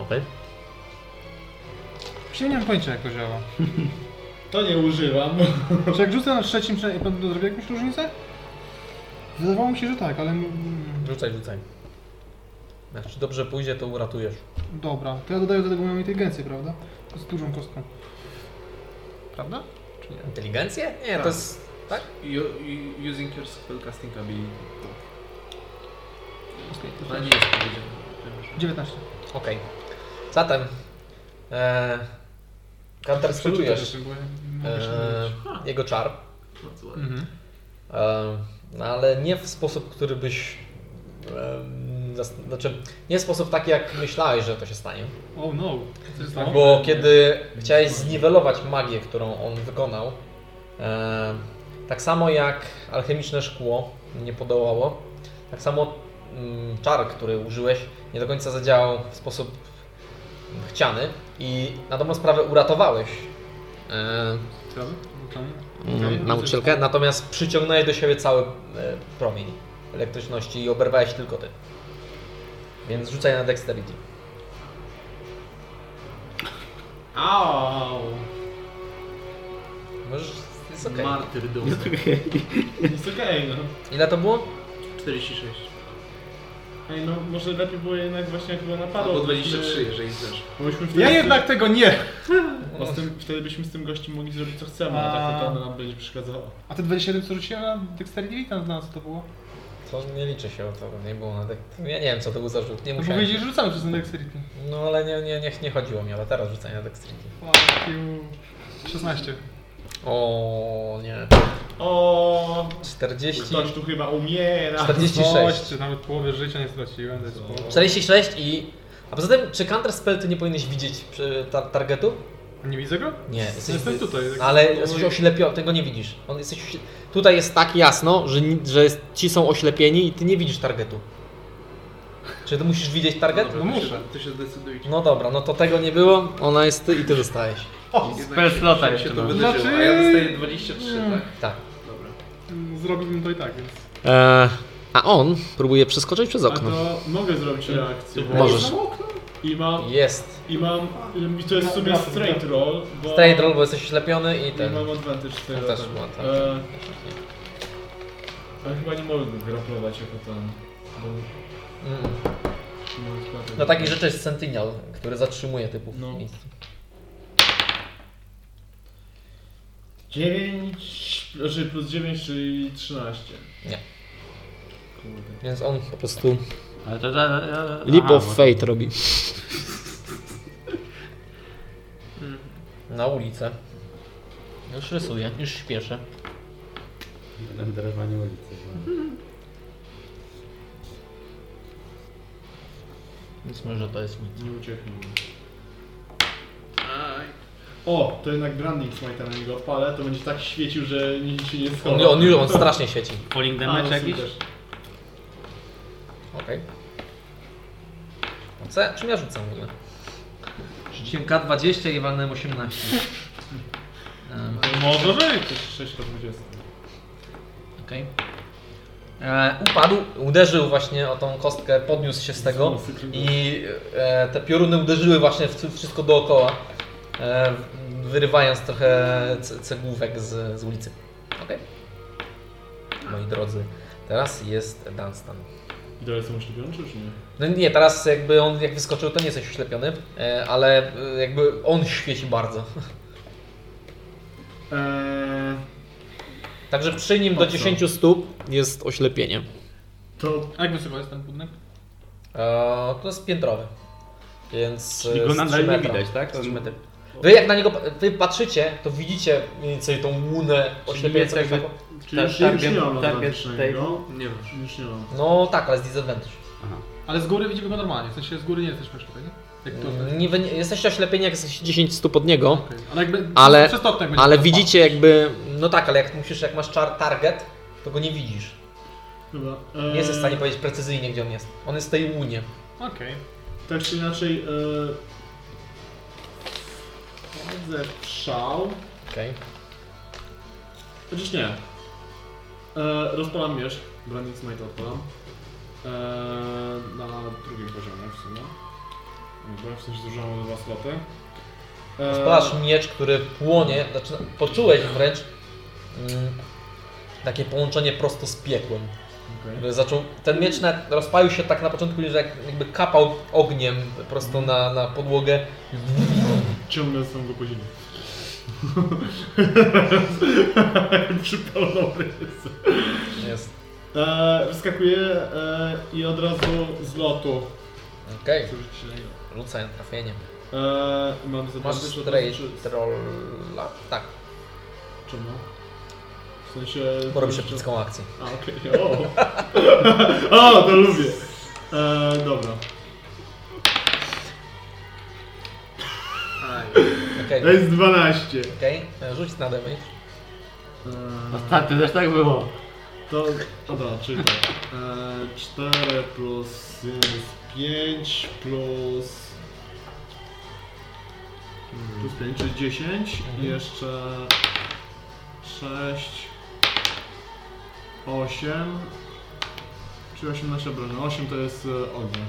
Okej. Czyli nie mam pojęcia jak to działa. To nie używam. Czy jak rzucę na trzecim, czy będę zrobił jakąś różnicę? Wydawało mi się, że tak, ale... mm, Rzucaj, rzucaj. Jak ci dobrze pójdzie, to uratujesz. Dobra, to ja dodaję do tego moją inteligencję, prawda? Z dużą kostką. Prawda? Czy nie? Inteligencję? Nie, Tak. to jest... Tak? You- you- Using your spellcasting ability. Okej, to Ona też- nie jest powiedziane. 19. Okej. Zatem... E, Kantar, skryczujesz e, jego czar. Bardzo ładnie. Mhm. E, No ale nie w sposób, który byś. em, zas- Znaczy, nie w sposób taki, jak myślałeś, że to się stanie. Oh no. Co się stało? Bo kiedy chciałeś zniwelować magię, którą on wykonał, e, tak samo jak alchemiczne szkło nie podołało, tak samo mm, czar, który użyłeś, nie do końca zadziałał w sposób chciany i na dobrą sprawę uratowałeś e, Tam. Mm, nauczycielkę, natomiast przyciągnąłeś do siebie cały e, promień elektryczności i oberwałeś tylko ty. Więc rzucaj na dexterity. Au! Możesz, jest okej. Martyr dół. Jest okej, no. Ile to było? 46. Ej, no może lepiej było jednak właśnie jak było napadło. Albo 23, jeżeli zdasz. Bo myśmy wtedy Ja jednak tego nie! Bo z tym, wtedy byśmy z tym gościem mogli zrobić co chcemy, a tak to nam będzie przeszkadzało. A te 27 co rzuciłem na Dexterity? Tam dla nas co to było? To nie liczy się, to nie było na dek- Ja nie wiem, co to był za rzut, nie No musiałem. powiedzieli, że rzucamy przez ten Dexterity. No ale nie, nie, nie, nie chodziło mi, ale teraz rzucaj na dexterity. Fuck you. 16. O nie. O, 40, ktoś tu chyba umiera. 46. Zobaczcie, nawet połowy życia nie straciłem, to jest Co? spoko. 46 i... A poza tym, czy counter spell ty nie powinieneś widzieć przy tar- targetu? Nie widzę go? Nie, jesteś, Jestem tutaj, tak. ale jesteś oślepiony, tego nie widzisz. On jesteś, ośle- tutaj jest tak jasno, że, ni- że jest, ci są oślepieni i ty nie widzisz targetu. Czy ty musisz widzieć target? Dobra, No to muszę. Się, to się zdecydujcie. No dobra, no to tego nie było, ona jest ty i ty dostajesz. Jednak spell się- slota się jeszcze to mam. wydarzyło, Znaczy- A ja dostaję 23, tak? Tak. Dobra. Mm, Zrobiłbym to i tak, więc... E, a on próbuje przeskoczyć przez A okno. to mogę zrobić reakcję. Możesz. I mam, Jest. i mam, i to jest w sumie straight roll, bo Straight roll, bo jesteś oślepiony i i ten. mam advantage z tego. Też tak. była, tak. E, ale chyba nie mogę go graplować jako ten, bo Mm. nie mam składu. No takich rzeczy jest Sentinel, który zatrzymuje typów No. w miejscu. 9, znaczy plus 9, czyli 13. Nie. Kurde. Więc on po prostu Ale to, to, to, to Leap aha, of bo- Fate robi. [LAUGHS] Na ulicę. Już rysuję, już śpieszę. Wędrowanie ulicy. [LAUGHS] Więc może to jest nic. Nie ucieknij. Aj. O, to jednak branding smite na niego odpalę, to będzie tak świecił, że nikt się nie schowa. On, on, on, on strasznie sieci. Falling A, damage no jakiś? super. Okej. No Co? ja- Czym ja rzucam w ogóle? Rzuciłem K20 i walnąłem 18. um, Może być! To jest 6 do 20. Okej. E, Upadł, uderzył właśnie o tą kostkę, podniósł się z tego i e, te pioruny uderzyły właśnie w w wszystko dookoła, e, w- wyrywając trochę ce- cegłówek z, z ulicy. Okej. Moi drodzy, teraz jest Dunstan. I dalej są oślepione, czy już nie? No nie, teraz jakby on jak wyskoczył, to nie jesteś oślepiony, e, ale e, jakby on świeci bardzo. Eee, Także przy nim do Mocno. 10 stóp jest oślepienie. to A jak wysoko jest ten budynek? E, to jest piętrowy. Więc. Czyli e, go z nadal trzy nie metra. widać, tak? Z trzy On- metry. Wy jak na niego pa- wy patrzycie, to widzicie mniej więcej tą łunę oślepiającą. jest jakby- taką. czyli Tak, już, już target- nie mam target advantage'ego. Nie masz. Już nie mam. No tak, ale z disadvantage. Aha. Ale z góry widzimy go normalnie, w sensie z góry nie jesteśmy ślepieni. Jak tu jesteś. Nie, wy- jesteście oślepieni, jak jesteście 10 stóp od niego. Okej. Ale jakby Ale- przez stopniak No. będzie Ale ten widzicie jakby... No tak, ale jak musisz, jak masz czar target, to go nie widzisz. Dobra. Nie jesteś w stanie powiedzieć precyzyjnie, gdzie on jest. On jest w tej łunie. pad. Okej. Tak czy inaczej... E... Wchodzę w szał. Okej. Chociaż nie. E, rozpalam miecz. [LAUGHS] Branding Smite odpalam. E, na drugim poziomie w sumie. Dobra, w sensie zużyłem o dwa sloty. E, Spalasz miecz, który płonie, zaczyna, poczułeś wręcz mm, takie połączenie prosto z piekłem. Który Zaczął, ten miecz nawet rozpalił się tak na początku, że jak, jakby kapał ogniem prosto na, na podłogę. Ciągle są go poziomie. Przypalony. Jest. E, wyskakuję e, i od razu z lotu. Okej, Chcę rzucić na niego. rzucaj na trafienie. E, mam Masz zadanie, że straight czy, rolla? Tak, czemu? W sensie... bo robisz epicką akcję. A, okej. [LAUGHS] O! o, to lubię. E, dobra. Okej, To jest 12. okej, e, rzuć na damage. Ostatnio też tak było. Eee, To, o da, czyli tak. E, 4 plus 1 jest 5 plus... Plus 5, czyli 10 i jeszcze 6, 8, czyli 18 obrażeń. 8 to jest e, ognia.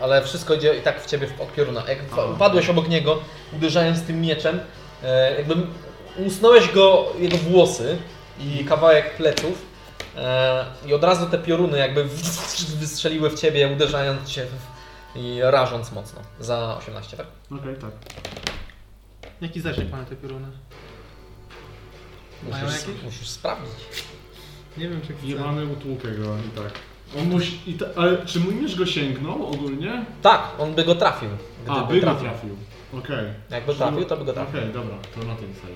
Ale wszystko idzie i tak w ciebie w odpioruna. Jak w- upadłeś obok niego, uderzając tym mieczem, e, jakby usunąłeś go, jego włosy i kawałek pleców e, i od razu te pioruny jakby wystrzeliły w ciebie, uderzając cię w, i rażąc mocno. Za 18, tak? Okej, tak. Jaki zasięg mają te pioruny? Mają Musisz, jakiś? musisz sprawdzić. Nie wiem czy chcę. Nie mamy utłukę go i tak. On musi, i ta, ale czy mój miecz go sięgnął ogólnie? Tak, on by go trafił. A, Gdyby by go trafił. trafił. Okej. Jakby trafił, to by go Okej, trafił. dobra, to na tym stanie.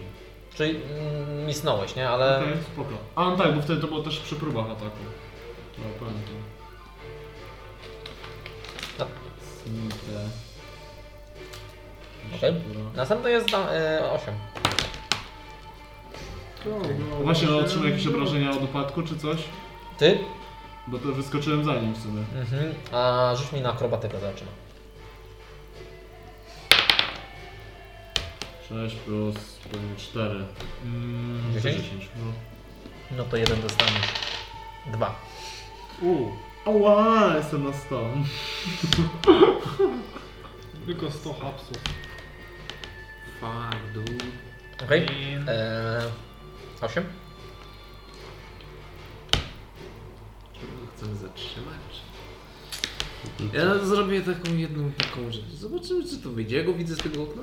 Czyli mm, misnąłeś, nie? Ale Okej, spoko. A no tak, bo wtedy to było też przy próbach ataku. No pamiętam. No. Smite. Okej. następny jest za, e, 8. No, Właśnie on otrzymał jakieś obrażenia od upadku czy coś? Ty? Bo to wyskoczyłem za nim w sumie. Mhm. A rzuć mi na akrobatykę zobaczymy. 6 plus 4. Mm, to Dziesięć? 10. No. No to jeden dostaniesz. Dwa. U. Oła, jestem na 100. Tylko 100 hapsów. Fuck, dude. Okej. Eee, osiem? Czy go chcemy zatrzymać? Ja zrobię taką jedną taką rzecz. Zobaczymy, czy to wyjdzie. Ja go widzę z tego okna.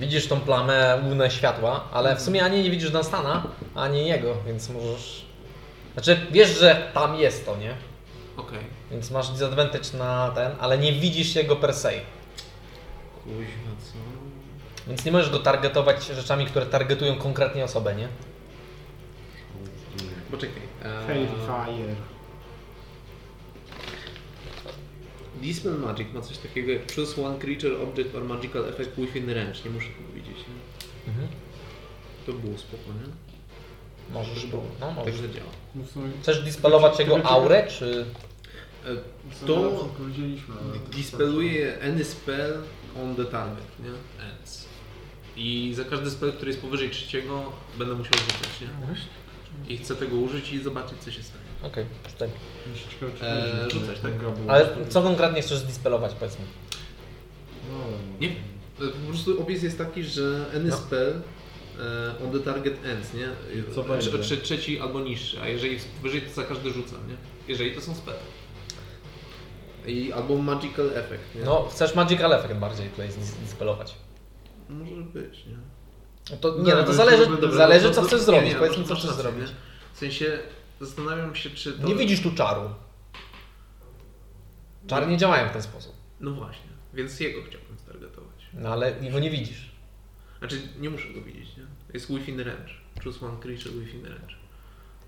Widzisz tą plamę łunę światła, ale w sumie ani nie widzisz Dunstana, ani jego, więc możesz... Znaczy, wiesz, że tam jest to, nie? Okej. Więc masz disadvantage na ten, ale nie widzisz jego per se. Kuźma, co? Więc nie możesz go targetować rzeczami, które targetują konkretnie osobę, nie? Poczekaj. Eee, Hellfire. Dispel Magic ma coś takiego jak choose one creature, object or magical effect within range. Nie muszę tego widzieć. Nie? Mhm. To było spokojnie. Możesz go... No, możesz. Także działa. No w sumie Chcesz dispelować jego aurę, czy... To powiedzieliśmy. ale to- dispeluje any spell on the target, nie? Ends. I za każdy spell, który jest powyżej trzeciego, będę musiał rzucać, nie? I chcę tego użyć i zobaczyć, co się stanie. Okej, okay, Ciekawe, czy Eee, będzie rzucać, ten tak? gabu. Ale co konkretnie chcesz dispelować, powiedzmy? No, Nie? E, Po prostu opis jest taki, że any No. spell e, on the target ends, nie? I co Trze- będzie? trze- trzeci albo niższy, a jeżeli jest wyżej, to za każdy rzucam, nie? Jeżeli to są spell. I albo magical effect, nie? No, chcesz Magical Effect bardziej tutaj zdis- dispelować. Może być, nie? No to, nie, Dobra, no to to zależy, dobra, dobra, zależy to- co to- chcesz nie, zrobić, nie, powiedzmy masz- co masz chcesz rację, zrobić. W sensie zastanawiam się, czy to. Nie widzisz tu czaru. Czary nie działają w ten sposób, No właśnie, więc jego chciałbym stargetować. no ale jego nie widzisz. Znaczy, nie muszę go widzieć, nie? Jest within range. Choose one creature within range.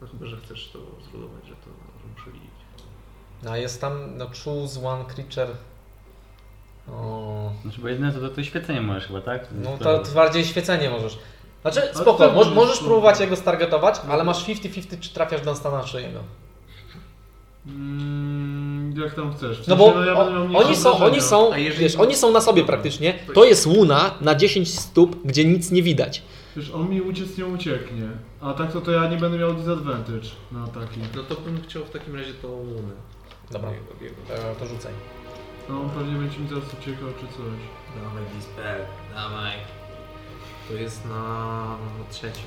No chyba, że chcesz to zbudować, że to że muszę widzieć. A jest tam, no choose one creature. O, Znaczy, bo jedyne to do tego świecenia możesz chyba, tak? no To- to bardziej świecenie możesz. Znaczy to spoko, tak możesz, możesz możesz spróbować. próbować jego stargetować, ale masz 50-50 czy trafiasz Dunstana czy jego. Mm, jak tam chcesz. W No sensie, bo ja będę miał o, mniejsze oni są, obrażenia. oni są, A jeżeli- wiesz, oni są na sobie praktycznie. To jest łuna na 10 stóp, gdzie nic nie widać. Przecież on mi uciec nie ucieknie. A tak to, to ja nie będę miał disadvantage na ataki. No to bym chciał w takim razie tą łunę. Dobra, Jego, jego. e, to rzucaj. No on pewnie będzie mi teraz uciekał czy coś. Dawaj, Lisbel, dawaj. To jest na trzecim.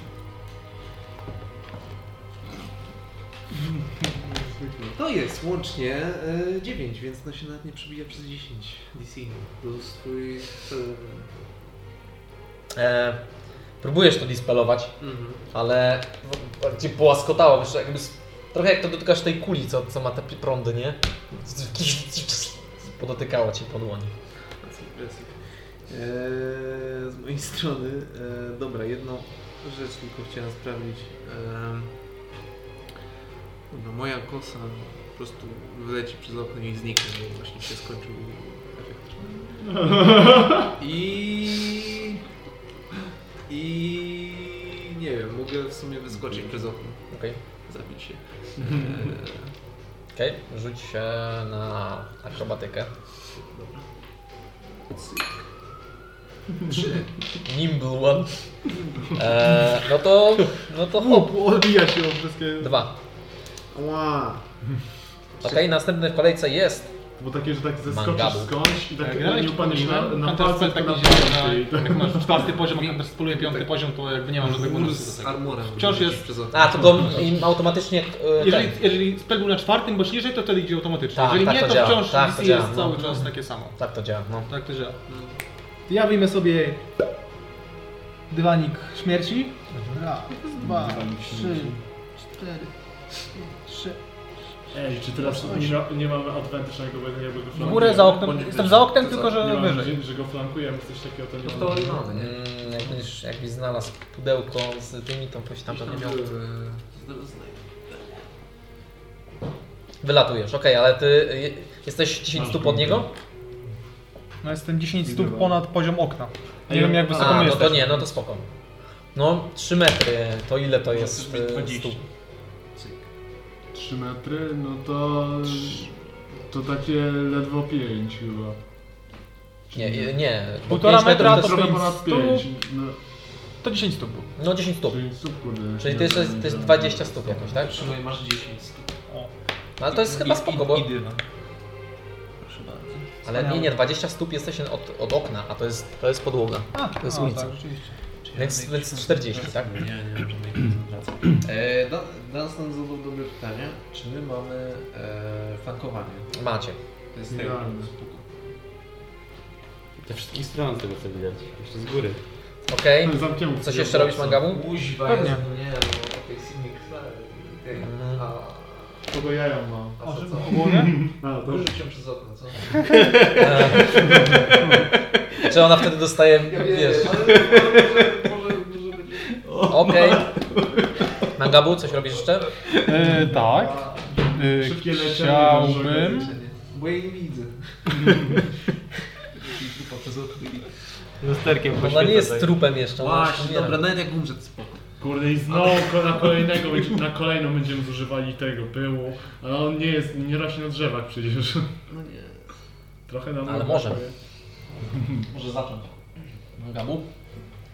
To jest łącznie y, 9, więc no się nawet nie przebija przez 10 DC. Plus twój... y, E, próbujesz to dispelować, mhm. ale w- cię płaskotało, wiesz, jakby s- trochę jak to dotykasz tej kuli, co, co ma te pi- prądy, nie? Podotykało cię po dłoni. That's impressive. Eee, z mojej strony, eee, dobra, jedną rzecz tylko chciałem sprawdzić. Eee, dobra, moja kosa po prostu wyleci przez okno i zniknie, bo właśnie się skończył efekt. I... I... Nie wiem, mogę w sumie wyskoczyć przez okno, Okej, zabić się. okej, rzuć się na akrobatykę. Trzy. Nimble one. E, no to, no to hop, Odbija się od wszystkiego. dwa. Ła! Okej, następny w kolejce jest. Bo takie, że tak Mangabu. zeskoczysz skądś i tak Generalnie nie ci upadniesz na, powinien. na Counterspell palce, tak tylko nie na działa. palce i tak. Jak masz czwarty poziom, a counterspelluje piąty poziom, to jakby nie mam żadnego Mur bonusu do z tego. armorem. Wciąż jest- Przez okno. A, to go im automatycznie. tak. E, Jeżeli, ten. jeżeli spell był na czwartym bądź niżej, to wtedy idzie automatycznie. Tak, jeżeli tak nie, to to, działa, wciąż tak to DC działa, jest no. cały czas takie samo. Tak to działa, no. Tak to działa. Ja wyjmę sobie dywanik śmierci. Raz, dwa, trzy, cztery, trzy. Ej, czy teraz nie, ma- nie mamy advantage na kogo jednego go W flankujemy? górę za oknem. Bądź Jestem wyżej. za oknem, To tylko Nie że mamy, wyżej. że- że go flankujemy, coś takiego to nie No to mamy. mamy, nie? Mm, jak będziesz, jakbyś znalazł pudełko z tymi, to byś tam pewnie miał. Wylatujesz, okej, ale ty y, jesteś 10 stóp od niego? No jestem 10 stóp ponad poziom okna. Nie wiem jak wysoko A, my no to jesteśmy. nie, no to spoko. No, 3 metry, to ile to jest y, stóp? 3 metry, no to... To takie ledwo 5 chyba. Nie, y, nie. bo Półtora pięć metrów metra jest- to Trochę pięć ponad stóp. 5. No, To 10 stóp było. No 10 stóp. czyli stóp kurde. Czyli to jest, to jest 20 stóp jakoś, tak? Trzymaj, masz 10 stóp. No, ale to jest chyba spoko, bo... Proszę bardzo. Ale nie, nie, 20 stóp jesteś od, od okna, a to jest, to jest podłoga. A, To jest a, ulica. tak, rzeczywiście. Więc, więc 40, tak? Nie, nie, nie. E, Dan- Dunstan zadał dobre pytanie. Czy my mamy e, flankowanie? Macie. To jest tego. Idealne. Ze wszystkich stron z tego co widać. Jeszcze z góry. Okej, Zamknięty. coś jeszcze robisz, Mangabu? Kuźwa, Pewnie. Jezu, nie, no, okej, Sydney Krwawy. Mhm. A, Kogo jaja ma? a co, co? A, dobrze. Wyrzuć ją przez okno, co? E, Czy ona wtedy dostaje, wiesz... ale może, może, może być... Okej. Mangabu, coś robisz jeszcze? E, tak. Yy, Szybkie E, leczenie, chciałbym... dobrze. Bo jej nie widzę. I Dupa przez okno i... Lusterkiem Ona No, nie jest tak. trupem jeszcze. ona Właśnie, umiera. dobra, [LAUGHS] nawet jak umrze, to spoko. Kurde i znowu ko- na kolejnego będzie, na kolejną będziemy zużywali tego pyłu, ale on nie jest, nie rośnie na drzewach przecież. No nie. Trochę nam Ale może. Może zacząć. Mangabu?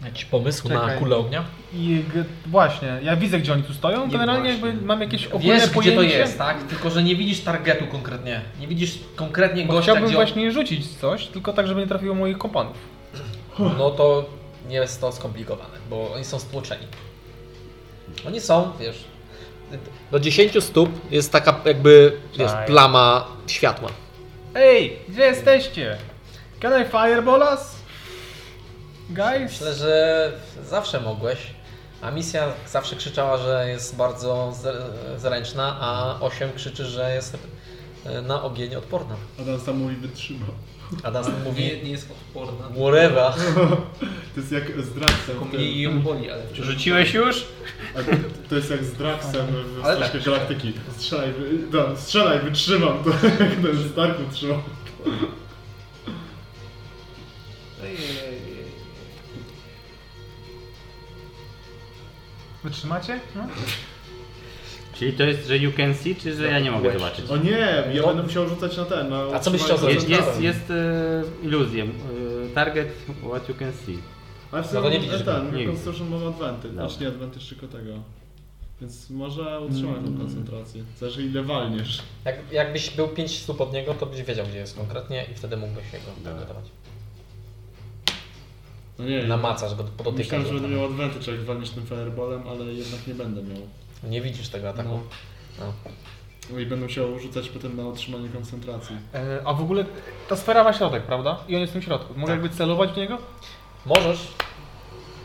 Jakiś pomysł na Czekaj. kulę ognia? I g- właśnie, ja widzę gdzie oni tu stoją, generalnie jakby mam jakieś ogólne Wiesz, pojęcie. gdzie to jest, tak? Tylko, że nie widzisz targetu konkretnie. Nie widzisz konkretnie Bo gościa, chciałbym gdzie... on- właśnie rzucić coś, tylko tak, żeby nie trafiło moich kompanów. No to nie jest to skomplikowane, bo oni są stłoczeni. Oni są, wiesz... Do 10 stóp jest taka jakby, wiesz, plama światła. Ej, gdzie jesteście? Can I fireball us? Guys? Myślę, że zawsze mogłeś. A misja zawsze krzyczała, że jest bardzo zr- zręczna, a 8 krzyczy, że jest e, na ogień odporna. Adam sam mówi wytrzyma. A nas mówi Nie, nie jest odporna. whatever. To jest jak z Draxem. Tylko ten- mniej ją boli, ale wciąż. Rzuciłeś już? a To jest jak z Draxem w Ale Strażkach tak. Galaktyki. Strzelaj, wy... da, strzelaj, wytrzymam to. [LAUGHS] Jak ten Stark wytrzymał. Wytrzymacie? No. Czyli to jest, że you can see, czy że ja nie mogę zobaczyć? O nie, ja No. będę musiał rzucać na ten. Na A co byś chciał utrzymanie- zobaczyć? Jest, jest, jest e, iluzją. E, target what you can see. Ale w No to nie No. sumie widzisz go. ten, Nie Reconstruction mam advantage, Dobra. znaczy nie advantage tylko tego. Więc może utrzymam Mm. tą koncentrację. Zależy ile walniesz. Jak, jakbyś był 5 stóp od niego, to byś wiedział gdzie jest konkretnie i wtedy mógłbyś jego Dobra. przygotować. No nie, Namacasz go, podotykasz myślałem, że go. będę miał advantage jak walniesz tym fireballem, ale jednak nie będę miał. Nie widzisz tego ataku. No. No. No I będę musiał rzucać potem na utrzymanie koncentracji. E, a w ogóle ta sfera ma środek, prawda? I on jest w tym środku. Mogę jakby celować w niego? Możesz.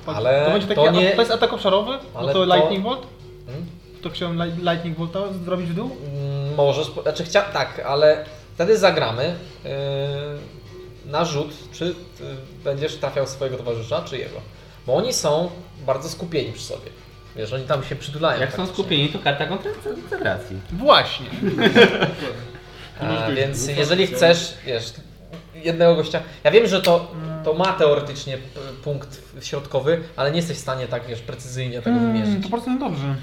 Patrz, Ale to, będzie taki, to nie- a, to jest atak obszarowy? Ale No to- to Lightning Bolt? Mm? To chciałem li- Lightning Bolta zrobić w dół? Mm, Możesz, po- znaczy chcia... tak, ale wtedy zagramy yy, na rzut, czy yy, będziesz trafiał swojego towarzysza, czy jego. Bo oni są bardzo skupieni przy sobie. Wiesz, oni tam się przytulają. Jak są praktycznie. skupieni, to karta koncentracji. Właśnie. A, więc jeżeli chcesz, wiesz, jednego gościa. Ja wiem, że to, to ma teoretycznie p- punkt środkowy, ale nie jesteś w stanie tak, wiesz, precyzyjnie tego Mm, Hmm, wymierzyć. to bardzo niedobrze.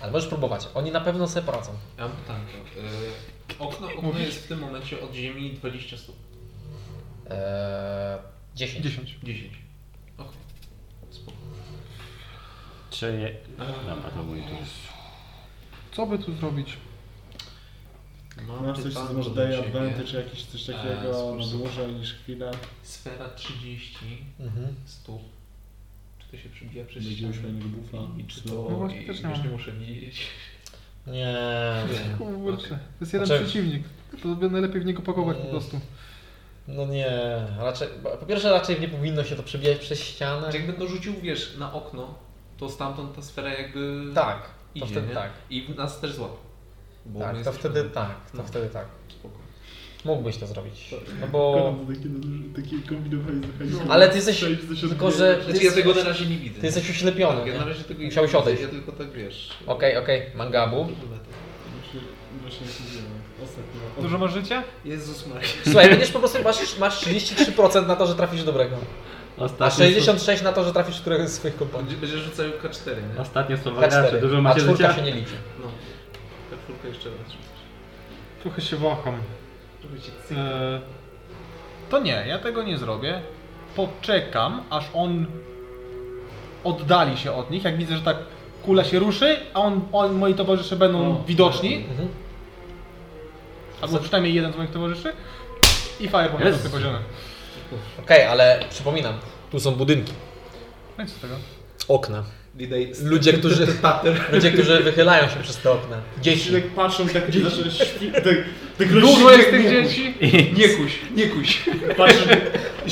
Ale możesz próbować. Oni na pewno sobie poradzą. Ja mam pytanko. Y, Okno, okno Mówisz. jest w tym momencie od ziemi 20 stóp. Eee, 10. 10. 10. Okej. Spoko. Czy je... Dobra, to mój tu jest. Co by tu zrobić? Mam Masz coś, co pytanko może do daje ciebie. advantage jakiś coś Eee, takiego na spójrz. dłużej niż chwilę. Sfera 30 Mhm. stóp. Czy to się przebija przez Będziemy ścianę? fajnego bufa. I czy to... No i, właśnie, też nie wiesz, mam. nie muszę Tak. widzieć. Nie. Nie. Kurczę, Okej. to jest jeden Znaczy- Eee. przeciwnik. To by najlepiej w niego pakować po prostu. No nie. Raczej, po pierwsze, raczej nie powinno się to przebijać przez ścianę. Znaczy jakby to rzucił, wiesz, na okno, to stamtąd ta sfera jakby Tak. To idzie, wtedy nie? tak. I w nas też złapał. Bo my Tak, to jesteśmy- wtedy tak. To No. wtedy tak. Spoko. Mógłbyś to zrobić. No Bo... bo. Takie, takie kombinowanie z mechanizmem. Ale ty jesteś- Przejść do środka. tylko że- Znaczy ja tego na razie nie widzę. Ty jesteś uślepiony. tak, ja nie? na razie tego nie Musiałeś widzę, odejść. Ja tylko tak wiesz. Okej, okej. Mangabu. Właśnie- Właśnie się dzieje. Ostatnio. Dużo masz życia? Jezus Maria. Słuchaj, będziesz po prostu masz, masz 33% na to, że trafisz dobrego. Tak, A Ostatnie, 66% na to, że trafisz któregoś z swoich kompanii. Będziesz rzucał K4, nie? słowa- ostatnie słowa graczy. Dużo K4. Tak, A macie czwórka życia? się nie liczy. No. K4 jeszcze raz rzucasz. Trochę się waham. Trochę cię cyk. E, to nie, ja tego nie zrobię. Poczekam, aż on oddali się od nich. Jak widzę, że tak kula się ruszy, a on, on moi towarzysze będą O. widoczni, Mhm. albo przynajmniej jeden z moich towarzyszy. I fireball na Jezu. szóstym poziomie. Okej, ale przypominam, tu są budynki, No i co z tego? okna. Lidej, [LAUGHS] Ludzie, którzy, ludzie, którzy wychylają się przez te okna. Ci Dzieci. tak patrzą, tak zaczynasz śpi- tak, tak Dużo rośnie- jest tych dzieci. Nie kuś, nie kuś. Patrzysz,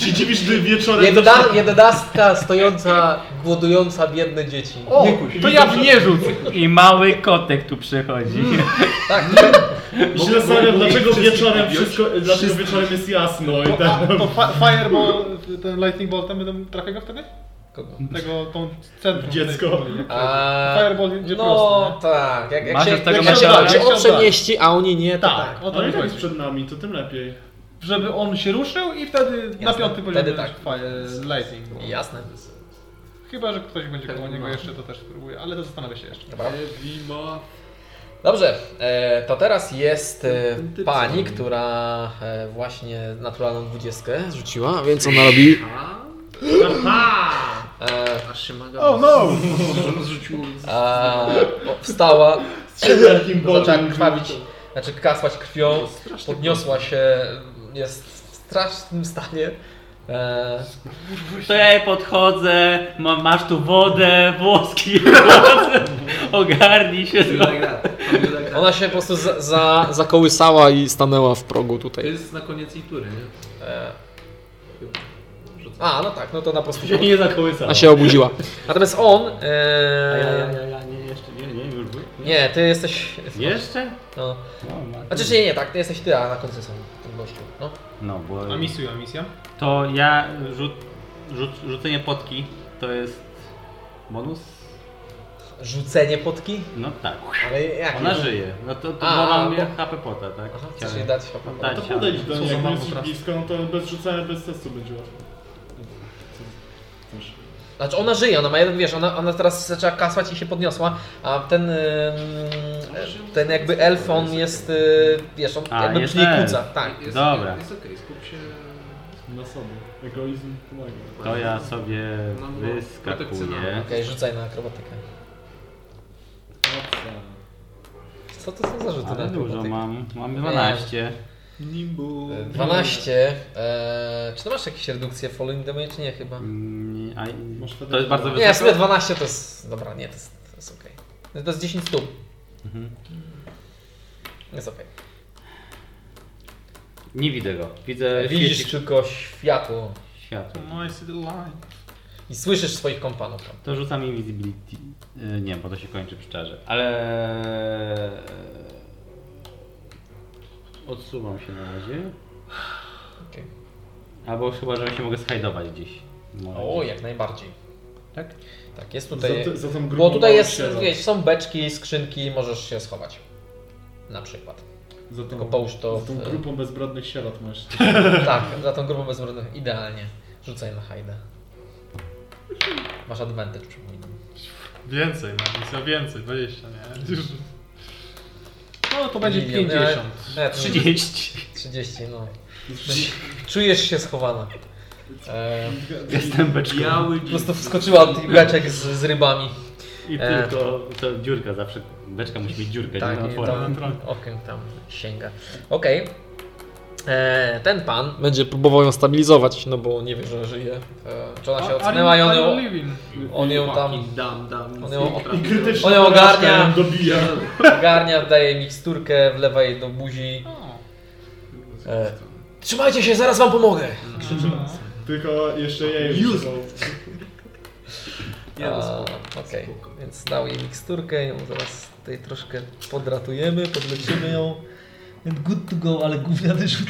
się dziwisz, gdy wieczorem... Jedna, jedenastka stojąca, głodująca biedne dzieci. O, to ja w nie rzucę. I mały kotek tu przychodzi. Tak, I się bo- zastanawiam, bo- dlaczego wszystkich wieczorem wziąć? wszystko, dlaczego wieczorem jest jasno i [LAUGHS] To, a, tak. to fi- fireball, ten lightning boltem będą trafię go wtedy? Kogo? Tego, tą centrum. Dziecko. A, Fireball idzie no prosto, nie? tak, jak, jak Masz się, od tego jak się, mesiara. jak się on Mesiara. przemieści, a oni nie, to tak. Tak, o to Ale mi jak jest chodzi. przed nami, to tym lepiej. Żeby on się ruszył i wtedy na piąty poziom Wtedy będzie tak. fire, lightning. Jasne. Chyba, że ktoś będzie Tak, koło niego no. jeszcze, to też spróbuję, ale to zastanawiam się jeszcze. Dobra. Wima. Dobrze, e, to teraz jest e, Ten typ pani, co która e, właśnie naturalną dwudziestkę rzuciła, więc ona robi... A? E, Aż się maga. Oh no! Zrzuciło mi z- A, o- wstała, Strzelankiem [LAUGHS] zaczęła krwawić, znaczy kasłać krwią, podniosła się, jest w strasznym stanie. E, To ja jej podchodzę, ma, masz tu wodę, [LAUGHS] włoski, ogarnij się. Judah Grad. Pan Judah Grad. ona się po prostu za, za, zakołysała i stanęła w progu To tutaj. jest na koniec jej tury, nie? E, Rzucam. a, no tak, no to na prostu się, nie zakołysało. ona się obudziła. [LAUGHS] Natomiast on, Ja, ja, e, ja, ja, nie, jeszcze nie, nie, już był. Nie, ty jesteś. Jeszcze? No. No, ma- Znaczy, nie, nie, tak, ty jesteś ty, a na końcu są tym gościu. No. No, bo A misja, a misja? to ja rzut, rzut, rzucenie potki to jest bonus? Rzucenie potki? No tak. Ale jak? Ona żyje. No to, to A, bo mam bo- HP pota, tak? Aha, chcesz Chciałem. jej dać HP. Dać, To ale- podejdź do Co niej, za jak mało jest pracy. blisko, no to bez rzucania, bez testu będzie łatwo. Też. Znaczy ona żyje, ona ma jeden, wiesz, ona, ona teraz zaczęła kasłać i się podniosła, a ten, ym, ten jakby elf, on jest, y, wiesz, on A, jakby jest przy niej elf. kłóca, tak. Jest, Dobra. Jest okej, skup się. Na sobie. Egoizm pomaga. To ja sobie No, no, wyskakuję. protekcjonalne. Okej, rzucaj na akrobatykę. Praca. Co to są za rzuty na Ale dużo akrobatykę? mam. Mam 12. Nimbu. Y, 12. E, czy to masz jakieś redukcje falling damage? Nie chyba. Mm, a- Masz wtedy- To jest bardzo Nie, sobie wysoko. 12 to jest, dobra, nie, to jest, to jest okej. No To jest 10 stóp, Mhm. jest okej. Nie widzę go. Widzę Widzisz świeci- tylko światło światło. I see the line. i słyszysz swoich kompanów tam. To rzucam invisibility. Y, Nie, bo to się kończy przy czarze. Ale... e, Odsuwam się na razie. Okej. Albo chyba, że się mogę schajdować gdzieś. Może O, gdzieś. jak najbardziej. Tak? Tak, jest tutaj... Za, za tą Bo grubą tutaj jest, sierot. wiesz, są beczki, skrzynki, możesz się schować. Na przykład. Za tą, Tylko połóż to e, za No. tą w- grupą bezbrodnych sierot [LAUGHS] masz. Tak, za tą grupą bezbrodnych idealnie. Rzucaj na hajdę. Masz advantage, przypominam. Więcej, no, misja więcej, 20, nie? [LAUGHS] Już. No to będzie Milion, 50. nie, nie, 30. [LAUGHS] 30, no. Czujesz się schowana. E, Jestem beczką. Biały po prostu wskoczyła od tych beczek z, z rybami. I E, tylko to dziurka zawsze. Beczka musi mieć dziurkę, Tak, tak, nie i otwora. tam okiem tam sięga. Okej. E, Ten pan będzie próbował ją stabilizować, no bo nie wie, że żyje. E, czy ona się odsunęła i on Are you- are ją you living? On ją tam- Fucking Dam, dam. on ją- Trafił. On ją ogarnia. Porażka ją Dobija. Ogarnia, daje miksturkę, wlewa jej do buzi. E, Trzymajcie się, zaraz wam pomogę! Tylko jeszcze jej Już. używał. Nie, no, A, spoko. Okej, Spoko. więc dał jej miksturkę, ją zaraz tutaj troszkę podratujemy, podleczymy ją. And good to go, ale gówniany rzut.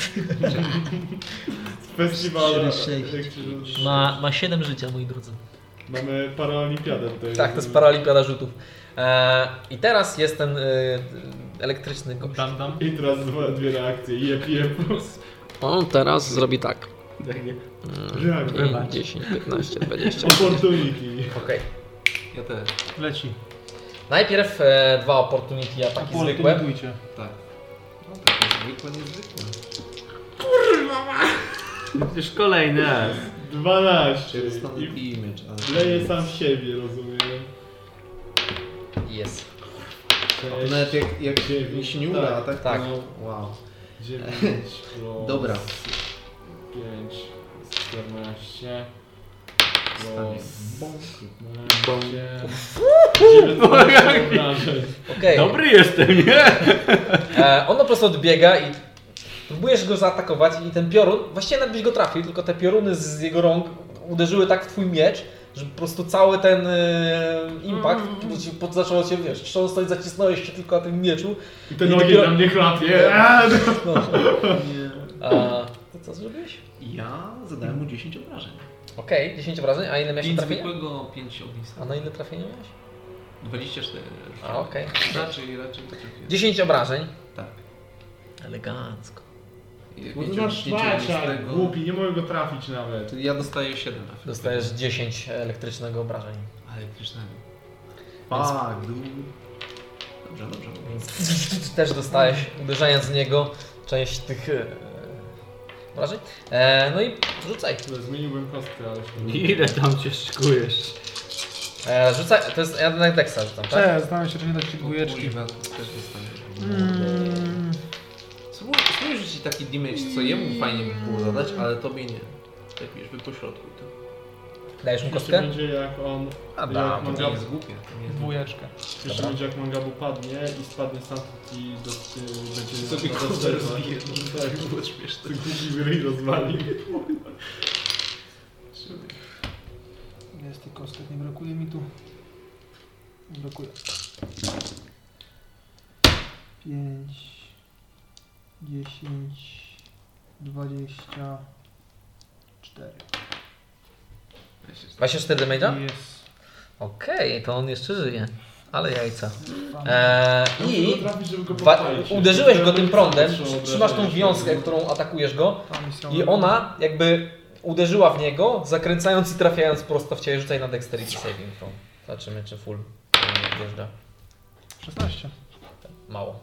Festiwal. e, Cztery, sześć. Jak się rzuci. Ma, ma 7 życia, moi drodzy. Mamy paraolimpiadę tutaj. Tak, to jest paralimpia rzutów. E, I teraz jest ten e, elektryczny gość. Dam, dam. I teraz dwa- dwie reakcje. Jep, jep. On teraz zrobi tak. Mm, Reakcje. 10, 15, 20. Opportunity. Okej. Ja też. Leci. Najpierw e, dwa opportunity ataki zwykłe. Politujcie. Tak. No tak, zwykłe, niezwykłe. Już kolejny raz. 12. Dostanę I i image, ale... leje sam siebie, rozumiem. Jest. To nawet jak, jak się, Dziewięć. jeśli nie uda, Tak, tak? tak. No, wow. 9 [LAUGHS] plus Dobra. 5 14 plus 15 Okej. Dobry jestem, nie? E, on po prostu odbiega i próbujesz go zaatakować i ten piorun, właściwie nawet byś go trafił, tylko te pioruny z jego rąk uderzyły tak w twój miecz, że po prostu cały ten e, impact ci- po- zaczęło cię, wiesz, trząsnąć, zacisnąłeś się tylko na tym mieczu. I ten I ogień dopiero- na mnie chlapie. Eee, no. No. A, to co zrobiłeś? Ja zadałem mu 10 obrażeń. Okej, 10 obrażeń, a ile miałeś Pięć trafienia? zwykłego, 5 ognista. A na ile trafienia miałeś? 24. rzuciłem. A, okej. Raczej, raczej to trafiłem. 10 obrażeń. Tak. Elegancko. I No to pięcio- masz szmaciak, pięciognistego. głupi, nie mogę go trafić nawet. To Ja dostaję 7 efektów. Dostajesz 10 elektrycznego obrażeń. Elektrycznego. Fuck, dude. Dobrze, dobrze. Więc też dostajesz, uderzając w niego, część tych e, obrażeń. E, no i rzucaj. Zmieniłbym kostkę, ale się Ile tam cię szykujesz? E, rzucaj, to jest ja na deksa rzucam, tak? Cześć, zastanawiam się, czy nie dać ci dwójeczki. Kurwa, też dostaję. Mm, Spróbuj spróbuj rzucić taki damage, co jemu fajnie by było zadać, ale tobie nie. Lepiej, żeby pośrodku to. Dajesz mu Jeszcze kostkę? będzie jak on, A tak. Jak da, to mam nie gap- jest głupie. to nie jest głupie. Dwójeczkę. jeszcze będzie jak Mangabu padnie i spadnie stamtąd i do, y, będzie... Sobie na kurde dostępne. rozbije, no Tak, tak było śmieszne. ty głupi ryj rozwali. Jest tych kostek, nie brakuje mi tu. Nie brakuje. 5, 10, 24. 24 damage'a? Jest. Okej, to on jeszcze żyje. Ale jajca. Pan- Eee, I wa- uderzyłeś go tym prądem, trzymasz tą wiązkę, którą atakujesz go pan misją- i ona jakby uderzyła w niego, zakręcając i trafiając prosto w ciebie. Rzucaj na dexterity saving throw. Zobaczymy, czy full nie wjeżdża. 16. Mało.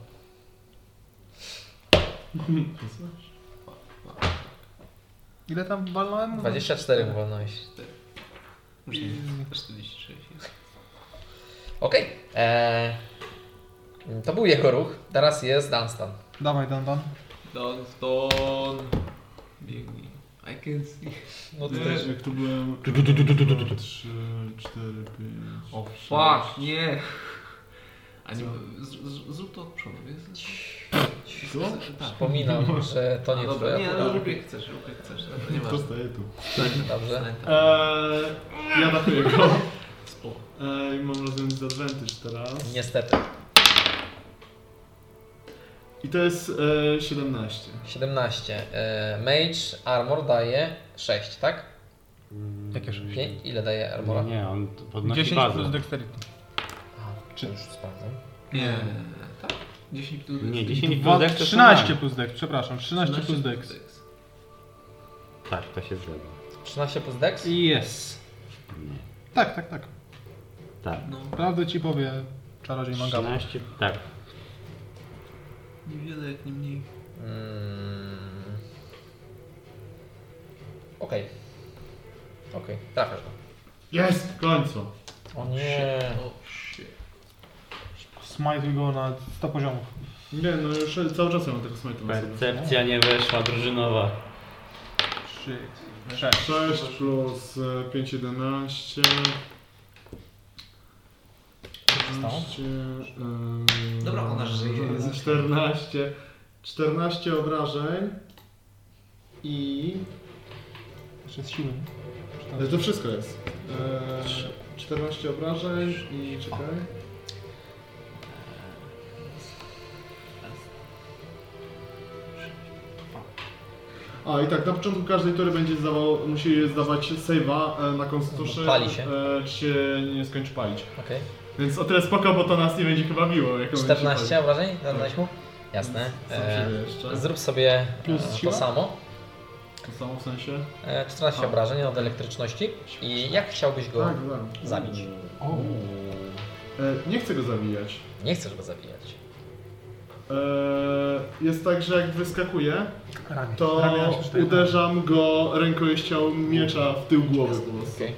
Ile tam walnąłem? 24 chyba no iść. Muszę Mm. 46 jest. Okej. Eee, to był jego ruch. Teraz jest Dunstan. Dawaj, Dan, Dan. Don, don. Biegnij. I can see. No to Też też. jak tu byłem... 3, 4, 5... O fuck, nie. A nie, z, z, zrób to od przodu, wiesz? Co? Tak. Przypominam, że to nie A, dobra, twoja nie, pora. no, rób jak chcesz, rób jak chcesz. Dobra, nie To ma. staje tu. Dobrze. e, Eee, ja atakuję go. Spoko. Eee, mam rozumiem z advantage teraz. Niestety. I to jest eee, 17. 17. Eee, Mage Armor daje 6, tak? Jakie sześć? Nie? Ile daje Armora? Nie, No nie, on t- podnosi 10 bazę. plus dexterity. Czy już sprawdzam? Nie, tak? 10 plus Nie, dex. 10 Dwa- plus dex to są 13 dane. plus dex, przepraszam. 13 plus dex. Tak, to się zgadza. 13 plus Dex? I jest. Nie. Tak, tak, tak. Tak. No, Prawdę ci powie czarodziej Mangaba. 13, tak. niewiele jak nie mniej. Mm. Okej. Okej, trafiasz go. Jest! W końcu. O nie. O shit. Smite go na 100 poziomów. Nie, no już cały czas ja mam tego smite'a na sobie. Percepcja nie weszła, drużynowa. 3, 6. 6 plus e, 5, 11. Stało? 11 e, Dobra, ona żyje. z 14. 14 obrażeń. I. Jeszcze z siły. Ale to wszystko jest. E, 14 obrażeń i czekaj. A i tak, na początku każdej tury będzie zdawał, musi zdawać save'a e, na Constitution, Pali się. E, czy się nie skończy palić. Okej. Więc o tyle spoko, bo to nas nie będzie chyba miło. Jak on będzie się 14 obrażeń? Zadałeś mu? Tak. Jasne. palił. Sam Eee, siebie jeszcze. zrób sobie Plus e, to siła? samo. To samo w sensie? E, 14 obrażeń od elektryczności. I jak chciałbyś go Tak, tak. zabić? E, nie chcę go zabijać. Nie chcesz go zabijać. Tak, E, jest tak, że jak wyskakuje, Ramię. to Ramię na cztery. uderzam go rękojeścią miecza w tył głowy po prostu. Okej.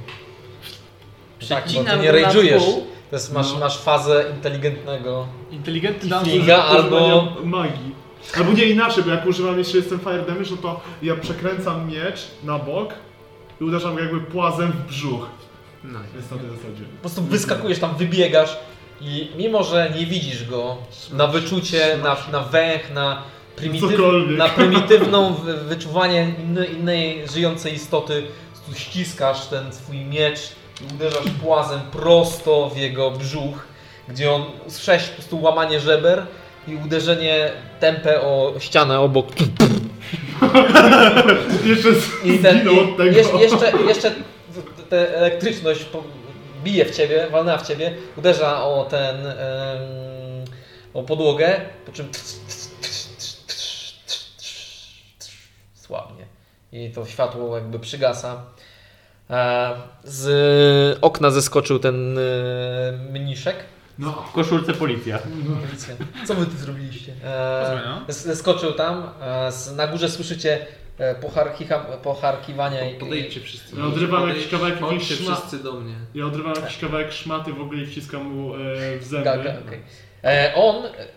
Tak, bo ty nie rage'ujesz. To jest, masz, No. masz fazę inteligentnego Inteligentny Figa dancer używania albo- magii. Albo nie inaczej, bo jak używam jeszcze jestem fire damage, no to ja przekręcam miecz na bok i uderzam go jakby płazem w brzuch. No, Jest na tej zasadzie. Po prostu wyskakujesz tam, wybiegasz i mimo, że nie widzisz go na wyczucie, na, na węch, na, prymityw, Cokolwiek. na prymitywną wy- wyczuwanie inny, innej żyjącej istoty, po prostu ściskasz ten swój miecz i uderzasz płazem prosto w jego brzuch, gdzie on sześć po prostu łamanie żeber i uderzenie tempę o ścianę obok. Jeszcze I ten, zginął od i tego. jeszcze, jeszcze, jeszcze ta elektryczność po- bije w ciebie, walnęła w ciebie, uderza o ten, em, o podłogę, po czym słabnie. I to światło jakby przygasa. E, Z okna zeskoczył ten e, mniszek. W koszulce policja. Co wy tu zrobiliście? no. Pozdrawiam. E, zeskoczył tam, e, z- na górze słyszycie e, pocharkicha, pocharkiwania i, i Podejdźcie wszyscy. Ja odrywam Podejdźcie, jakiś kawałek Chodźcie jakiejś szma- wszyscy do mnie. Ja odrywam jakiś kawałek szmaty w ogóle i wciskam mu e, w zęby. Gaga, Mhm. okej. E, On,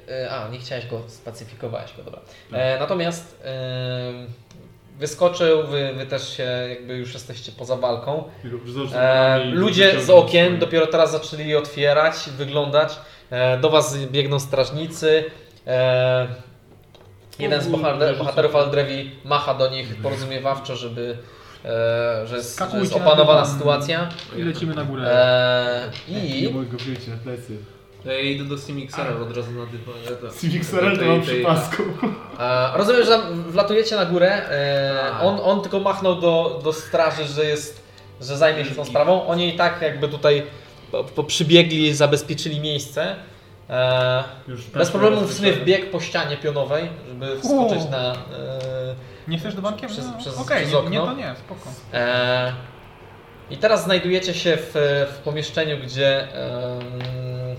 e, a nie chciałeś go, spacyfikowałeś go, dobra. E, natomiast em, wyskoczył, wy, wy też się, jakby już jesteście poza walką. Jego wzorce E, nogami i ludzie z wyciągnął okien swoje. dopiero teraz zaczęli otwierać, wyglądać. E, do was biegną strażnicy. E, jeden z bohater, bohaterów Aldrewi macha do nich porozumiewawczo, żeby, e, że, jest, że jest Skakujcie, opanowana tam. sytuacja. I lecimy na górę. E, I Nie mogę go wziąć na plecy. To ja idę do Simixera od razu na dywan. tak. Civixerel to mam przy pasku. A, rozumiem, że tam wlatujecie na górę. E, Tak. on, on tylko machnął do, do straży, że jest, że zajmie się tą sprawą. Oni i tak jakby tutaj po, po przybiegli, zabezpieczyli miejsce. E, Już bez problemu w sumie wbieg po ścianie pionowej, żeby wskoczyć na. E, Nie chcesz do bankiem? No, Przez- przez- Okej, przez nie, nie okno. to nie, spoko. E, I teraz znajdujecie się w, w pomieszczeniu, gdzie em,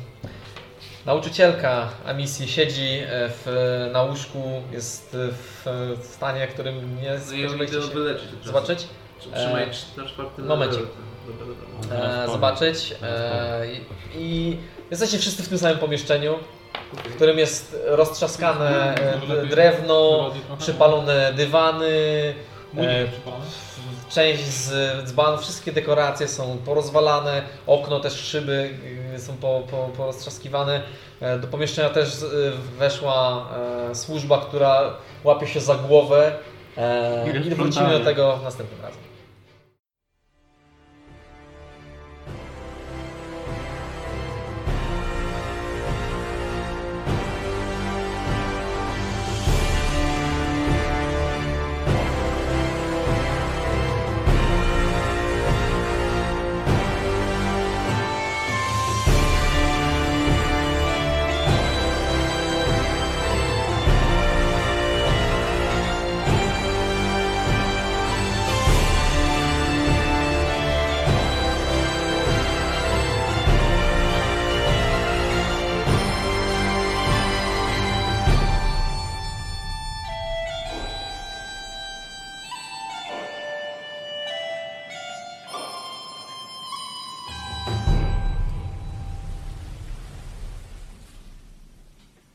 nauczycielka Amisji siedzi e, w, na łóżku, jest w, w stanie, którym No nie i ja spodziewaliście idę się wyleczyć. od razu. zobaczyć. Trzymaj E, na czwartym momencik. level. Dobra, dobra. No, E, zobaczyć. E, i, I jesteście wszyscy w tym samym pomieszczeniu, w którym jest roztrzaskane e, d- drewno, przypalone dywany, e, część z dzban, wszystkie dekoracje są porozwalane, okno też szyby y, są po, po, poroztrzaskiwane. E, Do pomieszczenia też y, weszła e, służba, która łapie się za głowę. E, Ile I wrócimy do sprzątania. tego następnym razem.